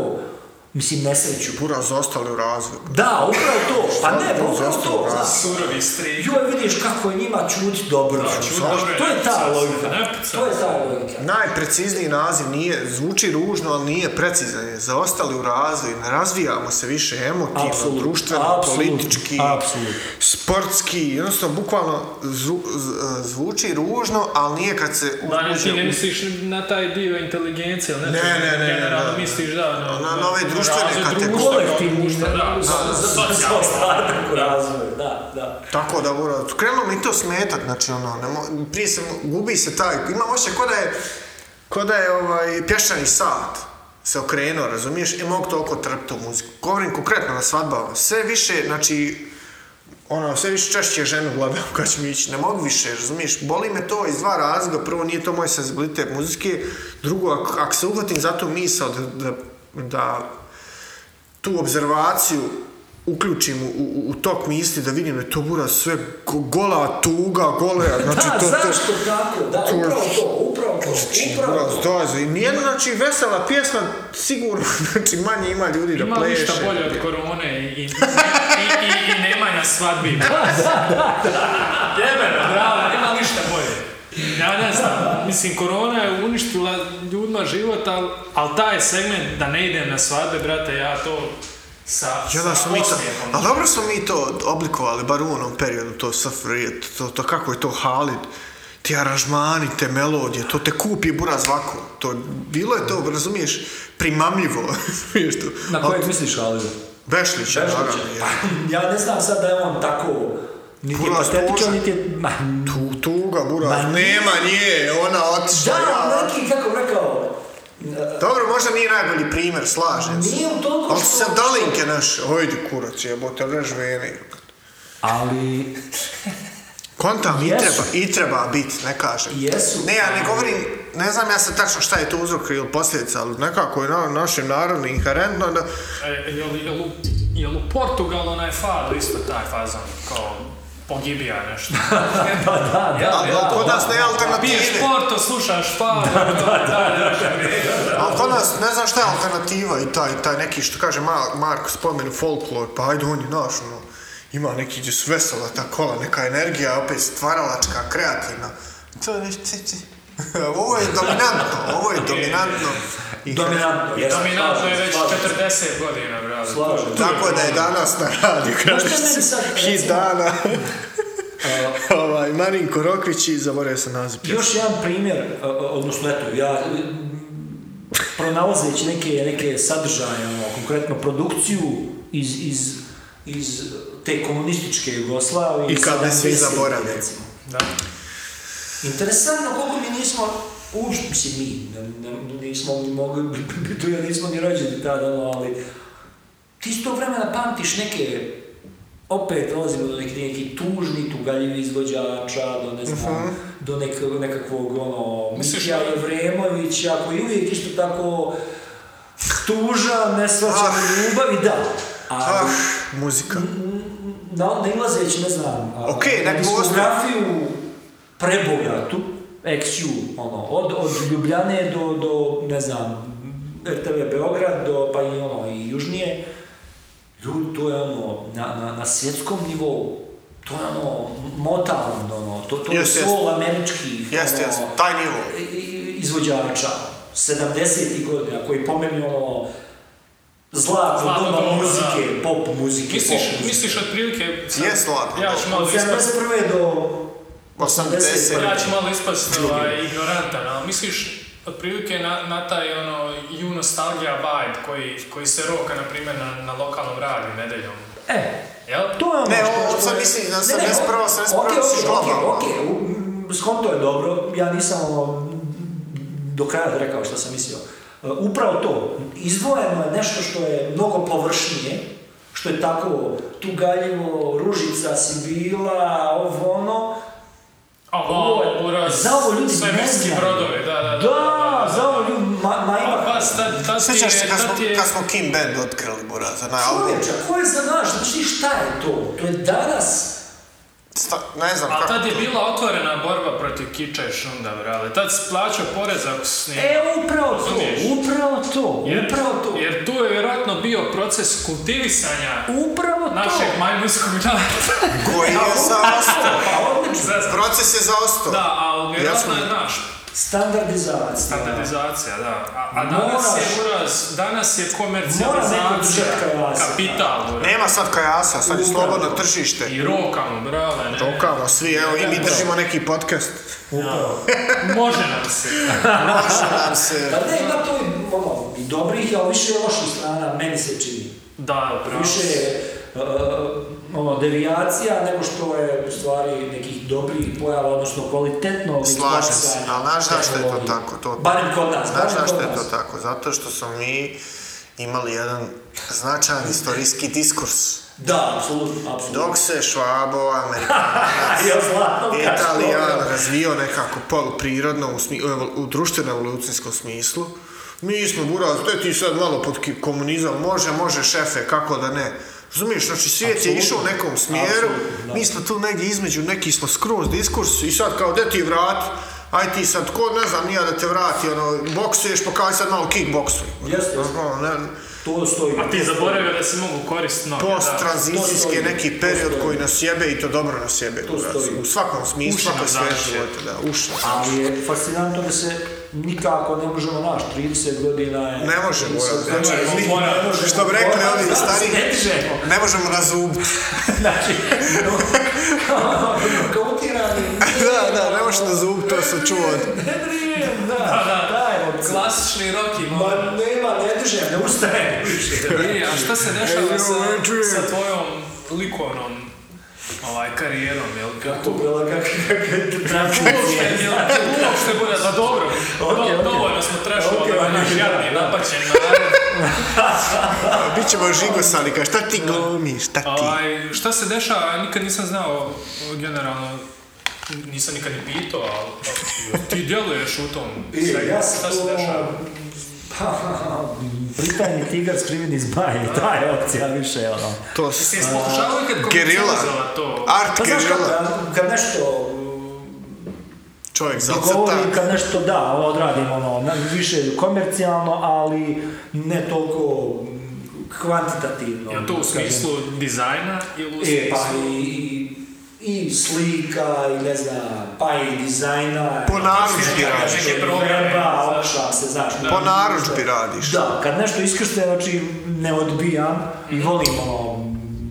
S3: mislim, nesreću.
S2: Znači, Buraz ostali u razvoju.
S3: Da, upravo to, pa ne, pa upravo to, znaš.
S1: Surovi strik.
S3: Joj, vidiš kako je njima čuti dobro.
S1: čut
S3: znaš,
S1: dobro je,
S3: to je ta
S1: ne
S3: logika.
S1: pucaj se.
S3: To je ta logika.
S2: Najprecizniji naziv nije, zvuči ružno, ali nije precizan. Je zaostali u razvoju, ne razvijamo se više emotivno,
S3: Apsolutno,
S2: društveno,
S3: apsolutno,
S2: politički,
S3: apsolutno.
S2: sportski. Jednostavno, bukvalno zvu- z- e, zvuči ružno, ali nije kad se
S1: Mane, Znači, ti
S2: uđe
S1: ne
S2: Znači, u-
S1: misliš na taj dio inteligencije, ili ne?
S2: Ne, ne, ne,
S1: Generalno
S2: ne.
S1: misliš da... Na,
S2: Na- na ove društvene
S1: razvoj
S2: kategorije.
S1: društva,
S3: Kolektivni,
S1: društva, da,
S3: za- za- za- za
S1: socijalno.
S3: ostatak u razvoju, da, da.
S2: Tako da mora, krenulo mi to smetat, znači ono, ne mo, prije se mo- gubi se taj, imam osjećaj ko da je, ko da je ovaj, pješani sat se okrenuo, razumiješ, i mogu toliko trpiti tu muziku. Govorim konkretno na svadbama, sve više, znači, ono, sve više češće ženu <laughs> gledam kad ću mi ići, ne mogu više, razumiješ, boli me to iz dva razloga, prvo nije to moj senzibilitet muzike, drugo, ako ak se uhvatim za tu misao da, da, da tu obzervaciju uključim u, u, u tok misli da vidim da je to bura sve go- gola tuga, gole,
S1: <laughs>
S2: znači to,
S3: Da,
S2: to,
S3: zašto tako? Da,
S2: to- Znači,
S3: upravo to, upravo to, upravo
S2: Buraz,
S3: to.
S2: dolazi. I nijedna, znači, vesela pjesma, sigurno, <laughs> znači, manje ima ljudi da
S1: Ima
S2: pleše.
S1: ništa bolje od korone i, i, i, i, i nema na svadbi. Da, Jebeno, bravo, nema ništa bolje. Ja ne znam, mislim, korona je uništila ljudima život, ali al taj segment da ne idem na svadbe, brate, ja to sa,
S2: Ja da
S1: sa
S2: smo mi to,
S1: osmijehom.
S2: a dobro smo mi to oblikovali, bar u onom periodu, to safri, to, to kako je to Halid, ti aranžmani, te melodije, to te kupi buraz vako. To, bilo je to, razumiješ, primamljivo. <laughs> razumiješ to.
S3: Na kojeg misliš, ali?
S2: Bešlić, naravno. je.
S3: Pa, Ja ne znam sad da je on tako, niti je
S2: Puno
S3: patetičan,
S2: tužan.
S3: niti je... Ma,
S2: Tu, tuga, buraz,
S3: Ma nije.
S2: nema nje, ona otišla.
S3: da,
S2: ja.
S3: neki, kako bi rekao,
S2: Dobro, možda nije najbolji primjer, slažem se.
S3: nije u toliko
S2: Ali
S3: što...
S2: se dalinke naše, ojdi kurac, jebote, rež vene.
S3: Ali,
S2: Kontam, i
S3: Jesu.
S2: treba, i treba biti, ne kažem.
S3: jesu.
S2: Ne, ja ne govorim, ne znam ja sad tačno šta je to uzrok ili posljedica, ali nekako je na, našem narodu inherentno da...
S1: E, jel, jel, u, jel u Portugalu onaj fado isto taj fazon, kao pogibija nešto.
S3: <laughs> Pa da, da,
S2: ali
S3: da.
S2: kod nas ne
S1: Piješ
S2: alternative.
S1: porto, slušaš fado, da, da, da,
S2: Ali kod nas ne znam šta je alternativa i taj, taj neki što kaže Mar- Marko spomenu folklor, pa ajde on je naš, ono, ima neki gdje su vesela ta kola, neka energija, opet stvaralačka, kreativna. <laughs> To je već ti, ti. ovo je dominantno, ovo je dominantno. I-
S3: Dominantno,
S1: da.
S3: jesu,
S1: Dominantno je
S3: slažem,
S1: već
S3: slažem se.
S1: 40 godina, brate.
S3: Slažem se.
S2: Tako da je danas na radiju,
S3: Znaš šta je meni sad,
S2: hit
S3: recimo-
S2: dana. ovaj, Marinko Rokvić i zaboravio sam naziv.
S3: Još jedan primjer, a, a, odnosno eto, ja m, pronalazeći neke, neke sadržaje, ono, konkretno produkciju iz, iz, iz te komunističke Jugoslavije.
S2: I kad ne svi
S3: 70-ih,
S2: zaborave.
S3: recimo.
S1: Da.
S3: Interesantno koliko mi nismo uopšte, mislim mi, ne, ne, nismo ni mogli <laughs> biti tu jer nismo ni rođeni tada, ono, ali ti s tog vremena pamtiš neke, opet dolazimo do nekih neki tužni, tugaljivi izvođača, do ne znam, do nek, nekakvog, ono,
S1: Misliš-
S3: Mitja Jevremovića, koji je uvijek isto tako tužan, nesvaćan u ljubavi, da.
S2: Ah,
S3: Ali,
S2: muzika.
S3: Hm. na, nailazeći, ne znam, a,
S2: Ok,
S3: na
S2: nek postoji.
S3: diskografiju prebogatu, XU, ono, od, od Ljubljane do, do, ne znam, RTV Beograd, do, pa i ono, i južnije, ljudi, to je ono, na, na, na svjetskom nivou, to je ono, Motown, ono, to, to
S2: Jest,
S3: je
S2: jest.
S3: sol američkih,
S2: Jeste,
S3: ono,
S2: jeste, taj nivo.
S3: i- i- izvođača 70-ih godina koji pomeni ono zlato
S1: Zlato
S3: doba
S1: doba,
S3: muzike, pop muzike,
S1: Misliš,
S3: pop muzike.
S1: misliš otprilike... sad-
S2: Jest ladno,
S1: Ja ću malo
S3: Od
S1: ispast...
S3: 71. do
S2: 80.
S1: Ja ću malo ispast ovaj, ignorantan, ali misliš otprilike na, na taj ono ju nostalgia vibe koji, koji se roka, na primjer, na, na lokalnom radiju nedeljom.
S3: E,
S1: Jel?
S3: to je ono
S2: Ne,
S3: što-
S2: ovo
S3: što
S2: sad
S3: je-
S2: misli na
S3: Ne, ne,
S2: 71.,
S3: ovo-
S2: 71.
S3: okej,
S2: su
S3: okej,
S2: globalno.
S3: okej, okej, u- skonto je dobro, ja nisam ono, do kraja rekao što sam mislio. E, Upravo to, izdvojeno je nešto što je mnogo površnije, što je tako tugaljivo, ružica si bila, ovo ono,
S1: A ovo, buraz,
S3: za ovo ljudi ne
S1: svemirski
S3: znaju.
S1: brodovi, da, da, da.
S3: Da, za ovo ljudi, ma, ma ima...
S1: Pa, tad, tad ti
S2: Sjećaš se
S1: je,
S2: kad smo,
S1: tad ti je...
S2: kad smo Kim Band otkrili, Buraz, na album?
S3: Čovječe, ko je za naš, znači šta je to? To je danas...
S2: Sta, ne znam
S1: A
S2: kako
S1: tad je
S2: to.
S1: bila otvorena borba protiv kiča i šunda, brale. Tad si plaćao porez ako si snimao.
S3: E, upravo to,
S1: Razumiješ?
S3: upravo to,
S1: Jer,
S3: upravo to.
S1: jer tu je vjerojatno bio proces kultivisanja
S3: Upravo to.
S1: našeg majmunskog <laughs> naroda.
S2: Koji
S3: <laughs>
S2: je zaostao?
S3: Pa odlično.
S2: Proces je zaostao.
S1: Da, ali vjerojatno
S2: Jasno.
S1: je naš
S3: Standardizacija.
S1: standardizacija, da. A, a danas
S3: Moraš-
S1: je uraz, danas je
S3: Mora neko
S1: komercijalizacija,
S3: držat kajasa,
S1: kapital, uraz.
S2: Nema sad kajasa, sad je
S3: Upravo.
S2: slobodno tržište.
S1: I rokamo, brale, ne.
S2: Rokamo svi, evo i mi držimo neki podcast.
S1: Može nam
S3: <laughs>
S1: se.
S2: Može nam se...
S3: Pa ne, ima to i, ono, i dobrih, ali više je loših strana, meni se čini.
S1: Da, upravo.
S3: Više je e, ono, devijacija nego što je u stvari nekih dobrih pojava, odnosno kvalitetno
S2: Slažem se, ali znaš zašto je to tako? To-
S3: Barem kod nas,
S2: Znaš
S3: barem
S2: zašto
S3: kod
S2: je to
S3: nas.
S2: tako? Zato što smo mi imali jedan značajan istorijski diskurs.
S3: Da, apsolutno, apsolutno.
S2: Dok se Švabo, Amerikan,
S3: <laughs> Ja zlatom kačkom.
S2: Italijan E, razvio nekako poluprirodno u, smi, u društveno-evolucijskom smislu, mi smo buraz, to je ti sad malo pod ki- komunizam, može, može šefe, kako da ne. Razumiješ, znači svijet je išao u nekom smjeru,
S3: Apsolutno, da.
S2: mi smo tu negdje između, neki smo skroz diskurs i sad kao, de ti vrat, aj ti sad, ko ne znam, nija da te vrati, ono, boksuješ, pa kao aj sad malo kickboksuj.
S3: Jeste,
S2: Ono, ne-
S3: to stoji.
S1: A ti zaboravio da se mogu koristiti noge, da.
S2: post-tranzicijski
S3: To
S2: je
S3: stoji,
S2: neki
S3: to
S2: period
S3: stoji.
S2: koji nas jebe i to dobro nas jebe.
S3: To stoji.
S2: U svakom smislu,
S1: Uši
S2: svakoj
S1: nam
S2: sferi
S1: završe.
S2: života, da, uši nam
S3: Ali je fascinantno da se nikako ne možemo naš, 30 godina je...
S2: Ne možemo,
S3: 30
S2: ja,
S3: godina
S2: znači,
S3: je-
S1: mi-
S3: ne možemo.
S2: što bi rekli
S3: Ono,
S2: ovi
S3: da,
S2: stariji-
S3: Ne dižemo.
S2: Ne možemo razubiti.
S3: Znači, kao- kautirani.
S4: Да,
S2: da, da, ne možemo razubiti, to sam čuo. od-
S3: Ne brijem, da, daj, od kla...
S1: Klasični rock i
S3: Ma nema, ne dižem, ne ustajem.
S1: <laughs> Vidi, a šta se dešava
S2: Everyone
S1: sa,
S2: dream.
S1: sa tvojom likovnom ovaj, karijerom, jel? Kako
S3: To bila
S1: uopšte,
S3: kakva...
S1: jel, uopšte bude za dobro?
S3: Okej,
S1: Do-
S3: okej.
S1: Dovoljno smo trešovali
S3: Okej,
S1: ovaj naš
S3: okej,
S1: jadni,
S3: da, da.
S1: napaćen narod.
S2: Bićemo žigosani, kao šta ti glomiš, šta ti?
S1: Ovaj, šta se dešava, nikad nisam znao, generalno, nisam nikad ni pitao, ali ti djeluješ u tom svemu.
S3: Ja sam
S1: Šta se
S3: <laughs>
S1: dešava?
S3: to... Britanni tigar skriven iz <laughs> baje, ta je opcija više, ono.
S2: To
S1: Jesi
S2: s...
S1: jesi pokušavao ikad
S2: gerila.
S1: komercijalizovat to?
S2: Art
S3: Pa znaš
S2: gerila.
S3: kad, kad nešto
S2: Čovjek
S3: dogovorim,
S2: zacrta.
S3: kad nešto da, odradim ono, na- više komercijalno, ali ne toliko mm, kvantitativno.
S1: Jel to u
S3: kažem.
S1: smislu dizajna ili u
S3: E, pa
S1: smislu...
S3: i, i- i slika, i ne znam, pa i dizajna.
S2: Po narudžbi
S1: Mislim,
S2: radiš.
S1: neke programe,
S3: Verba,
S1: znaš.
S3: opša se, znaš.
S2: Po narudžbi radiš.
S3: Da, kad nešto iskršte, znači ne odbijam i volim ono,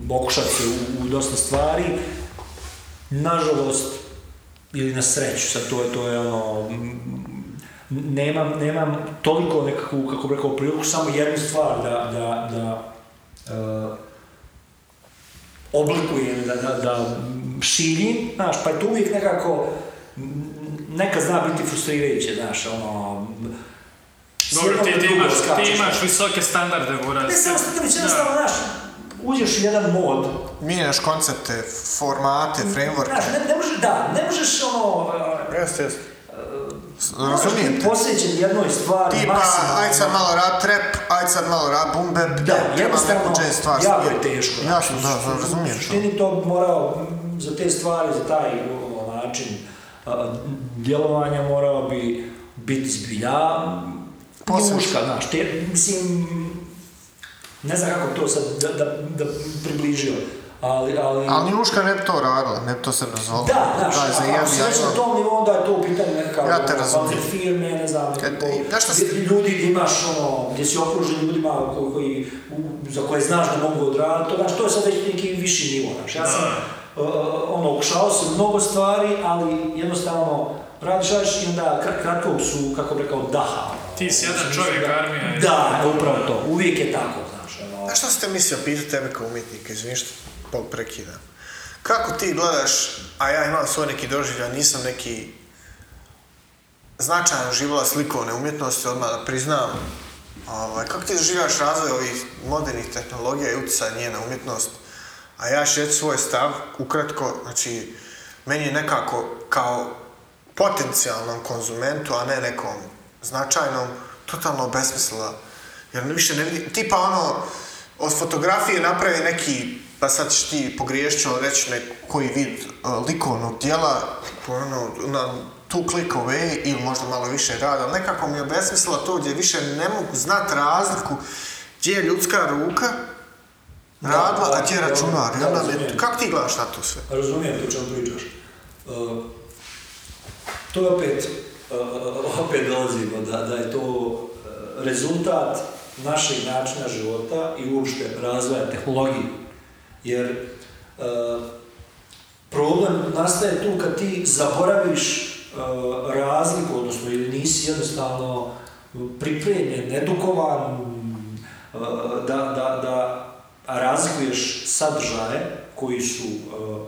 S3: pokušati se u, u dosta stvari. nažalost, ili na sreću, sad to je, to je ono, nemam, nemam toliko nekakvu, kako bih rekao, priliku, samo jednu stvar da, da, da e, oblikujem, da, da, da šiljim, znaš, pa je to uvijek nekako, neka zna biti frustrirajuće, znaš, ono, s
S1: Dobro,
S3: jednog
S1: ti,
S3: na
S1: ti,
S3: drugo
S1: imaš, ti
S3: skačeš.
S1: imaš visoke standarde, Buraz.
S3: Ne, samo što već
S1: Da.
S3: jednostavno, znaš, uđeš u jedan mod,
S7: Mijenjaš koncepte, formate, frameworke.
S3: znaš, ne, ne možeš, da, ne možeš ono,
S7: Jeste, jeste. S-
S3: moraš
S7: Razumijem
S3: biti
S7: te.
S3: posvećen jednoj stvari,
S7: Tipa,
S3: maksimalno.
S7: aj sad malo rad trap, aj sad malo rad boom bap, ne,
S3: Da,
S7: treba
S3: jednostavno,
S7: neku jazz stvar.
S3: jako je
S7: smjer-
S3: teško. znači,
S7: Jasno, da, da,
S3: U
S7: razumijem.
S3: suštini to morao, m, za te stvari, za taj o, način a, djelovanja morao bi biti zbilja
S7: Posebno.
S3: njuška, znaš, te, mislim, ne znam kako to sad da, da, da približio, ali, ali...
S7: Ali Njuška ne bi to radila, ne bi to se nazvala.
S3: Da, znaš,
S7: Daj, zajebi,
S3: ako si već
S7: ajmo.
S3: na tom nivou, onda je to u pitanju nekakav
S7: Ja te
S3: ono,
S7: razumijem.
S3: kvalitet firme, ne znam,
S7: Kad-
S3: neko,
S7: i znaš šta
S3: gdje-
S7: se-
S3: ljudi gdje imaš ono, gdje si okružen ljudima ko- koji, u- za koje znaš da mogu odraditi, to, znaš, to je sad već neki viši nivo, znaš, ja sam uh, ono, okušao sam mnogo stvari, ali jednostavno radiš, radiš i onda kr- kratkog su, kako bi rekao, daha. ono,
S1: Ti si
S3: u
S1: jedan
S3: smislu
S1: čovjek,
S3: da-
S1: armija je.
S3: Da, upravo to, uvijek je tako, znaš, ono,
S4: Znaš šta ste mislio pitati tebe kao umjetnika, izvini što pol prekidam. Kako ti gledaš, a ja imam svoj neki doživljaj, nisam neki značajan živjela slikovne umjetnosti, odmah da priznam. Ovaj, kako ti doživljaš razvoj ovih modernih tehnologija i utjecaj nje na umjetnost? A ja ću reći svoj stav, ukratko, znači, meni je nekako kao potencijalnom konzumentu, a ne nekom značajnom, totalno besmislila. Jer više ne vidim, tipa ono, od fotografije napravi neki, pa sad ćeš ti pogriješću reći nek- koji vid uh, likovnog dijela, ono, na tu click away ili možda malo više rada, ali nekako mi je besmislila to gdje više ne mogu znat razliku gdje je ljudska ruka radila, a gdje je
S3: da,
S4: računar. I
S3: da,
S4: onda mi-
S3: razumijem.
S4: kako ti gledaš na to sve?
S3: Razumijem ti o čemu pričaš. Uh, to je opet, uh, opet dolazimo da, da je to uh, rezultat našeg načina života i uopšte razvoja tehnologije. Jer uh, problem nastaje tu kad ti zaboraviš uh, razliku, odnosno ili nisi jednostavno pripremljen, edukovan, uh, da, da, da razlikuješ sadržaje koji su uh,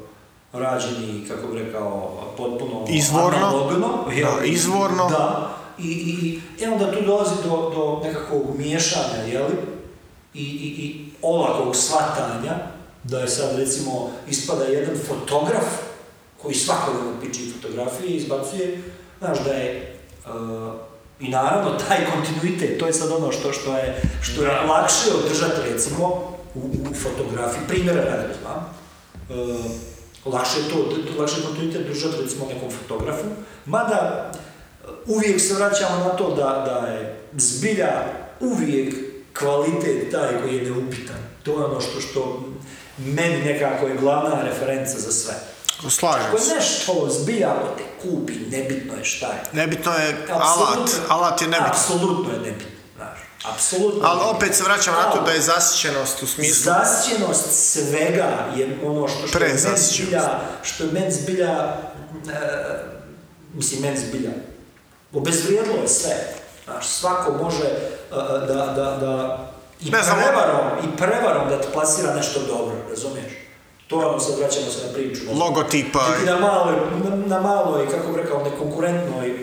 S3: rađeni, kako bi rekao, potpuno
S4: Izvorno.
S3: analogno, jel?
S4: Da, izvorno.
S3: Da. I, i, i e onda tu dolazi do, do nekakvog miješanja, jeli? I, i, i olakog shvatanja da je sad recimo ispada jedan fotograf koji svakodnevno piči fotografije i izbacuje, znaš da je uh, i naravno taj kontinuitet, to je sad ono što, što je, što je
S1: Da.
S3: lakše održati recimo u, u fotografiji, primjera radi, znam, e, lakše je to, d- lakše je kontinuitet držati recimo nekom fotografu, mada e, uvijek se vraćamo na to da, da je zbilja uvijek kvalitet taj koji je neupitan. To je ono što, što meni nekako je glavna referenca za sve.
S4: Slažem
S3: Ako je nešto zbilja, ako te kupi, nebitno je šta je.
S4: Nebitno je alat,
S3: Apsolutno-
S4: alat je nebitno.
S3: Apsolutno je nebitno, znaš. Apsolutno. je
S4: Ali
S3: nebitno.
S4: opet se vraćam na to
S3: Ali-
S4: da je zasićenost u smislu
S3: Zasićenost svega je ono što, što je meni
S4: Prezasićenost.
S3: zbilja, što je meni zbilja, e, mislim meni zbilja, obezvrijedilo je sve. Znaš, svako može e, da, da, da i,
S4: Ne znam, ono-
S3: prevarom, i prevarom da ti plasira nešto dobro, razumiješ? To je ono sad vraćamo se na priču. ne znam.
S4: logotipa.
S3: Ti na maloj, na maloj, kako bih rekao, nekonkurentnoj, e,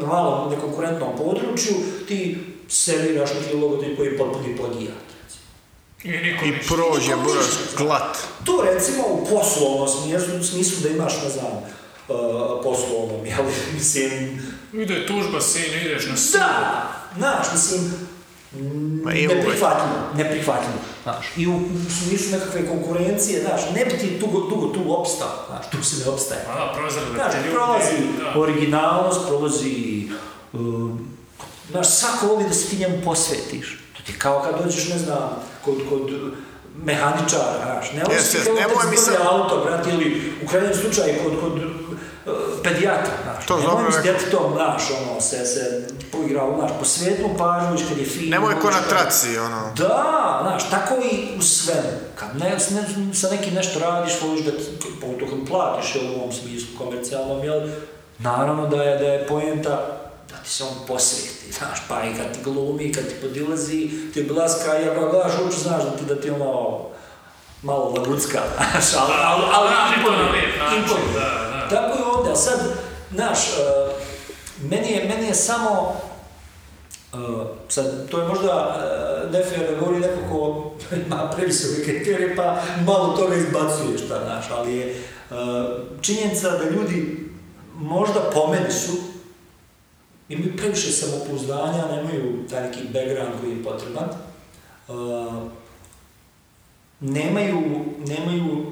S3: na malom nekonkurentnom području ti serviraš neki logotip koji je potpuni plagijat.
S1: I niko
S4: I
S1: ništa.
S4: prođe,
S3: Ništa.
S4: buraz, glat.
S3: To recimo u poslovnom smislu, smislu da imaš, ne znam, uh, poslovnom, jel, <laughs> mislim,
S1: Ide tužba, sine, ideš na sud.
S3: da, znaš, mislim, mm,
S4: Ma i ovo je-
S3: neprihvatljivo, neprihvatljivo, znaš, i u, u smislu nekakve konkurencije, znaš, ne bi ti dugo, dugo tu opstao, znaš, tu se ne opstaje.
S1: Ma da, prozrele
S3: Znaš,
S1: te ljudi.
S3: prolazi
S1: da.
S3: originalnost, prolazi... um, Znaš, svako voli da se ti njemu posvetiš. To ti je kao kad dođeš, ne znam, kod, kod uh, mehaničara, znaš, ne voliš
S4: Jes,
S3: ti
S4: jes,
S3: kao
S4: nemoj
S3: da
S4: mi
S3: ti zbrlja
S4: sad-
S3: auto, brate, ili u krajnjem slučaju kod, kod uh, pedijatra, znaš.
S4: To
S3: nemoj
S4: dobro
S3: mi s
S4: rekao.
S3: djetetom, znaš, ono, se, se poigrao, znaš, posvetilo pažnju, viš kad je fin.
S4: Nemoj ko na
S3: znaš,
S4: traci, ono.
S3: da, znaš, tako i u svemu. Kad ne, s ne, sa nekim nešto radiš, voliš da ti, po to prilikom platiš jel, u ovom smislu komercijalnom, jel, naravno da je, da je poenta da ti se on posveti, znaš, pa i kad ti glumi, kad ti podilazi, ti obilaska, ja ga gledaš u oči, znaš da ti, da ti ono, malo lagucka, znaš, ali, ali, ali,
S1: Radi to na
S3: imponuje,
S1: lijep način,
S3: imponuje.
S1: da, da.
S3: Tako je ovdje, a sad, znaš, e, meni je, meni je samo, e, sad, to je možda e, nefer da govori neko ko <laughs> ima previsoke kriterije pa malo toga izbacuje šta znaš, ali je e, činjenica da ljudi možda po meni su imaju previše samopouzdanja, nemaju taj neki background koji je potreban, E, nemaju, nemaju,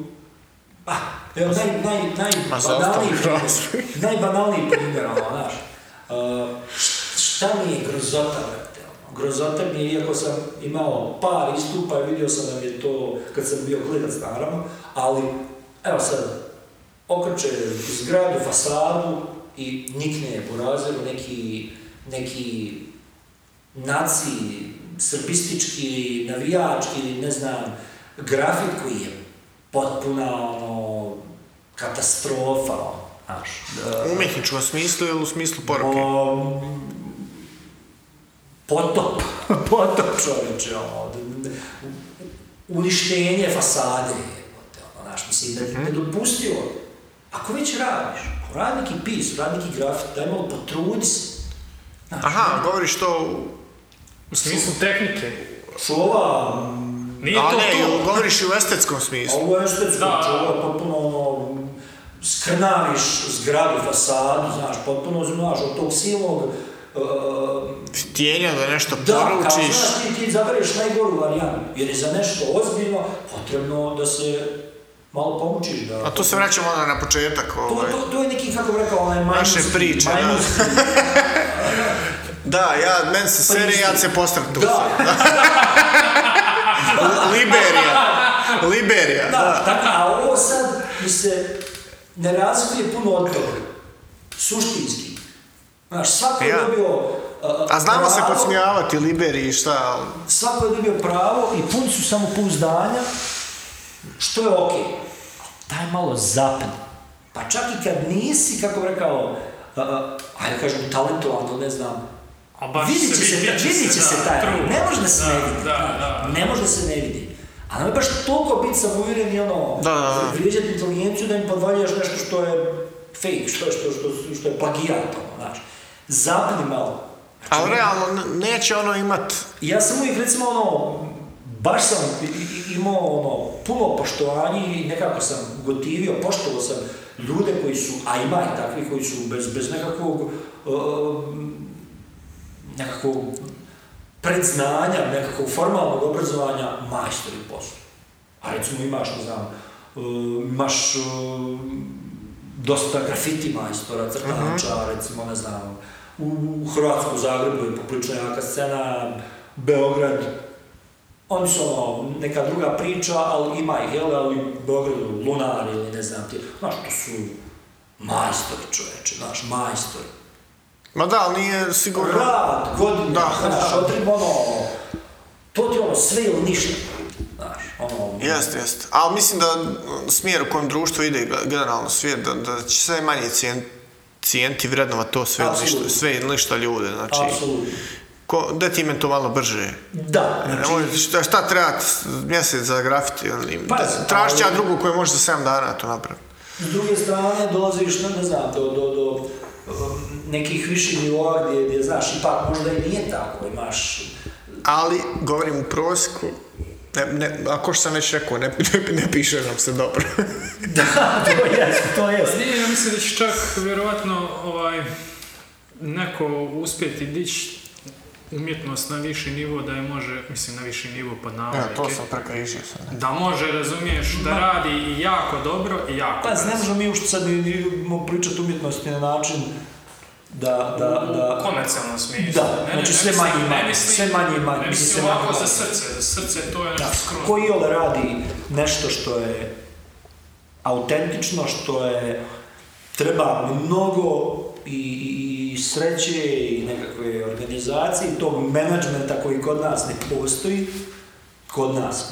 S3: ah, evo, naj, naj,
S4: Ma, zaostali
S3: najbanalniji,
S4: razvoj.
S3: <laughs> najbanalniji primjer, ono, znaš, E, š- šta mi je grozota, brate, ono? grozota mi je, iako sam imao par istupa i vidio sam da mi je to, kad sam bio klinac, naravno, ali, evo sad, okreće zgradu, fasadu i nikne burazeru neki, neki naci, srbistički, navijački, ne znam, grafit koji je potpuna ono, katastrofa, ono, znaš. da-
S4: U umjetničkom smislu ili u smislu poruke?
S3: o, potop, <laughs> potop čovječe, ono, d- d- uništenje fasade, jebote, ono, znaš, mislim, da je nedopustivo. Ako već radiš, ako radi neki pis, radi neki grafit, daj malo potrudi se. Znaš,
S4: Aha, govoriš to...
S1: U smislu tehnike.
S3: čuva,
S1: Nije
S4: A
S1: to
S4: ne,
S1: to.
S4: govoriš i u estetskom
S3: a
S4: smislu.
S3: Pa ovo je štetsko,
S1: Da.
S3: čuva, potpuno ono, skrnaviš zgradu, fasadu, znaš, potpuno znaš, od tog silnog, e,
S4: Tijenja da nešto
S3: Da, kao
S4: poručiš.
S3: znaš, ti, ti izabereš najgoru varijantu, jer je za nešto ozbiljno potrebno da se malo pomučiš. Da,
S4: A tu se vraćamo onda na početak,
S3: to,
S4: ovaj.
S3: to, to je neki, kako bi rekao, onaj
S4: Naše
S3: majmunski...
S4: priče, da.
S3: majmunski-
S4: Da, ja, men se sere, ja se postram tu.
S3: Pa Da, <laughs>
S4: Liberija. Liberija,
S3: da,
S4: da.
S3: tako, a ovo sad mi se ne razlikuje puno od toga. Suštinski. Znaš, svako je
S4: Ja.
S3: dobio... e,
S4: A znamo se
S3: pravo-
S4: podsmijavati Liberiji, šta, ali...
S3: svako je dobio pravo i pun su samopouzdanja, što je okej. Okay. Daj malo zapne. Pa čak i kad nisi, kako bi rekao, a, a, ajde kažem, talentovan, ili ne znam,
S1: A baš
S3: vidit će se,
S1: vidi,
S3: vidit će se
S1: da,
S3: taj,
S1: trud.
S3: ne može da se ne
S1: Da,
S3: vidi,
S1: Da, da.
S3: ne može da se ne vidi. A nemoj baš toliko biti samouvjeren i ono,
S4: Da, da, da.
S3: vrijeđati inteligenciju da im podvaljaš nešto što je fake, što, što, što, što je plagijat, ono, znači. Zapni malo,
S4: Ali realno, n- neće ono imat...
S3: I ja sam uvijek recimo ono, baš sam i- i- imao ono, puno poštovanja i nekako sam gotivio, poštovao sam ljude koji su, a ima i takvi koji su bez, bez nekakvog, em, nekakvog predznanja, nekakvog formalnog obrazovanja majstori posla. A recimo imaš, ne znam, em, imaš e, em, dosta grafiti majstora, crtača, recimo, ne znam, u, u Hrvatsku, Zagrebu je poprilično jaka scena, Beograd, oni su ono, neka druga priča, ali ima ih, jel, ali u Beogradu, Lunar ili ne znam ti, znaš, to su majstori čoveče, znaš, majstori.
S4: Ma da, ali nije sigurno...
S3: Rad, godine,
S4: Da.
S3: znaš, otrib, ono, to ti je ono sve ili ništa, znaš, ono,
S4: Jeste, jeste. Ali mislim da mm, smjer u kojem društvo ide, generalno svijet, da, da će sve manje cijen, cijeniti i vrednovat to sve ili ništa,
S3: Apsolutno.
S4: sve ili ništa ljude, znači...
S3: apsolutno.
S4: Ko, da ti men to malo brže?
S3: Da, znači,
S4: Nemoj, šta, šta treba ti s- mjesec za grafiti?
S3: Pa,
S4: Tražit će ja
S3: ali-
S4: drugu koju može za 7 dana to napraviti.
S3: S druge strane, dolaziš, ne, ne znam, do, do, do um, nekih viših nivoa gdje, gdje, znaš, ipak možda i nije tako, imaš... <laughs>
S4: Ali, govorim u prosjeku, ne, ne, ako što sam već rekao, ne, ne, ne piše nam se
S3: <laughs>
S4: dobro.
S3: Da, to je, to je.
S1: Nije, ja mislim da će čak vjerovatno ovaj, neko uspjeti dići umjetnost na viši nivo da je može, mislim na viši nivo pod
S3: Pa,
S1: navodnike.
S4: prekrižio sam.
S1: Da može, razumiješ, da radi i jako dobro i jako
S3: Pa, ne
S1: brzo.
S3: možemo mi ušte sad ni, ni mo- pričati umjetnosti na način da, da,
S1: U
S3: da...
S1: komercijalnom smislu.
S3: Da, znači sve
S1: mislim-
S3: manje i manje,
S1: ne mislim-
S3: sve manje i manje,
S1: Ne
S3: mislim,
S1: mislim
S3: sve manje i
S1: ovako za
S3: manje.
S1: srce, za srce to je
S3: Da,
S1: nešto skroz.
S3: ko iole radi nešto što je autentično, što je treba mnogo i, i, i sreće i nekakve organizacije i tog menadžmenta koji kod nas ne postoji, kod nas.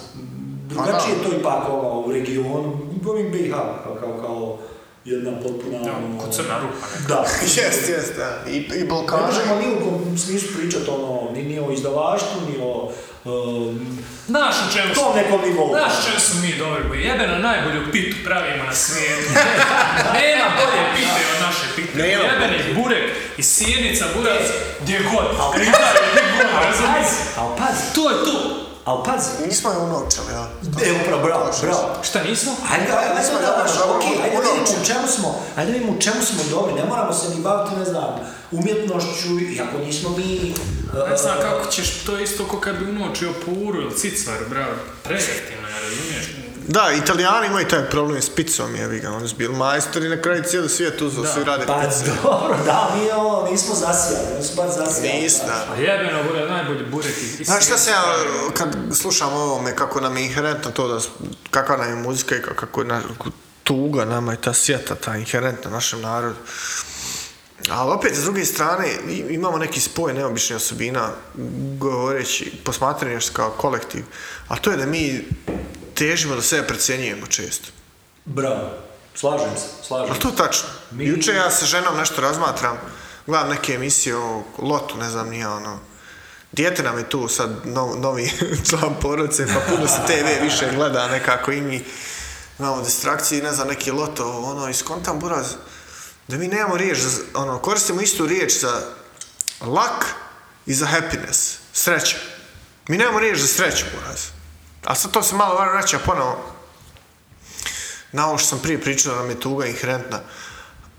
S3: Drugačije je to ipak ovo, u regionu, govorim BiH, kao, kao, kao jedna potpuna... ono,
S1: ko crna rupa. ne.
S3: Da.
S2: Jest, jest, da. I, i
S3: Ne
S2: Balkana.
S3: možemo ni u kom smislu pričati ono, ni, ni o izdavaštvu, ni o um,
S1: Znaš u čemu smo?
S3: tom nekom nivou.
S1: Znaš u čemu smo mi dobri, bo jebeno najbolju pitu pravimo na svijetu. <laughs> Nema bolje pite od naše pite.
S2: Nema.
S1: Jebeni burek i sjednica burac gdje god. Ribar je gdje god, razumiješ?
S3: Pazi, ali pazi,
S1: To je to.
S3: ali pazi.
S2: Nismo je unovčali, ja.
S3: E, upravo, bravo, bravo.
S1: Šta nismo?
S3: Ajde, ajde, ajde,
S2: Nismo
S3: da,
S2: dobro,
S3: baš,
S2: dobro,
S3: okej, ajde
S2: ono,
S3: da vidimo u čemu smo, ajde da vidimo u čemu smo dobri, ne moramo se ni baviti, ne znam, umjetnošću, iako nismo mi...
S1: Ne
S3: uh,
S1: znam kako ćeš, to je isto ko kad bi unočio puru ili cicvar, bravo. Preventivno, ja razumiješ?
S2: Da, italijani imaju taj problem s pizzom, jevi ga, oni su bili majstori, na kraju cijeli svijet uzeo, svi rade
S3: Pa
S2: pizze.
S3: dobro, da, mi ono, nismo zasijali, nismo baš zasijali.
S2: Nismo,
S3: znaš.
S2: da.
S1: A jebeno bude najbolji burek i
S2: Znaš šta se ja, kad slušam o ovome, kako nam je inherentno to da, s- kakva nam je muzika i kako je na- tuga nama i ta sjeta, ta inherentna našem narodu. Ali opet, s druge strane, i- imamo neki spoj neobičnih osobina, govoreći, posmatranje kao kolektiv, a to je da mi težimo da sebe precjenjujemo često.
S3: Bravo, slažem se, slažem
S2: Ali
S3: se.
S2: to je tačno. Juče ja sa ženom nešto razmatram, gledam neke emisije o lotu, ne znam, nije ono... Dijete nam je tu sad no- novi <laughs> član porodice, pa puno se TV više gleda nekako i mi imamo distrakcije, ne znam, neki loto, ono, i skontam buraz, da mi nemamo riječ, za- ono, koristimo istu riječ za lak i za happiness, sreća. Mi nemamo riječ za sreću, buraz. A sad to se malo vraća ponovo na ovo što sam prije pričao, nam je tuga inherentna,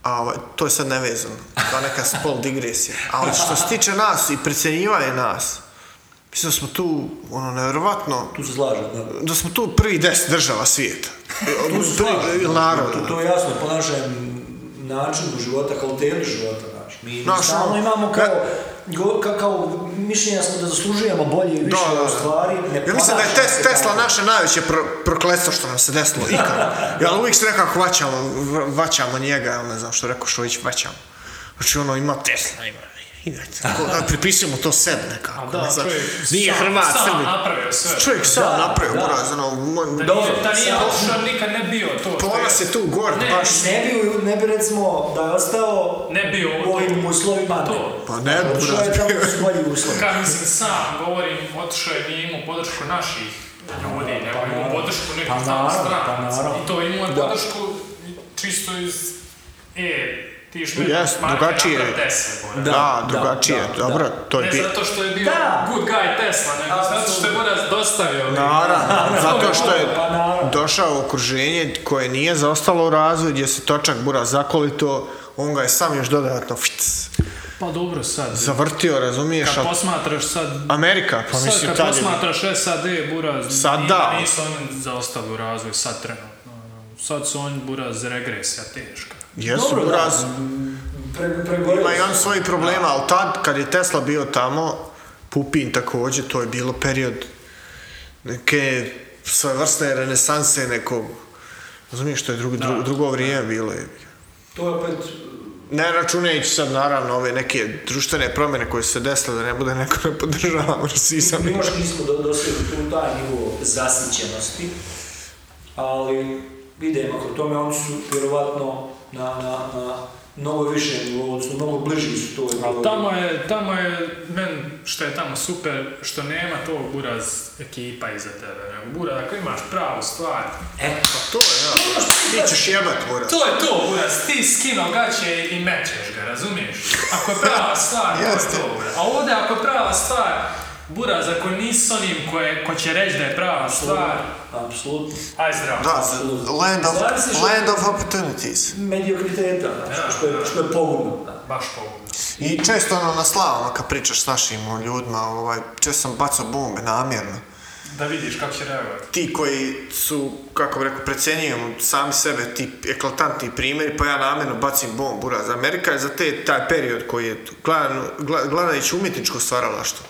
S2: a ovaj, to je sad nevezano, kao neka spol digresija. Ali što se tiče nas i precjenjivanje nas, mislim da smo tu, ono, nevjerovatno,
S3: Tu se slažem, da.
S2: da smo tu prvi deset država svijeta.
S3: Tu se slažem.
S2: Prvi narod.
S3: To, to je jasno, po našem načinu života, kvalitetu života, znaš. Mi, mi
S2: Znaš,
S3: stalno
S2: ono,
S3: imamo kao, go, ka, kao mišljenja smo da zaslužujemo bolje i više
S2: Da, da, da.
S3: stvari. Ne
S2: Ja mislim da je
S3: ponašamo
S2: tes,
S3: se
S2: Tesla
S3: tako.
S2: naše najveće pro, prokletstvo što nam se desilo
S3: <laughs>
S2: ikad. Ja uvijek se nekako vaćamo, v- vaćamo njega, ja ne znam što je rekao Šojić, vaćamo. Znači ono ima Tesla, ima ima- tako, da, pripisujemo to sebi nekako.
S1: Da,
S2: ne znam.
S1: čovjek
S2: Nije
S1: sam-
S2: Hrvat,
S1: Sam
S2: Srbin.
S1: napravio sve.
S2: Čovjek sam
S3: Da,
S2: napravio,
S3: da.
S2: buraz, ono, moj-
S1: Da nije,
S3: Dobro,
S1: da nije
S3: sad-
S1: otišao, nikad ne bio to.
S2: ponos je tu gord,
S1: Ne,
S2: baš.
S3: Ne bi, ne bi recimo da je ostao
S1: Ne bio
S3: u ovim uslovima.
S1: To.
S2: Pa ne,
S3: Otišao je
S2: buraz.
S3: tamo uz bolji uslov.
S2: <laughs>
S1: Kad mislim sam, govorim, otišao je, nije imao podršku naših ljudi, nego je imao
S3: naravno.
S1: podršku
S3: Pa
S1: nekih tamo
S3: naravno, pa
S1: stranaca.
S3: naravno.
S1: I to imao je
S3: Da.
S1: podršku čisto iz, e, ti što
S2: Jest, drugačije.
S1: Tesla,
S2: Da,
S3: Da,
S2: drugačije,
S3: da, da.
S2: dobro, to je
S1: Ne
S2: bi-
S1: zato što je bio
S3: Da.
S1: good guy Tesla, nego zato što je Boras dostavio.
S2: Naravno, zato što je
S3: Pa naravno.
S2: došao u okruženje koje nije zaostalo u razvoju, gdje se točak bura zakolito, on ga je sam još dodatno fic,
S1: Pa dobro sad.
S2: zavrtio, razumiješ?
S1: Kad
S2: a-
S1: posmatraš sad...
S2: Amerika, pa
S1: sad
S2: mislim,
S1: kad
S2: tad je...
S1: posmatraš SAD, Buraz,
S2: Sad
S1: nije-
S2: da.
S1: nisu oni zaostali u razvoju, sad trenutno. ono. Sad su oni Buraz regresija teška.
S2: Jesu,
S3: Dobro, da.
S2: buraz,
S3: Pre, pregoreo
S2: ima i
S3: sam.
S2: on svojih problema, ali tad, kad je Tesla bio tamo, Pupin također, to je bilo period neke svojevrsne renesanse nekog, razumiješ, to je drugo, drugo, drugo vrijeme bilo je.
S3: To je opet...
S2: Ne računajući sad naravno ove neke društvene promjene koje su se desile da ne bude neko ne podržava rasizam.
S3: Mi još nismo do, dosegli tu taj nivo zasićenosti, ali idemo ako tome, oni su vjerovatno na, na, na mnogo više nivou, odnosno mnogo bliži su to.
S1: Ali tamo je, tamo je, men, što je tamo super, što nema tog Buraz ekipa iza tebe. nego Buraz, ako imaš pravu stvar,
S3: E,
S2: To je, ja. Ti ćeš jebat, moraš.
S1: to je to Buraz, ti skino gaće i mećeš ga, razumiješ? Ako je prava stvar, to je
S2: Jeste.
S1: to Buraz. A ovdje ako je prava stvar, Buraz, ako nisi s onim koje, ko će reći da je prava stvar,
S3: apsolutno.
S1: aj zdravo.
S2: Da, land of,
S3: Zavisi što-
S2: land of opportunities.
S3: Mediokriteta, znaš, što je, što je pogubno.
S1: Baš pogubno.
S2: I često ono na slavama kad pričaš s našim o, ljudima, ovaj, često sam bacao bombe namjerno.
S1: Da vidiš kako će reagovati.
S2: Ti koji su, kako bi rekao, precjenjuju sami sebe, ti eklatantni primjeri, pa ja namjerno bacim bombu, buraz. Amerika je za te, taj period koji je tu, gledan- gla- gledajući umjetničko stvaralaštvo.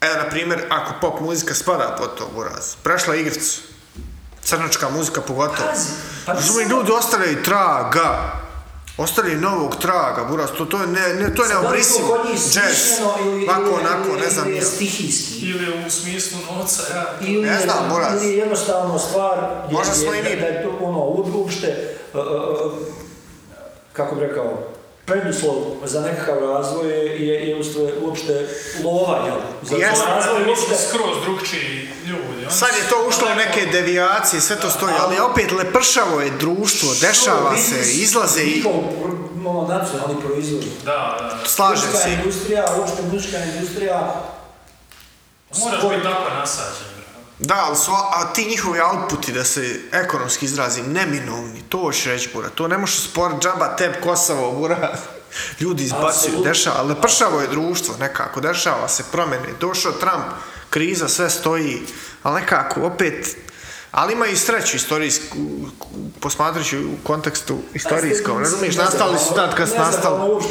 S2: Evo, na primjer, ako pop muzika spada pod to, buraz, prešla je igricu. Crnačka muzika pogotovo.
S3: Pazi, pa ne
S2: Razumije,
S3: samo-
S2: ljudi ostavljaju traga. Ostavljaju novog traga, buraz, to, to je, ne, ne, to je
S3: Da li to
S2: neobrisivo.
S3: kod njih
S2: Jazz,
S3: smišljeno ili,
S2: ovako,
S3: ili-
S2: onako, ne
S3: ili
S2: znam,
S3: je
S2: ja.
S3: stihijski.
S1: Ili u smislu novca, ja...
S3: Ili,
S2: Ne
S3: je-
S2: znam, Buraz.
S3: ili je jednostavno stvar gdje
S2: Možda smo
S3: je-
S2: i mi-
S3: da je to ono uopšte uh, uh,
S8: e, kako bih rekao, preduslov za nekakav razvoj je, je, je ustve, uopšte lova, jel? Za
S4: Jeste.
S8: za razvoj
S1: Mi smo
S8: uopšte...
S1: skroz drugčiji ljudi. oni
S4: Sad je
S1: su
S4: to ušlo u
S1: daleko-
S4: neke devijacije, sve to stoji, ali opet lepršavo je društvo, dešava
S8: Što
S4: se,
S8: vidi
S4: izlaze i
S8: njihov pr- ono, nacionalni proizvod.
S1: Da, da, da.
S4: slažem
S8: Muzička
S4: se.
S8: industrija, uopšte muzička industrija,
S1: Moraš
S8: Spoj-
S1: biti tako nasađen, bro.
S4: Da, ali su, a ti njihovi outputi, da se ekonomski izrazim, neminovni, to hoćeš reći, bura. To ne možeš sport, džaba, teb, Kosovo, bura. <laughs> Ljudi izbacuju,
S8: Apsolutno.
S4: dešava, ali pršavo je društvo nekako, dešava se promjene. Došao Trump, kriza, sve stoji, ali nekako, opet, ali ima i sreću istorijsku, posmatrajući u kontekstu
S8: Pa,
S4: istorijskom, razumiješ, nastali su tad kad su
S8: Ne znam, ono
S4: nastali,
S8: uopšte.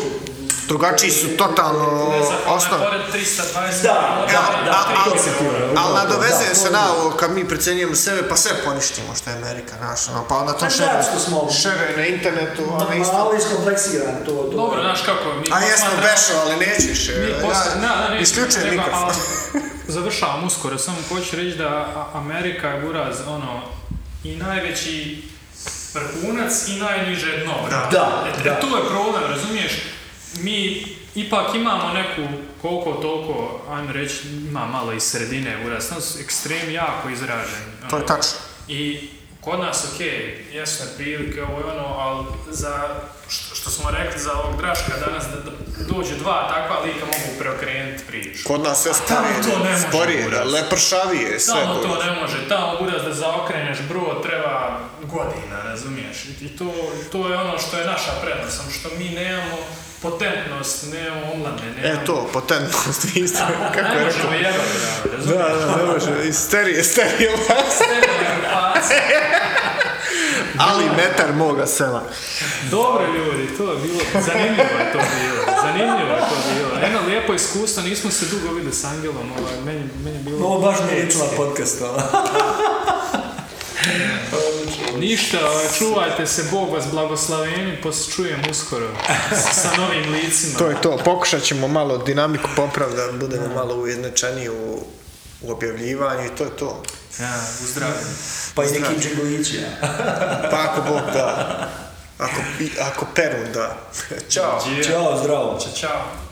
S4: drugačiji su totalno
S1: Ne znam, ono je
S4: osnove.
S1: Pored 320
S8: Da,
S1: miliona,
S8: da,
S1: ono je
S8: da,
S1: tri
S8: to
S1: miliona.
S8: se ti
S4: Ali nadovezuje
S8: Da,
S4: se
S8: to je
S4: na
S8: to.
S4: ovo kad mi precenjujemo sebe, pa sve poništimo što je Amerika naša, ono, pa onda
S8: Pa
S4: to
S8: da,
S4: šeruje.
S8: što smo
S4: Šeruje na internetu, ali isto.
S8: malo iskompleksirani to. to.
S1: Dobro, znaš kako, mi
S4: A jesmo
S1: posmatramo-
S4: bešo, ali nećeš. e,
S1: Mi posle- da, da, ne,
S4: Isključuje
S1: nego,
S4: mikrofon.
S1: ali Završavam uskoro, samo hoću reći da A- Amerika je buraz, ono, i najveći vrhunac i najniže dno. brate.
S8: Da,
S1: E,
S8: da.
S1: Tu je problem, razumiješ? Mi ipak imamo neku, koliko toliko, ajmo reći, ima malo iz sredine, buraz, no, ekstrem jako izražen.
S4: To je
S1: ono.
S4: tačno.
S1: I kod nas, ok, jesne prilike, ovo je ono, ali za, što, što smo rekli za ovog Draška danas, da, da dođu dva takva lika mogu preokrenuti priču.
S4: Kod nas Pa sve
S1: to ne
S4: sporije,
S1: može,
S4: sporije,
S1: buraz.
S4: da, lepršavije, sve
S1: Tamo
S4: to.
S1: to ne može, tamo buraz da zaokreneš brod treba godina, razumiješ? I- I to, to je ono što je naša prednost, samo što mi nemamo potentnost, nemamo omlade, nemamo...
S4: E to, <laughs> potentnost, vi ste, kako
S1: Ne
S4: je rekao.
S1: možemo jebati, bravo,
S4: Da,
S1: razumiješ?
S4: da, ne <laughs> može, isterije,
S1: Stereotipacija.
S4: <laughs> Ali metar moga sela.
S1: Dobro ljudi, to je bilo, zanimljivo je to bilo, zanimljivo je to bilo. Jedno lijepo iskustvo, nismo se dugo vidjeli s Angelom, ovaj, meni, meni je bilo...
S8: Ovo baš mi je ličila podcast, ali.
S1: Ništa, ovaj, čuvajte se, Bog vas blagoslaveni, poslije čujem uskoro s- sa novim licima.
S4: To je to, pokušat ćemo malo dinamiku popraviti da budemo malo ujednačeniji u, u objavljivanju i to je to.
S1: Ja, uzdravljen.
S8: Pa i neki džinglići, ja.
S4: Pa ako Bog da. Ako, i- ako Perun da. Ćao.
S1: Đe.
S8: Ćao, zdravo.
S1: Ćao.